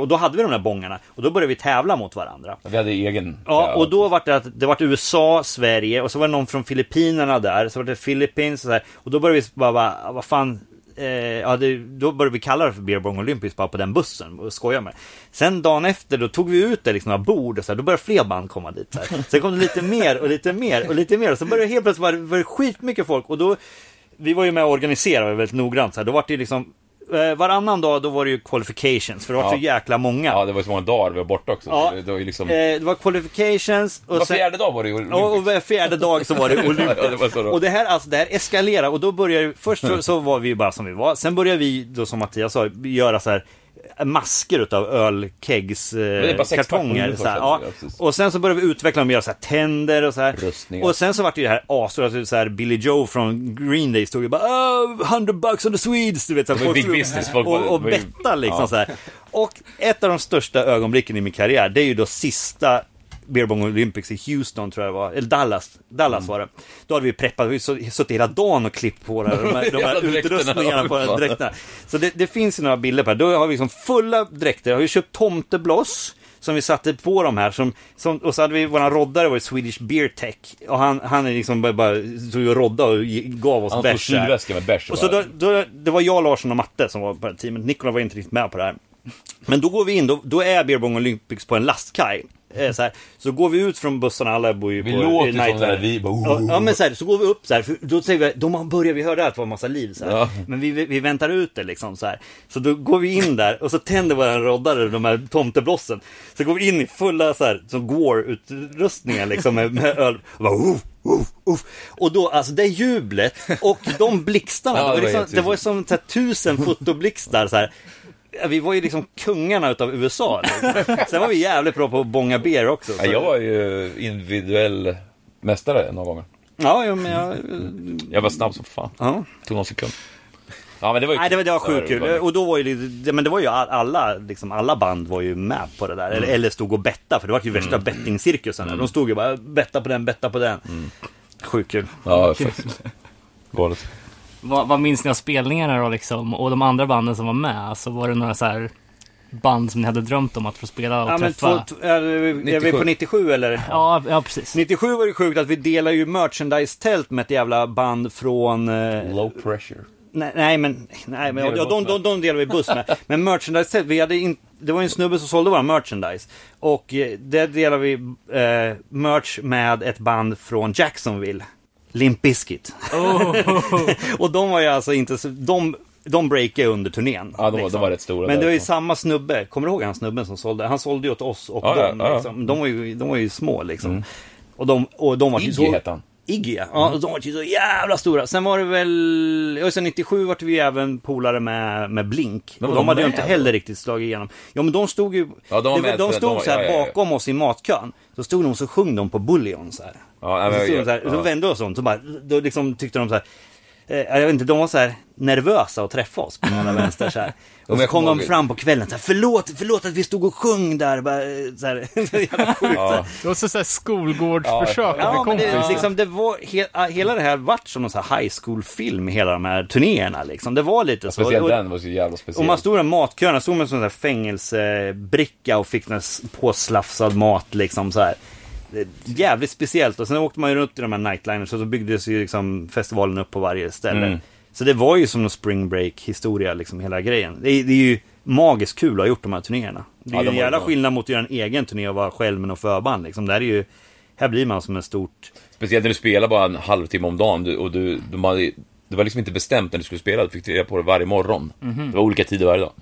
[SPEAKER 7] och då hade vi de där bångarna. Och då började vi tävla mot varandra.
[SPEAKER 6] Vi hade egen.
[SPEAKER 7] Ja, och då var det att det var USA, Sverige och så var det någon från Filippinerna där. Så var det Philippines och så här. Och då började vi bara, bara "Ah, vad fan. Eh, ja, det, då började vi kalla det för Beer Bong Olympics bara på den bussen och skoja med det. Sen dagen efter då tog vi ut det liksom, några bord och så här, då började fler band komma dit. Så här. Sen kom det lite mer och lite mer och lite mer och så började det helt plötsligt vara var det skitmycket folk och då vi var ju med och organiserade väldigt noggrant så här. Då var det ju liksom eh, varannan dag då var det ju qualifications för det var så
[SPEAKER 6] Ja.
[SPEAKER 7] jäkla många.
[SPEAKER 6] Ja, det var så många dagar vi var borta också.
[SPEAKER 7] Ja.
[SPEAKER 6] Så Det var ju liksom...
[SPEAKER 7] Eh, det var qualifications och
[SPEAKER 6] var
[SPEAKER 7] sen-
[SPEAKER 6] fjärde dag var det ju Olympics.
[SPEAKER 7] och, och var fjärde dag så var det Olympia.
[SPEAKER 6] Ja, det var så då.
[SPEAKER 7] och det här, alltså, det här eskalerar och då börjar först så, så var vi ju bara som vi var. Sen börjar vi då som Mattias sa, göra så här eh, masker utav ölkegs
[SPEAKER 6] det är
[SPEAKER 7] eh,
[SPEAKER 6] bara sex
[SPEAKER 7] kartonger.
[SPEAKER 6] pack.
[SPEAKER 7] Så här, ja.
[SPEAKER 6] Ja, precis.
[SPEAKER 7] och sen så började vi utveckla dem, göra så här tänder och så här.
[SPEAKER 6] Rustningar.
[SPEAKER 7] Och sen så vart det ju det här asor, alltså så här Billy Joe från Green Day stod ju bara "Oh, 100 bucks on the Swedes, du vet så här,
[SPEAKER 6] Det var ju
[SPEAKER 7] folk
[SPEAKER 6] big business, folk
[SPEAKER 7] och,
[SPEAKER 6] var-
[SPEAKER 7] och
[SPEAKER 6] var ju-
[SPEAKER 7] betta liksom
[SPEAKER 6] Ja.
[SPEAKER 7] så här. Och ett av de största ögonblicken i min karriär, det är ju då sista Beer Bong Olympics i Houston tror jag det var, eller Dallas,
[SPEAKER 6] Mm.
[SPEAKER 7] Dallas var det. Då hade vi preppat, vi hade suttit hela dagen och klippt på det, här, de här, de
[SPEAKER 6] Jävla
[SPEAKER 7] här
[SPEAKER 6] dräkterna,
[SPEAKER 7] utrustningarna på
[SPEAKER 6] ja, fan.
[SPEAKER 7] dräkterna. Så det, det finns ju några bilder på det. Då har vi liksom fulla dräkter, har vi köpt tomtebloss som vi satte på de här som, som, och så hade vi våran roddare var ju Swedish Beer Tech och han, han är liksom bara, bara stod och roddade och ge- gav oss
[SPEAKER 6] Han tog
[SPEAKER 7] bärs där.
[SPEAKER 6] sylväska med bärs.
[SPEAKER 7] Och så då, då, det var jag, Larsson och Matte som var på det här teamet. Nikola var inte riktigt med på det här. Men då går vi in, då, då är Beer Bong Olympics på en lastkaj. Eh, Så, här. så går vi ut från bussarna, alla bor ju
[SPEAKER 6] Vi
[SPEAKER 7] på...
[SPEAKER 6] låter
[SPEAKER 7] i
[SPEAKER 6] som
[SPEAKER 7] Nightlife.
[SPEAKER 6] där vi bara,
[SPEAKER 7] Ja, Ja men så, här, så går vi upp så här, för då säger vi, då börjar vi höra att det var massa liv så här.
[SPEAKER 6] Ja.
[SPEAKER 7] Men vi, vi väntar ut det liksom så här. Så då går vi in där och så tänder våran roddare de här tomteblossen. Så går vi in i fulla så här, som Gore-utrustningar liksom med, med öl. Och, bara, "Uff, uff, uff." och då, alltså det jublet och de blixtarna.
[SPEAKER 6] Ja,
[SPEAKER 7] det, var
[SPEAKER 6] det var
[SPEAKER 7] liksom,
[SPEAKER 6] helt
[SPEAKER 7] det var ju som så här, tusen fotoblixtar så här. Ja, Vi var ju liksom kungarna utav USA. Liksom. Sen var vi jävligt bra på att bånga beer också. Så.
[SPEAKER 6] Ja, jag var ju individuell mästare några gånger.
[SPEAKER 7] Ja, jo, men jag...
[SPEAKER 6] Jag var snabb som fan.
[SPEAKER 7] Ja.
[SPEAKER 6] Tog någon sekund. Ja, men det var ju
[SPEAKER 7] Nej, det var, det var sjukt
[SPEAKER 6] Ja, det var-
[SPEAKER 7] kul. Och då var ju, det- men det var ju all- alla, liksom, alla band var ju med på det där. Eller,
[SPEAKER 6] Mm.
[SPEAKER 7] eller stod och betta, för det var ju värsta bettingcirkusen. där. De stod ju bara betta på den, betta på den.
[SPEAKER 6] Mm.
[SPEAKER 7] Sjukt kul.
[SPEAKER 6] Ja, faktiskt. Galet.
[SPEAKER 2] Vad, vad minns ni av spelningarna då liksom? Och de andra banden som var med? Alltså var det några så här band som ni hade drömt om att få spela och
[SPEAKER 7] Ja, men två,
[SPEAKER 2] träffa?
[SPEAKER 7] t- är, vi- är vi på
[SPEAKER 6] 97?
[SPEAKER 7] 97 eller?
[SPEAKER 2] ja, ja, precis.
[SPEAKER 7] 97 var det sjukt att vi delade ju merchandise-tält med ett jävla band från... eh,
[SPEAKER 6] Low pressure.
[SPEAKER 7] Nej, nej men, nej, men
[SPEAKER 6] Delar
[SPEAKER 7] ja,
[SPEAKER 6] vi
[SPEAKER 7] de,
[SPEAKER 6] buss
[SPEAKER 7] de,
[SPEAKER 6] med.
[SPEAKER 7] de delar vi buss med. Men merchandise, vi hade in, det var ju en snubbe som sålde våra merchandise. Och eh, där delar vi eh, merch med ett band från Jacksonville, Limp Bizkit.
[SPEAKER 6] Oh.
[SPEAKER 7] och de var ju alltså inte, så- de, de breakade under turnén.
[SPEAKER 6] Ja, de var- de var rätt stora
[SPEAKER 7] Men det
[SPEAKER 6] där,
[SPEAKER 7] var ju
[SPEAKER 6] liksom.
[SPEAKER 7] samma snubbe, kommer du ihåg han snubben som sålde? Han sålde ju åt oss och
[SPEAKER 6] Ja, ja,
[SPEAKER 7] dem.
[SPEAKER 6] ja, ja.
[SPEAKER 7] Liksom. De, var ju, de var ju små liksom. Och de, och de var ju
[SPEAKER 6] Iggy
[SPEAKER 7] så-
[SPEAKER 6] hette han.
[SPEAKER 7] Iggy, ja. ja. och De var ju så jävla stora. Sen var det väl, ja, sen 97 vart vi ju även polare med, med Blink.
[SPEAKER 6] Men
[SPEAKER 7] och
[SPEAKER 6] var
[SPEAKER 7] de
[SPEAKER 6] de
[SPEAKER 7] hade ju
[SPEAKER 6] med
[SPEAKER 7] inte
[SPEAKER 6] då?
[SPEAKER 7] heller riktigt slagit igenom. Ja men de stod ju,
[SPEAKER 6] Ja, de var
[SPEAKER 7] det-
[SPEAKER 6] med,
[SPEAKER 7] de
[SPEAKER 6] de
[SPEAKER 7] stod
[SPEAKER 6] var-
[SPEAKER 7] så här
[SPEAKER 6] ja, ja, ja.
[SPEAKER 7] bakom oss i matkön. Så stod de och så sjöng de på Bullion så här.
[SPEAKER 6] Ja, nej,
[SPEAKER 7] Och så
[SPEAKER 6] men-
[SPEAKER 7] stod de så här,
[SPEAKER 6] ja.
[SPEAKER 7] då vände oss om, så bara, då liksom tyckte de så här, eh, jag vet inte, de var så här nervösa att träffa oss på några vänster så här. Och så
[SPEAKER 6] jag
[SPEAKER 7] kom
[SPEAKER 6] kommer
[SPEAKER 7] de
[SPEAKER 6] ihåg-
[SPEAKER 7] fram på kvällen så här, förlåt, förlåt att vi stod och sjöng där. Bara, eh, så här, så jävla sjukt, så här.
[SPEAKER 3] Det var så här skolgårdsförsök med
[SPEAKER 7] Ja, men
[SPEAKER 3] kompisar.
[SPEAKER 7] det, liksom, det var, he, ah, hela det här vart som någon sån här high school-film, hela de här turnéerna liksom. Det var lite så.
[SPEAKER 6] Speciellt
[SPEAKER 7] Och,
[SPEAKER 6] den var så jävla speciell.
[SPEAKER 7] och man stod i matköerna, stod med en sån där fängelsebricka och fick en påslafsad mat liksom så här. Det- Jävligt speciellt. Och sen åkte man ju runt i de här nightliners och så byggdes ju liksom festivalen upp på varje ställe.
[SPEAKER 6] Mm.
[SPEAKER 7] Så det var ju som en spring break-historia, liksom hela grejen. Det är, det är ju magiskt kul att ha gjort de här turnéerna. Det är
[SPEAKER 6] Ja,
[SPEAKER 7] ju
[SPEAKER 6] de
[SPEAKER 7] en
[SPEAKER 6] var
[SPEAKER 7] jävla
[SPEAKER 6] bra.
[SPEAKER 7] skillnad mot att göra en egen turné och vara själv med något förband liksom. Där är ju, här blir man som en stort
[SPEAKER 6] Speciellt när du spelar bara en halvtimme om dagen du, och du, de hade, det var liksom inte bestämt när du skulle spela, du fick reda på det varje morgon. Det var olika tider varje dag.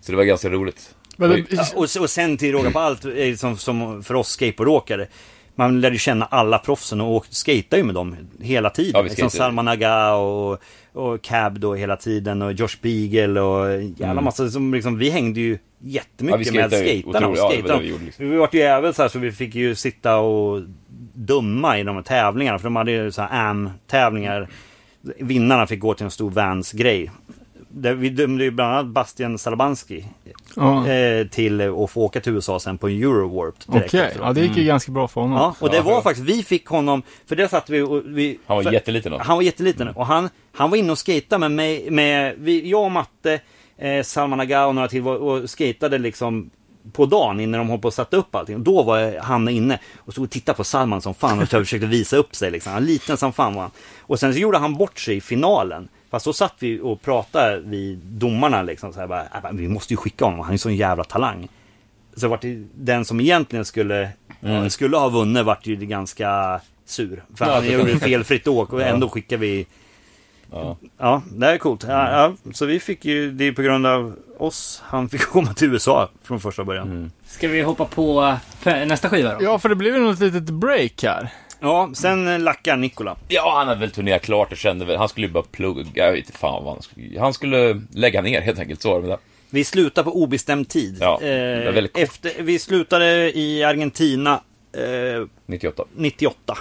[SPEAKER 6] Så det var ganska roligt.
[SPEAKER 3] Men,
[SPEAKER 6] Oj.
[SPEAKER 7] Ja, Och, och sen till råga på allt, eh, som, som för oss skateboardåkare. Man lärde ju känna alla proffsen och åkte- skatade ju med dem hela tiden.
[SPEAKER 6] Ja, vi
[SPEAKER 7] liksom
[SPEAKER 6] skatade.
[SPEAKER 7] Salman Aga och, och Cab då hela tiden och Josh Beagle och en jävla massa som liksom, vi hängde ju
[SPEAKER 6] Mm. Ja, vi
[SPEAKER 7] jättemycket med
[SPEAKER 6] skatade ju
[SPEAKER 7] skaterna och
[SPEAKER 6] otroligt. Ja, det var
[SPEAKER 7] skaterna.
[SPEAKER 6] det vi gjorde liksom.
[SPEAKER 7] vi var ju även så här så vi fick ju sitta och döma i de här tävlingarna för de hade ju så här AM-tävlingar. Vinnarna fick gå till en stor Vans-grej. Där vi dömde ju bland annat Bastian Salabanski
[SPEAKER 3] ja.
[SPEAKER 7] eh, till att få åka till USA sen på en Eurowarp direkt
[SPEAKER 3] Okej,
[SPEAKER 7] efteråt.
[SPEAKER 3] ja det gick ju ganska bra för honom.
[SPEAKER 7] Ja, och det
[SPEAKER 6] Ja,
[SPEAKER 7] var
[SPEAKER 6] ja.
[SPEAKER 7] faktiskt, vi fick honom, för det satt vi och vi...
[SPEAKER 6] Han var
[SPEAKER 7] för,
[SPEAKER 6] jätteliten då. Mm.
[SPEAKER 7] Han var jätteliten och han, han var inne och skejtade med mig, med, vi, jag och Matte, eh, Salman Aga och några till var, och skejtade liksom på dagen innan de höll på att sätta upp allting. Och då var han inne och stod och tittade på Salman som fan och försökte visa upp sig liksom. Han var liten som fan var han. Och sen så gjorde han bort sig i finalen. Fast då satt vi och pratade, vi domarna liksom så här bara, "Ah, vi måste ju skicka honom, han är ju sån jävla talang. Så vart det, den som egentligen skulle,
[SPEAKER 6] Mm.
[SPEAKER 7] eh, skulle ha vunnit vart ju ganska sur. För han gjorde ett felfritt åk och ändå skickade vi...
[SPEAKER 6] Ja. Mm.
[SPEAKER 7] Ja, det här är coolt. Ja, ja, så vi fick ju, det är på grund av oss han fick komma till USA från första början.
[SPEAKER 6] Mm.
[SPEAKER 2] Ska vi hoppa på eh, nästa skiva då?
[SPEAKER 3] Ja, för det blev ju något litet break här.
[SPEAKER 7] Ja, sen eh, lackar Nikola.
[SPEAKER 6] Ja, han hade väl turnerat klart och kände väl, han skulle ju bara plugga, jag vet inte fan vad han skulle, han skulle lägga ner helt enkelt, så var det med det.
[SPEAKER 7] Vi slutar på obestämd tid. Eh,
[SPEAKER 6] Ja, det var väldigt kort.
[SPEAKER 7] efter, vi slutade i Argentina eh,
[SPEAKER 6] 98.
[SPEAKER 7] 98.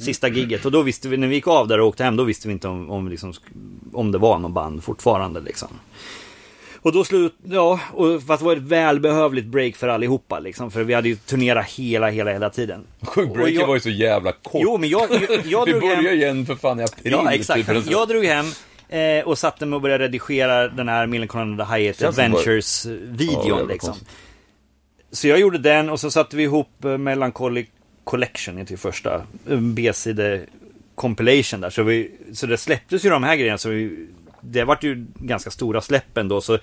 [SPEAKER 7] Sista gigget och då visste vi, när vi gick av där och åkte hem, då visste vi inte om, om, liksom, sk- om det var någon band fortfarande liksom. Och då slut, ja, och, fast det var ett välbehövligt break för allihopa liksom, för vi hade ju turnerat hela, hela, hela tiden.
[SPEAKER 6] Sjukt,
[SPEAKER 7] Och
[SPEAKER 6] breaken
[SPEAKER 7] jag-
[SPEAKER 6] var ju så jävla kort.
[SPEAKER 7] Jo, men jag, jag, jag
[SPEAKER 6] Vi
[SPEAKER 7] drog
[SPEAKER 6] börjar
[SPEAKER 7] hem...
[SPEAKER 6] igen för fan i april.
[SPEAKER 7] Ja, exakt.
[SPEAKER 6] typ, eller så.
[SPEAKER 7] Jag drog hem eh, och satte mig och började redigera den här Millencolin and the Hyatt
[SPEAKER 6] Känns som Ja,
[SPEAKER 7] Adventures-videon.
[SPEAKER 6] jävla
[SPEAKER 7] liksom.
[SPEAKER 6] konstigt.
[SPEAKER 7] Så jag gjorde den och så satte vi ihop eh, Melancholy Collection till första eh, B-side compilation där. Så, vi, så det släpptes ju de här grejerna. Så vi, det vart ju ganska stora släpp ändå. Så det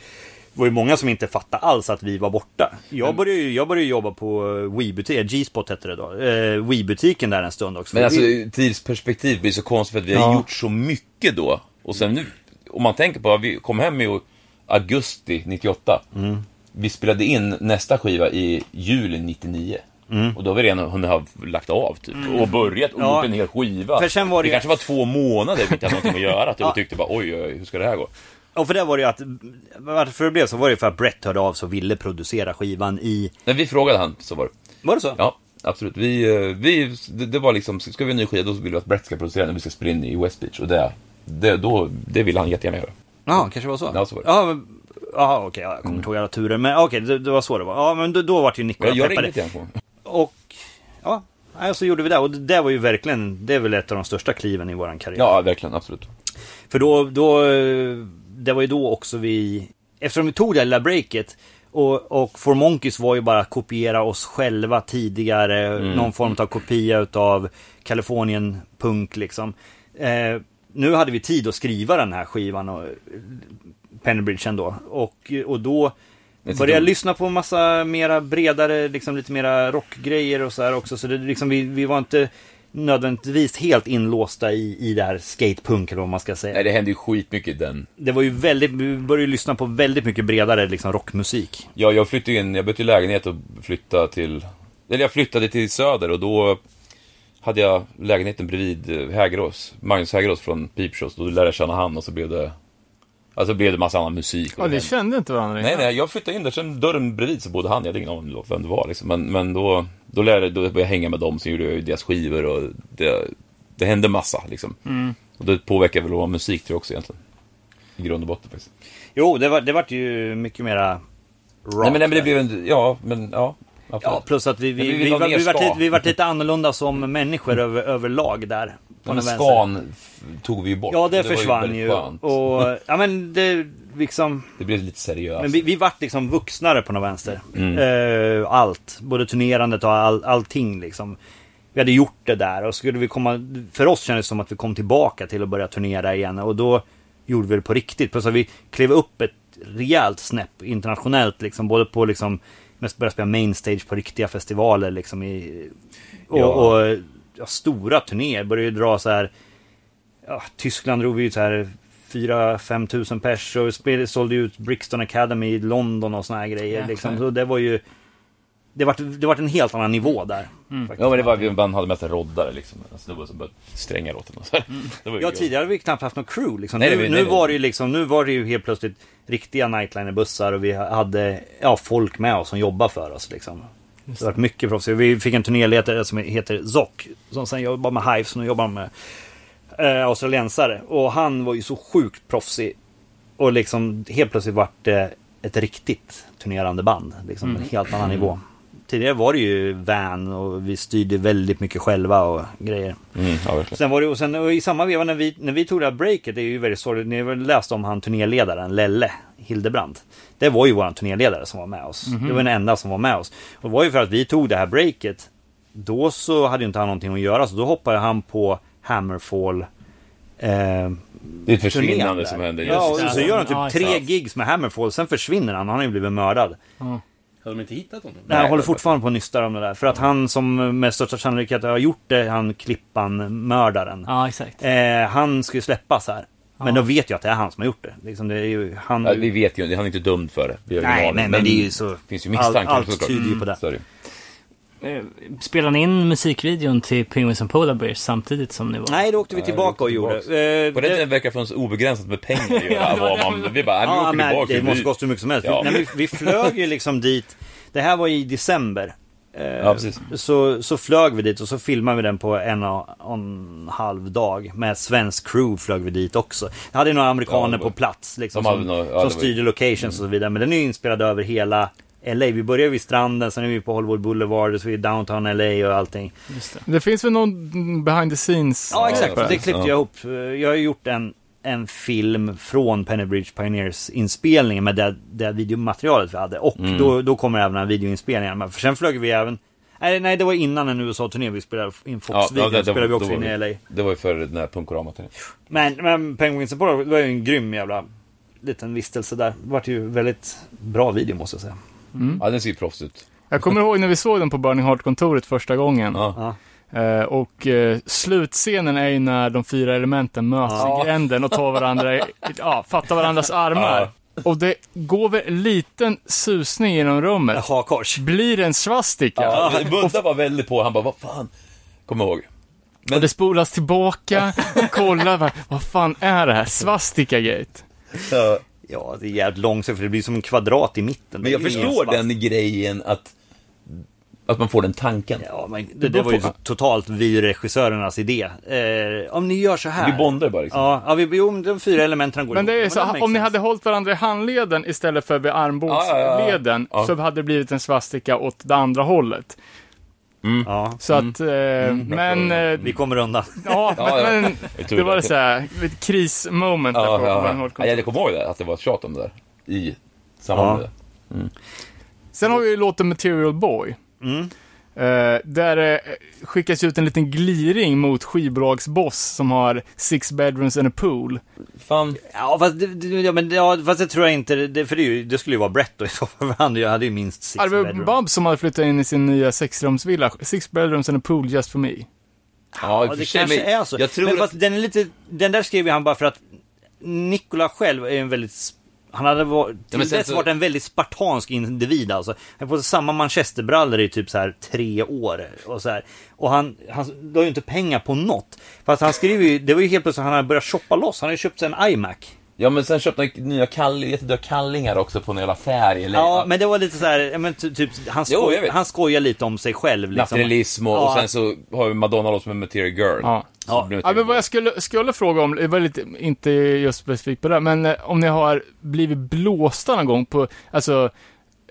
[SPEAKER 7] var ju många som inte fattade alls att vi var borta. Jag började ju, jag började jobba på Wii-butiken, G-spot hette det då, eh, Wii-butiken där en stund också.
[SPEAKER 6] Men
[SPEAKER 7] För
[SPEAKER 6] alltså,
[SPEAKER 7] vi-
[SPEAKER 6] tidsperspektiv blir så konstigt för att vi har gjort så mycket då. Och sen nu, om man tänker på, vi kom hem i augusti 98.
[SPEAKER 7] Mm.
[SPEAKER 6] Vi spelade in nästa skiva i juli 99. Och då har vi redan hunnit ha lagt av typ. Och börjat och
[SPEAKER 7] Mm. Ja.
[SPEAKER 6] gjort en hel skiva.
[SPEAKER 7] För sen var det ju-
[SPEAKER 6] kanske var två månader vi inte hade någonting att göra. Typ,
[SPEAKER 7] Ja.
[SPEAKER 6] och tyckte bara oj, oj, hur ska det här gå?
[SPEAKER 7] Ja, för det var det ju att, varför det blev så var det ju för att Brett hörde av sig och ville producera skivan i,
[SPEAKER 6] När vi frågade han så var det.
[SPEAKER 7] var det så?
[SPEAKER 6] Ja, absolut. Vi, eh, vi, det, det var liksom, ska vi ha en ny skiva då vill vi att Brett ska producera när vi ska spela in i West Beach. Och det, det, då, det vill han jättegärna göra.
[SPEAKER 7] Ja, kanske var så?
[SPEAKER 6] Ja, så var det.
[SPEAKER 7] Ja, men- ja, okej, ja, jag kommer inte ihåg alla turer, men okej, det, det var så det var. Ja, men då, då var det ju Nikola
[SPEAKER 6] Jag, alltså. jag
[SPEAKER 7] peppade.
[SPEAKER 6] ringde till honom.
[SPEAKER 7] Och, ja, nej, så gjorde vi det. Och det, det var ju verkligen, det är väl ett av de största kliven i våran karriär.
[SPEAKER 6] Ja, verkligen. Absolut.
[SPEAKER 7] För då, då, eh, det var ju då också vi, eftersom vi tog det här lilla breaket och, och For Monkeys var ju bara att kopiera oss själva tidigare, någon form av kopia utav Kalifornien punk liksom. Eh, nu hade vi tid att skriva den här skivan och eh, Pennybridge ändå och, och då
[SPEAKER 6] Ett
[SPEAKER 7] började jag
[SPEAKER 6] ord.
[SPEAKER 7] lyssna på en massa mera bredare, liksom lite mera rockgrejer och så här också. Så det liksom, vi, vi var inte nödvändigtvis helt inlåsta i, i det här skatepunk eller vad man ska säga.
[SPEAKER 6] Nej, det hände ju skitmycket i den.
[SPEAKER 7] Det var ju väldigt, vi började ju lyssna på väldigt mycket bredare liksom rockmusik.
[SPEAKER 6] Ja, jag flyttade ju in, jag bytte lägenhet och flyttade till... Eller jag flyttade till Söder och då hade jag lägenheten bredvid eh, Hägerås, Magnus Hägerås från Peepshows. Då lärde jag känna han och så blev det... Alltså blev det massa annan musik. och
[SPEAKER 3] Ja,
[SPEAKER 6] det
[SPEAKER 3] det
[SPEAKER 6] hände.
[SPEAKER 3] kände inte varandra
[SPEAKER 6] Nej,
[SPEAKER 3] riktigt.
[SPEAKER 6] nej, jag flyttade in där, sen dörren bredvid så bodde han, jag hade ingen aning om vem det var liksom. Men, men då, då, lärde, då började jag hänga med dem, sen gjorde jag ju deras skivor och det, det hände massa liksom. Och det påverkar väl vår musik tror jag också egentligen. I grund och botten faktiskt.
[SPEAKER 7] Jo, det var, det vart ju mycket mera rock.
[SPEAKER 6] nej, men, nej, men det
[SPEAKER 7] där.
[SPEAKER 6] blev en, ja, men ja.
[SPEAKER 7] Ja,
[SPEAKER 6] absolut.
[SPEAKER 7] plus att vi, vi,
[SPEAKER 6] Men vi
[SPEAKER 7] vi,
[SPEAKER 6] vill
[SPEAKER 7] vi,
[SPEAKER 6] ha
[SPEAKER 7] var,
[SPEAKER 6] mer
[SPEAKER 7] vi, var
[SPEAKER 6] ska.
[SPEAKER 7] lite, vi var lite annorlunda som människor över, överlag där.
[SPEAKER 6] Ja,
[SPEAKER 7] den
[SPEAKER 6] men
[SPEAKER 7] vänstern.
[SPEAKER 6] skan f- tog vi ju bort.
[SPEAKER 7] Ja, det,
[SPEAKER 6] var
[SPEAKER 7] försvann
[SPEAKER 6] väldigt
[SPEAKER 7] ju.
[SPEAKER 6] skönt.
[SPEAKER 7] Och, ja men det liksom...
[SPEAKER 6] Det blev lite seriöst.
[SPEAKER 7] Men vi, vi vart liksom vuxnare på något vänster. Eh, allt. Både turnerandet och all, allting liksom. Vi hade gjort det där och skulle vi komma... För oss kändes det som att vi kom tillbaka till att börja turnera igen och då gjorde vi det på riktigt. Plus att vi klev upp ett rejält snäpp internationellt liksom. Både på liksom... Mest börja spela mainstage på riktiga festivaler liksom i... Och,
[SPEAKER 6] Ja.
[SPEAKER 7] och ja, stora turnéer. Började ju dra så här... Ja, Tyskland drog vi ju så här 4-5 tusen pers och spel- sålde ut Brixton Academy i London och såna här grejer.
[SPEAKER 2] Jäklar.
[SPEAKER 7] Liksom. Så det var ju... Det var, det var en helt annan nivå där. faktiskt.
[SPEAKER 6] Mm. Ja men det var vi man hade med sig roddare liksom. En snubbe som började strängar åt en och så här. Det var ju
[SPEAKER 7] Ja,
[SPEAKER 6] kul.
[SPEAKER 7] tidigare hade vi knappt haft någon crew liksom.
[SPEAKER 6] Nej, det
[SPEAKER 7] nu,
[SPEAKER 6] var-
[SPEAKER 7] nu,
[SPEAKER 6] nej, det-
[SPEAKER 7] var det ju liksom, nu var det ju helt plötsligt riktiga nightliner-bussar och vi hade ja, folk med oss som jobbade för oss liksom. Det har varit mycket proffsigt. Vi fick en turnéledare som heter Zock som sen jobbar med Hives och nu jobbar han med eh, australiensare. Och han var ju så sjukt proffsig och liksom helt plötsligt vart det ett riktigt turnerande band. Liksom
[SPEAKER 6] Mm.
[SPEAKER 7] en helt annan nivå. Tidigare var det ju van och vi styrde väldigt mycket själva och grejer.
[SPEAKER 6] Mm, ja verkligen.
[SPEAKER 7] Sen var det, och sen och i samma veva när vi, när vi tog det här breaket, det är ju väldigt sorgligt, ni har väl läst om han turnéledaren Lelle Hildebrand. Det var ju våran turnéledare som var med oss. Det var den enda som var med oss. Och det var ju för att vi tog det här breaket, då så hade ju inte han någonting att göra, så då hoppade han på Hammerfall eh,
[SPEAKER 6] Det är ett
[SPEAKER 7] turnén
[SPEAKER 6] försvinnande
[SPEAKER 7] där.
[SPEAKER 6] som hände.
[SPEAKER 7] Ja,
[SPEAKER 6] Just
[SPEAKER 7] och
[SPEAKER 6] det.
[SPEAKER 7] så gör han typ
[SPEAKER 2] Ja, exakt.
[SPEAKER 7] tre gigs med Hammerfall, sen försvinner han, han har ju blivit mördad.
[SPEAKER 4] Har de inte hittat honom?
[SPEAKER 7] Nej, jag håller
[SPEAKER 6] det-
[SPEAKER 7] fortfarande på och nystar om det där. För att han som med största sannolikhet har gjort det, han Klippan-mördaren.
[SPEAKER 2] Ja, exakt.
[SPEAKER 7] Eh, han ska ju släppas här. Men då vet jag att det är han som har gjort det. Liksom, det är ju han...
[SPEAKER 6] Ja, vi vet ju inte, han är inte dömd för det. Vi har ingen
[SPEAKER 7] nej,
[SPEAKER 6] aning,
[SPEAKER 7] nej, men det är ju så...
[SPEAKER 6] finns ju misstankar
[SPEAKER 7] Allt- allt
[SPEAKER 6] såklart.
[SPEAKER 7] tyder ju på det.
[SPEAKER 6] Så är ju.
[SPEAKER 2] Eh, Spelade ni in musikvideon till Penguins and Polar Bears samtidigt som ni var?
[SPEAKER 7] Nej, då åkte vi
[SPEAKER 6] Ja,
[SPEAKER 7] tillbaka och
[SPEAKER 6] vi åkte
[SPEAKER 7] gjorde.
[SPEAKER 6] tillbaka.
[SPEAKER 7] Eh,
[SPEAKER 6] På den tiden verkar det finnas obegränsat med pengar att göra. vad man, vi bara, nu
[SPEAKER 7] ja,
[SPEAKER 6] åker vi
[SPEAKER 7] men
[SPEAKER 6] bak.
[SPEAKER 7] det
[SPEAKER 6] till-
[SPEAKER 7] måste kosta hur mycket som helst.
[SPEAKER 6] Ja.
[SPEAKER 7] Nej, men vi, vi flög ju liksom dit. Det här var i december. Eh,
[SPEAKER 6] Ja, precis.
[SPEAKER 7] så, så flög vi dit och så filmade vi den på en och, och en halv dag. Med svensk crew flög vi dit också. Jag hade några
[SPEAKER 6] Ja,
[SPEAKER 7] amerikaner
[SPEAKER 6] det var-
[SPEAKER 7] på plats liksom,
[SPEAKER 6] de hade
[SPEAKER 7] som,
[SPEAKER 6] några- ja, det
[SPEAKER 7] som
[SPEAKER 6] var- Mm.
[SPEAKER 7] styrde locations och så vidare. Men den är ju inspelad över hela LA. Vi börjar vid stranden, sen är vi på Hollywood Boulevard, så är vi i downtown LA och allting.
[SPEAKER 2] Just det.
[SPEAKER 3] Det finns väl någon mm, behind the scenes?
[SPEAKER 7] Ja, exakt.
[SPEAKER 6] precis.
[SPEAKER 7] Det klippte jag
[SPEAKER 6] Ja.
[SPEAKER 7] ihop. Jag har gjort en, en film från Penny Bridge Pioneers inspelningen med det, det videomaterialet vi hade. Och
[SPEAKER 6] Mm.
[SPEAKER 7] då, då kommer även den här videoinspelningen. Men För sen flög vi även... Nej, nej, det var innan en USA-turné vi spelade in
[SPEAKER 6] Ja,
[SPEAKER 7] Fox-videon.
[SPEAKER 6] ja, det, det,
[SPEAKER 7] spelade vi
[SPEAKER 6] var-
[SPEAKER 7] också
[SPEAKER 6] det,
[SPEAKER 7] in i Mm.
[SPEAKER 6] var,
[SPEAKER 7] LA.
[SPEAKER 6] ju- det var ju före den här punkorama-turnén.
[SPEAKER 7] Men, men Penguins and Polar var ju en grym jävla liten vistelse där. Det vart ju väldigt bra video måste jag säga.
[SPEAKER 6] Ja, den ser ju proffs ut.
[SPEAKER 3] Jag kommer ihåg när vi såg den på Burning Heart-kontoret första gången.
[SPEAKER 6] Ja.
[SPEAKER 7] Ja.
[SPEAKER 3] Eh, och eh, slutscenen är ju när de fyra elementen möts
[SPEAKER 7] Ja.
[SPEAKER 3] i gränden och tar varandra, i, ja, fattar varandras armar. Och det går väl en liten susning genom rummet.
[SPEAKER 7] Hakkors.
[SPEAKER 3] Blir det en svastika?
[SPEAKER 6] Ja, Budda var väldigt på, han bara, vad fan, kommer jag ihåg.
[SPEAKER 3] Och det spolas tillbaka, och kollar, vad, vad fan är det här? Svastika-gate.
[SPEAKER 7] Ja, det är jävligt långsamt för det blir som en kvadrat i mitten.
[SPEAKER 6] Men jag
[SPEAKER 7] Det är ju
[SPEAKER 6] förstår
[SPEAKER 7] ingen svans.
[SPEAKER 6] den grejen att, att man får den tanken.
[SPEAKER 7] Ja, men det, det var ju
[SPEAKER 6] beror på-
[SPEAKER 7] totalt vi regissörernas idé. Eh, om ni gör så här.
[SPEAKER 6] Vi bondar ju bara liksom.
[SPEAKER 7] Ja, ja vi, jo, men de fyra elementen går
[SPEAKER 3] Men det
[SPEAKER 7] ihop.
[SPEAKER 3] är så,
[SPEAKER 7] det
[SPEAKER 3] om
[SPEAKER 7] makes
[SPEAKER 3] ni
[SPEAKER 7] sense.
[SPEAKER 3] hade hållit varandra i handleden istället för vid
[SPEAKER 6] Ja, ja, ja.
[SPEAKER 3] armbågsleden
[SPEAKER 6] Ja.
[SPEAKER 3] så hade det blivit en svastika åt det andra hållet.
[SPEAKER 7] Ja,
[SPEAKER 3] Så att,
[SPEAKER 6] Mm.
[SPEAKER 3] eh, men, eh,
[SPEAKER 7] vi kommer undan.
[SPEAKER 3] ja,
[SPEAKER 6] Ja, ja.
[SPEAKER 3] men, men
[SPEAKER 6] Jag tror
[SPEAKER 3] det var
[SPEAKER 6] det.
[SPEAKER 3] så här, ett krismoment där
[SPEAKER 6] Ja,
[SPEAKER 3] på Burning
[SPEAKER 6] ja,
[SPEAKER 3] Heart
[SPEAKER 6] ja.
[SPEAKER 3] Control.
[SPEAKER 6] Jag kommer ihåg det, att det var ett tjat om det där. I samband
[SPEAKER 7] Ja.
[SPEAKER 6] med det.
[SPEAKER 3] Sen har vi ju låten Material Boy.
[SPEAKER 6] Mm.
[SPEAKER 3] Eh, där eh, skickas ut en liten gliring mot skivbolagsboss som har six bedrooms and a pool.
[SPEAKER 6] Fan,
[SPEAKER 7] Ja, fast, det- det- ja, men, ja, fast det tror jag inte. Det, för det, är ju- det skulle ju vara Brett då i så fall. för Han hade ju minst six
[SPEAKER 3] Ja, det var
[SPEAKER 7] bedroom.
[SPEAKER 3] Bob som hade flyttat in i sin nya sexrumsvilla. Six bedrooms and a pool just for me.
[SPEAKER 6] Ja, i och
[SPEAKER 7] Ja,
[SPEAKER 6] för
[SPEAKER 7] det
[SPEAKER 6] sig,
[SPEAKER 7] kanske
[SPEAKER 6] men
[SPEAKER 7] är så.
[SPEAKER 6] Jag tror
[SPEAKER 7] men
[SPEAKER 6] att...
[SPEAKER 7] fast den är lite, den där skrev ju han bara för att Nikola själv är en väldigt sp- han hade varit, till
[SPEAKER 6] Ja, men sen
[SPEAKER 7] dess
[SPEAKER 6] så-
[SPEAKER 7] varit en väldigt spartansk individ alltså. Han har på sig samma manchesterbrallor i typ så här tre år. Och, så här. och han, han la ju inte pengar på något. Fast han skriver ju, det var ju helt plötsligt han hade börjat shoppa loss. Han hade ju köpt sig en iMac.
[SPEAKER 6] Ja, men sen köpte han nya kall... jättedyra kallingar också på någon jävla affär i LA.
[SPEAKER 7] Ja, men det var lite så här, ja, men ty- typ, han,
[SPEAKER 6] Jo, jag
[SPEAKER 7] skoj,
[SPEAKER 6] vet.
[SPEAKER 7] han skojar lite om sig själv. Liksom.
[SPEAKER 6] Naturalism och,
[SPEAKER 7] Ja.
[SPEAKER 6] och sen så har vi Madonna då som är Material Girl.
[SPEAKER 3] Ja.
[SPEAKER 6] Så
[SPEAKER 7] Ja.
[SPEAKER 6] blir det
[SPEAKER 3] Ja, men vad
[SPEAKER 6] Material
[SPEAKER 3] jag skulle, skulle fråga om, det var lite, inte just specifikt på det, men eh, om ni har blivit blåsta någon gång på, alltså,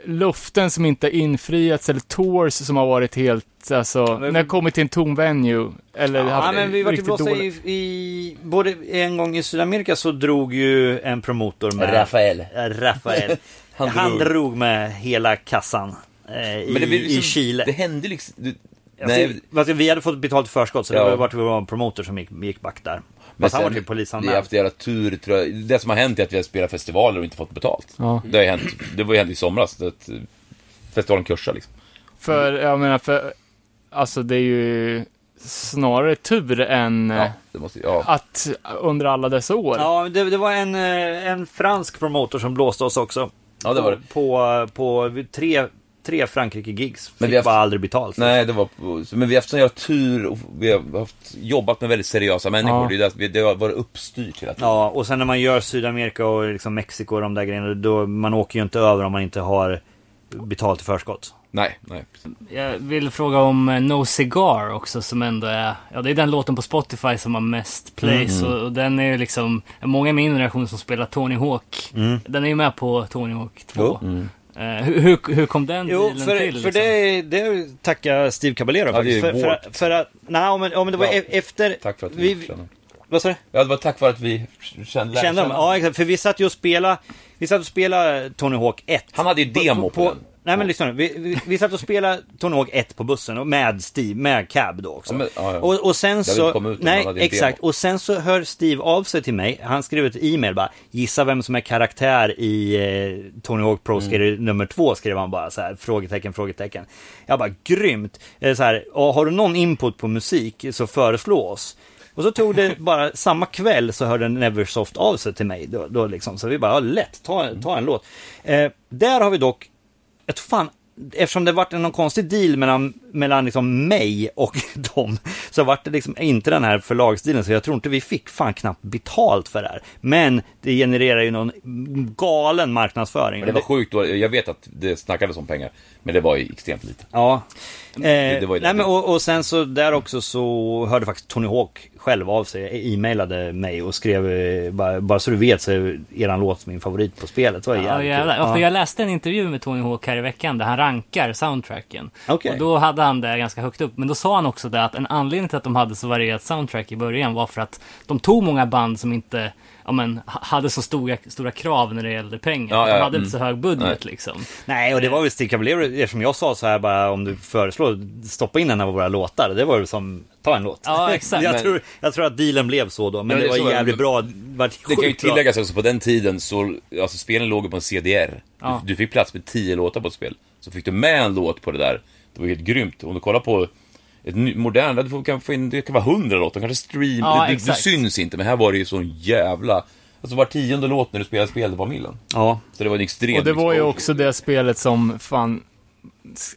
[SPEAKER 3] luften som inte infriats eller tours som har varit helt, alltså, när jag kommit till en tom venue eller
[SPEAKER 7] Ja,
[SPEAKER 3] haft
[SPEAKER 7] men vi var ju
[SPEAKER 3] riktigt
[SPEAKER 7] blåsta
[SPEAKER 3] dåligt.
[SPEAKER 7] i, i... Både en gång i Sydamerika så drog ju en promotor
[SPEAKER 6] Girl.
[SPEAKER 7] med...
[SPEAKER 6] Rafael.
[SPEAKER 7] Eh, Rafael. han,
[SPEAKER 6] Han
[SPEAKER 7] drog.
[SPEAKER 6] drog.
[SPEAKER 7] med hela kassan eh, i,
[SPEAKER 6] Men det, blir liksom,
[SPEAKER 7] i Chile.
[SPEAKER 6] det hände liksom... Du,
[SPEAKER 7] Nej.
[SPEAKER 6] nej,
[SPEAKER 7] vi hade fått betalt förskott så det
[SPEAKER 6] Ja.
[SPEAKER 7] var vart vi var en promotor som gick, gick back där. Men han var typ
[SPEAKER 6] Vi har
[SPEAKER 7] polisanmäld.
[SPEAKER 6] haft jävla tur, tror jag. Det som har hänt är att vi har spelat festivaler och inte fått betalt.
[SPEAKER 3] Ja.
[SPEAKER 6] Det har ju hänt. Det var ju hänt i somras. Det, att eh, festivalen kursar liksom.
[SPEAKER 3] För, jag menar, för, alltså det är ju snarare tur än eh,
[SPEAKER 6] Ja, det måste, ja.
[SPEAKER 3] att under alla dessa år.
[SPEAKER 7] Ja, det, det var en, eh, en fransk promotor som blåste oss också.
[SPEAKER 6] Ja, det var det.
[SPEAKER 7] På, på tre, tre Frankrike-gigs.
[SPEAKER 6] Men
[SPEAKER 7] Men
[SPEAKER 6] vi
[SPEAKER 7] vi
[SPEAKER 6] har-
[SPEAKER 7] bara aldrig betalt.
[SPEAKER 6] Nej, det var... Men vi har haft sån jävla tur och vi har haft, jobbat med väldigt seriösa människor.
[SPEAKER 3] Ja.
[SPEAKER 6] Det, är det, att vi- det har varit uppstyrt hela tiden.
[SPEAKER 7] Ja, och sen när man gör Sydamerika och liksom Mexiko och de där grejerna, då man åker ju inte över om man inte har betalt i förskott.
[SPEAKER 6] Nej, nej. precis.
[SPEAKER 2] Jag vill fråga om eh, No Cigar också som ändå är, ja det är den låten på Spotify som har mest plays och, och den är ju liksom, många i min generation som spelar Tony Hawk, den är ju med på Tony Hawk 2. Eh, hur, hur, hur kom den
[SPEAKER 7] Jo,
[SPEAKER 2] dealen
[SPEAKER 7] för,
[SPEAKER 2] till? liksom?
[SPEAKER 7] för det, det tackar Steve Caballero
[SPEAKER 6] liksom. Ja, det är
[SPEAKER 7] faktiskt. För, för,
[SPEAKER 6] vårt.
[SPEAKER 7] att- för att, nej, om, om det var
[SPEAKER 6] Ja.
[SPEAKER 7] e- efter...
[SPEAKER 6] Tack för att vi,
[SPEAKER 7] vi,
[SPEAKER 6] kände.
[SPEAKER 7] Vad sa du?
[SPEAKER 6] Ja, det var tack vare att vi kände,
[SPEAKER 7] Kände de? Ja, exakt. För vi satt ju och spelade, vi satt och spelade Tony Hawk 1.
[SPEAKER 6] Han hade ju demo på, den.
[SPEAKER 7] Nej men lyssna nu. vi, vi, vi satt och spelade Tony Hawk 1 på bussen och med Steve, med Cab då också.
[SPEAKER 6] Ja, men- ja, ja.
[SPEAKER 7] Och, och sen
[SPEAKER 6] hade inte
[SPEAKER 7] så,
[SPEAKER 6] kommit ut om han
[SPEAKER 7] nej
[SPEAKER 6] hade en
[SPEAKER 7] exakt,
[SPEAKER 6] demo.
[SPEAKER 7] och sen så hör Steve av sig till mig, han skrev ett e-mail bara, gissa vem som är karaktär i eh, Tony Hawk
[SPEAKER 6] Mm.
[SPEAKER 7] Pro Skater nummer 2 skrev han bara så här, frågetecken, frågetecken. Jag bara grymt, eh, så här, och har du någon input på musik så föreslå oss. Och så tog det bara samma kväll så hörde Neversoft av sig till mig då, då liksom, så vi bara, ja lätt, ta, ta en låt. Eh, där har vi dock jag tror fan, eftersom det vart någon konstig deal mellan, mellan liksom mig och dem, så vart det liksom inte den här förlagsdealen, så jag tror inte vi fick fan knappt betalt för det här. Men det genererar ju någon galen marknadsföring.
[SPEAKER 6] Men det var sjukt då. Jag vet att det snackades om pengar, men det var ju extremt lite.
[SPEAKER 7] Ja. Eh,
[SPEAKER 6] det var ju det.
[SPEAKER 7] nej, men, och, och sen så där också så hörde faktiskt Tony Hawk själv av sig, e-mailade mig och skrev eh, bara, bara så du vet så är eran låt min favorit på spelet. Det var
[SPEAKER 2] Ja,
[SPEAKER 7] jävligt
[SPEAKER 2] jävlar.
[SPEAKER 7] kul.
[SPEAKER 2] Ja, för jag läste en intervju med Tony Hawk här i veckan där han rankar soundtracken.
[SPEAKER 7] Okej.
[SPEAKER 2] Och då hade han det ganska högt upp. Men då sa han också det att en anledning till att de hade så varierat soundtrack i början var för att de tog många band som inte ja, men, ha- hade så stora, stora krav när det gällde pengar.
[SPEAKER 6] Ja, ja,
[SPEAKER 2] de
[SPEAKER 6] ja,
[SPEAKER 2] hade inte
[SPEAKER 6] mm.
[SPEAKER 2] så hög budget liksom.
[SPEAKER 7] Nej, och
[SPEAKER 6] Eh.
[SPEAKER 7] det var väl Steve Caballero, eftersom jag sa så här bara om du föreslår, stoppa in en av våra låtar. Det var ju som, ta en låt.
[SPEAKER 2] Ja, exakt.
[SPEAKER 7] jag,
[SPEAKER 2] Men-
[SPEAKER 7] tror, jag tror att dealen blev så då, men
[SPEAKER 6] Ja,
[SPEAKER 7] det,
[SPEAKER 6] det
[SPEAKER 7] var
[SPEAKER 6] är så,
[SPEAKER 7] jävligt
[SPEAKER 6] men-
[SPEAKER 7] bra. Det, var
[SPEAKER 6] Det kan ju tilläggas också, på den tiden så, alltså spelen låg ju på en CDR.
[SPEAKER 2] Ja.
[SPEAKER 6] Du, du fick plats med tio låtar på ett spel. Så fick du med en låt på det där. Det var ju helt grymt. Om du kollar på ett ny- modernt, där du får- kan få in, det kan vara hundra låtar, kanske stream,
[SPEAKER 2] Ja,
[SPEAKER 6] det, det, det
[SPEAKER 2] exakt.
[SPEAKER 6] syns inte. Men här var det ju sån jävla, alltså var tionde låt när du spelade spelet var millen.
[SPEAKER 7] Ja.
[SPEAKER 6] Så det var en extrem
[SPEAKER 3] Och det var ju
[SPEAKER 6] exposure.
[SPEAKER 3] också det spelet som fan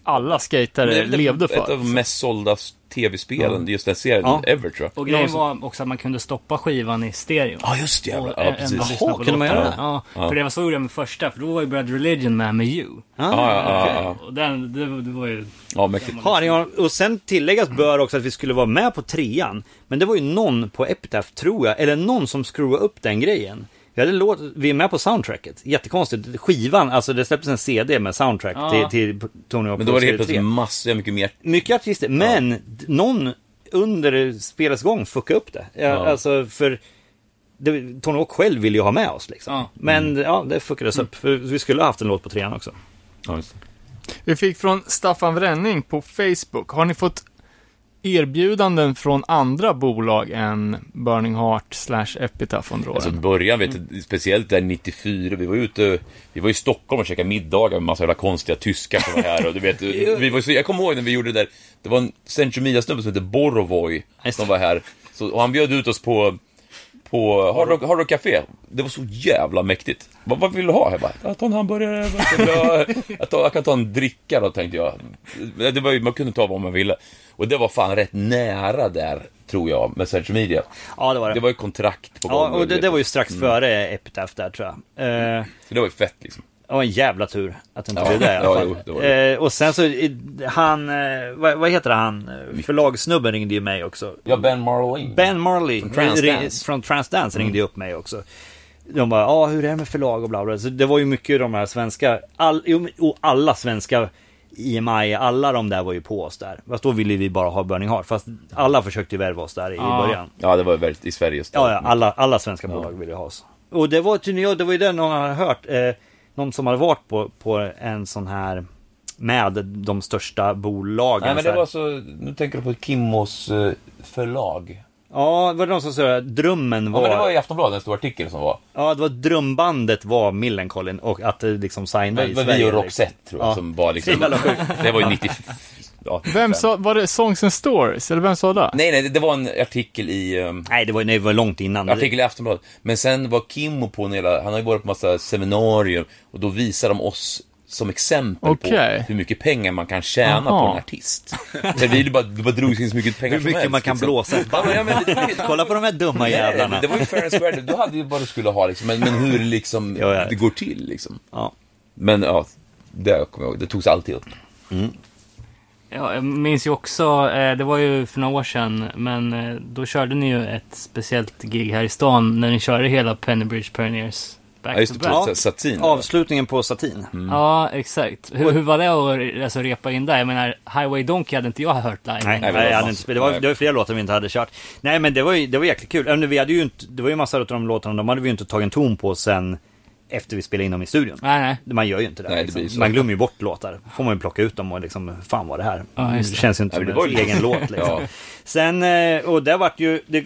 [SPEAKER 3] alla skatare
[SPEAKER 6] Det är det-
[SPEAKER 3] levde
[SPEAKER 6] Ett
[SPEAKER 3] för.
[SPEAKER 6] av de mest sålda tv-spelen, just den serien,
[SPEAKER 7] Ja.
[SPEAKER 6] ever tror jag.
[SPEAKER 2] Och grejen var också att man kunde stoppa skivan i stereo.
[SPEAKER 6] Ja, just det jävlar.
[SPEAKER 2] Och
[SPEAKER 6] Ja,
[SPEAKER 2] ä- ändå
[SPEAKER 6] precis.
[SPEAKER 2] lyssna på
[SPEAKER 7] kunde man göra
[SPEAKER 2] låtarna.
[SPEAKER 7] det?
[SPEAKER 2] Ja, för det var så jag gjorde med första, för då var ju Brad Religion med med You.
[SPEAKER 6] Ja, ja, ja, ja.
[SPEAKER 2] Och den, det, det var ju...
[SPEAKER 6] ja mäktigt.
[SPEAKER 7] Ja, det var- och sen tilläggas bör också att vi skulle vara med på trean. Men det var ju någon på Epitaph, tror jag, eller någon som screwade upp den grejen. Vi, hade låt, vi är med på soundtracket. Jättekonstigt. Skivan, alltså det släpptes en CD med soundtrack
[SPEAKER 2] Ja.
[SPEAKER 7] till, till Tony Hawk
[SPEAKER 6] Men då var det helt
[SPEAKER 7] Pro Skater 3.
[SPEAKER 6] plötsligt massor, mycket mer
[SPEAKER 7] mycket artister, men d- någon under spelets gång fuckade upp det. Ja, Alltså för det, Tony Hawk själv ville ju ha med oss liksom.
[SPEAKER 2] Ja.
[SPEAKER 7] Men ja, Mm. det fuckades upp. För vi skulle ha haft en låt på trean också.
[SPEAKER 6] Ja, just det.
[SPEAKER 3] Vi fick från Staffan Vränning på Facebook. Har ni fått erbjudanden från andra bolag än Burning Heart slash Epitaph under åren?
[SPEAKER 6] Alltså början, vet
[SPEAKER 7] Mm.
[SPEAKER 6] du, speciellt där 94, vi var ute, vi var i Stockholm och käkade middagar med massa jävla konstiga tyskar som var här och du vet, vi var, så, jag kommer ihåg när vi gjorde det där, det var en Centromia-snubbe som hette Borovoj som var här, så, och han bjöd ut oss på, på Hard Rock, Hard Rock Café. Det var så jävla mäktigt. Vad, vad vill du ha? Jag bara, jag tar en hamburgare, jag, bara, jag, jag, tar, jag kan ta en dricka då, tänkte jag. Det var, ju- man kunde ta vad man ville. Och det var fan rätt nära där, tror jag, med Centromedia.
[SPEAKER 7] Ja, det var det.
[SPEAKER 6] Det var ju kontrakt på
[SPEAKER 7] ja,
[SPEAKER 6] gång
[SPEAKER 7] och det,
[SPEAKER 6] du
[SPEAKER 7] det
[SPEAKER 6] vet.
[SPEAKER 7] var ju strax före Epitaph där tror jag. Eh,
[SPEAKER 6] Så det var ju fett liksom.
[SPEAKER 7] Det var en jävla tur att det inte
[SPEAKER 6] Ja,
[SPEAKER 7] blev det i alla
[SPEAKER 6] ja,
[SPEAKER 7] fall.
[SPEAKER 6] jo, det var det.
[SPEAKER 7] Eh, och sen så, eh, han, eh, vad, vad heter han, Eh, förlagssnubben ringde ju mig också.
[SPEAKER 6] Ja, Ben Marley.
[SPEAKER 7] Ben Marley från
[SPEAKER 6] Transdance.
[SPEAKER 7] från Transdance ringde ju upp mig också. De bara, ja ah, hur är det med förlag och bla bla. Så det var ju mycket de här svenska, all, jo, och alla svenska IMI, alla de där var ju på oss där. Fast då ville vi bara ha Burning Heart. Fast alla försökte ju värva oss där i början.
[SPEAKER 6] Ja, det var ju väldigt i Sverige. just då.
[SPEAKER 7] Ja, ja alla, alla svenska bolag ville ha oss. Och det var tydligen, ja, det var ju det någon hade hört. Eh, någon som hade varit på, på en sån här med de största bolagen.
[SPEAKER 6] Nej, men
[SPEAKER 7] så
[SPEAKER 6] det
[SPEAKER 7] här.
[SPEAKER 6] var så... Nu tänker du på Kimmos eh, förlag.
[SPEAKER 7] Ja, var det någon som sa att drömmen
[SPEAKER 6] Ja,
[SPEAKER 7] var...
[SPEAKER 6] men det var i Aftonbladet en stor artikel som var.
[SPEAKER 7] Ja, det var drömbandet var Millencolin och att det liksom signa i
[SPEAKER 6] Men, men
[SPEAKER 7] Sverige.
[SPEAKER 6] vi och Roxette tror jag,
[SPEAKER 7] Ja.
[SPEAKER 6] som var liksom...
[SPEAKER 7] Jävla sjukt.
[SPEAKER 6] det var ju 90... ja,
[SPEAKER 3] Vem
[SPEAKER 6] fem.
[SPEAKER 3] sa, var det Songs and Stories, eller vem sa det?
[SPEAKER 6] Nej, nej, det- det var en artikel i... ehm,
[SPEAKER 7] Nej, det var, nej, det var långt innan.
[SPEAKER 6] Artikel i Aftonbladet. Men sen var Kimmo på en hela, han har ju varit på massa seminarier och då visar de oss som exempel
[SPEAKER 3] Okej.
[SPEAKER 6] på hur mycket pengar man kan tjäna
[SPEAKER 3] Aha.
[SPEAKER 6] på en artist. För vi bara, det bara drogs in så mycket pengar
[SPEAKER 7] Hur mycket
[SPEAKER 6] som
[SPEAKER 7] man kan
[SPEAKER 6] helst,
[SPEAKER 7] blåsa
[SPEAKER 6] liksom.
[SPEAKER 7] ett
[SPEAKER 6] Ja,
[SPEAKER 7] band.
[SPEAKER 6] men, ja, men, det,
[SPEAKER 7] Kolla på de här dumma jävlarna.
[SPEAKER 6] det, det var ju fair and square, du hade ju vad du skulle ha liksom, men, men hur liksom,
[SPEAKER 7] Ja, ja.
[SPEAKER 6] det går till liksom.
[SPEAKER 7] Ja.
[SPEAKER 6] Men ja, det kommer jag ihåg, det togs alltid upp.
[SPEAKER 2] Ja, jag minns ju också, eh, det var ju för några år sedan, men eh, då körde ni ju ett speciellt gig här i stan när ni körde hela Pennybridge Pioneers back
[SPEAKER 6] Ja, just
[SPEAKER 2] to
[SPEAKER 6] det,
[SPEAKER 2] back.
[SPEAKER 6] på satin.
[SPEAKER 7] Avslutningen på
[SPEAKER 6] Mm.
[SPEAKER 7] Satin.
[SPEAKER 2] Ja, exakt. Hur, hur var det att alltså, repa in där? Jag menar, Highway Donkey hade inte jag hört live.
[SPEAKER 7] Nej,
[SPEAKER 6] Nej,
[SPEAKER 7] nej,
[SPEAKER 6] vi var
[SPEAKER 7] jag hade
[SPEAKER 6] fast.
[SPEAKER 7] inte spelat. Det var, det var ju flera låtar vi inte hade kört. Nej, men det var ju, det var jäkligt kul. Även vi hade ju inte, det var ju massa av de låtarna, de hade vi ju inte tagit en ton på sen efter vi spelade in dem i studion.
[SPEAKER 2] Nej, nej.
[SPEAKER 7] Man gör ju inte det.
[SPEAKER 6] Nej, det blir
[SPEAKER 7] liksom.
[SPEAKER 6] så.
[SPEAKER 7] Man glömmer ju bort låtar. Får man ju plocka ut dem och liksom, fan vad det här.
[SPEAKER 2] Ja,
[SPEAKER 7] det
[SPEAKER 2] just det.
[SPEAKER 7] känns ju inte
[SPEAKER 6] Ja,
[SPEAKER 7] som
[SPEAKER 6] det
[SPEAKER 7] en
[SPEAKER 6] var ju-
[SPEAKER 7] egen låt liksom.
[SPEAKER 6] Ja.
[SPEAKER 7] Sen, eh, och det vart ju... Det,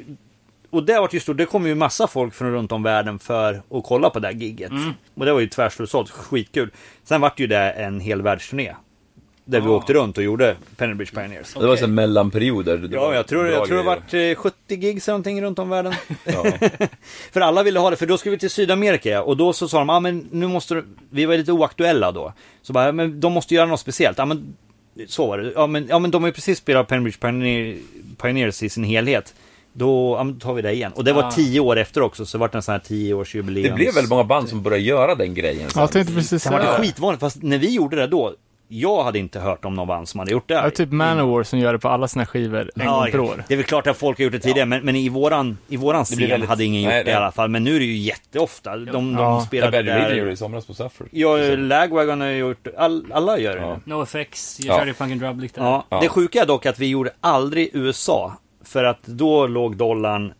[SPEAKER 7] och det vart ju stort, det kom ju massa folk från runt om världen för att kolla på det här gigget.
[SPEAKER 2] Mm.
[SPEAKER 7] Och det var ju tvärslutsålt, skitkul. Sen vart ju det en hel världsturné. Där
[SPEAKER 2] Ah.
[SPEAKER 7] vi åkte runt och gjorde Pennybridge Pioneers.
[SPEAKER 6] Det var så här mellanperioder. Det
[SPEAKER 7] Ja,
[SPEAKER 6] var
[SPEAKER 7] jag tror, jag
[SPEAKER 6] bra
[SPEAKER 7] tror det
[SPEAKER 6] grejer.
[SPEAKER 7] vart eh, 70 gigs eller någonting runt om världen.
[SPEAKER 6] Ja.
[SPEAKER 7] För alla ville ha det, för då skulle vi till Sydamerika ja. och då så sa de, ah, men nu måste du... vi var lite oaktuella då. Så bara, men de måste göra något speciellt. Ja, men så var det. Ja, men, ja, men de har ju precis spelat Pennbridge Pioneer, Pioneers i sin helhet. Då, ja, men då tar vi det igen. Och det var
[SPEAKER 2] Ah.
[SPEAKER 7] tio år efter också, så det vart en sån här tioårsjubileum.
[SPEAKER 6] Det blev väldigt många band som började göra den grejen. sen.
[SPEAKER 3] Jag tänkte precis
[SPEAKER 7] Sen var det
[SPEAKER 3] säga det.
[SPEAKER 7] skitvanligt, fast när vi gjorde det då, jag hade inte hört om någon band som hade gjort det.
[SPEAKER 3] Ja, typ Manowar som gör det på alla sina skivor en gång per år.
[SPEAKER 7] Det är väl klart att folk har gjort det tidigare, men, men i våran, i våran
[SPEAKER 6] blir
[SPEAKER 7] scen
[SPEAKER 6] väldigt-
[SPEAKER 7] hade ingen gjort
[SPEAKER 6] Nej,
[SPEAKER 7] det i
[SPEAKER 6] nej.
[SPEAKER 7] alla fall. Men nu är det ju jätteofta. De, de
[SPEAKER 3] Ja.
[SPEAKER 6] Ja,
[SPEAKER 7] spelade
[SPEAKER 6] Bad Religion gjorde det
[SPEAKER 7] där.
[SPEAKER 6] i somras på Suffrage.
[SPEAKER 7] Ja, Lagwagon har gjort, all, alla gör det
[SPEAKER 6] Ja.
[SPEAKER 7] nu.
[SPEAKER 2] No effects, jag
[SPEAKER 6] Ja.
[SPEAKER 2] körde ju Punk and Drublic där.
[SPEAKER 7] Ja.
[SPEAKER 6] Ja.
[SPEAKER 7] Det sjuka är dock att vi gjorde aldrig USA. För att då låg dollarn...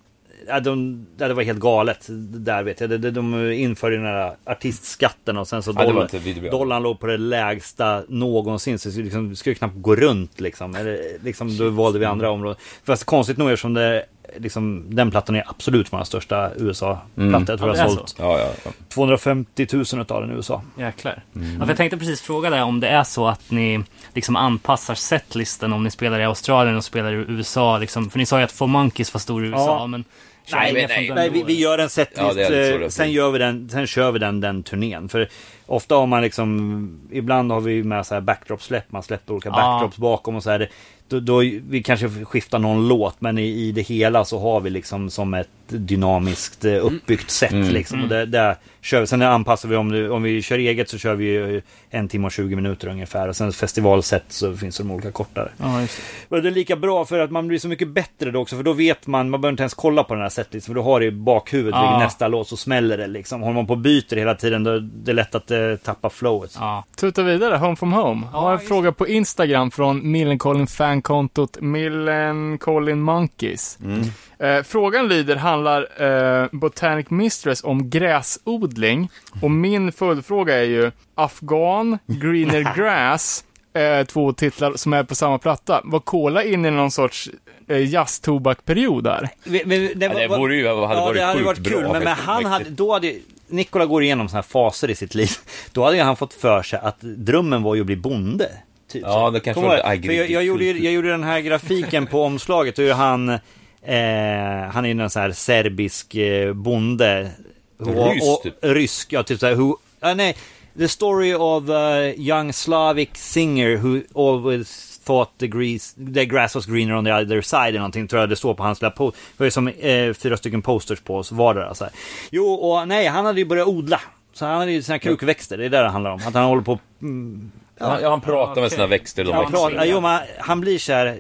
[SPEAKER 7] Ja, de, ja, det var helt galet. Där vet jag. De, de- de införde den här artistskatten och sen så
[SPEAKER 6] Ja, det var
[SPEAKER 7] dollar,
[SPEAKER 6] inte videobra.
[SPEAKER 7] dollarn låg på det lägsta någonsin. Så det skulle liksom, det skulle knappt gå runt liksom. Eller, liksom då valde vi andra områden. Fast konstigt nog eftersom det, liksom, den plattan är absolut vår största USA-platta.
[SPEAKER 6] Mm.
[SPEAKER 7] Jag tror
[SPEAKER 2] Ja,
[SPEAKER 7] jag
[SPEAKER 2] det är
[SPEAKER 7] har
[SPEAKER 2] så.
[SPEAKER 7] sålt
[SPEAKER 6] Ja, ja, ja.
[SPEAKER 7] 250 000 utav den i USA.
[SPEAKER 2] Jäklar.
[SPEAKER 7] Mm.
[SPEAKER 2] Ja, för jag tänkte precis fråga dig om det är så att ni liksom anpassar setlisten om ni spelar i Australien och spelar i USA. Liksom. För ni sa ju att Four Monkeys var stor i USA,
[SPEAKER 7] Ja.
[SPEAKER 2] men...
[SPEAKER 7] Nej,
[SPEAKER 2] Kör ni
[SPEAKER 7] nej,
[SPEAKER 2] från
[SPEAKER 7] nej.
[SPEAKER 2] den då,
[SPEAKER 7] vi, vi
[SPEAKER 2] eller?
[SPEAKER 7] gör en
[SPEAKER 6] Ja,
[SPEAKER 7] setlist,
[SPEAKER 6] det är lite så
[SPEAKER 7] eh,
[SPEAKER 6] det är.
[SPEAKER 7] sen, gör vi den, sen kör vi den, den turnén. För ofta har man liksom, ibland har vi med så här backdrop-släpp, man släpper olika
[SPEAKER 2] Ja.
[SPEAKER 7] backdrops bakom och så här. Det- Då, då, vi kanske skiftar någon låt, men i, i det hela så har vi liksom som ett dynamiskt eh,
[SPEAKER 2] Mm.
[SPEAKER 7] uppbyggt sätt liksom. Och det, det kör vi. Sen anpassar vi, om, det- om vi kör eget så kör vi ju en timme och 20 minuter ungefär. Och sen festivalsätt så finns det de olika kortare.
[SPEAKER 2] Ja, just det.
[SPEAKER 7] Och det är lika bra för att man blir så mycket bättre då också för då vet man, man behöver inte ens kolla på den här setlisten för du har det i bakhuvudet
[SPEAKER 2] Ja.
[SPEAKER 7] vid nästa låt så smäller det liksom. Håller man på och byter hela tiden då är det lätt att eh, tappa flowet.
[SPEAKER 2] Ja.
[SPEAKER 3] Tuta vidare, Home from Home. Jag har en
[SPEAKER 2] just-
[SPEAKER 3] fråga på Instagram från Millencolin fankontot Millencolin Monkeys. Eh, frågan lyder, handlar eh, Botanic Mistress om gräsodling? Och min följdfråga är ju Afghan, Greener Grass, eh, två titlar som är på samma platta. Var Cola inne i någon sorts eh, jazztobakperiod där?
[SPEAKER 7] Vi- vi-
[SPEAKER 6] Ja, det vore ju, hade
[SPEAKER 7] ja,
[SPEAKER 6] varit
[SPEAKER 7] det hade
[SPEAKER 6] sjukt
[SPEAKER 7] varit
[SPEAKER 6] bra.
[SPEAKER 7] kul, men, men
[SPEAKER 6] faktiskt,
[SPEAKER 7] han
[SPEAKER 6] på
[SPEAKER 7] hade,
[SPEAKER 6] riktigt.
[SPEAKER 7] då hade Nikola går igenom sådana här faser i sitt liv. Då hade ju han fått för sig att drömmen var ju att bli bonde. Typ.
[SPEAKER 6] Ja, det kanske
[SPEAKER 7] Kommer
[SPEAKER 6] var
[SPEAKER 7] du ihåg
[SPEAKER 6] ett
[SPEAKER 7] För jag, jag,
[SPEAKER 6] aggressivt
[SPEAKER 7] gjorde, ju-
[SPEAKER 6] uttryck.
[SPEAKER 7] jag gjorde den här grafiken på omslaget, och hur han, eh, han är ju någon sån här serbisk eh, bonde.
[SPEAKER 6] Ryss,
[SPEAKER 7] och,
[SPEAKER 6] typ.
[SPEAKER 7] Rysk, ja typ såhär, who, ah, nej, the story of a young Slavic singer who always thought the, grease, the grass was greener on the other side eller någonting, tror jag det står på hans lilla post. Det var ju som eh, fyra stycken posters på oss var det alltså. Jo, och nej, han hade ju börjat odla. Så han hade ju sina krukväxter, det är det det handlar om. Att han håller på
[SPEAKER 6] Han, ja, han pratar med sina växter. De
[SPEAKER 7] Ja,
[SPEAKER 6] växterna.
[SPEAKER 7] klart. Jo, men han blir så här,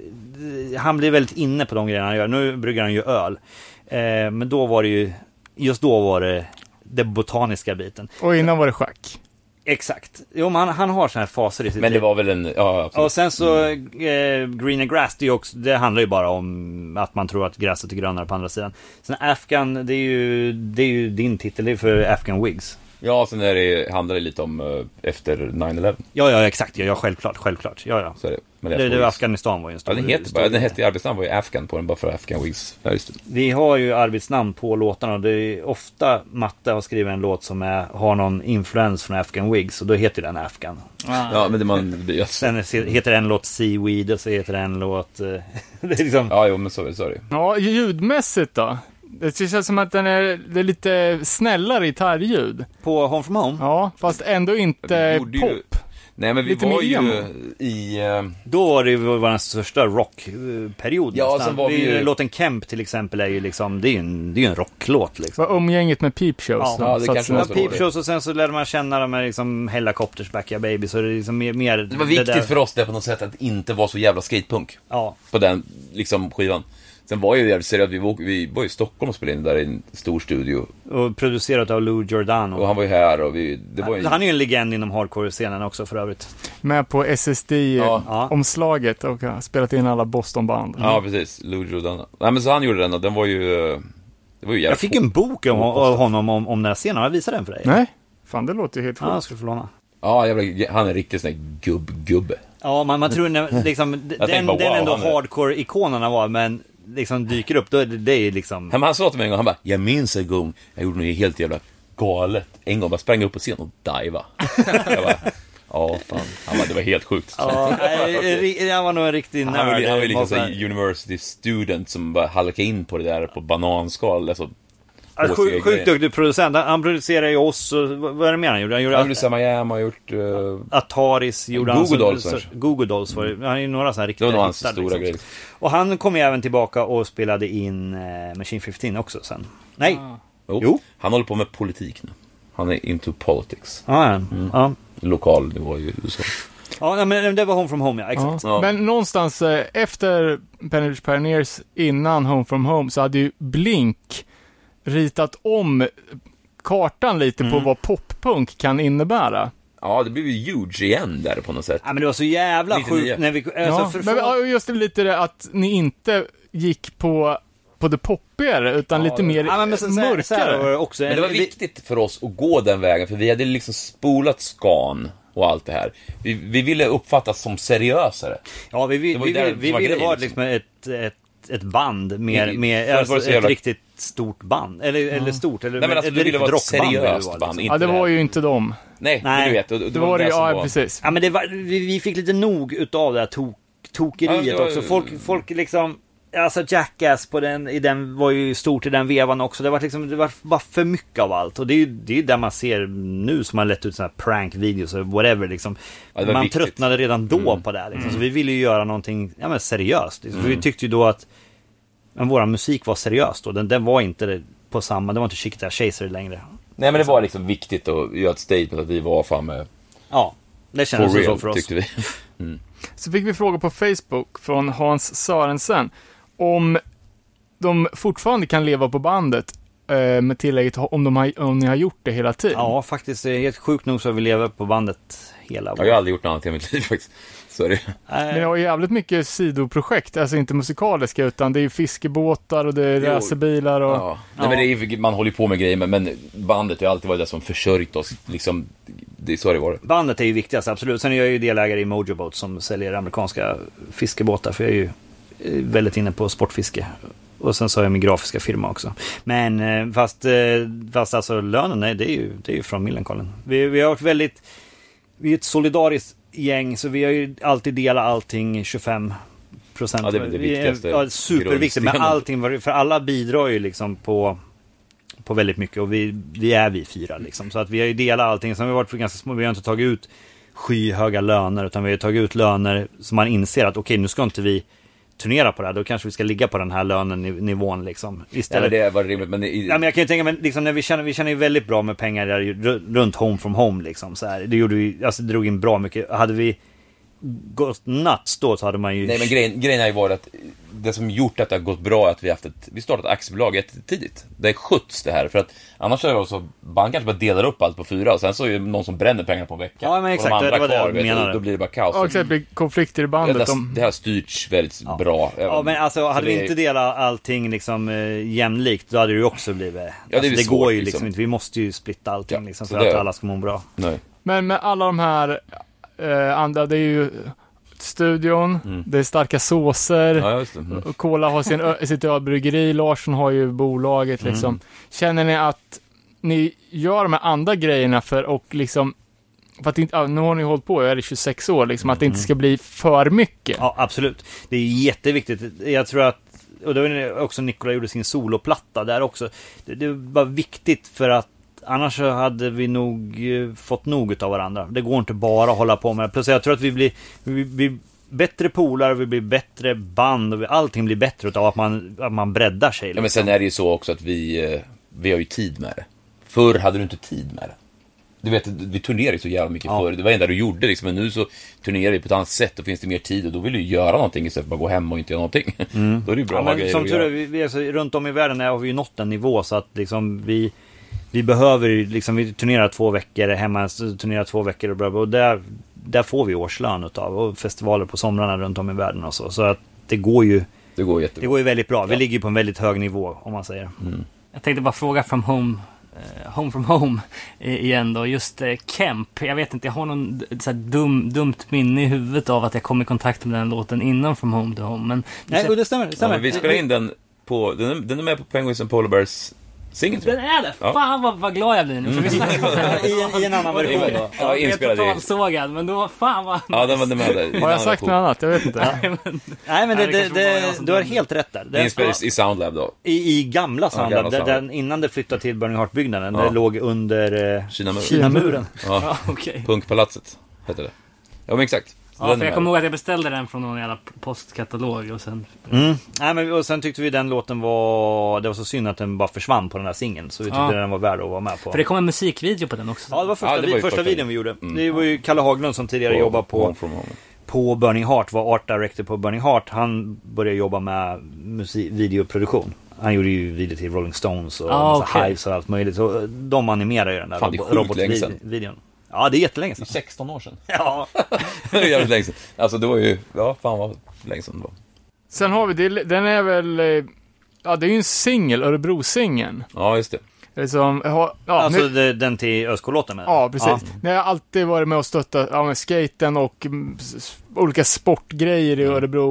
[SPEAKER 7] han blir väldigt inne på de grejerna han gör. Nu brygger han ju öl. Eh, men då var det ju, just då var det den botaniska biten.
[SPEAKER 3] Och innan var det schack.
[SPEAKER 7] Exakt. Jo, men han, han har såna här faser i sitt
[SPEAKER 6] Men det
[SPEAKER 7] liv.
[SPEAKER 6] var Mm. väl en... Ja,
[SPEAKER 7] Och
[SPEAKER 6] absolut.
[SPEAKER 7] sen så, eh, green and grass, det, är ju också, det handlar ju bara om att man tror att gräset är grönare på andra sidan. Sen Afghan, det är ju, det är ju din titel, det är för Afghan Wigs.
[SPEAKER 6] Ja, sen är det, handlar det lite om eh, efter 9-11.
[SPEAKER 7] Ja, ja, exakt. Ja, ja självklart, självklart. Ja, ja.
[SPEAKER 6] Så är det. Men det är
[SPEAKER 7] Det,
[SPEAKER 6] för
[SPEAKER 7] det,
[SPEAKER 6] Wigs.
[SPEAKER 7] Afghanistan var ju en stor...
[SPEAKER 6] Ja, den heter bara,
[SPEAKER 7] stor-
[SPEAKER 6] den hette i arbetsnamn var ju Afghan på den, bara för Afghan Wigs. Ja, just det.
[SPEAKER 7] Vi har ju arbetsnamn på låtarna och det är ofta Matte har skrivit en låt som är, har någon influens från Afghan Wigs och då heter den Afghan.
[SPEAKER 6] Ja, men det man det blir ju alltså.
[SPEAKER 7] Sen är- heter en låt Seaweed och så heter en låt... eh, det är liksom...
[SPEAKER 6] Ja, jo, men så är det, så är det.
[SPEAKER 3] Ja, ljudmässigt då? Det känns som att den är, det är lite snällare gitarrljud.
[SPEAKER 7] På Home From Home,
[SPEAKER 3] Ja, fast ändå
[SPEAKER 6] Vi
[SPEAKER 3] inte
[SPEAKER 6] gjorde ju-
[SPEAKER 3] pop.
[SPEAKER 6] Nej, men vi
[SPEAKER 3] Lite
[SPEAKER 6] var
[SPEAKER 3] mer emo.
[SPEAKER 6] ju i... eh,
[SPEAKER 7] då var det ju vår största rockperiod
[SPEAKER 6] Ja,
[SPEAKER 7] nästan.
[SPEAKER 6] sen var vi ju-
[SPEAKER 7] Låten Kemp till exempel är ju liksom, det är ju en, det är ju en rocklåt liksom.
[SPEAKER 3] Det var umgänget med Peep Shows.
[SPEAKER 7] Ja,
[SPEAKER 3] som
[SPEAKER 6] ja, det
[SPEAKER 3] satt
[SPEAKER 6] kanske
[SPEAKER 3] sina
[SPEAKER 6] var
[SPEAKER 7] Ja,
[SPEAKER 6] så.
[SPEAKER 7] Peep Shows och sen så lärde man känna de här liksom Hellacopters, Back Your Baby, så det är liksom mer... mer
[SPEAKER 6] Det var
[SPEAKER 7] där-
[SPEAKER 6] viktigt för oss där på något sätt att inte vara så jävla skatepunk
[SPEAKER 7] Ja,
[SPEAKER 6] på den liksom, skivan. Sen var ju jävligt seriöst, vi var, vi var ju i Stockholm och spelade in där i en stor studio.
[SPEAKER 7] och producerat av Lou Giordano.
[SPEAKER 6] Och han var ju här och vi... Det var ju...
[SPEAKER 7] Han är ju en legend inom hardcore-scenen också för övrigt.
[SPEAKER 3] Med
[SPEAKER 7] Ja.
[SPEAKER 3] på SSD-omslaget och har spelat in alla Boston-band.
[SPEAKER 6] Ja, precis. Lou Giordano. Nej, men så han gjorde den och den var ju... eh, Det var ju
[SPEAKER 7] Jag
[SPEAKER 6] jävligt
[SPEAKER 7] fick en bok om, av honom om, om den här scenen, har jag visat den för dig?
[SPEAKER 3] Nej, fan det låter ju helt
[SPEAKER 7] Ja,
[SPEAKER 3] sjukt.
[SPEAKER 7] jag skulle få låna.
[SPEAKER 6] Ja, jävla, han är en riktig sån där gubb-gubbe.
[SPEAKER 7] Ja, man, man tror när, liksom, d-
[SPEAKER 6] Jag
[SPEAKER 7] den,
[SPEAKER 6] tänkte bara,
[SPEAKER 7] den
[SPEAKER 6] wow,
[SPEAKER 7] ändå
[SPEAKER 6] han är-
[SPEAKER 7] hardcore-ikonen han var, men liksom dyker upp, då är det, det är ju liksom...
[SPEAKER 6] Han, han sa till mig en gång, han bara, jag minns en gång, jag gjorde något helt jävla galet. En gång bara sprang upp på scen och diva. jag bara, ja fan. Han bara, det var helt sjukt.
[SPEAKER 7] Ja, nej, ri- han var nog en riktig nörd.
[SPEAKER 6] Han var, han var liksom
[SPEAKER 7] måste
[SPEAKER 6] såhär
[SPEAKER 7] man-
[SPEAKER 6] university student som bara halkade in på det där på bananskal. Alltså,
[SPEAKER 7] Ja, sju-
[SPEAKER 6] åsiga
[SPEAKER 7] Sjukt
[SPEAKER 6] grejer.
[SPEAKER 7] duktig producent. Han, han producerar ju oss och vad vad är det mer han gjorde? Han gjorde
[SPEAKER 6] Han gjorde samma jam, han har gjort... eh,
[SPEAKER 7] Ataris gjorde han.
[SPEAKER 6] Google
[SPEAKER 7] så-
[SPEAKER 6] Dolls,
[SPEAKER 7] så-
[SPEAKER 6] kanske.
[SPEAKER 7] Google Dolls var det. Han är ju några sådana
[SPEAKER 6] det
[SPEAKER 7] riktiga
[SPEAKER 6] var nog hans
[SPEAKER 7] hittar,
[SPEAKER 6] stora
[SPEAKER 7] liksom.
[SPEAKER 6] grej.
[SPEAKER 7] Och han kom ju även tillbaka och spelade in eh, Machine 15 också sen. Nej.
[SPEAKER 3] Ah.
[SPEAKER 6] Jo.
[SPEAKER 7] Jo.
[SPEAKER 6] Han håller på med politik nu. Han är into politics.
[SPEAKER 7] Ja, ja. ja.
[SPEAKER 6] Lokal nivå i USA.
[SPEAKER 7] ja nej, men det var Home From Home ja, exakt.
[SPEAKER 6] Ja.
[SPEAKER 3] Men någonstans eh, efter Penage Pioneers, innan Home From Home, så hade ju Blink ritat om kartan lite
[SPEAKER 7] Mm.
[SPEAKER 3] på vad poppunk kan innebära.
[SPEAKER 6] Ja, det blev ju huge igen där på något sätt.
[SPEAKER 7] Ja, men det var så jävla
[SPEAKER 6] 99.
[SPEAKER 7] sjukt när vi... Alltså,
[SPEAKER 3] Ja,
[SPEAKER 7] för,
[SPEAKER 3] men ja, just det, lite det att ni inte gick på, på det poppigare, utan lite mer
[SPEAKER 7] ja, men sen, så här,
[SPEAKER 3] mörkare.
[SPEAKER 7] så här var det också.
[SPEAKER 6] Men det var
[SPEAKER 7] Vi-
[SPEAKER 6] viktigt för oss att gå den vägen, för vi hade liksom spolat skan och allt det här. Vi, vi ville uppfattas som seriösare.
[SPEAKER 7] Ja, vi, vi,
[SPEAKER 6] Det var ju
[SPEAKER 7] vi,
[SPEAKER 6] där
[SPEAKER 7] vi,
[SPEAKER 6] som
[SPEAKER 7] vi
[SPEAKER 6] var
[SPEAKER 7] ville
[SPEAKER 6] grejen,
[SPEAKER 7] vara liksom
[SPEAKER 6] liksom.
[SPEAKER 7] ett, ett, ett band mer,
[SPEAKER 6] Vi-
[SPEAKER 7] mer
[SPEAKER 6] för att
[SPEAKER 7] alltså,
[SPEAKER 6] vara så
[SPEAKER 7] ett
[SPEAKER 6] jävla-
[SPEAKER 7] riktigt stort band. Eller, eller stort, eller
[SPEAKER 6] Nej men alltså,
[SPEAKER 7] ett
[SPEAKER 6] vi ville
[SPEAKER 7] riktigt
[SPEAKER 6] vara ett
[SPEAKER 7] rockband ville vi
[SPEAKER 6] seriöst
[SPEAKER 7] vara,
[SPEAKER 6] band.
[SPEAKER 7] liksom.
[SPEAKER 6] Inte
[SPEAKER 3] Ja, det
[SPEAKER 6] här-
[SPEAKER 3] var ju inte dem.
[SPEAKER 6] Nej,
[SPEAKER 7] Nej.
[SPEAKER 6] men du vet. och- och
[SPEAKER 3] Det var det,
[SPEAKER 6] som
[SPEAKER 3] ja precis.
[SPEAKER 7] Ja, men det var, vi, vi fick lite nog utav det här tok, tokeriet
[SPEAKER 6] Ja, det var-
[SPEAKER 7] också. Folk, folk liksom... Alltså Jackass på den, i den var ju stort i den vevan också. Det var, liksom, det var bara för mycket av allt. Och det är ju det, är ju där man ser nu som har lett ut sådana här prank-videos och whatever. Liksom.
[SPEAKER 6] Ja, det var
[SPEAKER 7] man
[SPEAKER 6] viktigt. Mm.
[SPEAKER 7] tröttnade redan då på det här. Liksom. Så vi ville ju göra någonting ja, men seriöst. Liksom. För Vi tyckte ju då att men vår musik var seriös då. Den, den var inte på samma, den var inte Chiquita Chaser längre.
[SPEAKER 6] Nej men det var liksom viktigt att göra ett statement att vi var fan med
[SPEAKER 7] Ja, det
[SPEAKER 6] for
[SPEAKER 7] kändes ju så
[SPEAKER 6] real,
[SPEAKER 7] för oss.
[SPEAKER 6] tyckte vi.
[SPEAKER 3] Så fick vi fråga på Facebook från Hans Sörensen om de fortfarande kan leva på bandet eh, med tillägget om, de har, om ni har gjort det hela tiden.
[SPEAKER 7] Ja, faktiskt. eh, Helt sjukt nog så har vi levt på bandet hela
[SPEAKER 6] Jag har ju aldrig gjort något annat i mitt liv faktiskt. Så är det.
[SPEAKER 7] Nej.
[SPEAKER 3] Men jag har ju jävligt mycket sidoprojekt, alltså inte musikaliska utan det är ju fiskebåtar och det är
[SPEAKER 6] Jo.
[SPEAKER 3] racerbilar och...
[SPEAKER 6] Ja. Nej, men det är, ju- man håller ju på med grejer, men- men bandet har ju alltid varit det som försörjt oss. Liksom, det, så har det varit.
[SPEAKER 7] Bandet är ju viktigast, absolut. Sen är jag ju delägare i Mojo Boat som säljer amerikanska fiskebåtar. För jag är ju eh, väldigt inne på sportfiske. Och sen så har jag min grafiska firma också. Men eh, fast, eh, fast alltså lönen, nej, det är ju, det är ju från Millencolin. Vi, vi har varit väldigt... Vi är ett solidariskt gäng, så vi har ju alltid delat allting 25 procent.
[SPEAKER 6] Ja, det är väl det viktigaste.
[SPEAKER 7] Ja, superviktigt. Men
[SPEAKER 6] Grundstenen.
[SPEAKER 7] allting, var- för alla bidrar ju liksom på på väldigt mycket och vi, vi är vi fyra liksom. Så att vi har ju delat allting. Sen har vi varit för ganska små, vi har inte tagit ut skyhöga löner utan vi har tagit ut löner som man inser att okej nu ska inte vi turnera på det här, då kanske vi ska ligga på den här lönen niv- nivån liksom.
[SPEAKER 6] Ja, men
[SPEAKER 7] Istället. Ja,
[SPEAKER 6] det var rimligt, men, i,
[SPEAKER 7] men jag kan ju tänka mig, liksom, när vi, tjänar, vi tjänar ju väldigt bra med pengar där, ju ru- runt home from home. Liksom, så här. Det gjorde vi, alltså, det drog in bra mycket. Hade vi gått nuts då så hade man ju...
[SPEAKER 6] Nej men grejen, grejen har ju varit att det som gjort att det har gått bra är att vi har haft ett, vi startat aktiebolag tidigt. Det sköts det här, för att annars är det så, banken kanske bara delar upp allt på fyra och sen så är det någon som bränner pengar på en vecka.
[SPEAKER 7] Ja, men exakt,
[SPEAKER 6] och de andra
[SPEAKER 7] det var det jag
[SPEAKER 6] kvar, vet du,
[SPEAKER 7] menade.
[SPEAKER 6] Då blir det bara kaos.
[SPEAKER 3] Ja, exakt. Det blir konflikter i bandet.
[SPEAKER 6] det,
[SPEAKER 3] om...
[SPEAKER 6] har, det har styrts väldigt bra.
[SPEAKER 7] Ja
[SPEAKER 6] även-
[SPEAKER 7] men alltså
[SPEAKER 6] så
[SPEAKER 7] hade
[SPEAKER 6] det
[SPEAKER 7] vi
[SPEAKER 6] är-
[SPEAKER 7] inte delat allting liksom eh, jämlikt då hade det ju också blivit...
[SPEAKER 6] det är
[SPEAKER 7] alltså,
[SPEAKER 6] ju
[SPEAKER 7] det
[SPEAKER 6] svårt,
[SPEAKER 7] går ju liksom,
[SPEAKER 6] liksom.
[SPEAKER 7] inte, vi måste ju splitta allting
[SPEAKER 6] Ja,
[SPEAKER 7] liksom
[SPEAKER 6] så
[SPEAKER 7] för
[SPEAKER 6] det-
[SPEAKER 7] att alla ska må bra.
[SPEAKER 6] Nej.
[SPEAKER 3] Men med alla de här eh, andra, det är ju studion, det är starka såser,
[SPEAKER 6] Ja, just det. Mm.
[SPEAKER 3] och Cola har sin, ö- sitt ölbryggeri, Larsson har ju bolaget
[SPEAKER 7] Mm.
[SPEAKER 3] liksom. Känner ni att ni gör de här andra grejerna för och liksom för att inte, ja, nu har ni hållit på, är det 26 år liksom, att det inte ska bli för mycket.
[SPEAKER 7] Mm. Ja absolut. Det är jätteviktigt. Jag tror att och då är det också Nikola gjorde sin soloplatta där också. Det, det var viktigt för att annars så hade vi nog eh, fått nog av varandra. Det går inte bara att hålla på med det. Plus jag tror att vi blir, vi blir bättre polare, vi blir bättre band och vi, allting blir bättre utav att man, att man breddar sig.
[SPEAKER 6] Ja, men sen är det ju så också att vi, eh, vi har ju tid med det. Förr hade du inte tid med det. Du vet, vi turnerade ju så jävla mycket
[SPEAKER 7] Ja.
[SPEAKER 6] förr. Det var det enda du gjorde liksom. Men nu så turnerar vi på ett annat sätt. Då finns det mer tid och då vill du ju göra någonting istället för att bara gå hem och inte göra någonting. Då är det ju bra
[SPEAKER 7] Ja,
[SPEAKER 6] att ha
[SPEAKER 7] men
[SPEAKER 6] grejer
[SPEAKER 7] som
[SPEAKER 6] att
[SPEAKER 7] tur
[SPEAKER 6] göra.
[SPEAKER 7] är, vi, vi, alltså, runt om i världen har vi ju nått en nivå så att liksom vi Vi behöver ju liksom, vi turnerar två veckor hemma, så turnerar två veckor och, bla, bla, och där, där får vi årslön utav och festivaler på somrarna runt om i världen och så. Så att det går ju,
[SPEAKER 6] Det går
[SPEAKER 7] det
[SPEAKER 6] jättebra.
[SPEAKER 7] går ju väldigt bra. Vi ligger ju på en väldigt hög nivå om man säger.
[SPEAKER 6] Mm.
[SPEAKER 2] Jag tänkte bara fråga from home, eh, home from home eh, igen då. Just eh, Kemp, jag vet inte, jag har någon d- så här dum, dumt minne i huvudet av att jag kom i kontakt med den låten innan from home to home. Men
[SPEAKER 7] Nej, och det stämmer. Det
[SPEAKER 6] Ja,
[SPEAKER 7] stämmer.
[SPEAKER 6] men vi spelar in den på, den är, den är med på Penguins and Polar Bears singeln tror
[SPEAKER 2] den
[SPEAKER 6] jag.
[SPEAKER 2] är det!
[SPEAKER 6] Ja. Mm.
[SPEAKER 2] Fan vad, vad glad jag blir nu. För vi snackade om det här.
[SPEAKER 7] I, I en annan version då.
[SPEAKER 6] Ja,
[SPEAKER 2] Jag är
[SPEAKER 6] inspelad i...
[SPEAKER 2] totalsågad, men då, fan vad...
[SPEAKER 6] Ja, den var den var med där.
[SPEAKER 3] har jag sagt något annat? Jag vet inte.
[SPEAKER 7] Nej men det,
[SPEAKER 2] Nej, det
[SPEAKER 7] det,
[SPEAKER 2] kanske var jag
[SPEAKER 7] det,
[SPEAKER 2] som
[SPEAKER 7] du har
[SPEAKER 2] drömde.
[SPEAKER 7] helt rätt där. Den-
[SPEAKER 6] Inspelad i Soundlab då.
[SPEAKER 7] I, i gamla Sandhamn,
[SPEAKER 6] gamla
[SPEAKER 7] där,
[SPEAKER 6] Sandhamn.
[SPEAKER 7] den, innan det flyttade till Burning Heart-byggnaden.
[SPEAKER 6] Ja.
[SPEAKER 7] Det låg under eh,
[SPEAKER 6] Kinamuren.
[SPEAKER 7] Kinamuren.
[SPEAKER 6] Ja,
[SPEAKER 2] Ja, okej.
[SPEAKER 6] Punkpalatset hette det. Ja, men exakt. Så
[SPEAKER 2] Ja,
[SPEAKER 6] den
[SPEAKER 2] för
[SPEAKER 6] är
[SPEAKER 2] jag
[SPEAKER 6] med.
[SPEAKER 2] kommer ihåg att jag beställde den från någon jävla postkatalog och sen...
[SPEAKER 7] Mm. Nej, men, och sen tyckte vi den låten var... Det var så synd att den bara försvann på den här singeln. Så vi tyckte
[SPEAKER 2] Ja.
[SPEAKER 7] den var värd att vara med på.
[SPEAKER 2] För det kom en musikvideo på den också.
[SPEAKER 7] Ja, det var första,
[SPEAKER 6] Ja, det var ju
[SPEAKER 7] vi- första,
[SPEAKER 6] första Mm.
[SPEAKER 7] videon vi gjorde. Det var ju Kalle Haglund som tidigare jobbade på,
[SPEAKER 6] Home from home.
[SPEAKER 7] på Burning Heart, var art director på Burning Heart. Han började jobba med musik, videoproduktion. Han gjorde ju video till Rolling Stones och
[SPEAKER 2] Ah,
[SPEAKER 7] massa
[SPEAKER 2] okej.
[SPEAKER 7] Hives och allt möjligt. Så eh, de animerade ju den där
[SPEAKER 6] Fan, det är
[SPEAKER 7] robo-
[SPEAKER 6] sjukt länge
[SPEAKER 7] robotvideon.
[SPEAKER 6] sedan.
[SPEAKER 7] Ja, det är jättelänge sedan.
[SPEAKER 6] 16 år sedan.
[SPEAKER 7] Ja.
[SPEAKER 6] det är jävligt länge sedan. Alltså det var ju, ja fan vad länge sedan det var.
[SPEAKER 3] Sen har vi, det- den är väl, eh, ja det är ju en singel, Örebro-singeln.
[SPEAKER 6] Ja just det.
[SPEAKER 3] Som, har- ja,
[SPEAKER 7] Alltså
[SPEAKER 3] nu-
[SPEAKER 7] det- den till ÖSK-låten menar du?
[SPEAKER 3] Ja, precis. Ni har alltid varit med och stöttat ja, men skaten och mm, s- s- olika sportgrejer
[SPEAKER 7] Mm.
[SPEAKER 3] i Örebro.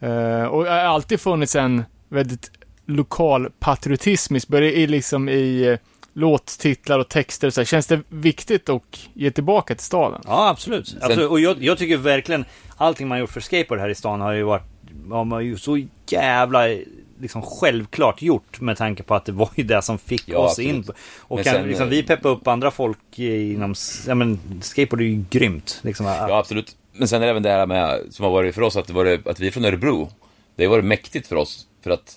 [SPEAKER 3] Eh, och det har alltid funnits en väldigt lokal patriotism i, både i, liksom i eh, låttitlar och texter och så här. Känns det viktigt att ge tillbaka till staden?
[SPEAKER 7] Ja, absolut. absolut. Och jag, jag tycker verkligen allting man gjort för skateboard här i stan har ju varit har man ju så jävla liksom självklart gjort med tanke på att det var ju det som fick
[SPEAKER 6] Ja,
[SPEAKER 7] oss
[SPEAKER 6] absolut.
[SPEAKER 7] in. på- Och
[SPEAKER 6] Men
[SPEAKER 7] kan,
[SPEAKER 6] sen,
[SPEAKER 7] liksom,
[SPEAKER 6] eh,
[SPEAKER 7] vi peppar upp andra folk i- inom... s- Ja, men skateboard är ju grymt. Liksom.
[SPEAKER 6] Ja absolut. Men sen är det även det här med, som har varit för oss, att, det var det, att vi är från Örebro. Det har varit mäktigt för oss. För att,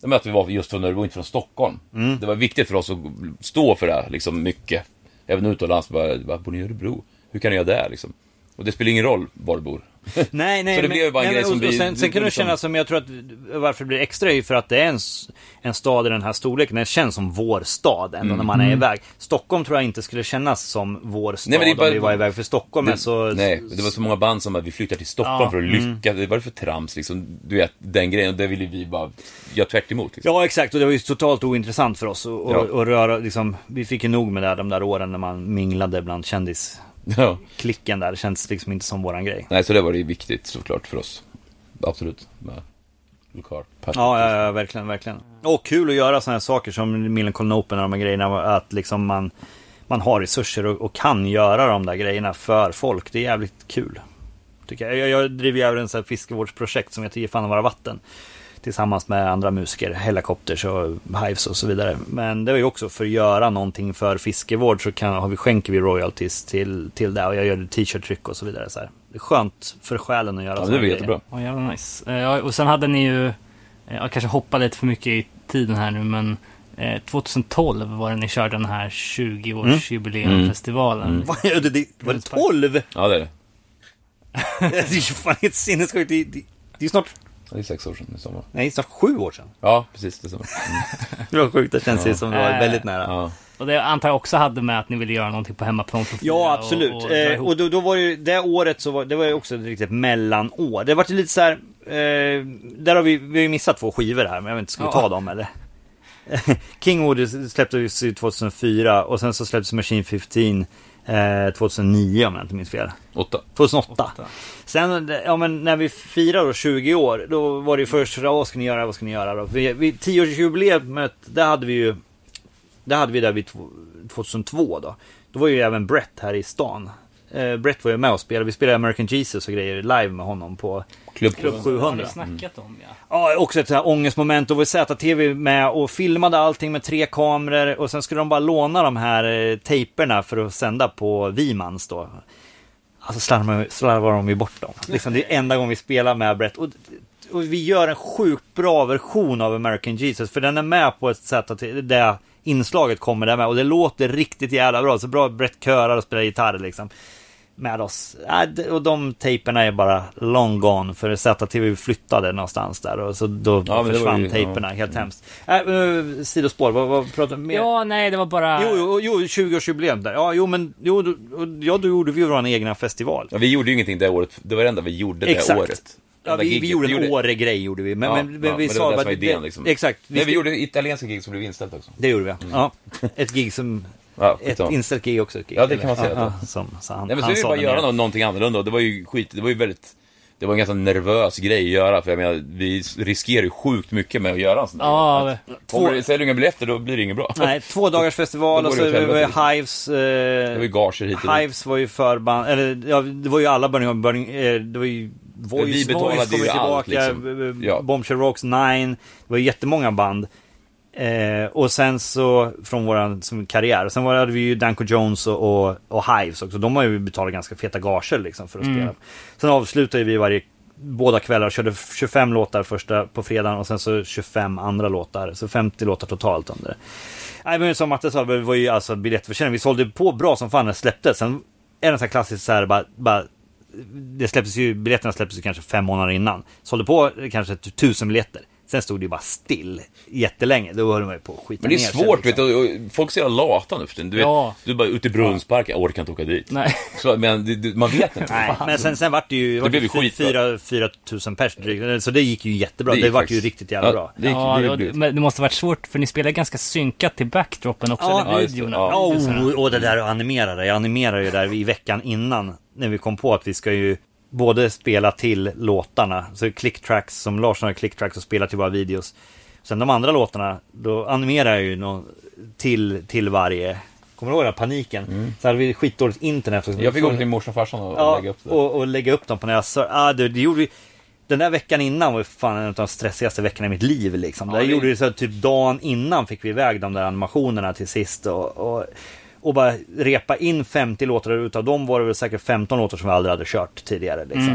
[SPEAKER 6] jag menar att vi var just från Örebro, inte från Stockholm. Det var viktigt för oss att stå för det här, liksom mycket. Även utomlands, bara, bara bor ni i Örebro? Hur kan ni göra det liksom? Och det spelar ingen roll var du bor.
[SPEAKER 7] Nej, nej,
[SPEAKER 6] Så det
[SPEAKER 7] men-
[SPEAKER 6] blev ju bara en
[SPEAKER 7] nej,
[SPEAKER 6] grej
[SPEAKER 7] men-
[SPEAKER 6] som
[SPEAKER 7] och-
[SPEAKER 6] vi-
[SPEAKER 7] och Sen, sen kan
[SPEAKER 6] vi- vi
[SPEAKER 7] du
[SPEAKER 6] liksom-
[SPEAKER 7] känna som, jag tror att varför det blir extra är ju för att det är en, s- en stad i den här storleken. Den känns som vår stad ändå
[SPEAKER 6] Mm.
[SPEAKER 7] när man är iväg. Stockholm tror jag inte skulle kännas som vår stad
[SPEAKER 6] men det är bara-
[SPEAKER 7] om vi var iväg. För Stockholm är
[SPEAKER 6] Det,
[SPEAKER 7] så...
[SPEAKER 6] nej, men det var så många band som att vi flyttar till Stockholm för att lyckas.
[SPEAKER 7] mm.
[SPEAKER 6] Det var för trams liksom. Du vet, den grejen. Och det ville vi bara göra tvärt emot. Liksom.
[SPEAKER 7] Ja exakt och det var ju totalt ointressant för oss och, och,
[SPEAKER 6] Ja.
[SPEAKER 7] och röra liksom, Vi fick ju nog med det här, de där åren när man minglade bland kändisklicken
[SPEAKER 6] Ja.
[SPEAKER 7] där Det känns liksom inte som våran grej
[SPEAKER 6] Nej, så det var det ju viktigt såklart för oss. Absolut. Med lokal
[SPEAKER 7] Ja, ja, ja verkligen, verkligen Och kul att göra sådana här saker som Millencolin Open och de här grejerna Att liksom man, man har resurser och, och kan göra de där grejerna för folk Det är jävligt kul tycker jag. Jag, jag driver ju även en sån här fiskevårdsprojekt som heter Ge fan om våra vatten Tillsammans med andra musiker, Hellacopters och Hives och så vidare. Men det var ju också för att göra någonting för fiskevård så kan, har vi, skänker vi royalties till, till det och jag gör t-shirt-tryck och så vidare. Så här. Det är skönt för själen att göra
[SPEAKER 6] Ja,
[SPEAKER 7] såna
[SPEAKER 6] det var
[SPEAKER 7] grejer.
[SPEAKER 6] jättebra.
[SPEAKER 2] Åh, jävla nice. Eh, ja, och sen hade ni ju, eh, jag kanske hoppar lite för mycket i tiden här nu, men eh, 2012 var det ni körde den här
[SPEAKER 6] Mm.
[SPEAKER 2] 20-årsjubileumfestivalen.
[SPEAKER 7] Vad är det? Det- Var det 12?
[SPEAKER 6] Ja, det är det.
[SPEAKER 7] Det är ju fan helt sinnessjukt. Det, det, det är snart
[SPEAKER 6] Det är sex år sedan i sommar.
[SPEAKER 7] Nej, snart sju år sedan.
[SPEAKER 6] Ja, precis. Det är sommar. Mm.
[SPEAKER 7] Det var sjukt, det känns ju som det var
[SPEAKER 2] Äh.
[SPEAKER 7] väldigt nära.
[SPEAKER 6] Ja.
[SPEAKER 2] Och det antar jag också hade med att ni ville göra någonting på hemmaplan för att fira
[SPEAKER 7] Ja, absolut.
[SPEAKER 2] Och,
[SPEAKER 7] Och,
[SPEAKER 2] och, dra
[SPEAKER 7] eh,
[SPEAKER 2] ihop.
[SPEAKER 7] och då, då var det ju, det året så var det var ju också ett riktigt mellanår. Det vart ju lite så här, eh, där har vi, vi har ju missat två skivor här, men jag vet inte, ska vi
[SPEAKER 2] Ja.
[SPEAKER 7] ta dem eller? Kingwood släpptes ju 2004 och sen så släpptes Machine 15 eh, 2009 om jag inte minns fel.
[SPEAKER 6] Åtta.
[SPEAKER 7] 2008. Sen ja, men när vi firar då 20 år, då var det ju först, ja, vad ska ni göra, vad ska ni göra då? Vi, vi, 10-årsjubileet, det hade vi ju, det hade vi där vid tv- 2002 då. Då var ju även Brett här i stan. Eh, Brett var ju med och spelade, vi spelade American Jesus och grejer live med honom på
[SPEAKER 6] Klubb.
[SPEAKER 7] Klubb
[SPEAKER 2] Har ni
[SPEAKER 7] 700.
[SPEAKER 2] snackat om ja.
[SPEAKER 7] Ja, också ett så här ångestmoment. Då var ZTV med och filmade allting med tre kameror och sen skulle de bara låna de här eh, tejperna för att sända på Vimans då. Alltså slarvar, slarvar de ju bort dem. Liksom, det är enda gången vi spelar med Brett. Och, och vi gör en sjukt bra version av American Jesus för den är med på ett sätt att det- det inslaget kommer där med och det låter riktigt jävla bra. Så bra Brett körar och spelar gitarr liksom med oss. Äh, d- Och de tejperna är bara long gone för ZTV flyttade någonstans där och så då
[SPEAKER 6] Ja, men det var
[SPEAKER 7] försvann
[SPEAKER 6] ju-
[SPEAKER 7] tejperna
[SPEAKER 6] ja. Mm.
[SPEAKER 7] helt hemskt. Äh, eh, sidospår, vad, vad pratar vi mer?
[SPEAKER 2] ja, nej, det var bara...
[SPEAKER 7] Jo, jo, jo 20-årsjubileum där. Ja, jo, men jo, då, ja, då gjorde vi ju vår egna festival.
[SPEAKER 6] Ja, vi gjorde ju ingenting det året. Det var det enda vi gjorde det
[SPEAKER 7] Exakt.
[SPEAKER 6] året.
[SPEAKER 7] Ja,
[SPEAKER 6] Enda
[SPEAKER 7] vi, vi
[SPEAKER 6] gigget.
[SPEAKER 7] gjorde en Åre-grej gjorde vi. Men,
[SPEAKER 6] Ja,
[SPEAKER 7] men, men
[SPEAKER 6] ja,
[SPEAKER 7] vi
[SPEAKER 6] men det
[SPEAKER 7] sa
[SPEAKER 6] var det
[SPEAKER 7] bara
[SPEAKER 6] som var idén, liksom.
[SPEAKER 7] Exakt. Vi,
[SPEAKER 6] Nej,
[SPEAKER 7] ska-
[SPEAKER 6] vi gjorde italienska gig som blev inställt också.
[SPEAKER 7] Det gjorde vi, ja. ja. Ett gig som...
[SPEAKER 6] Ja,
[SPEAKER 7] ett
[SPEAKER 6] skitsamma.
[SPEAKER 7] inställt gig också. ett Gig,
[SPEAKER 6] Ja, det
[SPEAKER 7] eller?
[SPEAKER 6] kan man säga
[SPEAKER 7] Ja,
[SPEAKER 6] att-
[SPEAKER 7] ja, som, så han,
[SPEAKER 6] Nej men så
[SPEAKER 7] han
[SPEAKER 6] är det
[SPEAKER 7] sa
[SPEAKER 6] bara att
[SPEAKER 7] det
[SPEAKER 6] göra
[SPEAKER 7] mer.
[SPEAKER 6] något- någonting annorlunda och det var ju skit, det var ju väldigt Det var en ganska nervös grej att göra för jag menar vi riskerar ju sjukt mycket med att göra en sån där
[SPEAKER 2] Ja,
[SPEAKER 6] grej. Att Om du säljer inga biljetter då blir det inget bra.
[SPEAKER 7] Nej, två dagars festival
[SPEAKER 6] Då
[SPEAKER 7] och
[SPEAKER 6] går
[SPEAKER 7] så
[SPEAKER 6] det åt
[SPEAKER 7] var
[SPEAKER 6] helvete.
[SPEAKER 7] ju Hives... Eh,
[SPEAKER 6] Det var ju gager hit och dit.
[SPEAKER 7] Hives var ju förband, eller ja, det var ju alla Burning Up Burning, eh, det var ju Voice,
[SPEAKER 6] Vi betalade
[SPEAKER 7] Voice kommer
[SPEAKER 6] ju
[SPEAKER 7] tillbaka,
[SPEAKER 6] allt, liksom.
[SPEAKER 7] eh,
[SPEAKER 6] Ja.
[SPEAKER 7] Bombshell Rocks, Nine, det var ju jättemånga band. Eh, och sen så, från våran som karriär, och sen var, hade vi ju Danko Jones och, och, och Hives också, de har ju betalat ganska feta gager liksom för att spela. Sen avslutade vi varje Båda kvällar och körde 25 låtar första på fredagen och sen så 25 andra låtar. Så 50 låtar totalt under det. Nej men som Matte sa, det var ju alltså biljettförsäljning. Vi sålde på bra som fan när det släpptes. Sen är det så här klassiskt så här bara, bara det släpptes ju, biljetterna släpptes ju kanske fem månader innan. Sålde på kanske t- tusen biljetter. Sen stod det ju bara still jättelänge. Då höll man ju på att skita
[SPEAKER 6] Men det är
[SPEAKER 7] ner sig,
[SPEAKER 6] svårt
[SPEAKER 7] liksom.
[SPEAKER 6] vet du, och- och folk ser jävla lata nu för tiden. Du, vet,
[SPEAKER 2] Ja.
[SPEAKER 6] du är bara ute i Brunnspark, jag orkar inte åka dit.
[SPEAKER 2] Nej.
[SPEAKER 6] Så, men det, det, man vet inte.
[SPEAKER 7] Nej, men sen, sen vart det ju, vart
[SPEAKER 6] blev ju
[SPEAKER 7] ju fy-
[SPEAKER 6] skit,
[SPEAKER 7] fyra, fyra tusen pers drygt. Så det gick ju jättebra. Det,
[SPEAKER 6] gick
[SPEAKER 7] vart
[SPEAKER 6] faktiskt-
[SPEAKER 7] ju riktigt jävla
[SPEAKER 6] ja,
[SPEAKER 7] bra.
[SPEAKER 6] Det gick,
[SPEAKER 2] ja,
[SPEAKER 6] det,
[SPEAKER 2] det,
[SPEAKER 6] blev-
[SPEAKER 2] men det måste varit svårt för ni spelar ganska synkat till backdropen också,
[SPEAKER 7] Ja,
[SPEAKER 2] eller
[SPEAKER 6] just det.
[SPEAKER 2] videorna.
[SPEAKER 6] Ja.
[SPEAKER 7] Ja, oh, och, och det där att animera det. Jag animerade ju där i veckan innan när vi kom på att vi ska ju både spela till låtarna, så clicktracks som Larsson har clicktracks och spelar till våra videos. Sen de andra låtarna, då animerar jag ju nå- till, till varje. Kommer du ihåg den här paniken? Så hade vi skitdåligt internet.
[SPEAKER 6] Mm. Jag fick gå till morsan och farsan och
[SPEAKER 7] ja,
[SPEAKER 6] lägga upp det.
[SPEAKER 7] Och, och lägga upp dem på deras server. Ah, det, det gjorde vi. Den där veckan innan var ju fan en av de stressigaste veckorna i mitt liv. Liksom. där
[SPEAKER 6] det-
[SPEAKER 7] gjorde vi så att typ dagen innan fick vi iväg de där animationerna till sist. Och, och, och bara repa in 50 låtar och utav dem var det väl säkert 15 låtar som vi aldrig hade kört tidigare. Liksom.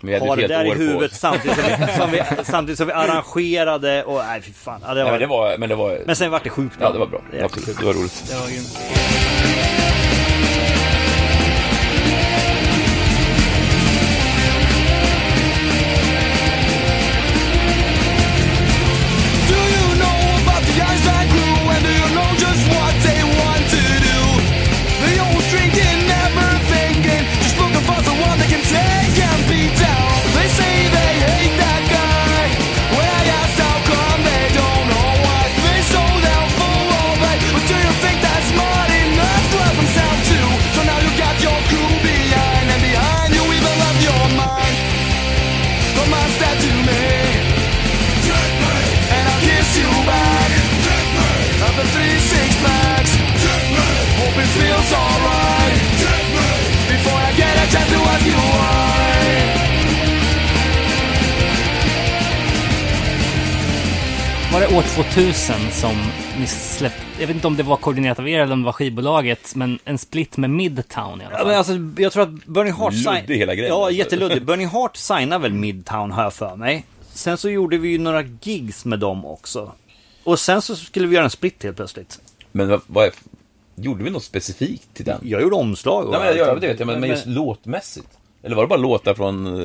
[SPEAKER 6] Men jag hade
[SPEAKER 7] Ha det
[SPEAKER 6] Mm. ett helt
[SPEAKER 7] där i
[SPEAKER 6] år på
[SPEAKER 7] huvudet
[SPEAKER 6] oss.
[SPEAKER 7] samtidigt som, vi, som vi, samtidigt som vi arrangerade och nej fy fan. Ja, det var,
[SPEAKER 6] Nej, men det var, men det var,
[SPEAKER 7] men sen vart det sjukt
[SPEAKER 6] ja det var bra.
[SPEAKER 7] Jättekul.
[SPEAKER 6] Absolut, det var roligt.
[SPEAKER 5] Do you know about the eyes that grew? And do you know just what they want to do? They always drinking, never thinking, just looking for someone they can take and beat down. They say they hate that guy. When I ask how come they don't know why, they sold out for all right. But do you think that's smart enough to help himself too? So now you got your crew behind, and behind you even left your mind. The minds that you made. And I'll kiss you back. Up in three six packs. Hope it feels alright. Before I get a chance to ask you why.
[SPEAKER 2] Var det år 2000 som ni släppte, jag vet inte om det var koordinerat av er eller om det var skivbolaget, men en split med Midtown i alla
[SPEAKER 7] Ja,
[SPEAKER 2] fall.
[SPEAKER 7] men alltså, jag tror att Burning Heart... sign-
[SPEAKER 6] Luddig hela grejen,
[SPEAKER 7] Ja,
[SPEAKER 6] alltså.
[SPEAKER 7] jätteluddig. Burning Heart signar väl Midtown, har jag för mig. Sen så gjorde vi ju några gigs med dem också. Och sen så skulle vi göra en split helt plötsligt.
[SPEAKER 6] Men vad, vad är, gjorde vi något specifikt till den?
[SPEAKER 7] Jag gjorde omslag och
[SPEAKER 6] Nej, men jag,
[SPEAKER 7] allt.
[SPEAKER 6] jag vet inte, men, men just låtmässigt. Eller var det bara låtar från...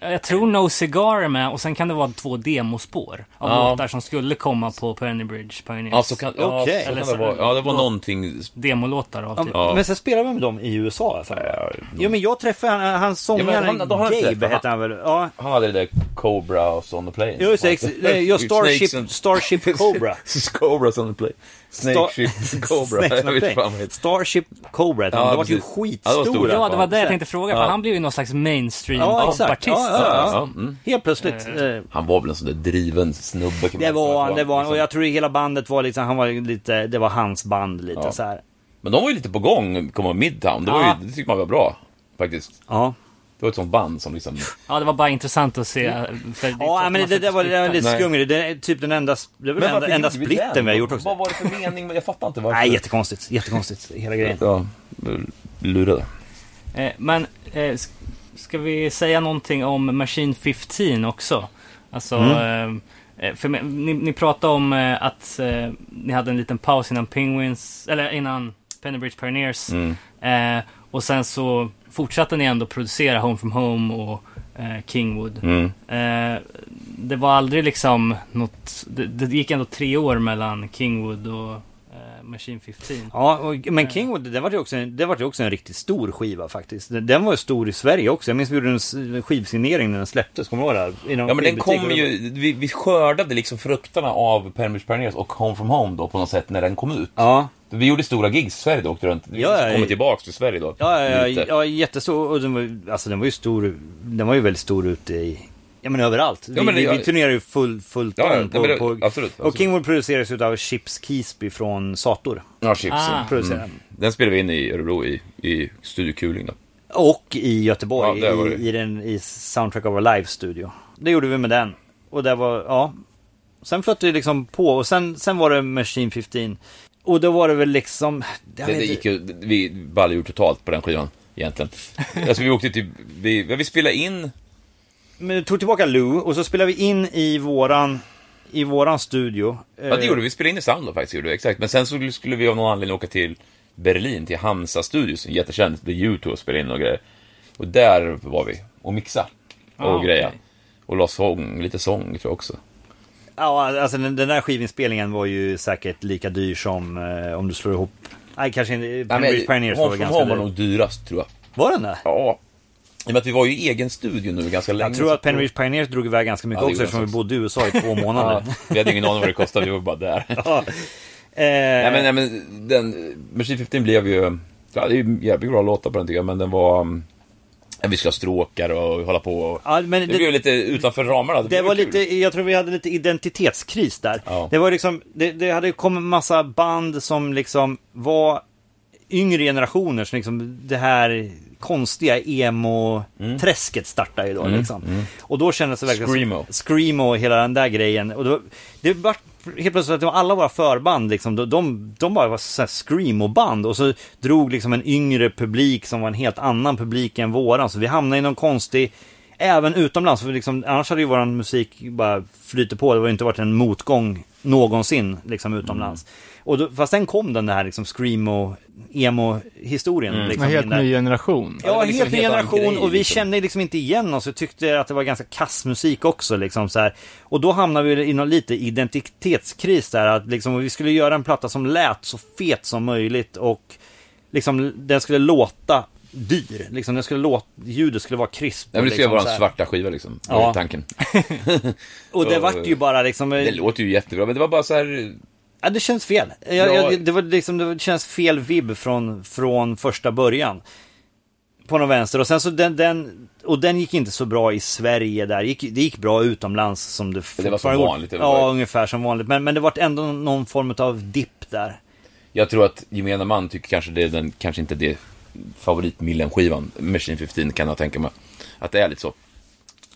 [SPEAKER 6] eh,
[SPEAKER 2] Jag tror No Cigar är med och sen kan det vara två demospår av
[SPEAKER 6] Ja.
[SPEAKER 2] låtar som skulle komma på Penny Bridge Pioneers.
[SPEAKER 6] Ja, så kan, ja,
[SPEAKER 7] Okej.
[SPEAKER 6] så kan det vara. Alltså, Ja, det var någonting...
[SPEAKER 2] Demolåtar av typ.
[SPEAKER 6] Ja.
[SPEAKER 7] Men sen spelade vi med dem i USA jag för mig. Jo men jag träffade han, han sångaren,
[SPEAKER 6] Ja, men han- då har han
[SPEAKER 7] Gabe
[SPEAKER 6] träffat-
[SPEAKER 7] hette han väl? Ja.
[SPEAKER 6] Han hade det där Cobra och on the plane.
[SPEAKER 7] Jo, just det, ex- nej, jag
[SPEAKER 6] Snakes
[SPEAKER 7] Starship,
[SPEAKER 6] and-
[SPEAKER 7] Starship Cobra.
[SPEAKER 6] Cobras on the plane. Snake
[SPEAKER 7] Star-
[SPEAKER 6] ship Cobra.
[SPEAKER 7] Snakes
[SPEAKER 6] Jag
[SPEAKER 7] on a
[SPEAKER 6] vet
[SPEAKER 7] plane.
[SPEAKER 6] fan vad det heter.
[SPEAKER 7] Starship Cobra hette han.
[SPEAKER 6] Ja,
[SPEAKER 7] De var ju
[SPEAKER 6] precis. Ja, de var
[SPEAKER 7] skitstora.
[SPEAKER 6] stora.
[SPEAKER 2] Ja, det var det jag
[SPEAKER 6] Ja.
[SPEAKER 2] tänkte fråga, för
[SPEAKER 6] Ja.
[SPEAKER 2] han blev ju någon slags mainstream
[SPEAKER 7] Ja, exakt.
[SPEAKER 2] artist.
[SPEAKER 7] Ja, ja,
[SPEAKER 6] Ja,
[SPEAKER 7] ja.
[SPEAKER 6] mm.
[SPEAKER 7] Helt plötsligt. eh,
[SPEAKER 6] Han var väl en sån där driven snubbe. kan
[SPEAKER 7] Det
[SPEAKER 6] man säga.
[SPEAKER 7] var han, det var han.
[SPEAKER 6] Liksom.
[SPEAKER 7] Och jag tror hela bandet var liksom, han var ju lite, det var hans band lite
[SPEAKER 6] Ja.
[SPEAKER 7] så här.
[SPEAKER 6] liksom. Men de var ju lite på gång, komma Midtown. Det, var
[SPEAKER 2] Ja.
[SPEAKER 6] ju, det tyckte man var bra, faktiskt.
[SPEAKER 7] Ja.
[SPEAKER 6] Det var ett sånt band som liksom...
[SPEAKER 2] Ja, det var bara intressant att se. eh, För det är klart
[SPEAKER 7] Ja,
[SPEAKER 2] man
[SPEAKER 7] men det,
[SPEAKER 2] ska
[SPEAKER 7] det var, det var
[SPEAKER 2] splitta.
[SPEAKER 7] lite
[SPEAKER 6] Nej.
[SPEAKER 7] skumt. Det är typ den enda, det var den enda, enda splitten vi har gjort också.
[SPEAKER 6] Vad var det för mening? Jag fattar inte varför.
[SPEAKER 7] Nej, jättekonstigt. Jättekonstigt, hela grejen.
[SPEAKER 6] Ja, lurade.
[SPEAKER 2] Eh, Men eh, s- ska vi säga någonting om Machine 15 också? Alltså, eh, eh, för mig- ni, ni pratade om eh, att eh, ni hade en liten paus innan Penguins, eller innan Pennybridge Pioneers. Eh, och sen så fortsatte ni ändå producera Home from Home och eh, Kingwood.
[SPEAKER 6] Mm.
[SPEAKER 2] Eh, det var aldrig liksom något, det, det gick ändå tre år mellan Kingwood och eh, Machine 15.
[SPEAKER 7] Ja, och, men Kingwood, det var ju också, en- det var ju också en riktigt stor skiva faktiskt. Den- Den var ju stor i Sverige också. Jag minns vi gjorde en s- en skivsignering när den släpptes, kommer du ihåg det?
[SPEAKER 6] Ja, men den kom ju... Vi, vi skördade liksom frukterna av Permish Pioneers och Home From Home då på något sätt när den kom ut.
[SPEAKER 7] Ja.
[SPEAKER 6] Vi gjorde stora gigs i Sverige då, åkte runt. Vi
[SPEAKER 7] Ja, ja,
[SPEAKER 6] ja,
[SPEAKER 7] ja.
[SPEAKER 6] kommer tillbaka till Sverige då.
[SPEAKER 7] Ja, ja, ja,
[SPEAKER 6] lite.
[SPEAKER 7] ja, jättestor. Och den var, ju- alltså den var ju stor, den var ju väldigt stor ute i, ja men överallt. Vi,
[SPEAKER 6] Ja, men det-
[SPEAKER 7] vi, vi
[SPEAKER 6] ja.
[SPEAKER 7] turnerade ju full, fullt
[SPEAKER 6] Ja, ja,
[SPEAKER 7] on
[SPEAKER 6] ja, men det-
[SPEAKER 7] på, på,
[SPEAKER 6] absolut,
[SPEAKER 7] Och
[SPEAKER 6] absolut.
[SPEAKER 7] Kingwood producerades utav Chips Keesby från Sator.
[SPEAKER 6] Ja, Chips.
[SPEAKER 2] Ah.
[SPEAKER 6] Mm.
[SPEAKER 7] Producerade.
[SPEAKER 6] Den spelade vi in i Örebro i, i Studio Kuling då.
[SPEAKER 7] Och i Göteborg,
[SPEAKER 6] Ja, där var
[SPEAKER 7] i,
[SPEAKER 6] det.
[SPEAKER 7] i, den, i Soundtrack of Our Lives studio. Det gjorde vi med den. Och där var, ja. Sen flöt det liksom på och sen, sen var det Machine 15. Och då var det väl liksom... jag
[SPEAKER 6] Det,
[SPEAKER 7] vet inte.
[SPEAKER 6] det gick ju, vi baljade totalt på den skivan egentligen. Alltså vi åkte typ, vi, vi spelade in,
[SPEAKER 7] Men vi tog tillbaka Lou och så spelade vi in i våran, i våran studio.
[SPEAKER 6] ja det gjorde vi, vi spelade in i Sound då faktiskt, gjorde vi, exakt. Men sen så skulle vi av någon anledning åka till Berlin, till Hamza Studios, en jättekänd, där YouTube spelade in och grejer. Och där var vi, och mixa och
[SPEAKER 2] Ah,
[SPEAKER 6] greja.
[SPEAKER 2] okej.
[SPEAKER 6] Och la sång, lite sång tror jag också.
[SPEAKER 7] Ja, alltså den, den där skivinspelningen var ju säkert lika dyr som eh, om du slår ihop... Nej, kanske inte. British Pioneers var
[SPEAKER 6] Home
[SPEAKER 7] väl ganska
[SPEAKER 6] from Home var
[SPEAKER 7] dyr.
[SPEAKER 6] nog dyrast tror jag.
[SPEAKER 7] Var den det?
[SPEAKER 6] Ja. I och med att vi var ju i egen studio nu ganska länge.
[SPEAKER 7] Jag tror
[SPEAKER 6] så-
[SPEAKER 7] att Penrich Pioneers drog iväg ganska mycket
[SPEAKER 6] Ja,
[SPEAKER 7] också
[SPEAKER 6] det gjorde
[SPEAKER 7] eftersom
[SPEAKER 6] de
[SPEAKER 7] vi bodde i USA i två
[SPEAKER 6] Ja,
[SPEAKER 7] månader.
[SPEAKER 6] vi hade ingen aning vad det kostade, vi var bara där.
[SPEAKER 7] Ja. Eh,
[SPEAKER 6] Nej men, nej, men den, Machine 15 blev ju, ja det är ju jävligt bra låtar på den tycker jag, men den var, um, ja, vi skulle ha stråkar och hålla på och,
[SPEAKER 7] Ja, men
[SPEAKER 6] det,
[SPEAKER 7] det-
[SPEAKER 6] blev lite utanför ramarna.
[SPEAKER 7] Det var
[SPEAKER 6] kul.
[SPEAKER 7] lite, jag tror vi hade lite identitetskris där.
[SPEAKER 6] Ja.
[SPEAKER 7] Det var liksom, det, det hade kommit massa band som liksom var yngre generationer, så liksom det här konstiga emo-träsket startade ju då liksom. Och då kändes det verkligen
[SPEAKER 6] Mm, Screamo.
[SPEAKER 7] som, Screamo och hela den där grejen. Och då, det var helt plötsligt att det var alla våra förband liksom, de, de, de bara var så här screamo-band och så drog liksom en yngre publik som var en helt annan publik än våran. Så vi hamnade i någon konstig, även utomlands, för liksom, annars hade ju våran musik bara flyter på. Det har ju inte varit en motgång någonsin liksom utomlands.
[SPEAKER 3] Mm.
[SPEAKER 7] Och då, fast sen kom den där liksom screamo, emo-historien.
[SPEAKER 3] En
[SPEAKER 7] Liksom,
[SPEAKER 3] Mm. helt
[SPEAKER 7] in där.
[SPEAKER 3] ny generation.
[SPEAKER 7] Ja,
[SPEAKER 6] det är liksom
[SPEAKER 7] helt
[SPEAKER 6] en
[SPEAKER 7] ny
[SPEAKER 6] helt annan
[SPEAKER 7] generation
[SPEAKER 6] grej,
[SPEAKER 7] och vi
[SPEAKER 6] liksom.
[SPEAKER 7] kände liksom inte igen oss. Vi tyckte att det var ganska kass musik också. Liksom, så här. Och då hamnade vi i någon lite identitetskris där. Att liksom, vi skulle göra en platta som lät så fet som möjligt och liksom, den skulle låta dyr. Liksom, den skulle låta, ljudet skulle vara krispt.
[SPEAKER 6] Nej men det skulle
[SPEAKER 7] liksom,
[SPEAKER 6] vara
[SPEAKER 7] så här.
[SPEAKER 6] en svarta skiva liksom,
[SPEAKER 7] Ja.
[SPEAKER 6] var ju tanken.
[SPEAKER 7] Och det vart ju bara liksom...
[SPEAKER 6] Det låter ju jättebra, men det var bara så här,
[SPEAKER 7] Ja, det känns fel. Jag,
[SPEAKER 6] Ja.
[SPEAKER 7] jag, det, var liksom, det var- det känns fel vibb från, från första början. På någon vänster. Och sen så den, den, och den gick inte så bra i Sverige där. Gick, det gick bra utomlands som det
[SPEAKER 6] var som
[SPEAKER 7] fortfarande gjort.
[SPEAKER 6] vanligt, det var
[SPEAKER 7] Ja,
[SPEAKER 6] bara-
[SPEAKER 7] ungefär som vanligt. Men, men det vart ändå någon form av dipp där.
[SPEAKER 6] jag tror att gemene man tycker kanske det är den, kanske inte det favoritmillen-skivan, Machine 15 kan jag tänka mig. Att det är lite så,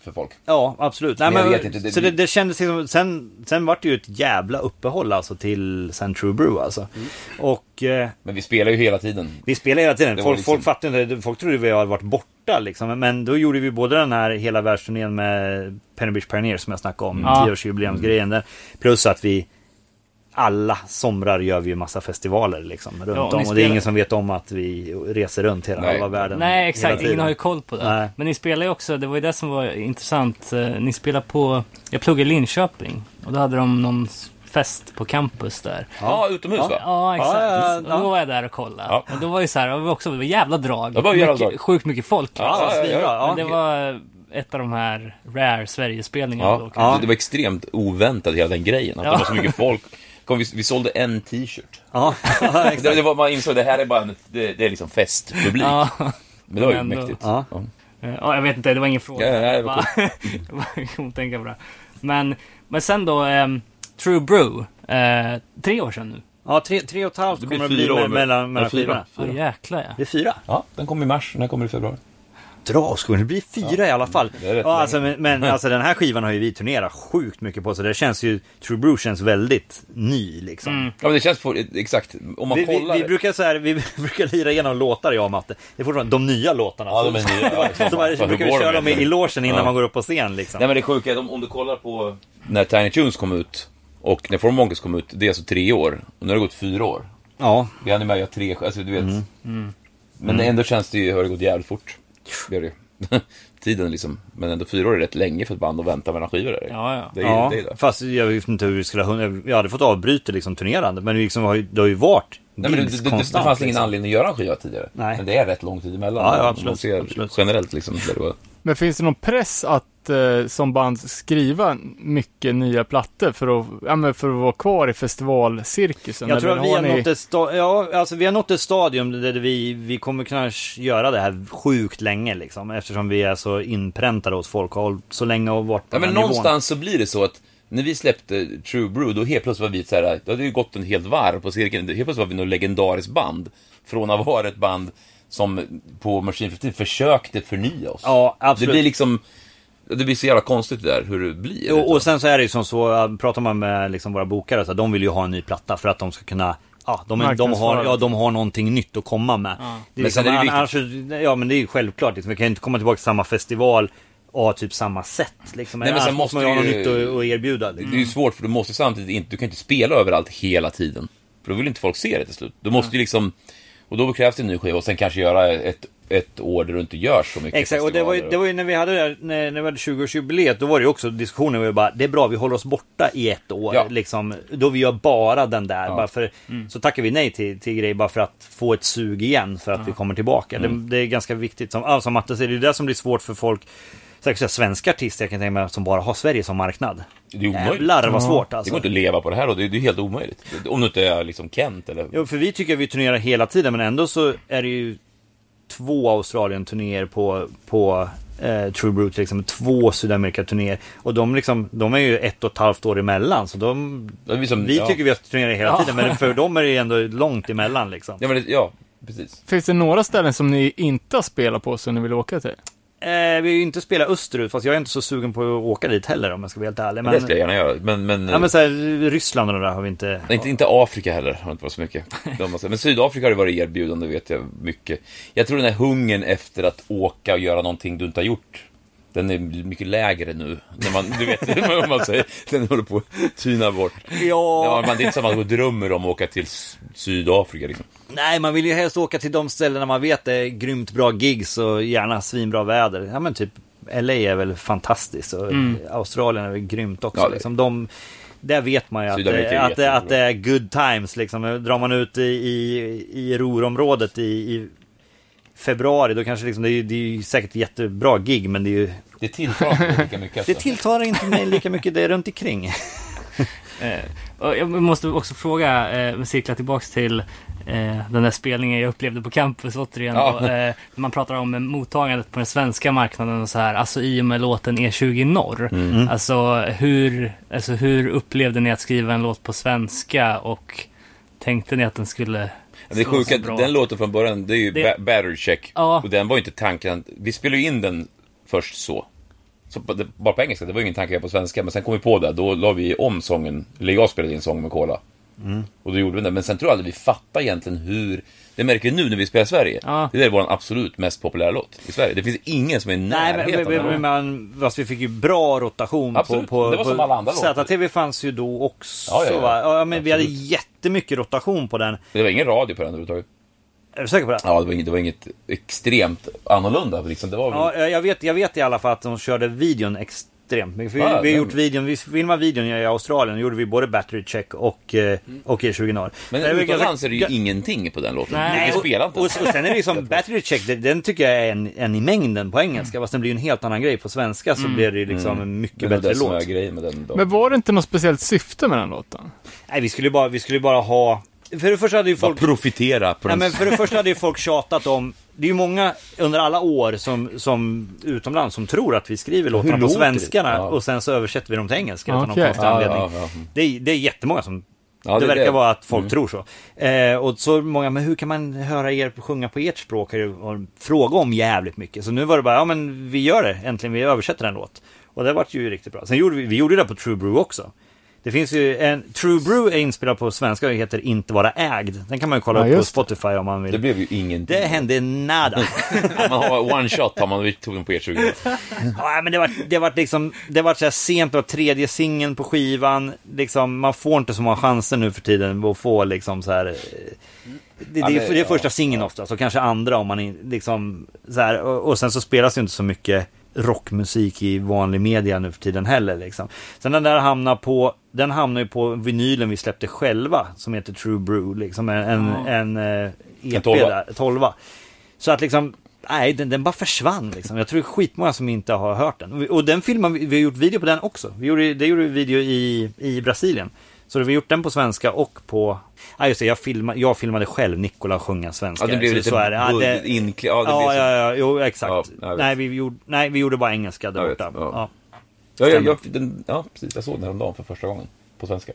[SPEAKER 6] för folk.
[SPEAKER 7] Ja, absolut. Nej,
[SPEAKER 6] Men
[SPEAKER 7] men
[SPEAKER 6] jag vet inte, det-
[SPEAKER 7] Så det, det kändes liksom, sen, sen vart det ju ett jävla uppehåll alltså till sen True Brew alltså.
[SPEAKER 6] Mm.
[SPEAKER 7] Och... Eh,
[SPEAKER 6] Men vi spelar ju hela tiden.
[SPEAKER 7] Vi spelar hela tiden.
[SPEAKER 6] Det var
[SPEAKER 7] Folk,
[SPEAKER 6] liksom-
[SPEAKER 7] folk fattade inte. Folk trodde vi hade varit borta liksom. Men då gjorde vi både den här hela världsturnén
[SPEAKER 6] Mm.
[SPEAKER 7] med Penny Beach Pioneer som jag snackade om.
[SPEAKER 2] Ja.
[SPEAKER 7] Tioårsjubileumsgrejen där. Plus att vi alla somrar gör vi ju massa festivaler liksom, runt
[SPEAKER 2] Ja, och
[SPEAKER 7] om.
[SPEAKER 2] ni
[SPEAKER 7] Och det är
[SPEAKER 2] spelar-
[SPEAKER 7] ingen som vet om att vi reser runt hela,
[SPEAKER 6] Nej.
[SPEAKER 7] halva världen.
[SPEAKER 2] Nej,
[SPEAKER 7] hela
[SPEAKER 2] exakt.
[SPEAKER 7] tiden.
[SPEAKER 2] Ingen har ju koll på det.
[SPEAKER 7] Nej.
[SPEAKER 2] Men ni spelar ju också, det var ju det som var intressant. Eh, Ni spelar på, jag pluggade i Linköping och då hade de någon s- fest på campus där.
[SPEAKER 6] Ja, utomhus va?
[SPEAKER 2] Ja, exakt.
[SPEAKER 7] Ja, ja, ja.
[SPEAKER 2] Och då var jag där och kollade.
[SPEAKER 6] Ja.
[SPEAKER 2] Och då var ju så här, det var också det var jävla drag.
[SPEAKER 6] Det var jävla
[SPEAKER 2] mycket,
[SPEAKER 6] drag.
[SPEAKER 2] Sjukt mycket folk.
[SPEAKER 7] Ja,
[SPEAKER 6] Ja, ja,
[SPEAKER 7] svinbra.
[SPEAKER 6] ja.
[SPEAKER 7] Ja,
[SPEAKER 2] Men det var ett av de här rare Sverigespelningarna då.
[SPEAKER 6] Ja,
[SPEAKER 2] kanske.
[SPEAKER 6] ja. Det var extremt oväntat hela den grejen, att det var så mycket folk. Kom, vi, vi sålde en t-shirt. Alltså,
[SPEAKER 7] ja. ja, exakt.
[SPEAKER 6] Det, det var, man insåg det här är bara en, det, det är liksom festpublik.
[SPEAKER 2] Ja.
[SPEAKER 6] Men det var ju
[SPEAKER 2] Men ändå.
[SPEAKER 6] mäktigt.
[SPEAKER 7] Ja.
[SPEAKER 2] Ja, jag vet inte, det var ingen fråga.
[SPEAKER 6] Ja, ja, det var
[SPEAKER 2] Bara- jag kom att tänka på det. Men, men sen då, ehm, True Brew, eh, tre år sedan nu.
[SPEAKER 7] Ja, tre, tre och ett halvt kommer det bli
[SPEAKER 6] år
[SPEAKER 7] med,
[SPEAKER 6] med-
[SPEAKER 7] mellan, mellan
[SPEAKER 6] ja, fyra.
[SPEAKER 7] skivorna. Ah,
[SPEAKER 2] Ja, jäklar ja.
[SPEAKER 7] Det är fyra.
[SPEAKER 6] Ja, den kommer i mars, den här kommer i februari.
[SPEAKER 7] Dra skogen, det blir fyra i alla fall.
[SPEAKER 6] det är rätt
[SPEAKER 7] Ja, alltså, men men alltså, den här skivan har ju vi turnerat sjukt mycket på, så det känns ju, True Brew känns väldigt ny liksom.
[SPEAKER 6] Ja, men det känns för, exakt, om man
[SPEAKER 7] Vi, vi,
[SPEAKER 6] Mm. kollar...
[SPEAKER 7] vi, brukar så här, vi brukar lira igenom låtar jag och Matte. Det är fortfarande de nya låtarna.
[SPEAKER 6] Ja, de är nya, ja,
[SPEAKER 7] Så
[SPEAKER 6] exakt.
[SPEAKER 7] bara-
[SPEAKER 6] Hur
[SPEAKER 7] brukar vi
[SPEAKER 6] går de
[SPEAKER 7] köra dem i, i
[SPEAKER 6] egentligen?
[SPEAKER 7] logen innan
[SPEAKER 6] Ja.
[SPEAKER 7] man går upp på scen liksom.
[SPEAKER 6] Nej men det sjuka är att om, om du kollar på när Tiny Tunes kom ut och när Form Monkeys kom ut, det är alltså tre år. Och nu har det gått fyra år.
[SPEAKER 7] Ja,
[SPEAKER 6] Vi hann ju med att göra tre, alltså du vet.
[SPEAKER 7] Mm.
[SPEAKER 6] Men ändå känns det ju, har det gått jävligt fort. Det gör det ju. Tiden liksom. Men ändå fyra år är rätt länge för ett band att vänta mellan skivor. Är det.
[SPEAKER 2] Ja, ja.
[SPEAKER 6] Det är ju
[SPEAKER 7] ja
[SPEAKER 6] det. Är ju det.
[SPEAKER 7] fast jag vet inte hur vi skulle ha hunnit. Jag hade fått avbryta liksom turnerandet, men liksom, har ju- det har ju varit
[SPEAKER 6] Nej, men det,
[SPEAKER 7] gigs
[SPEAKER 6] det, det, det fanns
[SPEAKER 7] konstant,
[SPEAKER 6] ingen
[SPEAKER 7] liksom.
[SPEAKER 6] anledning att göra en skiva tidigare.
[SPEAKER 7] Nej.
[SPEAKER 6] Men det är rätt lång tid emellan.
[SPEAKER 7] Ja, ja,
[SPEAKER 6] Om man
[SPEAKER 7] absolut,
[SPEAKER 6] ser
[SPEAKER 7] absolut.
[SPEAKER 6] Generellt liksom. Där det var.
[SPEAKER 3] Men finns det någon press att eh, som band skriva mycket nya plattor för att, ja, men för att vara kvar i festivalcirkusen?
[SPEAKER 7] Jag tror
[SPEAKER 3] Eller
[SPEAKER 7] att vi har,
[SPEAKER 3] ni-
[SPEAKER 7] nått ett sta- ja, alltså, vi har nått ett stadium där vi, vi kommer kunna sh- göra det här sjukt länge liksom, eftersom vi är så inpräntade hos folk och har hållit så länge och varit på
[SPEAKER 6] Ja,
[SPEAKER 7] den
[SPEAKER 6] men
[SPEAKER 7] här nivån.
[SPEAKER 6] någonstans så blir det så att när vi släppte True Brew, då helt plötsligt var vi så här, då hade ju gått en helt varv på cirkeln. Helt plötsligt var vi något legendariskt band. Från att vara ett band som på Machine 15 försökte förnya oss.
[SPEAKER 7] Ja, absolut.
[SPEAKER 6] Det blir liksom, det blir så jävla konstigt det där hur det blir. liksom.
[SPEAKER 7] Och, och sen så är det ju som så, äh, pratar man med liksom våra bokare, så här, de vill ju ha en ny platta för att de ska kunna Ja, de, är- de, har,
[SPEAKER 3] Marknadsföra.
[SPEAKER 7] ja, de har någonting nytt att komma med. Det är
[SPEAKER 6] Men sen
[SPEAKER 7] liksom,
[SPEAKER 6] är det ju
[SPEAKER 7] annars, ja, men det är ju självklart. Liksom, vi kan ju inte komma tillbaka till samma festival och ha typ samma sätt. Liksom.
[SPEAKER 6] Nej, men sen
[SPEAKER 7] annars måste man ju ha
[SPEAKER 6] måste
[SPEAKER 7] något
[SPEAKER 6] ju-
[SPEAKER 7] nytt att, att erbjuda.
[SPEAKER 6] Det
[SPEAKER 7] Liksom.
[SPEAKER 6] är ju svårt för du måste samtidigt inte, du kan inte spela överallt hela tiden. För då vill inte folk se det till slut. Du måste ju liksom, och då krävs det en ny skiva och sen kanske göra ett, ett år där du inte gör så mycket
[SPEAKER 7] Exakt, och det var, ju,
[SPEAKER 6] festivaler.
[SPEAKER 7] det var ju när vi hade det här, när, när vi hade 20-årsjubileet, då var det ju också diskussioner, var ju bara, det är bra, vi håller oss borta i ett år,
[SPEAKER 6] Ja.
[SPEAKER 7] liksom, då vi gör bara den där.
[SPEAKER 6] Ja. Mm.
[SPEAKER 7] Bara för, Så tackar vi nej till, till grejer bara för att få ett sug igen, för att vi kommer tillbaka.
[SPEAKER 6] Mm.
[SPEAKER 7] Det, det är ganska viktigt, som, ja, som Matte säger, det är det som blir svårt för folk, säkert så här svenska artister, jag kan tänka mig, som bara har Sverige som marknad.
[SPEAKER 6] Det är ju omöjligt.
[SPEAKER 7] Jävlar vad svårt
[SPEAKER 6] Det
[SPEAKER 7] alltså.
[SPEAKER 6] går inte att leva på det här och det är, det är helt omöjligt. Om du inte är liksom Kent eller...
[SPEAKER 7] Jo, för vi tycker att vi turnerar hela tiden, men ändå så är det ju två Australien-turnéer på, på eh, True Brew till exempel, två Sydamerika-turnéer. Och de, liksom, de är ju ett och ett halvt år emellan, så de,
[SPEAKER 6] Det är som-
[SPEAKER 7] vi
[SPEAKER 6] ja.
[SPEAKER 7] tycker vi har turnerat hela
[SPEAKER 6] Ja.
[SPEAKER 7] tiden, men för dem är det ju ändå långt emellan liksom.
[SPEAKER 6] Ja, men det, ja, precis.
[SPEAKER 3] Finns det några ställen som ni inte har spelat på som ni vill åka till?
[SPEAKER 7] Eh, vi har ju inte spelat österut, fast jag är inte så sugen på att åka dit heller om jag ska vara helt ärlig. Men,
[SPEAKER 6] det skulle jag gärna göra. Men, men,
[SPEAKER 7] ja, men så här, Ryssland och det där har vi inte...
[SPEAKER 6] Nej, inte, inte Afrika heller har det inte varit så mycket. De har- Men Sydafrika har det varit erbjudande, vet jag mycket. Jag tror den här hungern efter att åka och göra någonting du inte har gjort, den är mycket lägre nu. När man, du vet vad man säger, den håller på att tyna bort.
[SPEAKER 7] Ja,
[SPEAKER 6] Man, det är inte så att man drömmer om att åka till S- Sydafrika liksom.
[SPEAKER 7] Nej, man vill ju helst åka till de ställen där man vet det är grymt bra gigs och gärna svinbra väder. Ja, men typ LA är väl fantastiskt och Australien är väl grymt också.
[SPEAKER 6] Mm. Ja, det-
[SPEAKER 7] Liksom, de, där vet man ju att,
[SPEAKER 6] Sydamerika
[SPEAKER 7] det,
[SPEAKER 6] är
[SPEAKER 7] att, det,
[SPEAKER 6] jättebra.
[SPEAKER 7] att det är good times. Liksom. Drar man ut i, i, i Ruhrområdet i, i februari, då kanske liksom, det, är, ju- det är ju säkert jättebra gig, men det är ju...
[SPEAKER 6] Det tilltar inte lika mycket.
[SPEAKER 7] Det
[SPEAKER 6] Alltså.
[SPEAKER 7] tilltar inte mig lika mycket det är runt omkring.
[SPEAKER 2] Och jag måste också fråga, eh, cirkla tillbaks till eh, den där spelningen jag upplevde på campus återigen.
[SPEAKER 6] Ja.
[SPEAKER 2] Då, eh, när man pratar om eh, mottagandet på den svenska marknaden och så här, alltså i och med låten E20 Norr. Alltså, hur, alltså hur upplevde ni att skriva en låt på svenska och tänkte ni att den skulle
[SPEAKER 6] Men
[SPEAKER 2] slå
[SPEAKER 6] Det
[SPEAKER 2] så
[SPEAKER 6] sjuka,
[SPEAKER 2] bra?
[SPEAKER 6] den låten från början, det är ju
[SPEAKER 2] Det-
[SPEAKER 6] ba- battery check.
[SPEAKER 2] Ja.
[SPEAKER 6] Och den var ju inte tanken. Vi spelade ju in den först så. så på, det, bara på engelska, det var ju ingen tanke på svenska. Men sen kom vi på det, då la vi om sången. Eller jag spelade in sång med Cola.
[SPEAKER 7] Mm.
[SPEAKER 6] Och då gjorde vi det. Men sen tror jag aldrig vi fattar egentligen hur... Det märker vi nu när vi spelar i Sverige.
[SPEAKER 2] Ja.
[SPEAKER 6] Det där är vår absolut mest populära låt i Sverige. Det finns ingen som är i
[SPEAKER 7] Nej,
[SPEAKER 6] närheten
[SPEAKER 7] men,
[SPEAKER 6] av
[SPEAKER 7] men,
[SPEAKER 6] den.
[SPEAKER 7] men, men fast vi fick ju bra rotation
[SPEAKER 6] Absolut,
[SPEAKER 7] på, på...
[SPEAKER 6] det var som alla andra låtar.
[SPEAKER 7] ZTV fanns ju då också
[SPEAKER 6] Ja, ja, ja.
[SPEAKER 7] va? Ja, men vi hade
[SPEAKER 6] Absolut.
[SPEAKER 7] jättemycket rotation på den.
[SPEAKER 6] Det var ingen radio på den överhuvudtaget.
[SPEAKER 7] Är du säker på det?
[SPEAKER 6] Ja, det var inget, det var inget extremt annorlunda. Liksom. Det var väl...
[SPEAKER 7] Ja, jag vet, jag vet i alla fall att de körde videon extremt mycket. För vi,
[SPEAKER 6] Ja,
[SPEAKER 7] vi
[SPEAKER 6] den-
[SPEAKER 7] har gjort videon, vi filmade videon i Australien. Då gjorde vi både battery check och, eh, och E20
[SPEAKER 6] Men
[SPEAKER 7] Det var
[SPEAKER 6] utomlands
[SPEAKER 7] ganska-
[SPEAKER 6] är det ju ingenting på den låten.
[SPEAKER 2] Nej,
[SPEAKER 6] Nej,
[SPEAKER 7] och,
[SPEAKER 6] vi spelar inte
[SPEAKER 7] och, och
[SPEAKER 6] ens.
[SPEAKER 7] sen är det ju som battery check, den- den tycker jag är en, en i mängden på engelska. Fast den blir ju en helt annan grej på svenska så blir det ju liksom en
[SPEAKER 6] Mm. Det
[SPEAKER 7] mycket
[SPEAKER 6] är väl
[SPEAKER 7] bättre
[SPEAKER 6] det som
[SPEAKER 7] låt.
[SPEAKER 6] är grejen med den. då.
[SPEAKER 3] Men var det inte något speciellt syfte med den låten?
[SPEAKER 7] Nej, vi skulle ju bara, vi skulle ju bara ha... För det första hade ju
[SPEAKER 6] Bara
[SPEAKER 7] folk...
[SPEAKER 6] profitera på
[SPEAKER 7] Nej,
[SPEAKER 6] den.
[SPEAKER 7] men för det första hade ju folk tjatat om... Det är ju många under alla år som, som utomlands som tror att vi skriver låtarna på
[SPEAKER 6] låter det?
[SPEAKER 7] svenskarna
[SPEAKER 6] Ja.
[SPEAKER 7] och sen så översätter vi dem till engelska utan någon
[SPEAKER 3] Okej.
[SPEAKER 7] konstig
[SPEAKER 6] Ja,
[SPEAKER 7] anledning.
[SPEAKER 6] ja, ja.
[SPEAKER 7] Det, är, det är jättemånga som...
[SPEAKER 6] Ja,
[SPEAKER 7] det,
[SPEAKER 6] det Mm. är
[SPEAKER 7] verkar
[SPEAKER 6] det.
[SPEAKER 7] vara att folk tror så. Eh, och så många, men hur kan man höra er sjunga på ert språk? Har ju- har fråga om jävligt mycket. Så nu var det bara, ja men vi gör det äntligen, vi översätter en låt. Och det vart ju riktigt bra. Sen gjorde vi, vi gjorde det på True Brew också. Det finns ju en, True Brew är inspelad på svenska och heter Inte vara ägd. Den kan man ju kolla
[SPEAKER 3] Ja,
[SPEAKER 7] upp på
[SPEAKER 3] just det.
[SPEAKER 7] Spotify om man vill.
[SPEAKER 6] Det blev ju ingenting.
[SPEAKER 7] Det hände nada.
[SPEAKER 6] Man har one shot har man, vi tog den på E E20.
[SPEAKER 7] ja, men det var, det var liksom, det var så här sent, det var tredje singeln på skivan. Liksom, man får inte så många chanser nu för tiden att få liksom så här. eh, Det, det,
[SPEAKER 6] men-
[SPEAKER 7] är- det är
[SPEAKER 6] ja.
[SPEAKER 7] första singeln ofta, så kanske andra om man in- liksom så här. Och, och sen så spelas ju inte så mycket rockmusik i vanlig media nu för tiden heller liksom. Sen den där hamnar på, den hamnar ju på vinylen vi släppte själva som heter True Brew liksom, en, en, en, eh, EP
[SPEAKER 6] tolva.
[SPEAKER 7] där, tolva. Så att liksom, nej den, den bara försvann liksom. Jag tror det är skitmånga som inte har hört den. Och, vi- och den filmen, vi vi har gjort video på den också. Vi gjorde, det gjorde vi video i, i Brasilien. Så vi har gjort den på svenska och på, ja just det, jag, filma, jag filmade själv Nikola sjunga svenska.
[SPEAKER 6] Ja, det blev
[SPEAKER 7] så,
[SPEAKER 6] lite
[SPEAKER 7] så är det. Ja, det-
[SPEAKER 6] bull- inkli- ja, det blev
[SPEAKER 7] ja,
[SPEAKER 6] så-
[SPEAKER 7] ja, ja, jo exakt.
[SPEAKER 6] Ja, jag vet.
[SPEAKER 7] nej, vi gjorde, nej, vi gjorde bara engelska där
[SPEAKER 6] Jag vet,
[SPEAKER 7] borta.
[SPEAKER 6] ja.
[SPEAKER 7] Ja.
[SPEAKER 6] Ja, jag,
[SPEAKER 7] Stämmer.
[SPEAKER 6] jag, den, ja, precis. Jag såg den häromdagen för första gången. På svenska.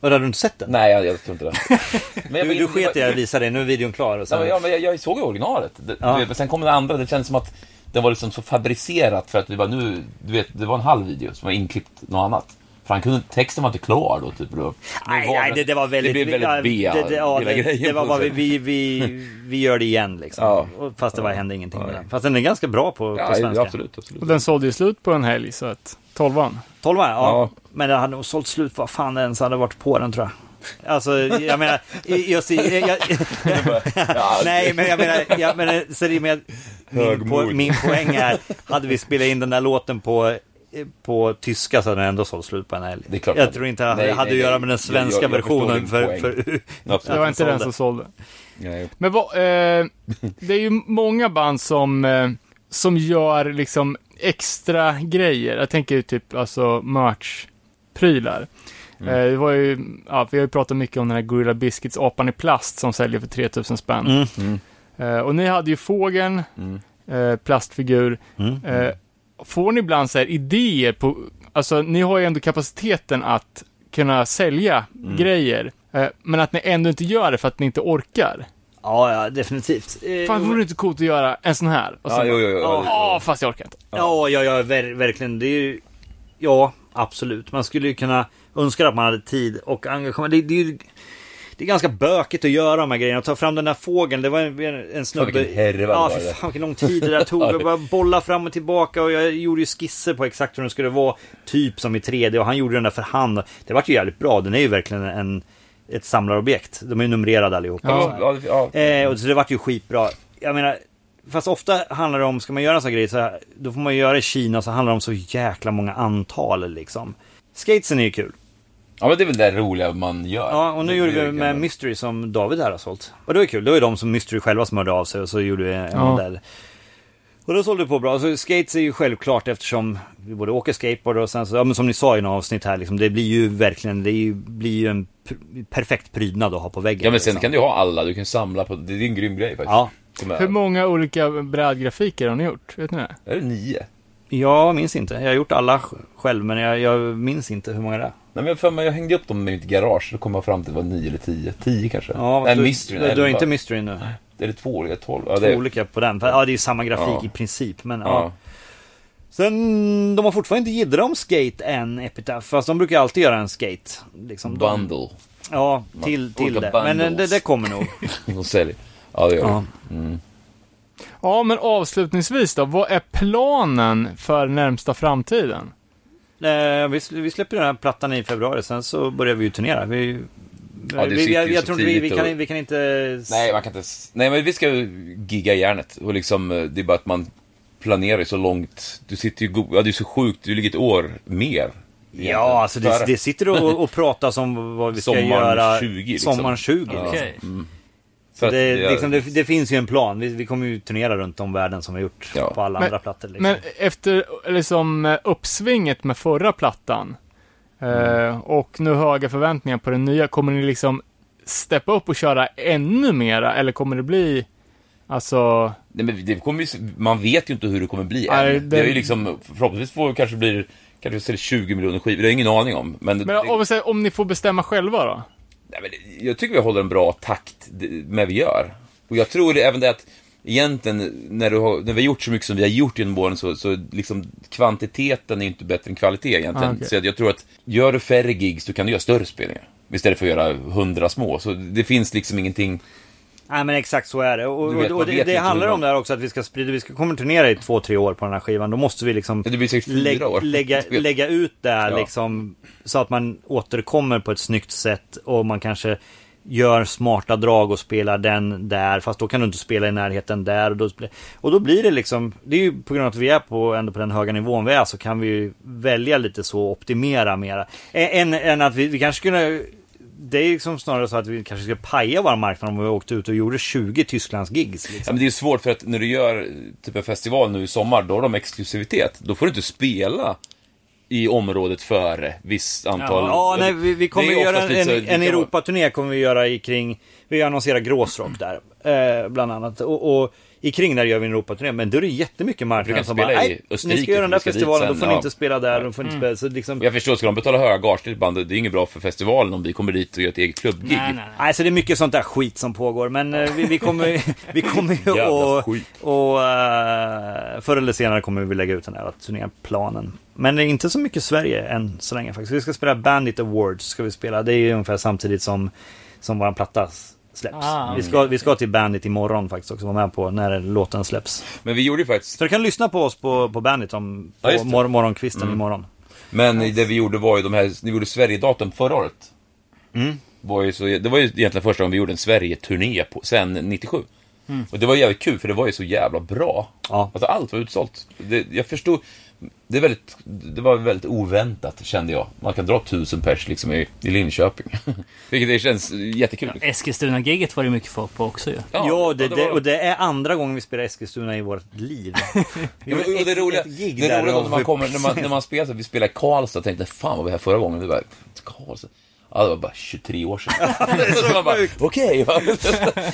[SPEAKER 7] Och hade du inte sett den?
[SPEAKER 6] Nej, jag, jag tror inte det. Men
[SPEAKER 7] Du, du sket i att
[SPEAKER 6] jag,
[SPEAKER 7] visa dig, nu är videon klar. Och sen...
[SPEAKER 6] ja, men jag, men jag, jag såg ju originalet. Det,
[SPEAKER 7] Ja.
[SPEAKER 6] du vet, men sen kom den andra. Det kändes som att den var liksom så fabricerat för att vi bara nu... Du vet, det var en halv video som var inklippt något annat. För han kunde, texten var inte klar då. Typ. Det var-
[SPEAKER 7] Nej,
[SPEAKER 6] det var-
[SPEAKER 7] nej det, det var väldigt...
[SPEAKER 6] Det blev
[SPEAKER 7] ja,
[SPEAKER 6] väldigt B,
[SPEAKER 7] det, det, ja,
[SPEAKER 6] hela
[SPEAKER 7] det,
[SPEAKER 6] grejen.
[SPEAKER 7] det var
[SPEAKER 6] på
[SPEAKER 7] bara,
[SPEAKER 6] något
[SPEAKER 7] vi,
[SPEAKER 6] sätt.
[SPEAKER 7] vi, vi, vi gör det igen liksom.
[SPEAKER 6] Ja.
[SPEAKER 7] Och- Fast det var, hände ingenting med
[SPEAKER 6] Nej.
[SPEAKER 7] den. Fast den är ganska bra på, på
[SPEAKER 6] Ja,
[SPEAKER 7] svenska.
[SPEAKER 6] ja, absolut. absolut.
[SPEAKER 3] Och den sålde ju slut på en helg, så att... Tolvan.
[SPEAKER 7] 12 ja. ja.
[SPEAKER 6] Ja.
[SPEAKER 7] Men den hade nog sålt slut vad fan ens hade varit på den tror jag. Alltså, jag menar, i- just i, jag,
[SPEAKER 6] Ja,
[SPEAKER 7] Nej, men jag menar, jag menar så det är med, min, po,
[SPEAKER 6] Högmod.
[SPEAKER 7] min poäng är, hade vi spelat in den där låten på eh, på tyska så hade den ändå sålt slut på en helg.
[SPEAKER 6] Det är klart.
[SPEAKER 7] jag tror inte det hade
[SPEAKER 6] Nej,
[SPEAKER 7] att
[SPEAKER 6] nej,
[SPEAKER 7] göra
[SPEAKER 6] nej.
[SPEAKER 7] med den svenska
[SPEAKER 6] Jag- jag- jag förstår
[SPEAKER 7] versionen.
[SPEAKER 6] din
[SPEAKER 7] För,
[SPEAKER 6] poäng.
[SPEAKER 7] för,
[SPEAKER 3] Det
[SPEAKER 6] Absolut.
[SPEAKER 3] var
[SPEAKER 7] den
[SPEAKER 3] inte den
[SPEAKER 7] sålde.
[SPEAKER 3] som sålde.
[SPEAKER 6] Nej.
[SPEAKER 3] Men vad, eh, det är ju många band som, eh, som gör liksom extra grejer. Jag tänker ju typ alltså merch-prylar.
[SPEAKER 7] Mm.
[SPEAKER 3] Eh, det var ju, ja, vi har ju pratat mycket om den här Gorilla Biscuits, apan i plast, som säljer för 3000 spänn.
[SPEAKER 7] Mm.
[SPEAKER 3] Eh, och ni hade ju fågeln, eh, plastfigur.
[SPEAKER 7] Mm.
[SPEAKER 3] Eh, får ni ibland så här idéer på, alltså ni har ju ändå kapaciteten att kunna sälja
[SPEAKER 7] Mm.
[SPEAKER 3] grejer. eh, Men att ni ändå inte gör det för att ni inte orkar.
[SPEAKER 7] ja, ja, definitivt. Eh,
[SPEAKER 3] Fan, vore det inte coolt att göra en sån här? Och
[SPEAKER 6] Ja,
[SPEAKER 3] sen
[SPEAKER 6] jo,
[SPEAKER 3] bara,
[SPEAKER 6] jo, jo.
[SPEAKER 3] Ja, fast jag orkar inte.
[SPEAKER 7] Ja, ja, ja ver verkligen. Det är ju... Ja, absolut. Man skulle ju kunna önska att man hade tid och engagemang. Det, det är ju... Det är ganska bökigt att göra de här grejerna. Att ta fram den där fågeln, det var en, en snubbe...
[SPEAKER 6] vilken härva det
[SPEAKER 7] ja,
[SPEAKER 6] var,
[SPEAKER 7] fy
[SPEAKER 6] eller?
[SPEAKER 7] fan vilken lång tid det där tog. Jag bara bolla fram och tillbaka och jag gjorde ju skisser på exakt hur den skulle vara. Typ som i 3D och han gjorde den där för hand. Det vart ju jävligt bra. Den är ju verkligen en, ett samlarobjekt. De är ju numrerade allihop.
[SPEAKER 6] Ja, ja, ja.
[SPEAKER 7] Eh, och så det vart ju skitbra. Jag menar, fast ofta handlar det om, ska man göra en sån grej, så här, då får man ju göra i Kina, så handlar det om så jäkla många antal liksom. Skatesen är ju kul.
[SPEAKER 6] ja, men det är väl det roliga man gör.
[SPEAKER 7] Ja, och nu
[SPEAKER 6] Det-
[SPEAKER 7] gjorde
[SPEAKER 6] det
[SPEAKER 7] vi
[SPEAKER 6] kan
[SPEAKER 7] med
[SPEAKER 6] man-
[SPEAKER 7] Mystery som David här har sålt. Och det var ju kul, det var ju de som Mystery själva som hörde av sig och så gjorde vi en
[SPEAKER 3] Ja.
[SPEAKER 7] modell. Och då sålde det på bra. Så skates är ju självklart eftersom vi både åker skateboard och sen så, ja men som ni sa i några avsnitt här liksom, det blir ju verkligen, det är ju, blir ju en pr- perfekt prydnad att ha på väggen.
[SPEAKER 6] Ja, men sen
[SPEAKER 7] liksom.
[SPEAKER 6] kan du ju ha alla. Du kan ju samla på... Det är en grym grej faktiskt.
[SPEAKER 7] Ja.
[SPEAKER 6] Som är-
[SPEAKER 3] Hur många olika brädgrafiker har ni gjort? Vet ni det?
[SPEAKER 6] Är det nio?
[SPEAKER 7] Jag minns inte. Jag har gjort alla sj- själv, men jag, jag minns inte hur många det är.
[SPEAKER 6] Nej men jag för mig, jag hängde upp dem i mitt garage, då kom jag fram till att det var 9 eller 10. 10 kanske? Nej,
[SPEAKER 7] du,
[SPEAKER 6] Mystery.
[SPEAKER 7] du, du har
[SPEAKER 6] elva.
[SPEAKER 7] inte mystery nu.
[SPEAKER 6] Är det två eller 12? Ja,
[SPEAKER 7] Det
[SPEAKER 6] det
[SPEAKER 7] är
[SPEAKER 6] är...
[SPEAKER 7] olika på den. För, ja, det är ju samma grafik
[SPEAKER 6] Ja.
[SPEAKER 7] i princip, men ja.
[SPEAKER 6] Ja.
[SPEAKER 7] Sen, de har fortfarande inte jiddrat om skate än, Epitaph. Fast de brukar alltid göra en skate. Liksom, de,
[SPEAKER 6] Bundle.
[SPEAKER 7] Ja, till, till
[SPEAKER 6] Olika
[SPEAKER 7] det. Men eh, det,
[SPEAKER 6] bundles.
[SPEAKER 7] det kommer nog.
[SPEAKER 6] De säljer. Ja, det gör
[SPEAKER 2] Ja.
[SPEAKER 6] det. Mm.
[SPEAKER 3] Ja, men avslutningsvis då. Vad är planen för närmsta framtiden?
[SPEAKER 7] Eh, vi, sl- vi släpper den här plattan i februari, sen så börjar vi ju turnera. Vi,
[SPEAKER 6] Ja, det
[SPEAKER 7] vi,
[SPEAKER 6] sitter
[SPEAKER 7] vi,
[SPEAKER 6] ju
[SPEAKER 7] jag, jag
[SPEAKER 6] så
[SPEAKER 7] tror inte vi, vi,
[SPEAKER 6] tidigt
[SPEAKER 7] kan,
[SPEAKER 6] och-
[SPEAKER 7] vi kan inte...
[SPEAKER 6] Nej, man kan inte... s- Nej, men vi ska ju gigga järnet. Och liksom, eh, det är bara att man planerar ju så långt. Du sitter ju... Go... Ja, det är så sjukt. Du ligger ett år mer. egentligen.
[SPEAKER 7] Ja, alltså det,
[SPEAKER 6] För-
[SPEAKER 7] det sitter och, och pratas om vad vi ska
[SPEAKER 6] Sommaren
[SPEAKER 7] göra
[SPEAKER 6] 20, liksom.
[SPEAKER 7] sommaren 20.
[SPEAKER 6] Ja.
[SPEAKER 7] Liksom.
[SPEAKER 2] Okej.
[SPEAKER 6] för att
[SPEAKER 7] Det,
[SPEAKER 6] det är-
[SPEAKER 7] liksom, det, det finns ju en plan. Vi, vi kommer ju turnera runt om världen som vi har gjort
[SPEAKER 6] Ja.
[SPEAKER 7] på alla
[SPEAKER 3] Men-
[SPEAKER 7] andra plattor. Liksom.
[SPEAKER 3] Men efter liksom eh, uppsvinget med förra plattan
[SPEAKER 6] Mm.
[SPEAKER 3] eh, och nu höga förväntningar på den nya, kommer ni liksom steppa upp och köra ännu mera eller kommer det bli, alltså,
[SPEAKER 6] Nej, men det kommer ju, man vet ju inte hur det kommer bli än.
[SPEAKER 3] Nej,
[SPEAKER 6] Det...
[SPEAKER 3] det-
[SPEAKER 6] är ju liksom, förhoppningsvis får, kanske blir kanske säljer 20 miljoner skivor. Det har jag ingen aning om. Men,
[SPEAKER 3] men
[SPEAKER 6] det,
[SPEAKER 3] om, vi säger- om ni får bestämma själva då?
[SPEAKER 6] nej, men det- jag tycker vi håller en bra takt det- med vi gör. Och jag tror det, även det att egentligen, när, du har, när vi har gjort så mycket som vi har gjort genom åren, så, så liksom kvantiteten är ju inte bättre än kvalitet egentligen.
[SPEAKER 3] Ah, okej.
[SPEAKER 6] Så jag, jag tror att, gör du färre gigs, så kan du göra större spelningar. Istället för att göra hundra små. Så det finns liksom ingenting...
[SPEAKER 7] Nej men exakt så är det. Och,
[SPEAKER 6] Du vet,
[SPEAKER 7] och,
[SPEAKER 6] man
[SPEAKER 7] och det,
[SPEAKER 6] vet
[SPEAKER 7] det
[SPEAKER 6] inte
[SPEAKER 7] handlar
[SPEAKER 6] hur
[SPEAKER 7] om det här också att vi ska sprida, vi ska komma turnera i två, tre år på den här skivan. Då måste vi liksom
[SPEAKER 6] Det blir säkert fyra
[SPEAKER 7] lägg-
[SPEAKER 6] år.
[SPEAKER 7] lägga, lägga ut det här
[SPEAKER 6] Ja.
[SPEAKER 7] liksom. Så att man återkommer på ett snyggt sätt och man kanske gör smarta drag och spelar den där. Fast då kan du inte spela i närheten där. Och då, spe- och då blir det liksom, det är ju på grund av att vi är på, ändå på den höga nivån vi är så kan vi ju välja lite så och optimera mera. Ä- Än, än att vi, vi kanske skulle det är liksom snarare så att vi kanske skulle paja vår marknad om vi åkte ut och gjorde 20 Tysklands-gigs.
[SPEAKER 6] Ja,
[SPEAKER 7] Liksom.
[SPEAKER 6] men det är ju svårt för att när du gör eh, typ en festival nu i sommar, då har de exklusivitet. Då får du inte spela i området före visst antal...
[SPEAKER 7] Ja, nej, vi, vi kommer
[SPEAKER 6] Det är
[SPEAKER 7] göra
[SPEAKER 6] oftast
[SPEAKER 7] en,
[SPEAKER 6] lite så-
[SPEAKER 7] en,
[SPEAKER 6] det kan vara-
[SPEAKER 7] Europaturné kommer vi göra i kring, vi annonserar gråsrock där, eh, bland annat. Och, och i kring där gör vi en Europaturné, men då är det jättemycket
[SPEAKER 6] Du kan
[SPEAKER 7] marknad
[SPEAKER 6] inte
[SPEAKER 7] som bara,
[SPEAKER 6] spela i
[SPEAKER 7] nej, ni
[SPEAKER 6] Österrike,
[SPEAKER 7] ska göra den där
[SPEAKER 6] för vi ska dit
[SPEAKER 7] festivalen, då
[SPEAKER 6] sen,
[SPEAKER 7] får ni
[SPEAKER 6] ja. Mm.
[SPEAKER 7] inte spela där, då får ni inte spela, så liksom.
[SPEAKER 6] Jag förstår, ska de betala höga gage till ett band, det är inget bra för festivalen om vi kommer dit och gör ett eget klubbgig.
[SPEAKER 2] Nej, nej, nej.
[SPEAKER 7] Nej, så det är mycket sånt där skit som pågår, men eh, vi, vi kommer, vi kommer ju
[SPEAKER 6] Jävla
[SPEAKER 7] och,
[SPEAKER 6] skit.
[SPEAKER 7] och eh, förr eller senare kommer vi lägga ut den här turnéplanen. Men det är inte så mycket Sverige än så länge faktiskt. Vi ska spela Bandit Awards, ska vi spela. Det är ju ungefär samtidigt som, som vår platta s- släpps.
[SPEAKER 2] Ah.
[SPEAKER 7] vi, ska, vi ska till Bandit imorgon faktiskt också, vara med på när låten släpps.
[SPEAKER 6] Men vi gjorde ju faktiskt...
[SPEAKER 7] Så du kan lyssna på oss på, på Bandit om, på
[SPEAKER 6] Ja, just det. Mm.
[SPEAKER 7] mor- morgonkvisten imorgon.
[SPEAKER 6] Men det vi gjorde var ju de här, ni gjorde Sverigedatum förra året.
[SPEAKER 7] Mm.
[SPEAKER 6] Var ju så, det var ju egentligen första gången vi gjorde en Sverige-turné på, sen 97. Och det var jävligt kul för det var ju så jävla bra.
[SPEAKER 7] Mm. Ja.
[SPEAKER 6] Alltså allt var utsålt. Det, jag förstod, det, är väldigt, det var väldigt oväntat kände jag. Man kan dra tusen pers liksom i, i Linköping. Vilket det känns jättekul. liksom.
[SPEAKER 2] Eskilstuna-giget var det mycket folk på också ju.
[SPEAKER 7] Ja, det, det,
[SPEAKER 6] var-
[SPEAKER 7] och det är andra gången vi spelar Eskilstuna i vårt liv. Vi
[SPEAKER 6] Ja, men,
[SPEAKER 7] gjorde
[SPEAKER 6] och det
[SPEAKER 7] ett-
[SPEAKER 6] roliga,
[SPEAKER 7] ett gig
[SPEAKER 6] det
[SPEAKER 7] där
[SPEAKER 6] roliga var när
[SPEAKER 7] och
[SPEAKER 6] man
[SPEAKER 7] vi-
[SPEAKER 6] kommer, när man, när man spelar så, vi spelar i Karlstad, tänkte fan vad vi här förra gången, det var Karlstad. Ja, det var bara 23 år sedan. så man bara, okej. va?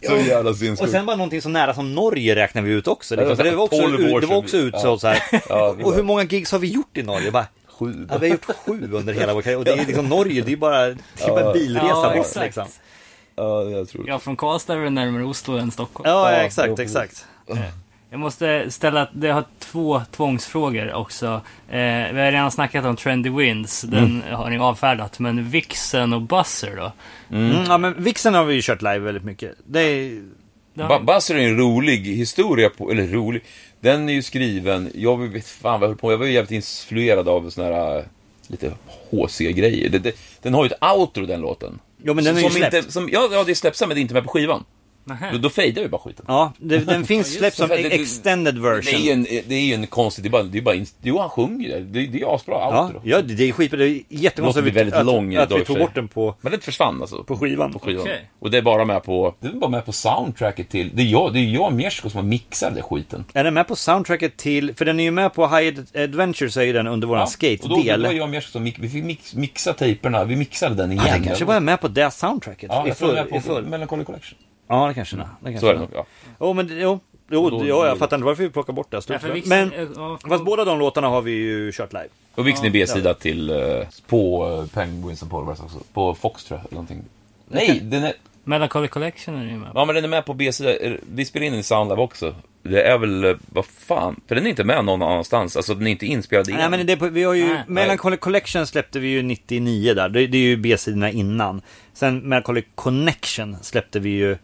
[SPEAKER 6] så jävla
[SPEAKER 7] Och
[SPEAKER 6] sinnessjukt.
[SPEAKER 7] sen bara någonting så nära som Norge räknar vi ut också. Liksom.
[SPEAKER 6] Ja,
[SPEAKER 7] För det var också,
[SPEAKER 6] 12 år
[SPEAKER 7] ut, det var
[SPEAKER 6] sedan
[SPEAKER 7] också
[SPEAKER 6] vi-
[SPEAKER 7] utsålt så här.
[SPEAKER 6] Ja, vi
[SPEAKER 7] Och hur
[SPEAKER 6] bara,
[SPEAKER 7] många gigs har vi gjort i Norge? Bara,
[SPEAKER 6] sju.
[SPEAKER 7] ja, vi har gjort sju under hela vår karriär. Och det är liksom Norge, det är ju bara, det är bara en bilresa
[SPEAKER 2] Ja,
[SPEAKER 7] bort
[SPEAKER 2] exakt.
[SPEAKER 7] liksom.
[SPEAKER 6] Ja, jag tror det.
[SPEAKER 2] Ja, från Karlstad är det närmare Oslo än Stockholm.
[SPEAKER 7] Ja,
[SPEAKER 6] Ja,
[SPEAKER 7] exakt,
[SPEAKER 6] jo,
[SPEAKER 7] exakt.
[SPEAKER 2] Jag måste ställa, jag har två tvångsfrågor också. Eh, vi har redan snackat om Trendy Winds,
[SPEAKER 6] Mm.
[SPEAKER 2] den har ni avfärdat. Men Vixen och Buzzer då?
[SPEAKER 7] Mm, ja, men Vixen har vi ju kört live väldigt mycket. Det är,
[SPEAKER 2] Det har
[SPEAKER 6] Ba-
[SPEAKER 2] ni-
[SPEAKER 6] Buzzer är en rolig historia, på, eller rolig, den är ju skriven, jag vet fan vad jag höll på med. jag var ju jävligt influerad av såna här äh, lite HC-grejer. Det- det- Den har ju ett outro den låten.
[SPEAKER 7] jo, men den är ju
[SPEAKER 6] som
[SPEAKER 7] släppt.
[SPEAKER 6] inte, som, ja, ja, det är släppt sen, men det är inte med på skivan.
[SPEAKER 2] Nähä.
[SPEAKER 6] Då, då fejdar vi bara skiten.
[SPEAKER 7] Ja, det, den finns släppt som
[SPEAKER 6] För det- det-
[SPEAKER 7] extended
[SPEAKER 6] Det är ju
[SPEAKER 7] version.
[SPEAKER 6] en, det är ju en konstig, det är bara, det är bara, inst- jo han sjunger ju där. det, det är asbra
[SPEAKER 7] Ja,
[SPEAKER 6] outro.
[SPEAKER 7] ja, det är skitbra. Det är
[SPEAKER 6] Låten
[SPEAKER 7] jättekonstigt
[SPEAKER 6] blir
[SPEAKER 7] att,
[SPEAKER 6] väldigt
[SPEAKER 7] vi- att,
[SPEAKER 6] lång
[SPEAKER 7] att
[SPEAKER 6] idag i
[SPEAKER 7] vi tog
[SPEAKER 6] och för sig.
[SPEAKER 7] bort den på...
[SPEAKER 6] Men den försvann alltså. På
[SPEAKER 7] skivan.
[SPEAKER 6] På skivan.
[SPEAKER 2] Okej.
[SPEAKER 6] Och det är bara med på, det är bara med på soundtracket till, det är jag, det är jag och Miesko som har mixat den skiten.
[SPEAKER 7] Är den med på soundtracket till, för den är ju med på High Ad- Adventures är ju den under våran
[SPEAKER 6] Och då, då
[SPEAKER 7] skate-del.
[SPEAKER 6] var jag och Miesko som, mix- vi fick mix, mixa tejperna, vi mixade den igen.
[SPEAKER 7] Ah, den kanske bara är med på det soundtracket.
[SPEAKER 6] ja,
[SPEAKER 7] I
[SPEAKER 6] jag tror
[SPEAKER 7] full,
[SPEAKER 6] den är
[SPEAKER 7] i
[SPEAKER 6] på
[SPEAKER 7] full.
[SPEAKER 6] Melancholy Collection.
[SPEAKER 7] Ja, det kanske den är. Det
[SPEAKER 6] Så
[SPEAKER 7] kanske
[SPEAKER 6] är
[SPEAKER 7] den
[SPEAKER 6] det
[SPEAKER 7] är.
[SPEAKER 6] nog, ja.
[SPEAKER 7] Jo, men jo. Jo,
[SPEAKER 6] Då-
[SPEAKER 7] ja, jag
[SPEAKER 6] då-
[SPEAKER 7] fattar inte varför vi plockar bort det.
[SPEAKER 2] Ja,
[SPEAKER 7] Stort
[SPEAKER 2] för
[SPEAKER 7] stöd.
[SPEAKER 2] Vixen,
[SPEAKER 7] men,
[SPEAKER 2] eh, ja,
[SPEAKER 7] fast båda de låtarna har vi ju kört live.
[SPEAKER 6] Och Vixen är B-sida till, eh, på eh, Penguins and Polvars också. På Fox tror jag, eller någonting. Nej, den är...
[SPEAKER 2] Melancholy Collection är ju med.
[SPEAKER 6] Ja, men den är med på B-sida. Vi spelar in den i Soundlab också. Det är väl, eh, vad fan, för den är inte med någon annanstans. Alltså, den är inte inspelad i.
[SPEAKER 7] Nej men det, är på- vi har ju,
[SPEAKER 2] Nej.
[SPEAKER 7] Melancholy Collection släppte vi ju 99 där, det, det är ju B-sidorna innan. Sen Melancholy Connection släppte vi ju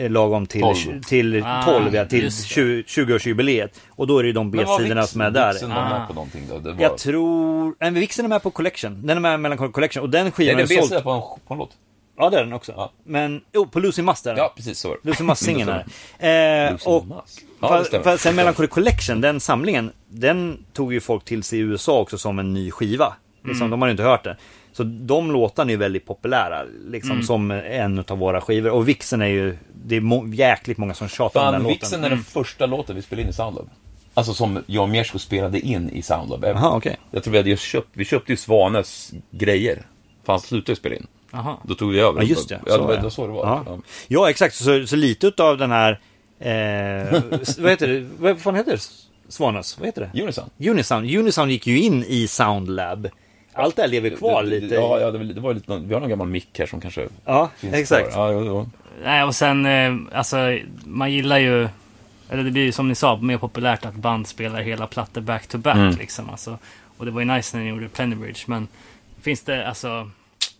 [SPEAKER 7] eh, lagom till 12,
[SPEAKER 6] 12.
[SPEAKER 7] till,
[SPEAKER 2] Ah,
[SPEAKER 7] 12 ja, till
[SPEAKER 2] just det.
[SPEAKER 7] 20, 20-årsjubileet. Och då är det ju de B-sidorna som är där.
[SPEAKER 6] Vixen var
[SPEAKER 2] Ah.
[SPEAKER 6] med på någonting då. Det var...
[SPEAKER 7] Jag tror, nej men Vixen är med på Collection, den är med i Melancholy Collection och den
[SPEAKER 6] Nej,
[SPEAKER 7] skivan
[SPEAKER 6] det
[SPEAKER 7] är
[SPEAKER 6] är
[SPEAKER 7] såld.
[SPEAKER 6] B-sida på en, på en låt.
[SPEAKER 7] Ja det är den också.
[SPEAKER 6] Ja.
[SPEAKER 7] Men, jo på Lucy Must är den.
[SPEAKER 6] Ja, precis så var det.
[SPEAKER 7] Lucy Must-singeln är det. eh,
[SPEAKER 6] Lucy
[SPEAKER 7] Och
[SPEAKER 6] Mass. Ja, det
[SPEAKER 7] Fast,
[SPEAKER 6] stämmer.
[SPEAKER 7] fast sen Melancholy Collection, den samlingen, den tog ju folk till sig i USA också som en ny skiva. Liksom,
[SPEAKER 6] Mm.
[SPEAKER 7] De har ju inte hört den. Så de låtarna är ju väldigt populära, liksom
[SPEAKER 6] Mm.
[SPEAKER 7] som en av våra skivor. Och Vixen är ju, det är må- jäkligt många som tjatar om
[SPEAKER 6] Fan,
[SPEAKER 7] den
[SPEAKER 6] Vixen
[SPEAKER 7] låten. Mm.
[SPEAKER 6] är den första låten vi spelade in i Soundlab. Alltså som jag och Miesko spelade in i Soundlab.
[SPEAKER 7] Jaha, okej.
[SPEAKER 6] Jag tror vi hade ju köpt, vi köpte ju Svanes grejer. För han slutade ju spela in.
[SPEAKER 2] Jaha.
[SPEAKER 6] Då tog vi över.
[SPEAKER 7] Ja just det,
[SPEAKER 6] Ja, det var
[SPEAKER 7] ja.
[SPEAKER 6] det var så det var. liksom.
[SPEAKER 7] Ja,
[SPEAKER 6] Ja.
[SPEAKER 7] ja exakt, så, så lite utav den här, eh, vad heter det, vad fan heter det? Svanas, vad heter det?
[SPEAKER 6] Unison.
[SPEAKER 7] Unisound. Unisound gick ju in i Soundlab. Allt det här lever kvar
[SPEAKER 6] Det- det-
[SPEAKER 7] lite.
[SPEAKER 6] Ja, ja det, var- det var lite, vi har någon gammal mick här som kanske
[SPEAKER 7] Ja,
[SPEAKER 6] finns
[SPEAKER 7] exakt.
[SPEAKER 6] kvar. Ja, jo, jo.
[SPEAKER 2] Nej, och sen, eh, alltså, man gillar ju... Eller det blir ju som ni sa, mer populärt att band spelar hela plattor back-to-back.
[SPEAKER 6] Mm.
[SPEAKER 2] Liksom, alltså. Och det var ju nice när ni gjorde Plenty Bridge, men finns det, alltså,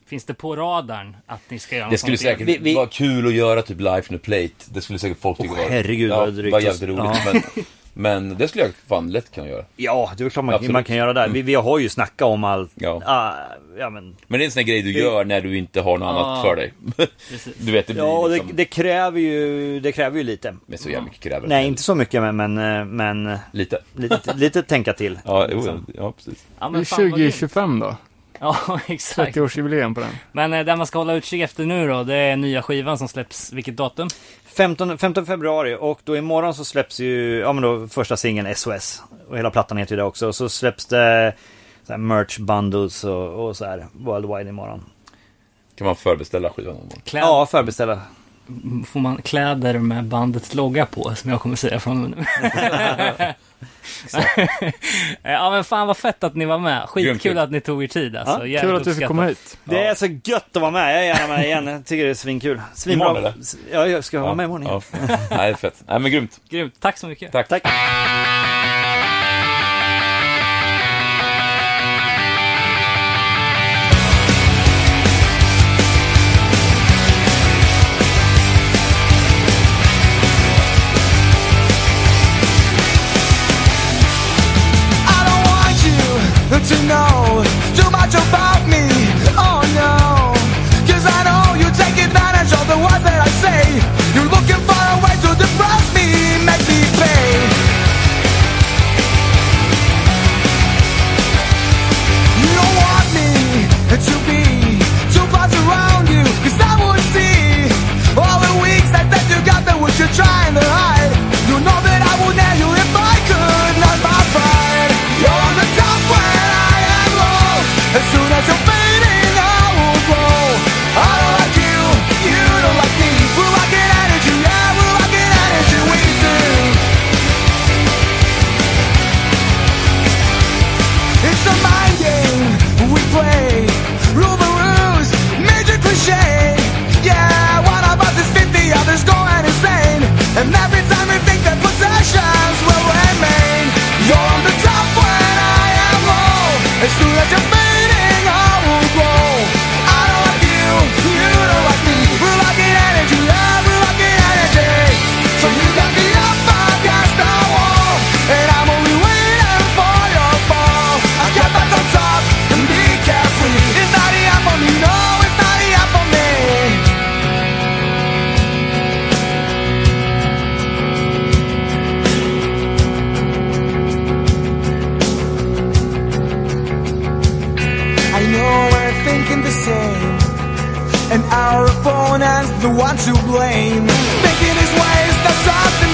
[SPEAKER 2] finns det på radarn att ni ska göra något
[SPEAKER 6] Det skulle
[SPEAKER 2] sånt igen?
[SPEAKER 6] säkert
[SPEAKER 7] Vi- vi-
[SPEAKER 6] vara kul att göra typ live from the plate. Det skulle säkert folk tycka var...
[SPEAKER 7] herregud, vad drygt.
[SPEAKER 6] var jävligt roligt. Men, men det skulle jag fan lätt kunna göra.
[SPEAKER 7] Ja, det är klart man,
[SPEAKER 6] Absolut.
[SPEAKER 7] man kan göra det. Vi, vi har ju snackat om allt.
[SPEAKER 6] Ja.
[SPEAKER 7] Ah, ja, men,
[SPEAKER 6] Men det är en sån här grej du gör när du inte har något annat för dig. Du vet, det blir
[SPEAKER 7] ja och det,
[SPEAKER 6] liksom...
[SPEAKER 7] det, kräver ju, det kräver ju lite.
[SPEAKER 6] Men så jävla mycket kräver det.
[SPEAKER 7] Nej, inte så mycket, men, men, eh, men eh,
[SPEAKER 6] Lite.
[SPEAKER 7] lite, lite tänka till.
[SPEAKER 6] Ja, jo,
[SPEAKER 7] Liksom.
[SPEAKER 6] ja, ja, precis.
[SPEAKER 2] Ja,
[SPEAKER 3] Det är
[SPEAKER 2] men fan, vad grymt.
[SPEAKER 3] 2025 då.
[SPEAKER 2] Ja, exakt.
[SPEAKER 3] 30-årsjubileum på den.
[SPEAKER 2] Men eh, det man ska hålla utkik efter nu då, det är nya skivan som släpps, vilket datum?
[SPEAKER 7] 15, 15 februari och då imorgon så släpps ju, ja men då första singeln SOS. Och hela plattan heter ju det också. Och så släpps det så här, merch bundles och, och så här worldwide imorgon.
[SPEAKER 6] Kan man förbeställa skivan någon gång?
[SPEAKER 2] Kläd...
[SPEAKER 7] Ja, förbeställa.
[SPEAKER 2] Får man kläder med bandets logga på, som jag kommer säga från och med nu. ja men fan vad fett att ni var med.
[SPEAKER 6] Grymt
[SPEAKER 2] Skitkul
[SPEAKER 6] kul.
[SPEAKER 2] att ni tog er tid alltså. Jävligt
[SPEAKER 3] Kul att du fick
[SPEAKER 2] uppskattat.
[SPEAKER 3] komma hit.
[SPEAKER 7] Det är så gött att vara med. Jag är gärna med igen. Jag tycker det är svinkul. Svinbra.
[SPEAKER 6] Imorgon, eller?
[SPEAKER 7] Ja, jag ska vara med imorgon igen.
[SPEAKER 6] Ja. Nej, fett. Nej, men grymt.
[SPEAKER 2] Grymt, tack så mycket.
[SPEAKER 6] Tack.
[SPEAKER 7] Tack.
[SPEAKER 5] I don't want you to know too much about me. Oh no, 'Cause I know you take advantage of the words that I say. You're looking for a way to depress me, make me pay. You don't want me to be too close around you, 'cause I would see all the weeks that, that you got that what you're trying to hide. You know that I would nail you if I could, not my pride. You're on the top when I am low. As soon as you're fading, I will blow. I don't like you, you don't like me. We're rocking energy, yeah, we're rocking energy, we do. It's a mind game we play. Rule the rules, major cliche. Yeah, one of us is 50, others going insane. And every time we think that possessions will remain, you're on the top when I am low. As soon as you're fading, I will grow. I don't like you, you don't like me. We're lacking energy, yeah, we're lacking energy. So you got me up against the wall, and I'm only waiting for your fall. I get back on top and be careful. It's not the end for me, no, it's not the end for me. I know we're thinking the same. And our opponent's the one to blame. Thinking his ways, that's not the